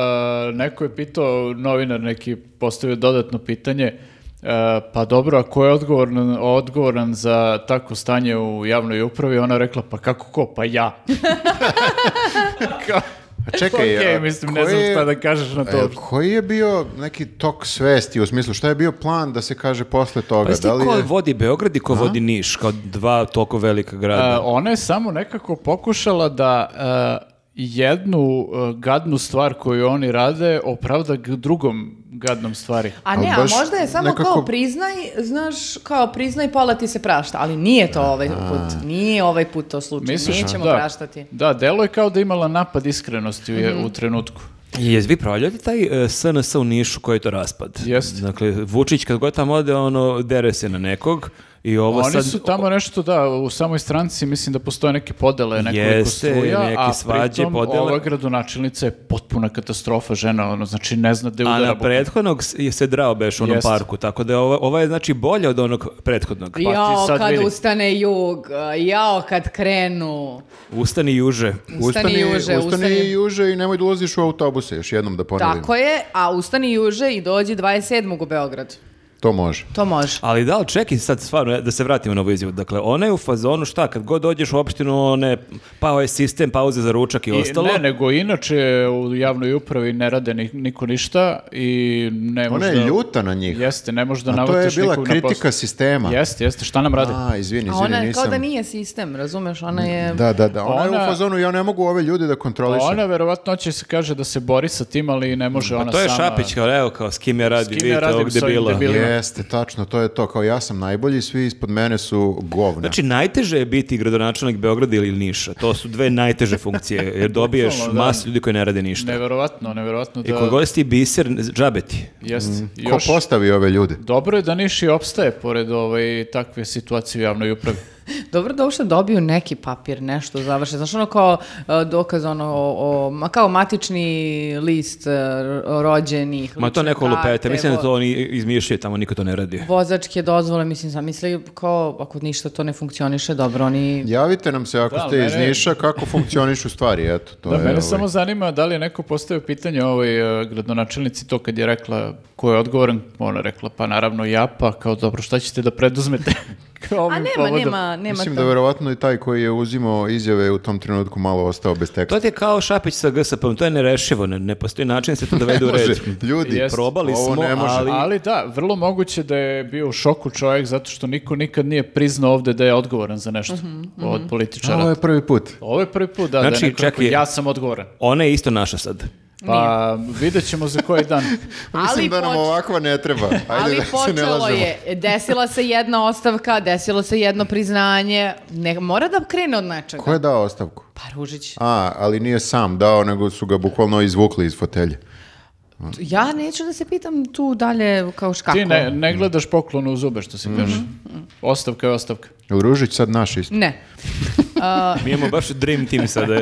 [SPEAKER 2] neko je pitao, novinar neki postavio dodatno pitanje, e, pa dobro, a ko je odgovoran, odgovoran za tako stanje u javnoj upravi? Ona je rekla, pa kako ko? Pa ja.
[SPEAKER 1] *laughs*
[SPEAKER 2] Kao,
[SPEAKER 1] A Pa
[SPEAKER 2] *laughs*
[SPEAKER 1] čekaj,
[SPEAKER 2] okej,
[SPEAKER 1] a
[SPEAKER 2] mislim, ne
[SPEAKER 1] koji
[SPEAKER 2] znam
[SPEAKER 1] je-
[SPEAKER 2] šta da kažeš na to.
[SPEAKER 1] E, koji je bio neki tok svesti u smislu šta je bio plan da se kaže posle toga?
[SPEAKER 3] Pa jesi ti
[SPEAKER 1] da li
[SPEAKER 3] ko
[SPEAKER 1] je-
[SPEAKER 3] vodi Beograd i ko vodi Niš, kao dva toliko velika grada.
[SPEAKER 2] E, ona je samo nekako pokušala da e, jednu e, gadnu stvar koju oni rade opravda g- drugom gadnom stvari.
[SPEAKER 4] A ne,
[SPEAKER 1] Ali
[SPEAKER 4] a
[SPEAKER 1] baš
[SPEAKER 4] možda je samo kao
[SPEAKER 1] nekako-
[SPEAKER 4] priznaj, znaš, kao priznaj, pola ti se prašta, ali nije to ovaj put, nije ovaj put to slučaj, nećemo
[SPEAKER 2] da,
[SPEAKER 4] praštati. Mhm.
[SPEAKER 2] Da, delo je kao da je imala napad iskrenosti u, je- u trenutku.
[SPEAKER 3] Jes vi pravljate taj e, SNS u Nišu koji je to raspad?
[SPEAKER 2] Jeste.
[SPEAKER 3] Dakle, Vučić kad god tamo ode, ono, dere se na nekog i ovo
[SPEAKER 2] Oni
[SPEAKER 3] sad...
[SPEAKER 2] su tamo nešto, da, u samoj stranci mislim da postoje neke podele, nekoliko
[SPEAKER 3] Jeste,
[SPEAKER 2] struja,
[SPEAKER 3] neke
[SPEAKER 2] a
[SPEAKER 3] svađe,
[SPEAKER 2] pritom
[SPEAKER 3] podele.
[SPEAKER 2] ova gradonačelnica je potpuna katastrofa žena, ono, znači ne zna gde
[SPEAKER 3] A
[SPEAKER 2] udara.
[SPEAKER 3] na prethodnog s- je se drao beš u onom
[SPEAKER 2] Jeste.
[SPEAKER 3] parku, tako da je ova, ova je znači bolja od onog prethodnog.
[SPEAKER 2] Pa
[SPEAKER 3] Pa
[SPEAKER 2] ti
[SPEAKER 4] Jao,
[SPEAKER 2] sad
[SPEAKER 4] kad
[SPEAKER 2] vidi.
[SPEAKER 4] ustane jug, jao, kad krenu.
[SPEAKER 3] Ustani juže.
[SPEAKER 4] Ustani juže,
[SPEAKER 1] ustani
[SPEAKER 4] ustani.
[SPEAKER 1] juže i nemoj da ulaziš u autobuse, još jednom da ponovim.
[SPEAKER 4] Tako je, a ustani juže i dođi 27. u Beograd.
[SPEAKER 1] To može.
[SPEAKER 4] To može.
[SPEAKER 3] Ali da li čekaj sad stvarno da se vratimo na ovu izjavu. Dakle, ona je u fazonu šta, kad god dođeš u opštinu, one, pao je sistem, pauze za ručak i,
[SPEAKER 2] I-
[SPEAKER 3] ostalo.
[SPEAKER 2] Ne, nego inače u javnoj upravi ne rade ni- niko ništa i ne može...
[SPEAKER 1] Ona je ljuta na njih.
[SPEAKER 2] Jeste, ne može da
[SPEAKER 1] A to je
[SPEAKER 2] navatiš
[SPEAKER 1] bila
[SPEAKER 2] nikog na poslu.
[SPEAKER 1] kritika sistema.
[SPEAKER 2] Jeste, jeste, šta nam rade?
[SPEAKER 1] A, izvini,
[SPEAKER 4] A
[SPEAKER 1] izvini,
[SPEAKER 4] ona je
[SPEAKER 1] nisam.
[SPEAKER 4] kao da nije sistem, razumeš? Ona je...
[SPEAKER 1] Da, da, da. Ona, je
[SPEAKER 2] Ona-
[SPEAKER 1] u fazonu, ja ne mogu ove ljude da kontrolišem.
[SPEAKER 2] Ona verovatno će se kaže da se bori sa tim, ali ne može ona
[SPEAKER 3] Pa to je
[SPEAKER 2] sama.
[SPEAKER 3] Šapić, kao evo, kao s kim ja radim,
[SPEAKER 2] kim ja
[SPEAKER 3] vidite
[SPEAKER 2] radim
[SPEAKER 3] ovog
[SPEAKER 2] s ovim
[SPEAKER 3] debila.
[SPEAKER 2] debilom. debilima.
[SPEAKER 1] Jeste, tačno, to je to. Kao ja sam najbolji, svi ispod mene su govna.
[SPEAKER 3] Znači, najteže je biti gradonačelnik Beograda ili Niša. To su dve najteže funkcije,
[SPEAKER 2] *laughs*
[SPEAKER 3] jer dobiješ
[SPEAKER 2] Bukvalno, da.
[SPEAKER 3] masu ljudi koji ne rade ništa.
[SPEAKER 2] Neverovatno, neverovatno da...
[SPEAKER 3] I kod god si ti biser, džabeti.
[SPEAKER 2] Jeste,
[SPEAKER 1] Mm. Ko
[SPEAKER 2] još...
[SPEAKER 1] postavi ove ljude?
[SPEAKER 2] Dobro je da Niš i opstaje pored ovaj, takve situacije u
[SPEAKER 1] *laughs*
[SPEAKER 2] javnoj upravi.
[SPEAKER 4] Dobro da uopšte dobiju neki papir, nešto završe. Znaš, ono kao e, dokaz, ono, o, o- ma kao matični list e, ro- rođenih.
[SPEAKER 3] Ma to
[SPEAKER 4] lične
[SPEAKER 3] neko lupeta,
[SPEAKER 4] karte,
[SPEAKER 3] mislim da
[SPEAKER 4] vo-
[SPEAKER 3] to oni izmišljaju tamo, niko to ne radi.
[SPEAKER 4] Vozačke dozvole, mislim, sam misli kao ako ništa to ne funkcioniše, dobro, oni...
[SPEAKER 1] Javite nam se ako
[SPEAKER 2] Da,
[SPEAKER 1] ste iz
[SPEAKER 2] mene-
[SPEAKER 1] Niša, kako funkcionišu stvari, eto. To
[SPEAKER 2] Da,
[SPEAKER 1] je,
[SPEAKER 2] mene
[SPEAKER 1] ovaj,
[SPEAKER 2] samo zanima da li je neko postavio pitanje ovoj e, gradonačelnici to kad je rekla ko je odgovoran, ona je rekla pa naravno ja, pa kao dobro šta ćete da preduzmete *laughs* kao
[SPEAKER 4] A
[SPEAKER 2] ovim
[SPEAKER 4] nema,
[SPEAKER 2] povodom?
[SPEAKER 4] nema, nema
[SPEAKER 1] Mislim
[SPEAKER 4] to.
[SPEAKER 1] da verovatno i taj koji je uzimao izjave u tom trenutku malo ostao bez teksta.
[SPEAKER 3] To ti je kao Šapić sa GSP-om, to je nerešivo, ne, ne postoji način da se to
[SPEAKER 2] *laughs*
[SPEAKER 3] dovede u
[SPEAKER 1] Ne
[SPEAKER 3] red.
[SPEAKER 1] može. Ljudi,
[SPEAKER 2] Jeste.
[SPEAKER 3] Probali
[SPEAKER 1] Ovo
[SPEAKER 3] smo,
[SPEAKER 1] ne može.
[SPEAKER 3] ali...
[SPEAKER 2] Ali... da, vrlo moguće da je bio u šoku čovjek zato što niko nikad nije priznao ovde da je odgovoran za nešto od političara.
[SPEAKER 1] ovo je prvi put.
[SPEAKER 2] Ovo je prvi put, da, da
[SPEAKER 3] Znači,
[SPEAKER 2] je neko rekao,
[SPEAKER 3] čekaj.
[SPEAKER 2] ja sam odgovoran.
[SPEAKER 3] Ona je isto naša sad.
[SPEAKER 2] Pa vidjet ćemo za koji dan.
[SPEAKER 1] Mislim da nam
[SPEAKER 4] poč-
[SPEAKER 1] ovakva ne
[SPEAKER 4] *laughs*
[SPEAKER 1] treba. Ajde
[SPEAKER 4] Ali
[SPEAKER 1] da se ne
[SPEAKER 4] počelo
[SPEAKER 1] lažemo.
[SPEAKER 4] je, desila se jedna ostavka, desilo se jedno priznanje, ne, mora da krene od nečega.
[SPEAKER 1] Ko je dao ostavku?
[SPEAKER 4] Pa Ružić,
[SPEAKER 1] A, ali nije sam dao, nego su ga bukvalno izvukli iz fotelje.
[SPEAKER 4] ja neću da se pitam tu dalje kao škako.
[SPEAKER 2] Ti ne, ne gledaš poklonu u zube, što se kaže. Ostavka je ostavka.
[SPEAKER 1] Jel Ružić sad naš isto?
[SPEAKER 4] Ne. Uh,
[SPEAKER 3] Mi imamo baš dream
[SPEAKER 2] *laughs*
[SPEAKER 3] team sada.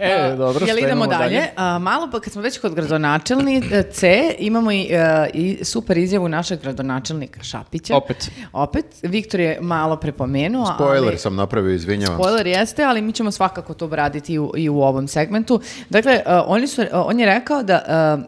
[SPEAKER 2] E, dobro,
[SPEAKER 4] Jel
[SPEAKER 2] šta
[SPEAKER 4] idemo
[SPEAKER 2] imamo
[SPEAKER 4] dalje? A, malo pa kad smo već kod gradonačelnice, imamo i, e, i super izjavu našeg gradonačelnika Šapića.
[SPEAKER 2] Opet.
[SPEAKER 4] Opet, Viktor je malo prepomenuo.
[SPEAKER 1] Spoiler
[SPEAKER 4] ali,
[SPEAKER 1] sam napravio, izvinjavam. se.
[SPEAKER 4] Spoiler jeste, ali mi ćemo svakako to obraditi i u, i u ovom segmentu. Dakle, e, oni su, e, on je rekao da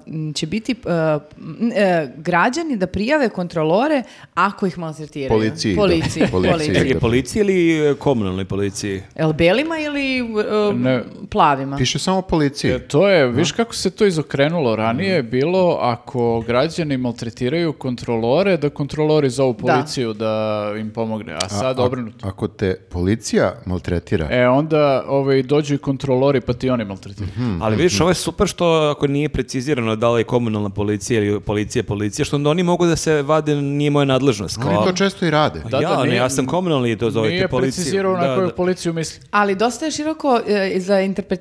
[SPEAKER 4] e, m, će biti e, m, e, građani da prijave kontrolore ako ih maltretiraju.
[SPEAKER 1] Policiji, da.
[SPEAKER 4] Policiji.
[SPEAKER 1] Policiji.
[SPEAKER 3] Je
[SPEAKER 4] policiji.
[SPEAKER 3] li policiji ili e, komunalnoj policiji?
[SPEAKER 4] Jel belima ili e,
[SPEAKER 2] Ne.
[SPEAKER 4] plavima?
[SPEAKER 1] Piše samo policije.
[SPEAKER 2] E, To je, viš kako se to izokrenulo. Ranije je bilo ako građani maltretiraju kontrolore, da kontrolori zovu policiju da, im pomogne. A sad obrnuto.
[SPEAKER 1] Ako te policija maltretira,
[SPEAKER 2] E, onda ovaj, dođu i kontrolori, pa ti oni maltretiraju.
[SPEAKER 3] Ali
[SPEAKER 2] hmm.
[SPEAKER 3] vidiš, ovo je super što ako nije precizirano da li je komunalna policija ili policija policija, što onda oni mogu da se vade, nije moja nadležnost.
[SPEAKER 1] oni
[SPEAKER 3] kao- "Pa
[SPEAKER 1] to često i rade.
[SPEAKER 2] Da,
[SPEAKER 3] ja,
[SPEAKER 2] da,
[SPEAKER 3] ne,
[SPEAKER 2] nije-
[SPEAKER 3] ja sam komunalni, to zovete
[SPEAKER 2] Nije
[SPEAKER 3] policiju.
[SPEAKER 2] precizirao na
[SPEAKER 3] Da,
[SPEAKER 2] koju
[SPEAKER 3] da.
[SPEAKER 2] policiju misli.
[SPEAKER 4] Ali dosta je široko e, za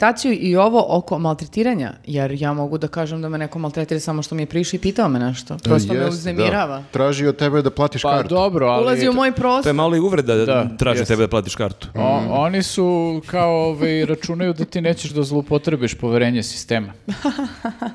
[SPEAKER 4] komunikaciju i ovo oko maltretiranja, jer ja mogu da kažem da me neko maltretira samo što mi je prišao i pitao me nešto. Prosto me
[SPEAKER 1] E, Jeste,
[SPEAKER 4] uznemirava.
[SPEAKER 1] da. Traži od tebe da platiš
[SPEAKER 2] Pa
[SPEAKER 1] kartu.
[SPEAKER 2] dobro, ali...
[SPEAKER 4] Ulazi u moj
[SPEAKER 3] To je
[SPEAKER 4] prostor.
[SPEAKER 3] malo i uvreda da,
[SPEAKER 2] Da,
[SPEAKER 3] traži
[SPEAKER 2] jeste.
[SPEAKER 3] tebe da platiš kartu.
[SPEAKER 2] O- oni su kao ovaj, računaju da ti nećeš da zloupotrebiš poverenje sistema.
[SPEAKER 1] *laughs*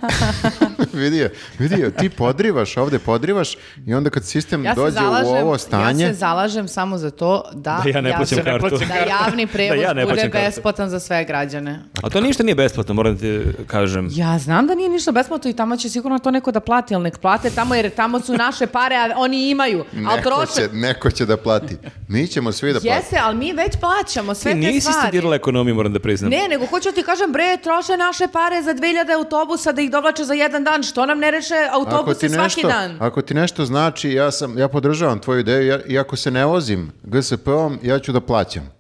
[SPEAKER 1] vidi je, vidi je, ti podrivaš, ovde podrivaš i onda kad sistem
[SPEAKER 4] Ja se,
[SPEAKER 1] dođe
[SPEAKER 4] zalažem,
[SPEAKER 1] u ovo
[SPEAKER 4] ja
[SPEAKER 1] stanje,
[SPEAKER 4] se zalažem samo za to da,
[SPEAKER 3] Da ja ne plaćam
[SPEAKER 4] jav-
[SPEAKER 3] kartu.
[SPEAKER 4] da javni prevoz
[SPEAKER 3] *laughs* Da ja ne
[SPEAKER 4] bude
[SPEAKER 3] plaćam kartu.
[SPEAKER 4] besplatan za sve građane.
[SPEAKER 3] A to ništa nije besplatno, moram ti kažem.
[SPEAKER 4] Ja znam da nije ništa besplatno i tamo će sigurno to neko da plati, ali nek plate tamo jer tamo su naše pare, a oni imaju.
[SPEAKER 1] *laughs*
[SPEAKER 4] Ali
[SPEAKER 1] neko
[SPEAKER 4] troše...
[SPEAKER 1] će, neko će da plati. Mi ćemo svi da platimo.
[SPEAKER 4] Jeste, ali mi već plaćamo sve
[SPEAKER 3] Ti
[SPEAKER 4] te
[SPEAKER 3] nisi
[SPEAKER 4] stvari.
[SPEAKER 3] studirala ekonomiju, moram da priznam.
[SPEAKER 4] Ne, nego hoću ti kažem, bre, troše naše pare za 2000 autobusa da ih dovlače za jedan dan, što nam ne reše autobuse svaki dan?
[SPEAKER 1] Ako ti nešto znači, ja, sam, ja podržavam tvoju ideju, ja, i ako se ne vozim GSP-om, ja ću da plaćam.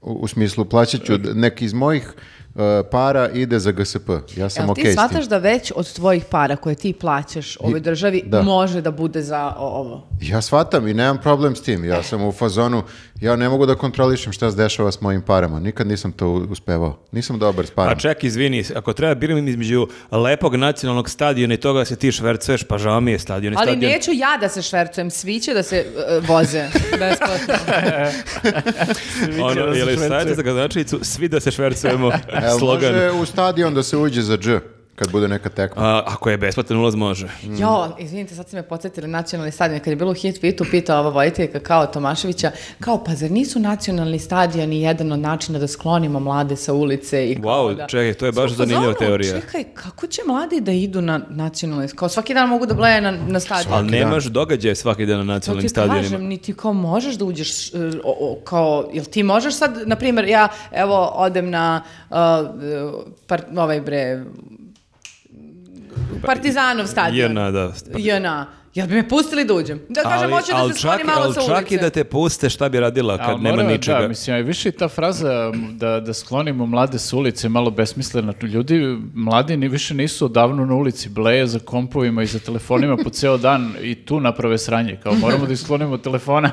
[SPEAKER 1] U, u smislu, plaćat
[SPEAKER 4] E.
[SPEAKER 1] ću, da neki iz mojih uh, para ide za GSP. Ja sam
[SPEAKER 4] Jel
[SPEAKER 1] okej
[SPEAKER 4] ti
[SPEAKER 1] s
[SPEAKER 4] shvataš
[SPEAKER 1] tim.
[SPEAKER 4] da već od tvojih para koje ti plaćaš ovoj državi
[SPEAKER 1] da.
[SPEAKER 4] može da bude za o- ovo?
[SPEAKER 1] Ja shvatam i nemam problem s tim. Ja sam u fazonu, ja ne mogu da kontrolišem šta se dešava s mojim parama. Nikad nisam to u- uspevao. Nisam dobar s
[SPEAKER 3] A *laughs*
[SPEAKER 1] parama.
[SPEAKER 3] ček, Pa izvini, ako treba biram između lepog nacionalnog stadiona i toga da se ti švercuješ, pa žao mi je stadion i
[SPEAKER 4] Ali
[SPEAKER 3] stadion.
[SPEAKER 4] neću ja da se švercujem, svi će da se e, voze besplatno.
[SPEAKER 3] *laughs* Ono, je li stavite za gaznačajicu, svi da se
[SPEAKER 4] *laughs*
[SPEAKER 3] švercujemo
[SPEAKER 1] Jel
[SPEAKER 3] slogan.
[SPEAKER 1] može u stadion da se uđe za dž kad bude neka tekma?
[SPEAKER 3] A, ako je besplatan ulaz, može.
[SPEAKER 4] Jo, izvinite, sad ste me podsjetili nacionalni stadion. Kad je bilo u hit fitu, pitao ova vojiteljka kao Tomaševića, kao, pa zar nisu nacionalni stadion i jedan od načina da sklonimo mlade sa ulice i kao
[SPEAKER 3] Wow,
[SPEAKER 4] da...
[SPEAKER 3] čekaj, to je baš
[SPEAKER 4] Sam u
[SPEAKER 3] zanimljiva
[SPEAKER 4] fazonu,
[SPEAKER 3] teorija.
[SPEAKER 4] Čekaj, kako će mladi da idu na nacionalni, kao svaki dan mogu da bleje na, na stadion.
[SPEAKER 3] Ali
[SPEAKER 1] dan.
[SPEAKER 3] nemaš događaje svaki dan na
[SPEAKER 4] To
[SPEAKER 3] nacionalnim
[SPEAKER 4] ti
[SPEAKER 3] stadionima.
[SPEAKER 4] kažem, niti kao možeš da uđeš, e, o- o- kao, jel ti možeš sad, na primjer, ja, evo, odem na, uh, par, ovaj bre,
[SPEAKER 3] Pa,
[SPEAKER 4] Partizanov stadion.
[SPEAKER 3] JNA, da.
[SPEAKER 4] JNA. Jel bi me pustili da uđem? Da kažem, hoću da
[SPEAKER 3] ali
[SPEAKER 4] se sklonim malo
[SPEAKER 3] ali
[SPEAKER 4] sa
[SPEAKER 3] čak i
[SPEAKER 4] ulice.
[SPEAKER 3] da te puste, šta bi radila kad
[SPEAKER 2] Ali
[SPEAKER 3] nema
[SPEAKER 2] mora-
[SPEAKER 3] ničega?
[SPEAKER 2] Da, mislim, a i više i ta fraza da, da sklonimo mlade s ulice je malo besmislena. Ljudi, mladi ni više nisu odavno na ulici, bleje za kompovima i za telefonima po ceo dan i tu naprave sranje. Kao moramo da ih sklonimo od telefona.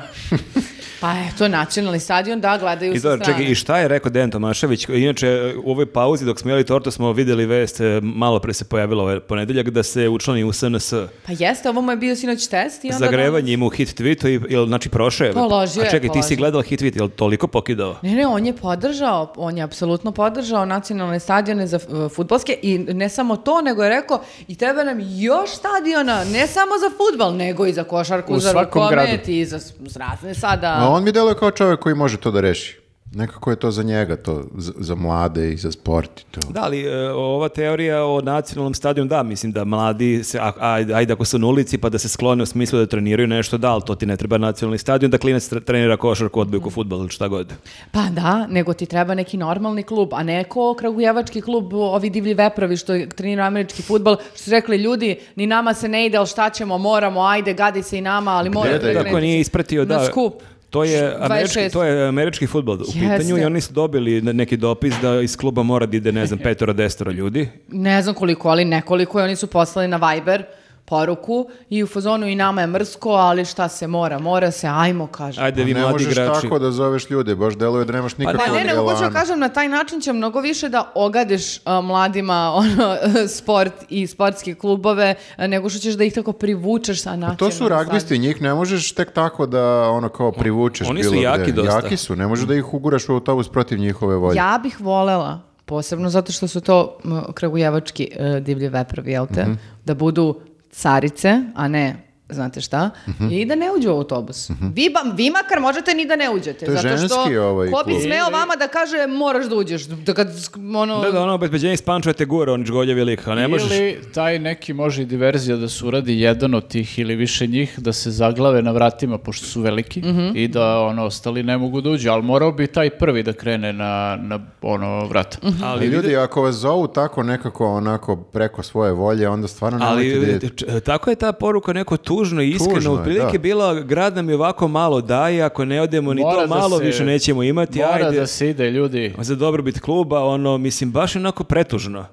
[SPEAKER 4] Pa eto, nacionalni stadion, da, gledaju
[SPEAKER 3] I
[SPEAKER 4] sa
[SPEAKER 3] dobro,
[SPEAKER 4] strane.
[SPEAKER 3] čekaj, i šta je rekao Dejan Tomašević? Inače, u ovoj pauzi dok smo jeli tortu smo videli vest, e, malo pre se pojavila ovaj ponedeljak, da se učlani u SNS.
[SPEAKER 4] Pa jeste, ovo mu je bio sinoć test i onda...
[SPEAKER 3] Zagrevanje ima u hit tweetu, i, jel, znači prošao je.
[SPEAKER 4] Položio
[SPEAKER 3] A
[SPEAKER 4] je,
[SPEAKER 3] čekaj, ti si
[SPEAKER 4] položio.
[SPEAKER 3] gledala hit tweet, jel toliko pokidao?
[SPEAKER 4] Ne, ne, on je podržao, on je apsolutno podržao nacionalne stadione za e, futbalske i ne samo to, nego je rekao i treba nam još stadiona, ne samo za futbal, nego i za košarku,
[SPEAKER 2] U
[SPEAKER 4] za
[SPEAKER 2] svakom
[SPEAKER 4] rukomet
[SPEAKER 2] gradu.
[SPEAKER 4] i za s- razne sada.
[SPEAKER 1] A on mi deluje kao čovjek koji može to da reši. Nekako je to za njega, to za, za mlade i za sport i to.
[SPEAKER 3] Da, ali e, ova teorija o nacionalnom stadionu, da, mislim da mladi, se, a- ajde, ajde ako su na ulici pa da se sklone u smislu da treniraju nešto, da, ali to ti ne treba nacionalni stadion, da klinac tre- trenira košarku,
[SPEAKER 4] Mm.
[SPEAKER 3] odbojku, futbol ili šta god.
[SPEAKER 4] Pa da, nego ti treba neki normalni klub, a ne ko kragujevački klub, ovi divlji veprovi što treniraju američki futbal, što su rekli ljudi, ni nama se ne ide, ali šta ćemo, moramo, ajde, gadi se i nama, ali moramo.
[SPEAKER 1] da ide?
[SPEAKER 3] Tako nije ispratio, da.
[SPEAKER 4] Na skup.
[SPEAKER 3] To je,
[SPEAKER 4] 26.
[SPEAKER 3] američki, to je američki futbol u pitanju
[SPEAKER 4] Jeste.
[SPEAKER 3] i oni su dobili ne- neki dopis da iz kluba mora da ide, ne znam, petoro, desetoro ljudi.
[SPEAKER 4] ne znam koliko, ali nekoliko i oni su poslali na Viber poruku i u fazonu i nama je mrsko, ali šta se mora, mora se, ajmo, kaže.
[SPEAKER 3] Ajde, vi
[SPEAKER 1] Pa ne
[SPEAKER 3] mladi
[SPEAKER 1] možeš
[SPEAKER 3] igrači.
[SPEAKER 1] tako da zoveš ljude, baš deluje da nemaš nikakvog
[SPEAKER 4] Pa ne, nego hoću da
[SPEAKER 1] elana.
[SPEAKER 4] kažem, na taj način će mnogo više da ogadiš a, mladima *laughs* ono, sport i sportske klubove, a, nego što ćeš da ih tako privučeš sa načinom.
[SPEAKER 1] Pa To su ragbisti, njih ne možeš tek tako da ono kao privučeš
[SPEAKER 3] Oni su
[SPEAKER 1] bilo
[SPEAKER 3] jaki
[SPEAKER 1] gde.
[SPEAKER 3] dosta.
[SPEAKER 1] Jaki su, ne možeš da ih uguraš u autobus protiv njihove volje.
[SPEAKER 4] Ja bih volela, posebno zato što su to m, kragujevački e, divlji veprovi, jel
[SPEAKER 1] Mhm.
[SPEAKER 4] te, da budu carice, a ne znate šta,
[SPEAKER 1] Mhm.
[SPEAKER 4] i da ne uđu u autobus. vi, ba- vi makar možete ni da ne uđete.
[SPEAKER 1] To je
[SPEAKER 4] zato što
[SPEAKER 1] ženski ovaj
[SPEAKER 4] ko bi
[SPEAKER 1] klub.
[SPEAKER 4] smeo vama da kaže moraš da uđeš, da kad sk- ono...
[SPEAKER 3] Da, da, ono obezbeđenje iz Pančeva te gura, on žgoljevi lik, a ne možeš...
[SPEAKER 2] Ili taj neki može i diverzija da se uradi jedan od tih ili više njih, da se zaglave na vratima pošto su veliki
[SPEAKER 3] Mhm.
[SPEAKER 2] i da ono ostali ne mogu da uđu, ali morao bi taj prvi da krene na, na ono vrata.
[SPEAKER 3] Pa
[SPEAKER 1] Ali ljudi, ako vas zovu tako nekako onako preko svoje volje, onda stvarno nemojte da
[SPEAKER 3] Ali
[SPEAKER 1] idete.
[SPEAKER 3] č- tako je ta poruka neko tužno i
[SPEAKER 1] Tužno
[SPEAKER 3] iskreno.
[SPEAKER 1] je,
[SPEAKER 3] U prilike
[SPEAKER 1] da.
[SPEAKER 3] bila grad nam je ovako malo daje, ako ne odemo ni
[SPEAKER 2] Mora
[SPEAKER 3] to
[SPEAKER 2] da
[SPEAKER 3] malo
[SPEAKER 2] se-
[SPEAKER 3] više nećemo imati.
[SPEAKER 2] Mora
[SPEAKER 3] ajde. Pa
[SPEAKER 2] da se ide, ljudi. Mm,
[SPEAKER 3] Za dobrobit kluba, ono, mislim, baš je onako pretužno.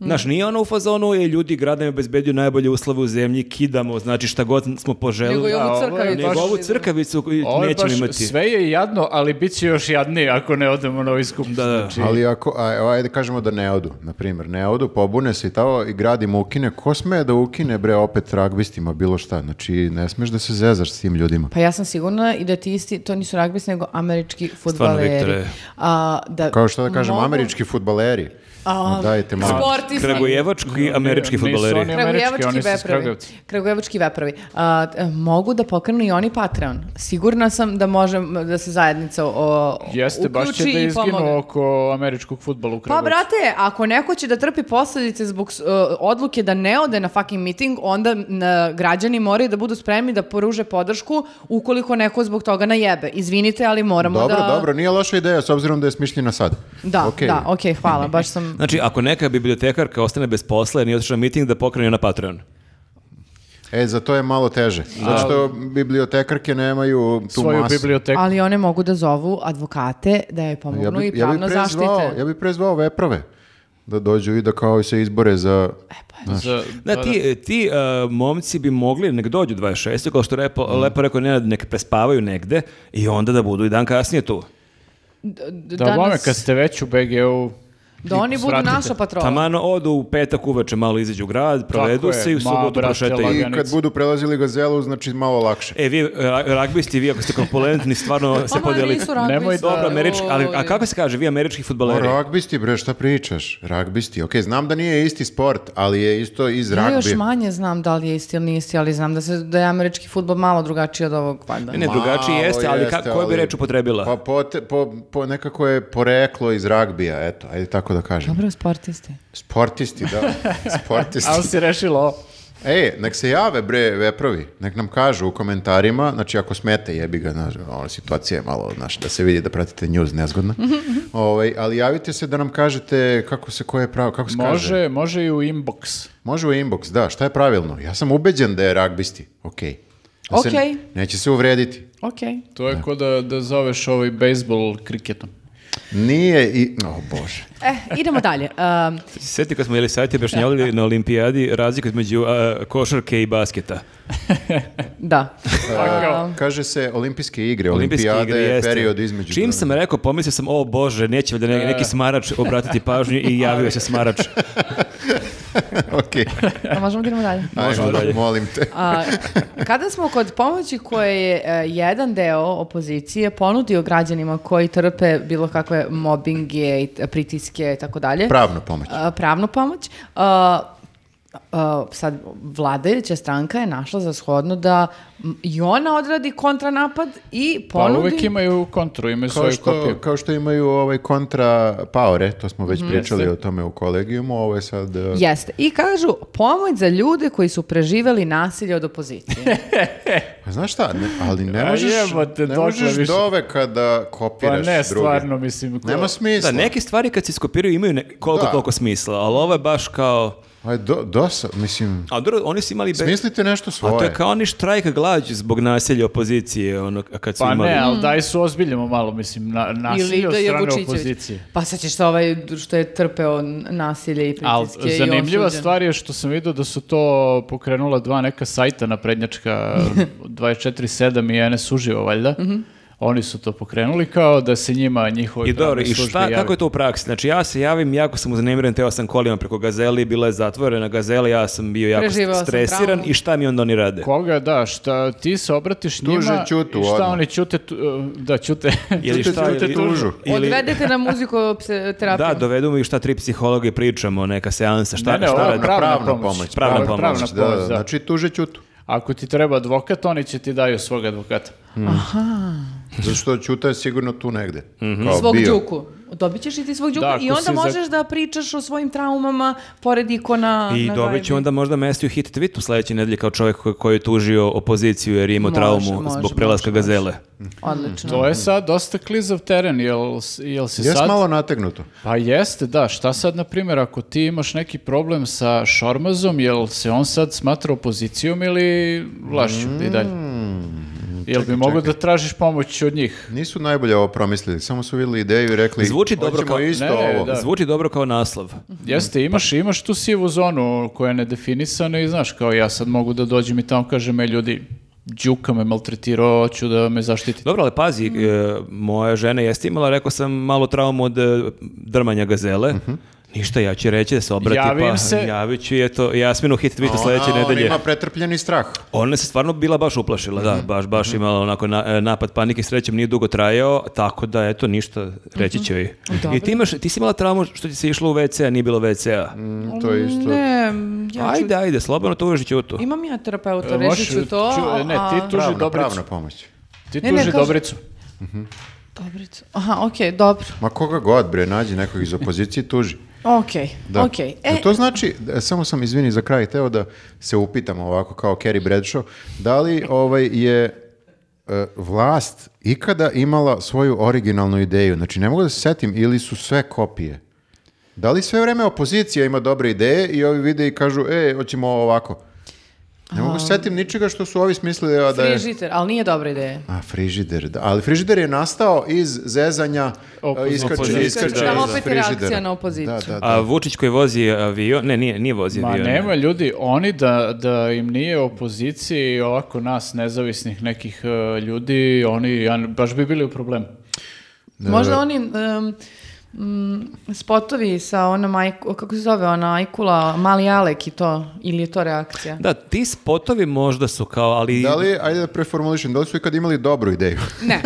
[SPEAKER 3] Znaš, nije ono u fazonu, je, ljudi grad nam je obezbedio najbolje uslove u zemlji, kidamo, znači šta god smo
[SPEAKER 4] Nego
[SPEAKER 3] poželili.
[SPEAKER 4] i ovu
[SPEAKER 2] a ovo je
[SPEAKER 4] crkavicu.
[SPEAKER 2] baš-
[SPEAKER 3] Nego ovu crkavicu koju
[SPEAKER 2] Ovo je
[SPEAKER 3] nećemo
[SPEAKER 2] baš-
[SPEAKER 3] imati.
[SPEAKER 2] Sve je jadno, ali bit će još jadnije ako ne odemo na ovaj skup.
[SPEAKER 3] Da, da.
[SPEAKER 2] Znači,
[SPEAKER 1] Ali ako, a, evo, ajde kažemo da ne odu, na primjer, ne odu, pobune se i tao i grad im ukine, ko sme da ukine bre opet ragbistima bilo šta, znači ne smeš da se zezaš s tim ljudima.
[SPEAKER 4] Pa ja sam sigurna i da ti isti, to nisu ragbis, nego američki futbaleri.
[SPEAKER 3] Viktore.
[SPEAKER 4] A, da
[SPEAKER 1] Kao što da kažem,
[SPEAKER 4] mogu-
[SPEAKER 1] američki futbaleri.
[SPEAKER 4] A,
[SPEAKER 1] Ma dajte malo.
[SPEAKER 4] Sportisti.
[SPEAKER 3] Kragujevački američki
[SPEAKER 2] nisu
[SPEAKER 3] futboleri.
[SPEAKER 2] oni-
[SPEAKER 4] Kragujevački
[SPEAKER 2] Američki, oni su iz
[SPEAKER 4] veprovi.
[SPEAKER 2] Kragujevca.
[SPEAKER 4] Kragujevački veprovi. A, t- mogu da pokrenu i oni Patreon. Sigurna sam da može da se zajednica o,
[SPEAKER 2] Jeste, baš će
[SPEAKER 4] uključi
[SPEAKER 2] da
[SPEAKER 4] i
[SPEAKER 2] izginu
[SPEAKER 4] pomogne.
[SPEAKER 2] oko američkog futbola u
[SPEAKER 4] Pa
[SPEAKER 2] Kragujevcu.
[SPEAKER 4] brate, ako neko će da trpi posljedice zbog s- e, odluke da ne ode na fucking meeting, onda n- građani moraju da budu spremni da poruže podršku ukoliko neko zbog toga najebe. Izvinite, ali moramo
[SPEAKER 1] Dobro,
[SPEAKER 4] da...
[SPEAKER 1] dobro, nije loša ideja s obzirom da je smišljena sad.
[SPEAKER 4] Da,
[SPEAKER 1] Okej.
[SPEAKER 4] da, okej, hvala, baš
[SPEAKER 2] *laughs*
[SPEAKER 4] sam...
[SPEAKER 3] Znači, ako neka bibliotekarka ostane bez posla jer nije otišla na miting, da pokrene na Patreon.
[SPEAKER 1] E, za to je malo teže. Zato što bibliotekarke nemaju tu
[SPEAKER 2] Svoju
[SPEAKER 1] masu.
[SPEAKER 2] biblioteku.
[SPEAKER 4] Ali one mogu da zovu advokate da je pomognu
[SPEAKER 1] Ja bi,
[SPEAKER 4] Ono i
[SPEAKER 1] ja bi
[SPEAKER 4] pravno
[SPEAKER 1] prezvao,
[SPEAKER 4] zaštite.
[SPEAKER 1] ja bi prezvao veprove da dođu i da kao se izbore za...
[SPEAKER 2] Za-
[SPEAKER 3] Da,
[SPEAKER 2] da,
[SPEAKER 3] ti, ti e, momci bi mogli, nek dođu 26. kao što je lepo,
[SPEAKER 2] Mm.
[SPEAKER 3] lepo rekao Nenad, nek prespavaju negde i onda da budu i dan kasnije tu.
[SPEAKER 4] D- d-
[SPEAKER 2] Da, bome, kad ste već u BG-u,
[SPEAKER 4] da oni budu
[SPEAKER 2] svratite.
[SPEAKER 4] naša patrola.
[SPEAKER 3] Tamano odu u petak uveče, malo izađu u grad, provedu
[SPEAKER 2] je,
[SPEAKER 3] se i u
[SPEAKER 2] ma,
[SPEAKER 3] subotu
[SPEAKER 2] brate,
[SPEAKER 3] prošetaju.
[SPEAKER 1] I
[SPEAKER 2] lagano.
[SPEAKER 1] kad budu prelazili gazelu, znači malo lakše.
[SPEAKER 3] E, vi, e, ragbisti, vi ako ste kompolentni, stvarno se
[SPEAKER 4] Ono,
[SPEAKER 3] podelite.
[SPEAKER 4] nisu ragbisti.
[SPEAKER 2] Nemoj-
[SPEAKER 3] Dobro, američki, ali a
[SPEAKER 4] Joj.
[SPEAKER 3] kako se kaže, vi američki futboleri?
[SPEAKER 1] O, ragbisti, bre, šta pričaš? Ragbisti, okej, znam da nije isti sport, ali je isto iz
[SPEAKER 4] Ja još
[SPEAKER 1] ragbija.
[SPEAKER 4] manje znam da li je isti ili nisi, ali znam da, se, da je američki futbol malo drugačiji od ovog, valjda.
[SPEAKER 3] Ne, ne, drugačiji
[SPEAKER 1] Malo
[SPEAKER 3] jeste, ali kako,
[SPEAKER 1] jeste,
[SPEAKER 3] koju bi
[SPEAKER 1] ali-
[SPEAKER 3] reč upotrebila?
[SPEAKER 1] Pa pote- po, po, nekako je poreklo iz ragbija, eto, ajde tako da kažem.
[SPEAKER 4] Dobro, sportisti.
[SPEAKER 1] Sportisti,
[SPEAKER 4] *laughs*
[SPEAKER 1] da. Sportisti.
[SPEAKER 2] ali si rešilo ovo.
[SPEAKER 1] Ej, E, nek se jave bre veprovi, nek nam kažu u komentarima, znači ako smete jebi ga, znaš, ona situacija je malo, znaš, da se vidi da pratite news nezgodna. ovaj, ali javite se da nam kažete kako se ko je pravo, kako se kaže.
[SPEAKER 2] Može, može i u inbox.
[SPEAKER 1] Može u inbox, da, šta je pravilno? Ja sam ubeđen da je ragbisti, okej. Da se-
[SPEAKER 4] Okej.
[SPEAKER 1] neće se uvrediti.
[SPEAKER 4] Ok.
[SPEAKER 2] To je ko da, da zoveš ovaj bejsbol kriketom.
[SPEAKER 1] Nije i... O bože.
[SPEAKER 4] Eh, idemo *laughs* dalje. Um,
[SPEAKER 3] Sjeti kad smo jeli sajte objašnjavali na olimpijadi razliku između a, košarke i basketa.
[SPEAKER 4] da. Um,
[SPEAKER 1] E, Kaže se olimpijske igre,
[SPEAKER 3] Olimpijske
[SPEAKER 1] olimpijade
[SPEAKER 3] igre,
[SPEAKER 1] je
[SPEAKER 3] jeste.
[SPEAKER 1] period između... E.
[SPEAKER 3] Čim sam rekao, pomislio sam, o bože, neće da ne, neki smarač obratiti pažnju i javio se
[SPEAKER 1] *laughs*
[SPEAKER 3] smarač.
[SPEAKER 1] *laughs*
[SPEAKER 3] *laughs*
[SPEAKER 1] Okej,
[SPEAKER 4] a Pa možemo da idemo dalje?
[SPEAKER 1] ajmo,
[SPEAKER 3] dalje.
[SPEAKER 1] molim te.
[SPEAKER 4] A, kada smo kod pomoći koje je e, jedan deo opozicije ponudio građanima koji trpe bilo kakve mobinge, i t- pritiske i tako dalje.
[SPEAKER 1] Pravna pomoć.
[SPEAKER 4] A, pravnu pomoć. A, a, sad, vladajuća stranka je našla za shodno da m, i ona odradi kontranapad i
[SPEAKER 2] Pa
[SPEAKER 4] ponudi...
[SPEAKER 2] uvek imaju kontru, imaju
[SPEAKER 1] Kao
[SPEAKER 2] svoju
[SPEAKER 1] što,
[SPEAKER 2] kopiju. Pa
[SPEAKER 1] kao što imaju ovaj kontra paore, to smo već pričali o tome u kolegijumu, ovo je sad... eh,
[SPEAKER 4] Jeste. I kažu, pomoć za ljude koji su preživeli nasilje od opozicije.
[SPEAKER 1] Pa znaš šta, ne- ali ne
[SPEAKER 2] A
[SPEAKER 1] možeš,
[SPEAKER 2] jebote,
[SPEAKER 1] ne
[SPEAKER 2] dokle
[SPEAKER 1] možeš
[SPEAKER 2] više?
[SPEAKER 1] doveka da
[SPEAKER 2] Pa
[SPEAKER 1] kopiraš
[SPEAKER 2] ne,
[SPEAKER 1] druge.
[SPEAKER 2] stvarno, mislim. ko-
[SPEAKER 1] Nema smisla.
[SPEAKER 3] Da, neke stvari kad se iskopiraju imaju ne- koliko
[SPEAKER 1] Da.
[SPEAKER 3] toliko smisla, ali ovo je baš kao...
[SPEAKER 1] Aj, do, dosa, mislim,
[SPEAKER 3] A dobro, oni su imali... be-
[SPEAKER 1] smislite nešto svoje.
[SPEAKER 3] A to je kao oni štrajk glađu zbog nasilja opozicije, ono, kad su
[SPEAKER 2] Pa
[SPEAKER 3] imali...
[SPEAKER 2] ne,
[SPEAKER 4] Mm.
[SPEAKER 2] ali daj su ozbiljimo malo, mislim, na, nasilje od strane opozicije.
[SPEAKER 4] Pa sećaš se ovaj što je trpeo n- nasilje i
[SPEAKER 2] Ali
[SPEAKER 4] pritiske i
[SPEAKER 2] zanimljiva
[SPEAKER 4] osuđen.
[SPEAKER 2] stvar je što sam vidio da su to pokrenula dva neka sajta
[SPEAKER 4] *laughs*
[SPEAKER 2] naprednjačka 24-7 i NS Uživo, valjda.
[SPEAKER 4] Mhm.
[SPEAKER 2] Oni su to pokrenuli kao da se njima njihove
[SPEAKER 3] I dobro,
[SPEAKER 2] pravne
[SPEAKER 3] i
[SPEAKER 2] službe
[SPEAKER 3] šta,
[SPEAKER 2] jave.
[SPEAKER 3] kako je to u praksi? Znači ja se javim, jako sam uznemiren, teo sam kolima preko gazeli, bila je zatvorena gazela, ja sam bio jako
[SPEAKER 4] Preživeo sam
[SPEAKER 3] stresiran
[SPEAKER 4] traumu.
[SPEAKER 3] i šta mi onda oni rade?
[SPEAKER 2] Koga, da, šta, ti se obratiš njima
[SPEAKER 1] Tuže Ćutu
[SPEAKER 2] i šta
[SPEAKER 1] odmah.
[SPEAKER 2] oni ćute, tu- e, da, ćute.
[SPEAKER 3] Ili
[SPEAKER 1] Čute,
[SPEAKER 3] šta,
[SPEAKER 1] čute
[SPEAKER 3] ili-
[SPEAKER 1] tužu.
[SPEAKER 3] ili-
[SPEAKER 4] Odvedete na muziku
[SPEAKER 2] *laughs*
[SPEAKER 4] terapiju.
[SPEAKER 3] Da, dovedu mi šta tri psihologa i pričamo, neka seansa, šta,
[SPEAKER 2] Ne, ne,
[SPEAKER 3] šta
[SPEAKER 2] ovo je
[SPEAKER 3] radi?
[SPEAKER 1] Pravna, pravna
[SPEAKER 2] Pravna
[SPEAKER 1] pomoć.
[SPEAKER 2] pomoć.
[SPEAKER 3] Pravna
[SPEAKER 1] Pravna
[SPEAKER 3] pomoć,
[SPEAKER 1] da, da,
[SPEAKER 2] da.
[SPEAKER 1] Znači, tuže ćutu.
[SPEAKER 2] Ako ti treba advokat, oni će ti daju svog advokata.
[SPEAKER 1] Zato što ćuta je sigurno tu negde. Kao
[SPEAKER 4] svog
[SPEAKER 1] bio.
[SPEAKER 4] đuku. Dobit ćeš i ti svog đuku
[SPEAKER 2] Da,
[SPEAKER 4] i
[SPEAKER 2] ako
[SPEAKER 4] onda
[SPEAKER 2] si za-
[SPEAKER 4] možeš da pričaš o svojim traumama pored ikona.
[SPEAKER 3] I
[SPEAKER 4] na
[SPEAKER 3] dobit ću
[SPEAKER 4] galebi.
[SPEAKER 3] onda možda mesto i u hit tweetu sledeće nedelje kao čovjek koji, koji je tužio opoziciju jer je imao
[SPEAKER 4] Može,
[SPEAKER 3] traumu
[SPEAKER 4] može,
[SPEAKER 3] zbog prelaska
[SPEAKER 4] može, može.
[SPEAKER 3] gazele.
[SPEAKER 4] Odlično.
[SPEAKER 2] To je sad dosta klizav teren, jel, s- jel si
[SPEAKER 1] Jes
[SPEAKER 2] sad...
[SPEAKER 1] Mm. malo nategnuto.
[SPEAKER 2] Pa jeste, da, šta sad, na primjer, ako ti imaš neki problem sa
[SPEAKER 1] Mm,
[SPEAKER 2] Šormazom, jel se on sad smatra opozicijom ili vlašću i dalje? Jel bi mogao da tražiš pomoć od njih?
[SPEAKER 1] Nisu najbolje ovo promislili, samo su vidjeli ideju i rekli
[SPEAKER 3] Zvuči dobro
[SPEAKER 1] "Hoćemo
[SPEAKER 3] kao-
[SPEAKER 1] isto
[SPEAKER 2] Ne, ne,
[SPEAKER 1] ovo.
[SPEAKER 2] da.
[SPEAKER 3] Zvuči dobro kao naslov.
[SPEAKER 2] Jeste, imaš, imaš tu sivu zonu koja je nedefinisana i znaš, kao ja sad mogu da dođem i tamo kažem, e ljudi, Đuka me maltretirao, hoću da me zaštitite.
[SPEAKER 3] Dobro, ali pazi, e, moja žena jeste imala, rekao sam, malo traumu od e, drmanja gazele. Ništa, ja ću reći da se obrati,
[SPEAKER 2] Javim
[SPEAKER 3] pa
[SPEAKER 2] se.
[SPEAKER 3] javit ću je to. Jasminu hit tweetu sledeće
[SPEAKER 1] Ona- ona
[SPEAKER 3] nedelje.
[SPEAKER 1] ima pretrpljeni strah.
[SPEAKER 3] Ona se stvarno bila baš uplašila, da, baš, baš imala onako na- e, napad panike, srećem nije dugo trajao, tako da eto ništa, reći ću joj.
[SPEAKER 4] Dobro.
[SPEAKER 3] I ti, imaš, ti si imala traumu što ti se išlo u WC, a nije bilo WC-a.
[SPEAKER 1] Mm, to je isto.
[SPEAKER 4] Ne, ja ću...
[SPEAKER 3] Ajde, ajde, slobodno to uveži ću tu.
[SPEAKER 4] Imam ja terapeuta,
[SPEAKER 2] E,
[SPEAKER 4] režit
[SPEAKER 2] možeš,
[SPEAKER 4] ću to.
[SPEAKER 2] ču- ne,
[SPEAKER 4] a-
[SPEAKER 2] ti tu- Tuži
[SPEAKER 1] Pravna,
[SPEAKER 2] Dobricu.
[SPEAKER 1] pravna pomoć.
[SPEAKER 2] Ti
[SPEAKER 4] Ne,
[SPEAKER 2] tuži
[SPEAKER 4] ne, kažem-
[SPEAKER 2] Dobricu.
[SPEAKER 4] Dobricu. Aha, okej, dobro.
[SPEAKER 1] Ma koga god, bre, nađi nekog iz opozicije i tuži.
[SPEAKER 4] Okej,
[SPEAKER 1] *laughs* Da.
[SPEAKER 4] okej.
[SPEAKER 1] Jel
[SPEAKER 4] E,
[SPEAKER 1] to znači, e, samo sam izvini za kraj, teo da se upitam ovako kao Carrie Bradshaw, da li ovaj je e, vlast ikada imala svoju originalnu ideju? Znači, ne mogu da se setim, ili su sve kopije? Da li sve vreme opozicija ima dobre ideje i ovi vide i kažu, e, hoćemo ovako? Ne mogu da se setim ničega što su ovi smislili a da je...
[SPEAKER 4] frižiter, ali nije dobra ideja.
[SPEAKER 1] A, frižider, da. Ali frižider je nastao iz zezanja
[SPEAKER 2] Opozicije.
[SPEAKER 1] e, iskače-
[SPEAKER 2] Opozicije,
[SPEAKER 1] iskače
[SPEAKER 2] da,
[SPEAKER 1] iz
[SPEAKER 2] da.
[SPEAKER 4] Opet je reakcija
[SPEAKER 1] frižidera.
[SPEAKER 4] na opoziciju.
[SPEAKER 1] Da, da, da.
[SPEAKER 3] A Vučić koji vozi avion, ne, nije, nije vozi
[SPEAKER 2] Ma
[SPEAKER 3] avion.
[SPEAKER 2] nema ljudi, oni da, da im nije opoziciji ovako nas nezavisnih nekih e, ljudi, oni ja, baš bi bili u problemu.
[SPEAKER 4] Možda oni... em, mm, spotovi sa ona majku, kako se zove ona Ajkula, Mali Alek i to, ili je to reakcija?
[SPEAKER 3] Da, ti spotovi možda su kao, ali...
[SPEAKER 1] Da li, ajde da preformulišem, da li su ikad imali dobru ideju?
[SPEAKER 4] Ne.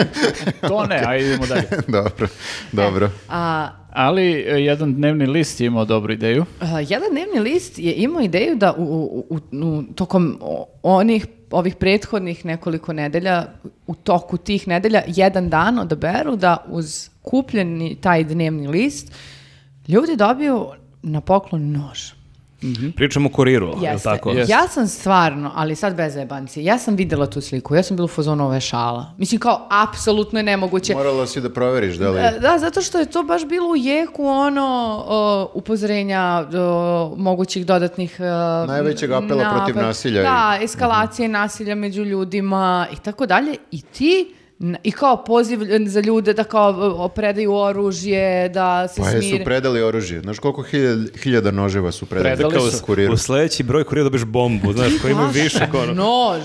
[SPEAKER 2] To ne, ajde idemo dalje.
[SPEAKER 1] *laughs* dobro, dobro.
[SPEAKER 4] A,
[SPEAKER 2] Ali e, jedan dnevni list je imao dobru ideju.
[SPEAKER 4] a, Eh, jedan dnevni list je imao ideju da u, u- u- u- tokom o- onih ovih prethodnih nekoliko nedelja, u toku tih nedelja, jedan dan odaberu da uz kupljeni taj dnevni list ljudi dobiju na poklon nož.
[SPEAKER 3] Pričamo o kuriru, jel
[SPEAKER 4] Jeste.
[SPEAKER 3] tako?
[SPEAKER 2] Jeste.
[SPEAKER 4] Ja sam stvarno, ali sad bez jebanci, ja sam videla tu sliku, ja sam bila u fazonu ove šala. Mislim kao, apsolutno je nemoguće.
[SPEAKER 1] Morala si da proveriš da li...
[SPEAKER 4] E, Da, zato što je to baš bilo u jeku ono o, upozorenja o, mogućih dodatnih... e,
[SPEAKER 1] Najvećeg apela protiv nasilja i-
[SPEAKER 4] Da, eskalacije nasilja među ljudima i tako dalje. I ti n- i kao poziv za ljude da kao o, predaju oružje, da se
[SPEAKER 1] Pa jesu
[SPEAKER 4] smire.
[SPEAKER 1] predali oružje. Znaš koliko hiljada, hiljada noževa su predali?
[SPEAKER 2] Predali
[SPEAKER 1] Kao
[SPEAKER 2] su.
[SPEAKER 1] Kuriru.
[SPEAKER 3] U sledeći broj kurira dobiješ bombu, znaš, koji ima više kao ono.
[SPEAKER 4] Nož.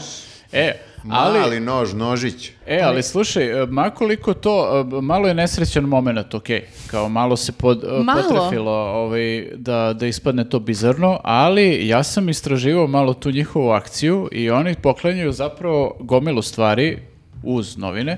[SPEAKER 2] E, ali,
[SPEAKER 1] Mali nož, nožić.
[SPEAKER 2] E, ali slušaj, e, makoliko to, e, malo je nesrećan moment, ok, kao malo se pod, e,
[SPEAKER 4] Malo?
[SPEAKER 2] potrefilo ovaj, da, da ispadne to bizarno, ali ja sam istraživao malo tu njihovu akciju i oni poklanjaju zapravo gomilu stvari uz novine,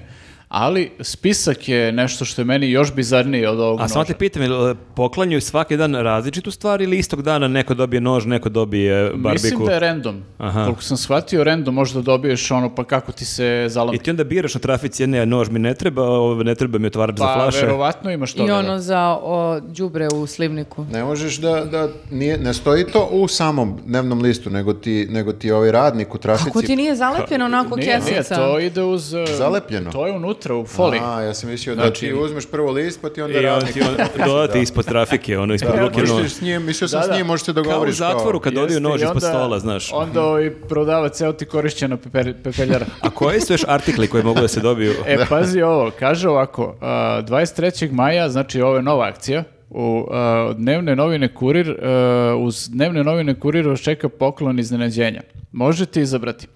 [SPEAKER 2] ali spisak je nešto što je meni još bizarnije od ovog
[SPEAKER 3] A samo
[SPEAKER 2] noža.
[SPEAKER 3] te pitam, jel, e, poklanjaju svaki dan različitu stvar ili istog dana neko dobije nož, neko dobije barbiku?
[SPEAKER 2] Mislim da je random.
[SPEAKER 3] Aha.
[SPEAKER 2] Koliko sam shvatio, random možda dobiješ ono pa kako ti se zalomi.
[SPEAKER 3] I ti onda biraš na trafici, ne, nož mi ne treba, ovo ne treba mi otvarati za
[SPEAKER 2] Pa
[SPEAKER 3] flaše.
[SPEAKER 2] verovatno imaš toga.
[SPEAKER 4] I
[SPEAKER 2] da.
[SPEAKER 4] ono za o, đubre u slivniku.
[SPEAKER 1] Ne možeš da, da nije, ne stoji to u samom dnevnom listu, nego ti, nego ti ovaj radnik u trafici...
[SPEAKER 4] Kako ti nije zalepljeno onako
[SPEAKER 2] Nije,
[SPEAKER 4] kesica?
[SPEAKER 2] nije, to ide uz... e,
[SPEAKER 1] Zalepljeno.
[SPEAKER 2] To je unutra, u foli.
[SPEAKER 1] A, ja sam mislio da
[SPEAKER 3] Znači-
[SPEAKER 1] ti uzmeš prvo list, pa ti onda
[SPEAKER 3] I on
[SPEAKER 1] radnik...
[SPEAKER 3] ti
[SPEAKER 2] *laughs*
[SPEAKER 3] on, dodati ispod trafike, ono, ispod
[SPEAKER 1] Da,
[SPEAKER 3] ruke nož.
[SPEAKER 1] možeš s njim, mislio sam
[SPEAKER 2] Da, da.
[SPEAKER 1] s njim, možeš se
[SPEAKER 3] Kao u
[SPEAKER 1] dogovoriš.
[SPEAKER 3] zatvoru kad dodaju
[SPEAKER 2] Jeste,
[SPEAKER 3] nož
[SPEAKER 2] i
[SPEAKER 3] ispod
[SPEAKER 2] onda-
[SPEAKER 3] stola, znaš.
[SPEAKER 2] Onda ovaj prodavac, evo ti korišćena pepe- pepeljara.
[SPEAKER 3] A koji su još artikli koji mogu da se dobiju?
[SPEAKER 1] *laughs*
[SPEAKER 2] E, pazi ovo, kaže ovako, a, 23. maja, znači ovo je nova akcija, u a, dnevne novine Kurir, a, uz dnevne novine Kurir vas čeka poklon iznenađenja. Možete izabrati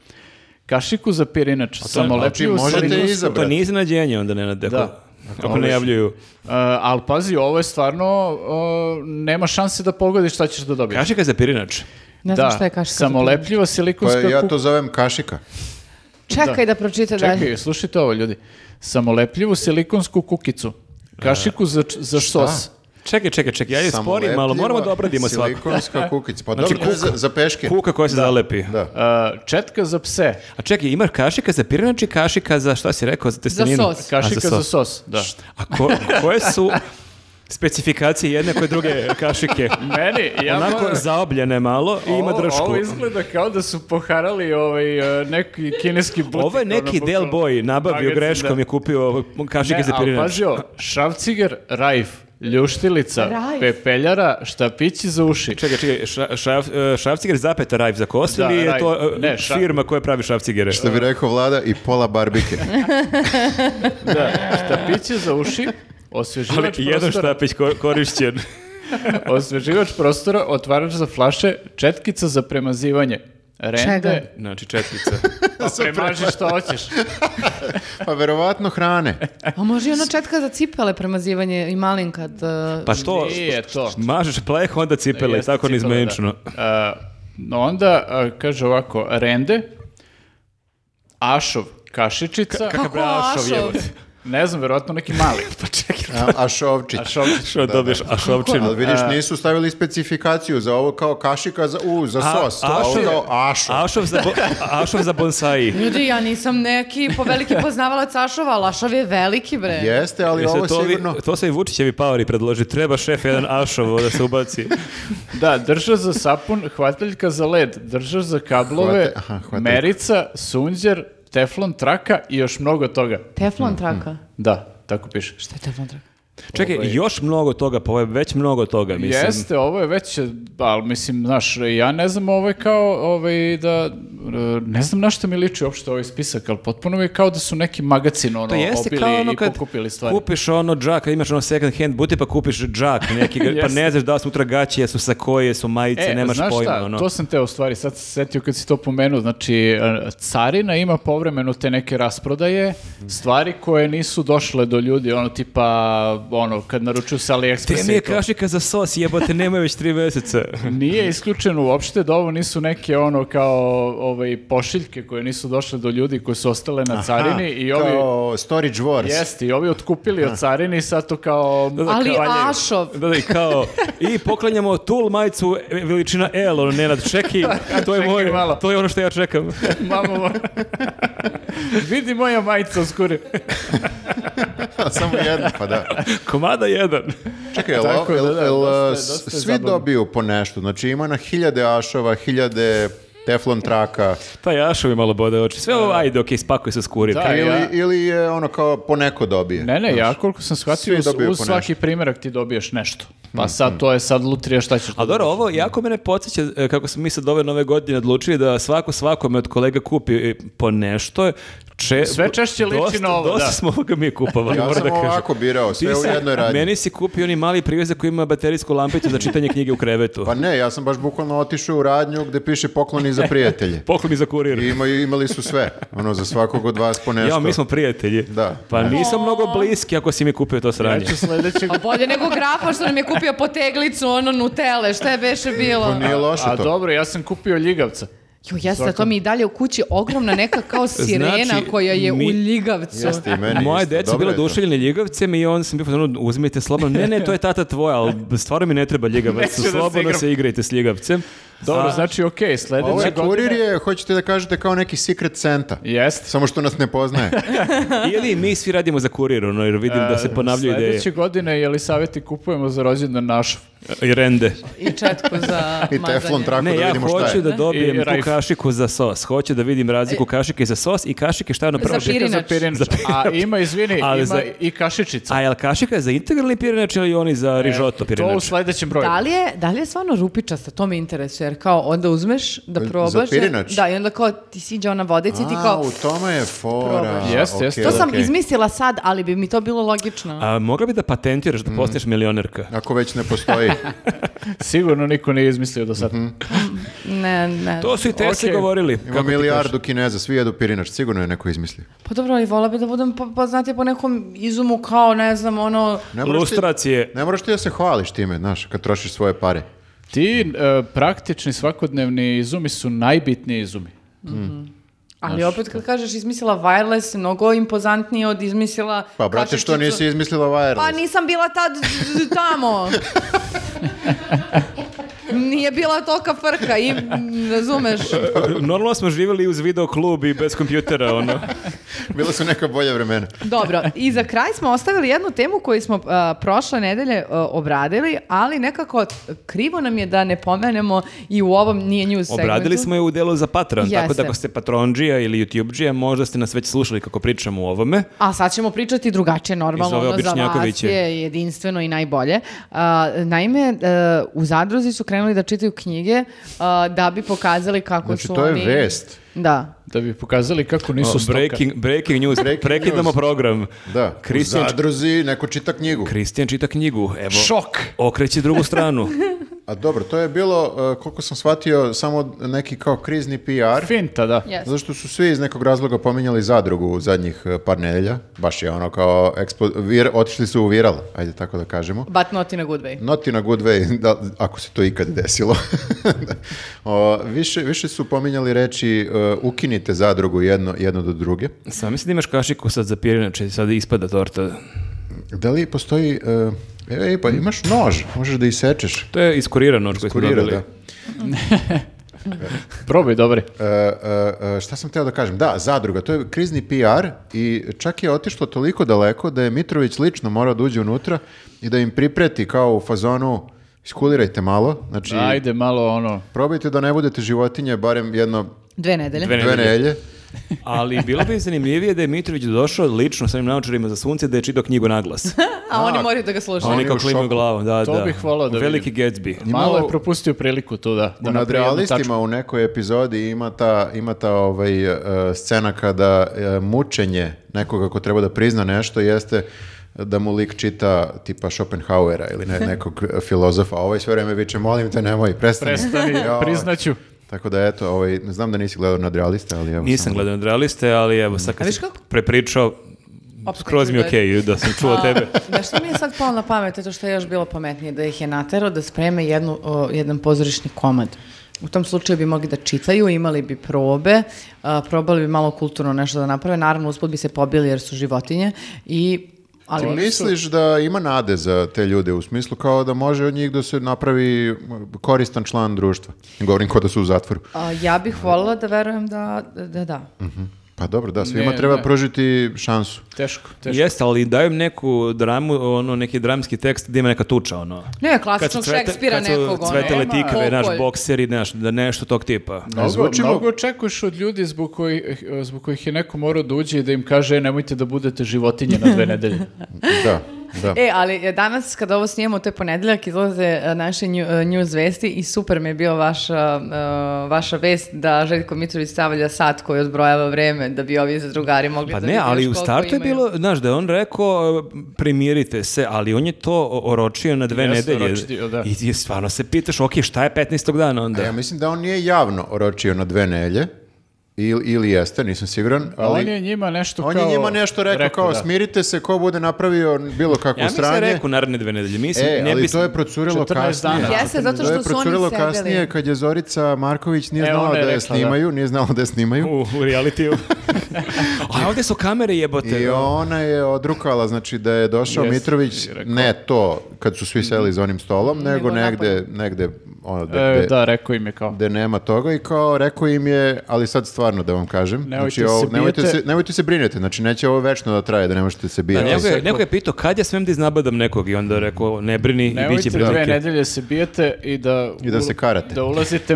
[SPEAKER 2] kašiku za pirinač,
[SPEAKER 1] znači,
[SPEAKER 2] samolepljivu
[SPEAKER 1] možete
[SPEAKER 2] slinu,
[SPEAKER 1] izabrati.
[SPEAKER 3] To nije iznenađenje onda, ne, ako,
[SPEAKER 2] Da.
[SPEAKER 3] ako ne javljuju.
[SPEAKER 2] a, ali pazi, ovo je stvarno, a, nema šanse da pogodiš šta ćeš da dobiješ.
[SPEAKER 3] Kašika za pirinač.
[SPEAKER 4] Ne znam šta je kašika. za pirinač.
[SPEAKER 2] samolepljiva silikonska
[SPEAKER 1] Pa ja
[SPEAKER 2] kuka-
[SPEAKER 1] to zovem kašika.
[SPEAKER 4] Čekaj da, pročita dalje.
[SPEAKER 2] Čekaj, slušajte ovo ljudi. Samolepljivu silikonsku kukicu. Kašiku za, č- za sos.
[SPEAKER 3] Čekaj, čekaj, čekaj, ja je sporim, malo moramo da obradimo svaku. *laughs*
[SPEAKER 1] Silikonska kukica. Pa
[SPEAKER 3] Znači,
[SPEAKER 1] dobro, to je za, za peške.
[SPEAKER 3] Kuka koja se zalepi.
[SPEAKER 1] Da.
[SPEAKER 2] A, četka za pse.
[SPEAKER 3] A čekaj, ima kašika za pirinač i kašika za šta si rekao? Za, testeninu?
[SPEAKER 4] sos.
[SPEAKER 3] A,
[SPEAKER 2] Kašika za sos. Da.
[SPEAKER 3] A ko- koje su specifikacije jedne koje druge kašike?
[SPEAKER 2] Meni, *laughs* ja
[SPEAKER 3] Onako
[SPEAKER 2] moram-
[SPEAKER 3] zaobljene malo i ima
[SPEAKER 2] Ovo-
[SPEAKER 3] dršku.
[SPEAKER 2] Ovo
[SPEAKER 3] Ovo,
[SPEAKER 2] izgleda kao da su poharali ovaj, e, neki kineski butik. ono,
[SPEAKER 3] je neki Del Boy, nabavio greškom, je kupio kašike
[SPEAKER 2] kašike
[SPEAKER 3] za pirinač.
[SPEAKER 2] Šavciger, Rajf, Ljuštilica,
[SPEAKER 4] Rajf.
[SPEAKER 2] pepeljara, štapići za uši.
[SPEAKER 3] Čekaj, čekaj, ša, šaf- e, šrafciger zapeta rajf za kost
[SPEAKER 2] Da,
[SPEAKER 3] ili je
[SPEAKER 2] rajf.
[SPEAKER 3] to e,
[SPEAKER 2] Ne, ša-
[SPEAKER 3] firma koja pravi šrafcigere?
[SPEAKER 1] Što bi rekao vlada i pola
[SPEAKER 3] *laughs*
[SPEAKER 1] barbike.
[SPEAKER 2] Da, štapići za uši,
[SPEAKER 3] Ali
[SPEAKER 2] osveživač
[SPEAKER 3] jedan
[SPEAKER 2] prostora,
[SPEAKER 3] štapić ko- korišćen.
[SPEAKER 2] osveživač prostora, otvarač za flaše, četkica za premazivanje. Rende,
[SPEAKER 3] *laughs*
[SPEAKER 4] Čega?
[SPEAKER 3] Znači četkica.
[SPEAKER 2] pa premaži što hoćeš.
[SPEAKER 1] Pa verovatno hrane.
[SPEAKER 4] A Pa može i ona četka za cipele, premazivanje i e, malinka. Da...
[SPEAKER 3] Pa *laughs* to,
[SPEAKER 2] Nije to.
[SPEAKER 3] mažeš pleh, onda cipele,
[SPEAKER 2] Jeste,
[SPEAKER 3] tako
[SPEAKER 2] cipele,
[SPEAKER 3] nizmenično.
[SPEAKER 2] da. E, no onda, e, kaže ovako, rende, ašov, kašičica,
[SPEAKER 4] Kako
[SPEAKER 3] bre, ašov,
[SPEAKER 4] ašov?
[SPEAKER 3] jebote.
[SPEAKER 2] ne znam, verovatno neki
[SPEAKER 3] *laughs*
[SPEAKER 2] mali. pa čekaj.
[SPEAKER 1] A, a šovčić.
[SPEAKER 2] Ašovčić.
[SPEAKER 3] Što dobiješ ašovčinu?
[SPEAKER 1] Ali vidiš, nisu stavili specifikaciju za ovo kao kašika za, u, za sos. A, ovo kao ašo.
[SPEAKER 3] Ašov za, bo, ašov za bonsaji.
[SPEAKER 4] Ljudi, ja nisam neki po
[SPEAKER 1] *laughs*
[SPEAKER 4] veliki poznavalac Ašova, ali Ašov je veliki, bre.
[SPEAKER 1] Jeste, ali
[SPEAKER 3] Jeste
[SPEAKER 1] ovo
[SPEAKER 3] to, vi-
[SPEAKER 1] sigurno...
[SPEAKER 3] to se i Vučićevi paori predloži. Treba šef jedan ašov da se ubaci.
[SPEAKER 2] Da, drža za sapun, hvataljka za led, drža za kablove,
[SPEAKER 1] Hvate- aha, hvataljka.
[SPEAKER 2] merica, sunđer, teflon traka i još mnogo toga.
[SPEAKER 4] Teflon
[SPEAKER 1] Mhm.
[SPEAKER 4] traka.
[SPEAKER 2] Da, tako piše.
[SPEAKER 4] Šta je teflon traka?
[SPEAKER 3] Čekaj,
[SPEAKER 2] Ovaj-
[SPEAKER 3] još mnogo toga, pa ovo je već mnogo toga, mislim.
[SPEAKER 2] Jeste, ovo je već, ali mislim, znaš, ja ne znam ovo je kao, ovaj, da, e, ne znam na što mi liči uopšte ovaj spisak, ali potpuno mi je kao da su neki magacin, ono,
[SPEAKER 3] To jeste
[SPEAKER 2] obili
[SPEAKER 3] kao ono
[SPEAKER 2] i
[SPEAKER 3] kad
[SPEAKER 2] pokupili stvari.
[SPEAKER 3] kupiš ono džak, a imaš ono second hand buti pa kupiš džak
[SPEAKER 2] *laughs*
[SPEAKER 3] neki, pa ne znaš da li su utra gaće, jesu sa koje, jesu majice,
[SPEAKER 2] E,
[SPEAKER 3] nemaš
[SPEAKER 2] znaš
[SPEAKER 3] pojma.
[SPEAKER 2] šta,
[SPEAKER 3] ono.
[SPEAKER 2] to sam te u stvari, sad sam se setio kad si to pomenuo, znači e, carina ima povremeno te neke rasprodaje, stvari koje nisu došle do ljudi, ono tipa, ono, kad naručuju sa
[SPEAKER 3] Te
[SPEAKER 2] AliExpressa
[SPEAKER 3] mi je
[SPEAKER 2] i to.
[SPEAKER 3] kašika za sos, jebote, nema već tri meseca.
[SPEAKER 2] Nije isključeno uopšte da ovo nisu neke ono kao ovaj, pošiljke koje nisu došle do ljudi koje su ostale na carini i ovi...
[SPEAKER 1] Kao storage wars.
[SPEAKER 2] Jeste, i ovi otkupili od carini i sad to kao...
[SPEAKER 3] da,
[SPEAKER 4] Ali
[SPEAKER 2] valjaju.
[SPEAKER 4] Ašov.
[SPEAKER 3] Da, da, i kao, i poklanjamo tul majicu e, veličina L, ono, Nenad, čeki, to je
[SPEAKER 2] Čekaj
[SPEAKER 3] moje,
[SPEAKER 2] malo.
[SPEAKER 3] to je ono što ja čekam.
[SPEAKER 2] Mamo moja. Vidi moja majica uskuri.
[SPEAKER 1] *laughs* Samo jedno, pa da.
[SPEAKER 3] Komada jedan.
[SPEAKER 1] Čekaj, jel,
[SPEAKER 2] Tako da,
[SPEAKER 1] jel-
[SPEAKER 2] da,
[SPEAKER 1] jel, eh,
[SPEAKER 2] dosta je-
[SPEAKER 1] s-
[SPEAKER 2] dosta je
[SPEAKER 1] svi
[SPEAKER 2] zabavno.
[SPEAKER 1] dobiju po nešto? Znači ima na hiljade ašova, hiljade teflon traka
[SPEAKER 3] Pa jašovi malo bode oči. Sve ovo, ajde, okej, spakuj se skuri.
[SPEAKER 2] Da,
[SPEAKER 1] ili,
[SPEAKER 2] ja-
[SPEAKER 1] ili je ono kao poneko dobije.
[SPEAKER 2] Ne, ne, ja koliko sam
[SPEAKER 1] Svi
[SPEAKER 2] shvatio, uz,
[SPEAKER 1] dobiju
[SPEAKER 2] uz
[SPEAKER 1] po Mm,
[SPEAKER 2] svaki primjerak ti dobiješ nešto. Pa sad to je sad lutrija šta ćeš.
[SPEAKER 3] A dobro, ovo jako mene podsjeća e, kako smo mi sad ove nove godine odlučili da svako svakome od kolega kupi e, po nešto. Če,
[SPEAKER 2] Sve češće liči
[SPEAKER 3] dosta-
[SPEAKER 2] na ovo,
[SPEAKER 3] dosta
[SPEAKER 2] da.
[SPEAKER 3] smo ovoga mi kupovali.
[SPEAKER 1] Ja
[SPEAKER 3] moram
[SPEAKER 1] sam
[SPEAKER 3] da kažem.
[SPEAKER 1] ovako birao, sve
[SPEAKER 3] Ti
[SPEAKER 1] u
[SPEAKER 3] si-
[SPEAKER 1] jednoj radnji.
[SPEAKER 3] Meni si kupio oni mali privezak koji ima baterijsku lampicu za čitanje knjige u krevetu.
[SPEAKER 1] Pa ne, ja sam baš bukvalno otišao u radnju gde piše pokloni za prijatelje.
[SPEAKER 3] Poklon i za kurir.
[SPEAKER 1] I imaju- imali su sve. Ono, za svakog od vas po nešto.
[SPEAKER 3] Ja, mi smo prijatelji.
[SPEAKER 1] Da.
[SPEAKER 3] Pa nisam mnogo bliski ako si mi kupio to
[SPEAKER 2] Ja
[SPEAKER 3] sranje.
[SPEAKER 2] ću
[SPEAKER 1] *laughs*
[SPEAKER 2] sledećeg...
[SPEAKER 4] A Pa bolje nego grafa što nam je kupio poteglicu, ono nutele, šta je beše bilo?
[SPEAKER 1] Pa Nije loše
[SPEAKER 2] A
[SPEAKER 1] to.
[SPEAKER 2] dobro, ja sam kupio ljigavca.
[SPEAKER 4] Jo, jeste, to mi je i dalje u kući ogromna neka kao sirena
[SPEAKER 3] Znači,
[SPEAKER 4] koja je
[SPEAKER 3] mi-
[SPEAKER 4] u ljigavcu.
[SPEAKER 1] Jeste i meni
[SPEAKER 3] Moje
[SPEAKER 1] isto.
[SPEAKER 3] deca
[SPEAKER 1] Dobro
[SPEAKER 3] bilo
[SPEAKER 1] je to.
[SPEAKER 3] duševljene ljigavcem i on sam bio ono, uzmite slobodno. Ne, ne, to je tata tvoja, ali stvarno mi ne treba ljigavac.
[SPEAKER 2] Neću da se
[SPEAKER 3] slobodno
[SPEAKER 2] igram.
[SPEAKER 3] se igrajte s ljigavcem.
[SPEAKER 2] Dobro,
[SPEAKER 3] A-
[SPEAKER 2] znači okej, okay,
[SPEAKER 1] Ovo
[SPEAKER 2] sledeće
[SPEAKER 1] je
[SPEAKER 2] godine...
[SPEAKER 1] kurir je, hoćete da kažete, kao neki secret senta.
[SPEAKER 2] Jeste.
[SPEAKER 1] Samo što nas ne poznaje.
[SPEAKER 3] Ili mi svi radimo za kurir, ono, jer vidim da
[SPEAKER 1] E,
[SPEAKER 3] se ponavljaju ideje.
[SPEAKER 2] Sledeće godine, je li savjeti kupujemo za rođendan našov?
[SPEAKER 3] I rende.
[SPEAKER 4] I četku za
[SPEAKER 1] *laughs* I
[SPEAKER 4] mazanje.
[SPEAKER 1] teflon traku
[SPEAKER 3] Ne,
[SPEAKER 1] da
[SPEAKER 3] ja
[SPEAKER 1] vidimo šta
[SPEAKER 3] hoću
[SPEAKER 1] je.
[SPEAKER 3] da dobijem
[SPEAKER 2] I
[SPEAKER 3] tu
[SPEAKER 2] rajf. E.
[SPEAKER 3] kašiku za sos. Hoću da vidim razliku kašike za sos i kašike šta je ono prvo.
[SPEAKER 4] Za pirinač.
[SPEAKER 2] Za pirinač. A ima, izvini,
[SPEAKER 3] Ali
[SPEAKER 2] ima
[SPEAKER 3] za-
[SPEAKER 2] i kašičica.
[SPEAKER 3] A jel kašika je za integralni pirinač ili oni za rižoto
[SPEAKER 2] E, To u
[SPEAKER 3] pirinač?
[SPEAKER 2] sledećem broju.
[SPEAKER 4] Da li, je, da li je stvarno rupičasta, to me interesuje, jer kao onda uzmeš da
[SPEAKER 1] Za
[SPEAKER 4] probaš.
[SPEAKER 1] pirinač?
[SPEAKER 4] Da, i onda kao ti siđe ona vodica i ti
[SPEAKER 1] A,
[SPEAKER 4] kao...
[SPEAKER 1] u tome je fora.
[SPEAKER 4] Probaš.
[SPEAKER 2] Jeste, jeste.
[SPEAKER 1] Okej,
[SPEAKER 4] To sam
[SPEAKER 1] okej.
[SPEAKER 4] izmislila sad, ali bi mi to bilo logično.
[SPEAKER 3] A mogla bi da patentiraš,
[SPEAKER 1] Mm.
[SPEAKER 3] da postaneš milionerka?
[SPEAKER 1] Ako već ne
[SPEAKER 3] *laughs*
[SPEAKER 1] postoji.
[SPEAKER 2] Sigurno niko nije izmislio do sad.
[SPEAKER 3] Mhm.
[SPEAKER 4] Ne, ne.
[SPEAKER 3] To su i te
[SPEAKER 2] Okej.
[SPEAKER 3] govorili.
[SPEAKER 1] Ima
[SPEAKER 3] kako ti
[SPEAKER 1] milijardu kineza, svi jedu pirinač, sigurno je neko izmislio.
[SPEAKER 4] Pa dobro, ali vola bi da budem po- poznatija po nekom izumu kao, ne znam, ono...
[SPEAKER 1] Ne
[SPEAKER 3] kažeš.
[SPEAKER 1] moraš ti-
[SPEAKER 3] Lustracije.
[SPEAKER 1] Ne moraš ti da se hvališ time, znaš, kad trošiš svoje pare.
[SPEAKER 2] Ti e, praktični svakodnevni izumi su najbitniji izumi.
[SPEAKER 4] Ali opet kad kažeš izmislila wireless, mnogo impozantnije od izmislila... Pa,
[SPEAKER 1] Pa, brate, što
[SPEAKER 4] kašičicu.
[SPEAKER 1] nisi izmislila wireless? *laughs*
[SPEAKER 4] Pa nisam bila tad d- d- tamo. nije bila tolika frka i mm,
[SPEAKER 1] *laughs*
[SPEAKER 4] razumeš.
[SPEAKER 3] *laughs* Normalno smo živjeli uz video klub i bez kompjutera, ono.
[SPEAKER 1] Bila su neka bolja vremena.
[SPEAKER 4] Dobro, i za kraj smo ostavili jednu temu koju smo a, prošle nedelje a, obradili, ali nekako krivo nam je da ne pomenemo i u ovom nije news segmentu.
[SPEAKER 3] Obradili smo je u delu za Patron, tako
[SPEAKER 4] Jeste.
[SPEAKER 3] da ako ste Patronđija ili YouTubeđija, možda ste nas već slušali kako pričamo u ovome.
[SPEAKER 4] A sad ćemo pričati drugačije, normalno,
[SPEAKER 3] Iz ove
[SPEAKER 4] ono za vas
[SPEAKER 3] Običnjakoviće.
[SPEAKER 4] je jedinstveno i najbolje. A, naime, e, u Zadruzi su krenuli da čitaju knjige a, da bi pokazali kako
[SPEAKER 1] Znači,
[SPEAKER 4] su
[SPEAKER 1] to je
[SPEAKER 4] oni...
[SPEAKER 1] vest.
[SPEAKER 4] Da.
[SPEAKER 2] Da bi pokazali kako nisu stoka.
[SPEAKER 3] breaking, breaking news,
[SPEAKER 1] Breaking
[SPEAKER 3] prekidamo
[SPEAKER 1] news.
[SPEAKER 3] program.
[SPEAKER 1] Da,
[SPEAKER 3] Kristijan,
[SPEAKER 1] u zadruzi neko čita knjigu.
[SPEAKER 3] Kristijan čita knjigu, evo.
[SPEAKER 2] Šok!
[SPEAKER 3] Okreći drugu stranu.
[SPEAKER 1] A dobro, to je bilo, uh, koliko sam shvatio, samo neki kao krizni PR.
[SPEAKER 2] Finta, da.
[SPEAKER 4] Yes.
[SPEAKER 1] Zašto su svi iz nekog razloga pominjali zadrugu u zadnjih uh, par nedelja. Baš je ono kao, ekspo- vir- otišli su u viral, ajde tako da kažemo.
[SPEAKER 4] But not in a good way.
[SPEAKER 1] Not in a good way, *laughs* da, ako se to ikad desilo. *laughs* o, više, više su pominjali reći uh, ukinite zadrugu jedno, jedno do druge.
[SPEAKER 3] Sam mislim da imaš kašiku sad za pirinače, sad ispada torta.
[SPEAKER 1] Da li postoji... Uh, Ej, pa imaš nož, možeš da isečeš. E,
[SPEAKER 3] To je iskorirano nož koji smo
[SPEAKER 1] Kurira,
[SPEAKER 3] dobili.
[SPEAKER 1] da.
[SPEAKER 2] Probaj, dobre.
[SPEAKER 1] E, e, e, šta sam teo da kažem? Da, zadruga, to je krizni PR i čak je otišlo toliko daleko da je Mitrović lično morao da uđe unutra i da im pripreti kao u fazonu iskulirajte malo, znači
[SPEAKER 2] Ajde, malo ono...
[SPEAKER 1] probajte da ne budete životinje barem jedno
[SPEAKER 4] Dve nedelje.
[SPEAKER 3] Dve
[SPEAKER 1] dve
[SPEAKER 3] nedelje.
[SPEAKER 1] nelje.
[SPEAKER 3] Ali bilo bi zanimljivije da je Mitrović došao lično sa onim naočarima za sunce da je čitao knjigu na glas.
[SPEAKER 4] A oni
[SPEAKER 1] A,
[SPEAKER 4] moraju da ga slušaju.
[SPEAKER 1] oni
[SPEAKER 3] Pa Oni kao
[SPEAKER 1] u
[SPEAKER 3] klimaju
[SPEAKER 1] šoku.
[SPEAKER 3] glavom, da,
[SPEAKER 2] To
[SPEAKER 3] da.
[SPEAKER 2] bih volao da
[SPEAKER 3] Veliki
[SPEAKER 2] vidim.
[SPEAKER 3] Gatsby.
[SPEAKER 2] Malo je propustio priliku tu da, da
[SPEAKER 1] U
[SPEAKER 2] napravi jednu tačku.
[SPEAKER 1] nadrealistima u nekoj epizodi ima ta, ima ta ovaj, e, scena kada e, mučenje nekoga ko treba da prizna nešto jeste da mu lik čita tipa Schopenhauera ili
[SPEAKER 2] *laughs*
[SPEAKER 1] ne, nekog e, filozofa, a ovaj sve vreme viče molim te nemoj, prestani. *laughs*
[SPEAKER 3] *laughs*
[SPEAKER 2] Prestani,
[SPEAKER 1] Joj.
[SPEAKER 2] priznaću.
[SPEAKER 1] Tako da eto, ovaj, znam da nisi gledao nadrealiste, ali evo
[SPEAKER 3] Nisam
[SPEAKER 1] samo-
[SPEAKER 3] gledao na realiste, ali evo sad
[SPEAKER 4] A
[SPEAKER 3] kad
[SPEAKER 4] viš
[SPEAKER 3] si
[SPEAKER 4] kako?
[SPEAKER 3] prepričao,
[SPEAKER 4] Opet
[SPEAKER 3] skroz mi je
[SPEAKER 4] izgleda.
[SPEAKER 3] okej da
[SPEAKER 4] *laughs*
[SPEAKER 3] sam čuo tebe.
[SPEAKER 4] da što mi je sad palo na pamet, to što je još bilo pametnije, da ih je naterao da spreme jednu, o, jedan pozorišni komad. U tom slučaju bi mogli da čitaju, imali bi probe, a, probali bi malo kulturno nešto da naprave, naravno usput bi se pobili jer su životinje i ali
[SPEAKER 1] Ti misliš da ima nade za te ljude u smislu kao da može od njih da se napravi koristan član društva. Govorim kao da su u zatvoru.
[SPEAKER 4] a, ja bih voljela da verujem da da da.
[SPEAKER 1] Pa dobro, da, svima
[SPEAKER 2] Ne,
[SPEAKER 1] treba
[SPEAKER 2] ne.
[SPEAKER 1] pružiti šansu.
[SPEAKER 2] Teško, teško.
[SPEAKER 3] Jeste, ali daju im neku dramu, ono, neki dramski tekst gdje ima neka tuča, ono.
[SPEAKER 4] Ne,
[SPEAKER 3] Kad su
[SPEAKER 4] klasičnog
[SPEAKER 3] cvete-
[SPEAKER 4] Šekspira
[SPEAKER 3] kad su
[SPEAKER 4] nekog. ono,
[SPEAKER 3] cvetele
[SPEAKER 4] nema
[SPEAKER 3] tikave, naš
[SPEAKER 4] pokolj.
[SPEAKER 3] bokser i naš, da nešto tog tipa.
[SPEAKER 2] Mnogo,
[SPEAKER 1] Zvučimo-
[SPEAKER 2] mnogo očekuješ od ljudi zbog kojih, eh, zbog kojih je neko morao da uđe i da im kaže "E, nemojte da budete životinje na dve
[SPEAKER 1] *laughs*
[SPEAKER 2] nedelje.
[SPEAKER 1] Da, da.
[SPEAKER 4] E, ali e, danas kada ovo snijemo, to je ponedeljak, izlaze e, naše nju- e, news vesti i super mi je bio vaša, e, vaša vest da Željko Mitrović stavlja sat koji odbrojava vreme da bi ovi zadrugari mogli
[SPEAKER 3] Pa
[SPEAKER 4] da
[SPEAKER 3] ne,
[SPEAKER 4] vide
[SPEAKER 3] ali
[SPEAKER 4] još
[SPEAKER 3] u
[SPEAKER 4] koliko
[SPEAKER 3] startu je
[SPEAKER 4] imaju.
[SPEAKER 3] bilo, znaš, da je on rekao e, primirite se, ali on je to o- oročio na dve
[SPEAKER 2] Jeste,
[SPEAKER 3] nedelje.
[SPEAKER 2] oročio, da.
[SPEAKER 3] I ti stvarno se pitaš, ok, šta je 15. dana onda?
[SPEAKER 1] A Ja mislim da on nije javno oročio na dve nelje, ili, ili jeste, nisam siguran, ali
[SPEAKER 2] on je njima nešto
[SPEAKER 1] on je
[SPEAKER 2] kao...
[SPEAKER 1] njima nešto rekao, kao
[SPEAKER 2] da.
[SPEAKER 1] smirite se, ko bude napravio bilo kakvo
[SPEAKER 3] ja mislim da
[SPEAKER 1] sranje.
[SPEAKER 3] je rekao naredne dve nedelje. Mislim,
[SPEAKER 1] E,
[SPEAKER 3] ne
[SPEAKER 1] ali
[SPEAKER 3] bi-
[SPEAKER 1] to je procurilo
[SPEAKER 2] 14
[SPEAKER 1] kasnije.
[SPEAKER 2] dana.
[SPEAKER 4] Jeste, zato
[SPEAKER 1] To je
[SPEAKER 4] što su oni
[SPEAKER 1] procurilo
[SPEAKER 4] sedeli.
[SPEAKER 1] kasnije kad je Zorica Marković nije
[SPEAKER 2] E,
[SPEAKER 1] znala
[SPEAKER 2] ona je
[SPEAKER 1] da je
[SPEAKER 2] rekla,
[SPEAKER 1] snimaju, nije znala da je snimaju.
[SPEAKER 3] u realitiju. *laughs* A ovdje su kamere jebote.
[SPEAKER 1] I ona je odrukala, znači da je došao
[SPEAKER 2] Jes,
[SPEAKER 1] Mitrović,
[SPEAKER 2] i rekao.
[SPEAKER 1] ne to, kad su svi seli za onim stolom, nego
[SPEAKER 4] Nego
[SPEAKER 1] negde, negde, ono,
[SPEAKER 2] E,
[SPEAKER 1] gde- gde-
[SPEAKER 2] da, rekao im je kao.
[SPEAKER 1] gde nema toga i kao rekao im je, ali sad stvarno da vam kažem,
[SPEAKER 2] Nemojte
[SPEAKER 1] znači, ovo-
[SPEAKER 2] se
[SPEAKER 1] nemojte,
[SPEAKER 2] bijete.
[SPEAKER 1] se, nemojte se brinete, znači neće ovo večno da traje, da ne možete se
[SPEAKER 3] Da,
[SPEAKER 1] bijeti.
[SPEAKER 3] neko, je,
[SPEAKER 2] Rekao-
[SPEAKER 3] neko je pitao kad ja smem da iznabadam nekog i onda je rekao ne brini i bit
[SPEAKER 2] Nemojte
[SPEAKER 3] će
[SPEAKER 2] dve
[SPEAKER 3] prilike.
[SPEAKER 2] nedelje se bijete i da...
[SPEAKER 1] I da se karate.
[SPEAKER 2] Da ulazite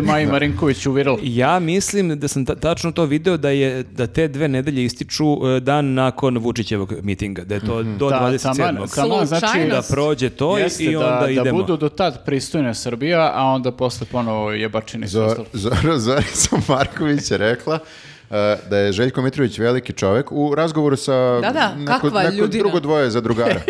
[SPEAKER 1] *laughs*
[SPEAKER 2] Maji Marinković u viral.
[SPEAKER 3] Ja mislim da sam ta- tačno to video da je da te dve nedelje ističu e, dan nakon Vučićevog mitinga, da je to do
[SPEAKER 2] Da,
[SPEAKER 3] 27.
[SPEAKER 2] taman, taman, znači
[SPEAKER 4] Slučajnost.
[SPEAKER 3] da prođe to i-
[SPEAKER 2] Jeste,
[SPEAKER 3] i onda
[SPEAKER 2] da,
[SPEAKER 3] idemo.
[SPEAKER 2] Da budu do tad pristojna Srbija, a onda posle ponovo jebačini su
[SPEAKER 1] Zor,
[SPEAKER 2] ostali.
[SPEAKER 1] Zor, Zorica Marković je rekla uh, da je Željko Mitrović veliki čovjek u razgovoru sa
[SPEAKER 4] Da, da,
[SPEAKER 1] neko,
[SPEAKER 4] kakva
[SPEAKER 1] neko
[SPEAKER 4] ljudina.
[SPEAKER 1] drugo dvoje
[SPEAKER 4] *laughs*
[SPEAKER 1] zadrugara.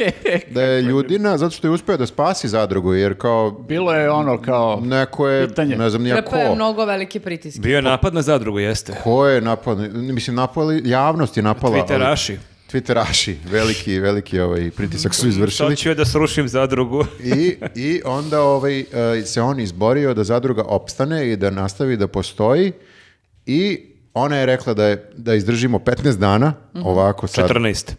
[SPEAKER 1] da je ljudina zato što je uspio da spasi zadrugu jer kao
[SPEAKER 2] Bilo je ono
[SPEAKER 1] *laughs*
[SPEAKER 2] kao...
[SPEAKER 1] neko je,
[SPEAKER 2] Pitanje.
[SPEAKER 1] ne znam nija
[SPEAKER 4] Trpeo je
[SPEAKER 1] ko,
[SPEAKER 4] mnogo velike pritiske.
[SPEAKER 3] Bio je napad na zadrugu, jeste.
[SPEAKER 1] ko je napao, mislim napali, javnost je napala. ali-
[SPEAKER 3] Twitteraši.
[SPEAKER 1] Twitteraši, veliki, veliki ovaj pritisak su izvršili.
[SPEAKER 3] ću je da srušim zadrugu.
[SPEAKER 1] I, I onda ovaj, e, se on izborio da zadruga opstane i da nastavi da postoji
[SPEAKER 3] Mhm.
[SPEAKER 1] i ona je rekla da, je, da izdržimo 15 dana, ovako sad.
[SPEAKER 3] 14.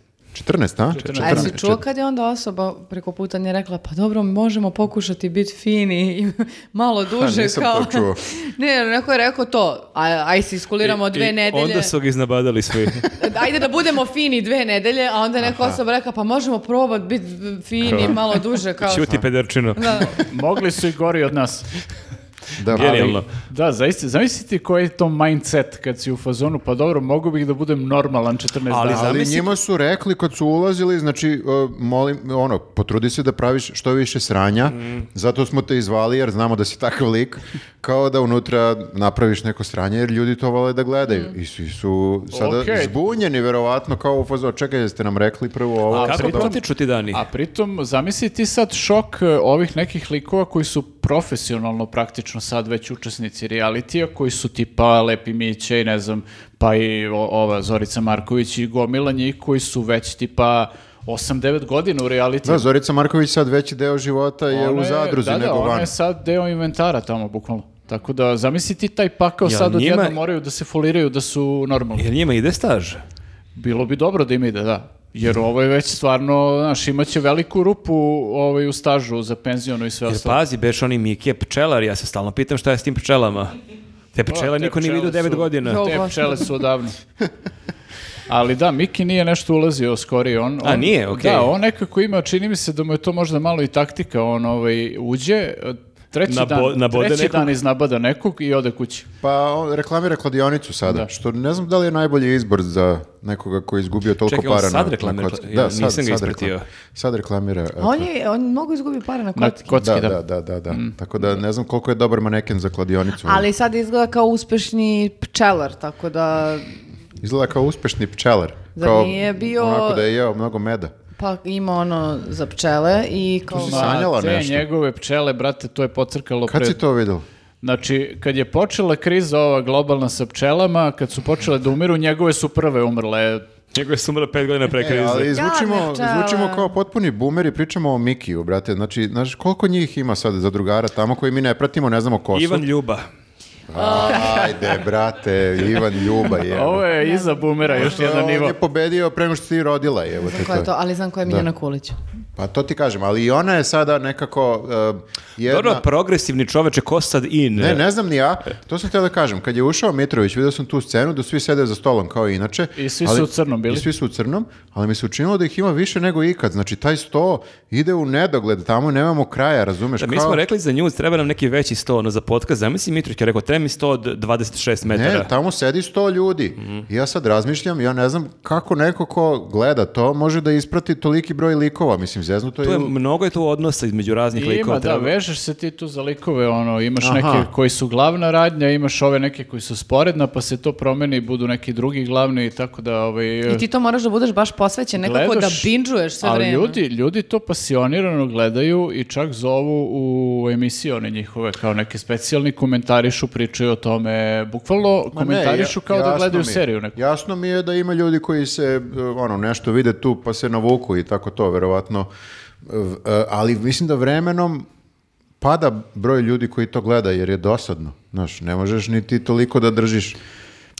[SPEAKER 1] 14, a?
[SPEAKER 2] 14.
[SPEAKER 4] A jesi čuo
[SPEAKER 1] Čet-
[SPEAKER 4] kad je onda osoba preko puta nije rekla pa dobro možemo pokušati biti fini i *laughs* malo duže
[SPEAKER 1] nisam
[SPEAKER 4] kao...
[SPEAKER 1] to čuo.
[SPEAKER 4] *laughs* ne, neko je rekao to, a, aj se iskuliramo dve nedelje.
[SPEAKER 3] Onda su ga iznabadali svi.
[SPEAKER 4] Ajde da budemo fini dve nedelje, a onda neka osoba rekla pa možemo probati biti fini
[SPEAKER 3] Kao-
[SPEAKER 4] malo duže kao...
[SPEAKER 3] Ćuti pederčino.
[SPEAKER 4] Da.
[SPEAKER 2] Mogli su i gori od nas.
[SPEAKER 1] Da,
[SPEAKER 3] Genijalno.
[SPEAKER 1] ali-
[SPEAKER 2] Da, zaista, zamisli ti koji je to mindset kad si u fazonu, pa dobro, mogu bih da budem normalan 14
[SPEAKER 3] Ali
[SPEAKER 2] dana.
[SPEAKER 3] za-
[SPEAKER 1] Ali
[SPEAKER 3] Zamisli-
[SPEAKER 1] njima su rekli kad su ulazili, znači, e, molim, ono, potrudi se da praviš što više sranja,
[SPEAKER 3] Mhm.
[SPEAKER 1] zato smo te izvali jer znamo da si takav lik, kao da unutra napraviš neko sranje jer ljudi to vole da gledaju.
[SPEAKER 3] Mhm.
[SPEAKER 1] I svi su sada
[SPEAKER 2] Okej.
[SPEAKER 1] zbunjeni, verovatno, kao u fazu, čekaj, jeste nam rekli prvo ovo.
[SPEAKER 3] A
[SPEAKER 1] pa
[SPEAKER 3] kako
[SPEAKER 1] da-
[SPEAKER 2] pritom-
[SPEAKER 3] protiču ti dani?
[SPEAKER 2] A pritom, zamisli ti sad šok e, ovih nekih likova koji su profesionalno praktično sad već učesnici realitija, koji su tipa Lepi Miće i ne znam, pa i o- ova Zorica Marković i gomila njih koji su već tipa 8-9 godina u realitiju.
[SPEAKER 1] Da, Zorica Marković sad veći deo života je
[SPEAKER 2] Ona
[SPEAKER 1] u zadruzi
[SPEAKER 2] da, da,
[SPEAKER 1] nego
[SPEAKER 2] ona
[SPEAKER 1] van.
[SPEAKER 2] je sad deo inventara tamo, bukvalno. Tako da, zamisli ti taj pakao
[SPEAKER 3] Jel
[SPEAKER 2] sad odjedno
[SPEAKER 3] njima-
[SPEAKER 2] moraju da se foliraju da su normalni.
[SPEAKER 3] Jel njima ide staž?
[SPEAKER 2] Bilo bi dobro da im ide, da. Jer ovo je već stvarno, znaš, imaće veliku rupu ovaj, u stažu za penzionu i sve
[SPEAKER 3] Jer
[SPEAKER 2] ostalo.
[SPEAKER 3] pazi, beš oni Mikije pčelar, ja se stalno pitam šta je s tim pčelama. Te pa, pčele
[SPEAKER 2] O, te
[SPEAKER 3] niko ni
[SPEAKER 2] pčele
[SPEAKER 3] vidio 9
[SPEAKER 2] su-
[SPEAKER 3] godina.
[SPEAKER 4] Jo.
[SPEAKER 2] Te
[SPEAKER 4] Ovo.
[SPEAKER 2] pčele su
[SPEAKER 1] *laughs*
[SPEAKER 2] odavno. Ali da, Miki nije nešto ulazio skorije. On,
[SPEAKER 3] A,
[SPEAKER 2] on-
[SPEAKER 3] nije, okej.
[SPEAKER 2] Da, on nekako ima, čini mi se da mu je to možda malo i taktika. On ovaj, uđe, e, treći,
[SPEAKER 3] Nabo-
[SPEAKER 2] dan,
[SPEAKER 3] nabode
[SPEAKER 2] treći
[SPEAKER 3] nekog.
[SPEAKER 2] dan iznabada nekog i ode kući.
[SPEAKER 1] Pa on reklamira kladionicu sada,
[SPEAKER 2] Da.
[SPEAKER 1] što ne znam da li je najbolji izbor za nekoga koji je izgubio toliko
[SPEAKER 3] Čekaj, on
[SPEAKER 1] para. na-
[SPEAKER 3] sad
[SPEAKER 1] na
[SPEAKER 3] reklamira
[SPEAKER 1] kocki.
[SPEAKER 3] kla-
[SPEAKER 1] Da,
[SPEAKER 3] ja
[SPEAKER 1] sad,
[SPEAKER 3] nisam ga
[SPEAKER 1] sad
[SPEAKER 3] ispratio.
[SPEAKER 1] reklamira. Sad reklamira. e,
[SPEAKER 4] A *laughs* On, je, on mogu izgubiti pare na
[SPEAKER 2] Na
[SPEAKER 4] kocki.
[SPEAKER 2] kocki,
[SPEAKER 1] da,
[SPEAKER 2] da.
[SPEAKER 1] da, da, da, da. Tako da ne znam koliko je dobar maneken za kladionicu.
[SPEAKER 4] Ali sad izgleda kao uspešni pčelar, tako da
[SPEAKER 1] Izgleda kao uspešni pčelar.
[SPEAKER 4] Zar
[SPEAKER 1] kao
[SPEAKER 4] nije bio-
[SPEAKER 1] Onako da je jeo mnogo meda.
[SPEAKER 4] pa ima ono za pčele i kao...
[SPEAKER 1] si
[SPEAKER 2] Ma,
[SPEAKER 1] sanjala
[SPEAKER 2] te
[SPEAKER 1] nešto?
[SPEAKER 2] njegove pčele, brate, to je pocrkalo
[SPEAKER 1] Kad
[SPEAKER 2] pred...
[SPEAKER 1] si to vidjel?
[SPEAKER 2] Znači, kad je počela kriza ova globalna sa pčelama, kad su počele da umiru, njegove su prve umrle.
[SPEAKER 3] Njegove su umrle 5 godina pre krize.
[SPEAKER 1] E, ali zvučimo,
[SPEAKER 4] pčele.
[SPEAKER 1] zvučimo kao potpuni bumeri, pričamo o Mikiju, brate. Znači, znaš, koliko njih ima sad za drugara tamo koji mi ne pratimo, ne znamo ko su?
[SPEAKER 3] Ivan Ljuba.
[SPEAKER 1] Ajde, brate, Ivan Ljuba je.
[SPEAKER 2] Ovo je iza bumera još jedan
[SPEAKER 1] On
[SPEAKER 2] nivo.
[SPEAKER 1] je pobedio pre nego što ti rodila, evo
[SPEAKER 4] Znam
[SPEAKER 1] te
[SPEAKER 4] ko je
[SPEAKER 1] to.
[SPEAKER 4] to, ali znam ko je Miljana Kulić.
[SPEAKER 1] Pa to ti kažem, ali i ona je sada nekako uh, jedna...
[SPEAKER 3] Dobro, progresivni čoveče, ko sad in?
[SPEAKER 1] Ne, ne znam ni ja. To sam htio da kažem. Kad je ušao Mitrović, vidio sam tu scenu da svi sede za stolom kao i inače.
[SPEAKER 2] I svi su u crnom bili.
[SPEAKER 1] I svi su u crnom, ali mi se učinilo da ih ima više nego ikad. Znači, taj sto ide u nedogled, tamo nemamo kraja, razumeš?
[SPEAKER 3] Da, mi smo rekli za nju, treba nam neki veći sto ono, za podcast. Zamisli Mitrović je rekao, treba mi sto od 26 metara.
[SPEAKER 1] Ne, tamo sedi sto ljudi.
[SPEAKER 2] Mhm.
[SPEAKER 1] I ja sad razmišljam, ja ne znam kako neko ko gleda to može da isprati toliki broj likova. Mislim, zeznuto
[SPEAKER 3] Tu
[SPEAKER 1] je...
[SPEAKER 3] je, mnogo je tu odnosa između raznih
[SPEAKER 2] Ima,
[SPEAKER 3] likova.
[SPEAKER 2] da,
[SPEAKER 3] treba-
[SPEAKER 2] vežeš se ti tu za likove, ono, imaš
[SPEAKER 1] Aha.
[SPEAKER 2] neke koji su glavna radnja, imaš ove neke koji su sporedna, pa se to promeni i budu neki drugi glavni, tako da, ovaj...
[SPEAKER 4] I ti to moraš da budeš baš posvećen, nekako da
[SPEAKER 2] gledaš,
[SPEAKER 4] binđuješ sve vreme.
[SPEAKER 2] Ali ljudi, ljudi to pasionirano gledaju i čak zovu u emisije one njihove, kao neke specijalni, komentarišu, pričaju o tome, bukvalno
[SPEAKER 1] Ma ne,
[SPEAKER 2] komentarišu
[SPEAKER 1] ja-
[SPEAKER 2] kao da
[SPEAKER 1] jasno
[SPEAKER 2] gledaju
[SPEAKER 1] mi je.
[SPEAKER 2] seriju neku.
[SPEAKER 1] Jasno mi je da ima ljudi koji se e, ono nešto vide tu pa se navuku i tako to verovatno E, v- e, ali mislim da vremenom pada broj ljudi koji to gleda jer je dosadno. Znaš, ne možeš niti toliko da držiš.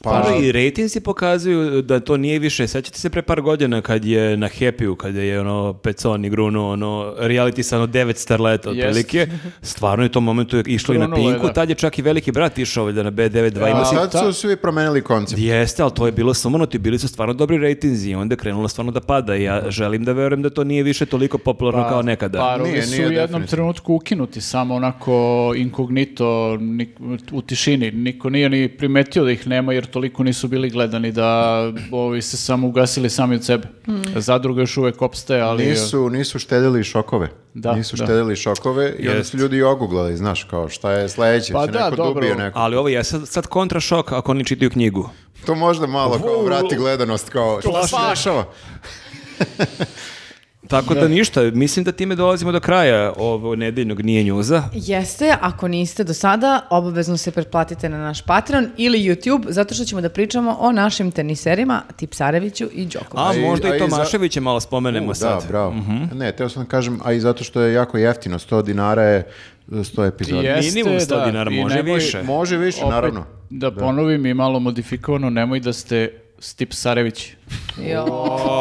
[SPEAKER 1] Pa,
[SPEAKER 3] Pa i rejtinzi pokazuju da to nije više. Sećate se pre par godina kad je na Happy-u, kad je ono Peconi grunuo ono reality sa ono devet starleta
[SPEAKER 2] Jest.
[SPEAKER 3] otprilike. Stvarno je u tom momentu išlo i na
[SPEAKER 2] Grunulo je,
[SPEAKER 3] Pinku,
[SPEAKER 2] da.
[SPEAKER 3] tad je čak i veliki brat išao valjda na B92.
[SPEAKER 1] a
[SPEAKER 3] Ima si-
[SPEAKER 1] sad
[SPEAKER 2] Pa ta-
[SPEAKER 1] su svi promenili koncept.
[SPEAKER 3] Jeste, ali to je bilo sumornuto i bili su stvarno dobri rejtinzi i onda je krenulo stvarno da pada. I Ja želim da verujem da to nije više toliko popularno kao nekada.
[SPEAKER 2] Parovi
[SPEAKER 1] Nije,
[SPEAKER 2] su
[SPEAKER 1] nije
[SPEAKER 2] u jednom
[SPEAKER 1] definitivno.
[SPEAKER 2] trenutku ukinuti, samo onako inkognito, nik- u tišini. Niko nije ni primetio da ih nema jer toliko nisu bili gledani da ovi se samo ugasili sami od sebe.
[SPEAKER 4] Hmm.
[SPEAKER 2] Zadruga još uvek opstaje, ali... e,
[SPEAKER 1] Nisu, nisu štedili šokove.
[SPEAKER 2] Da,
[SPEAKER 1] nisu
[SPEAKER 2] da.
[SPEAKER 1] štedili šokove i onda
[SPEAKER 3] Jest.
[SPEAKER 1] su ljudi oguglali, znaš, kao šta je sledeće,
[SPEAKER 2] Pa
[SPEAKER 1] se
[SPEAKER 2] da,
[SPEAKER 1] neko
[SPEAKER 2] dobro.
[SPEAKER 1] dubio neko.
[SPEAKER 3] Ali ovo je sad, sad kontrašok ako oni čitaju knjigu.
[SPEAKER 1] To možda malo kao vrati gledanost, kao šta se dešava?
[SPEAKER 3] Tako da. ništa, mislim da time dolazimo do kraja ovo nedeljnog nije njuza.
[SPEAKER 4] Jeste, ako niste do sada, obavezno se pretplatite na naš Patreon ili YouTube, zato što ćemo da pričamo o našim teniserima, Tipsareviću i Đokoviću.
[SPEAKER 3] A,
[SPEAKER 1] A i-
[SPEAKER 3] možda
[SPEAKER 1] a
[SPEAKER 3] i
[SPEAKER 1] i za-
[SPEAKER 3] Tomaševića malo spomenemo
[SPEAKER 1] U,
[SPEAKER 3] sad.
[SPEAKER 1] Da, bravo.
[SPEAKER 2] Mhm.
[SPEAKER 1] Ne, teo sam da kažem, a i zato što je jako jeftino, 100 dinara je 100 epizoda.
[SPEAKER 2] Jeste,
[SPEAKER 3] Minimum 100
[SPEAKER 2] da,
[SPEAKER 3] dinara,
[SPEAKER 2] i
[SPEAKER 3] može
[SPEAKER 2] nemoj-
[SPEAKER 3] više.
[SPEAKER 1] Može više,
[SPEAKER 2] opet
[SPEAKER 1] naravno.
[SPEAKER 2] Da ponovim i malo modifikovano, nemoj da ste Stip Sarević.
[SPEAKER 4] Jo.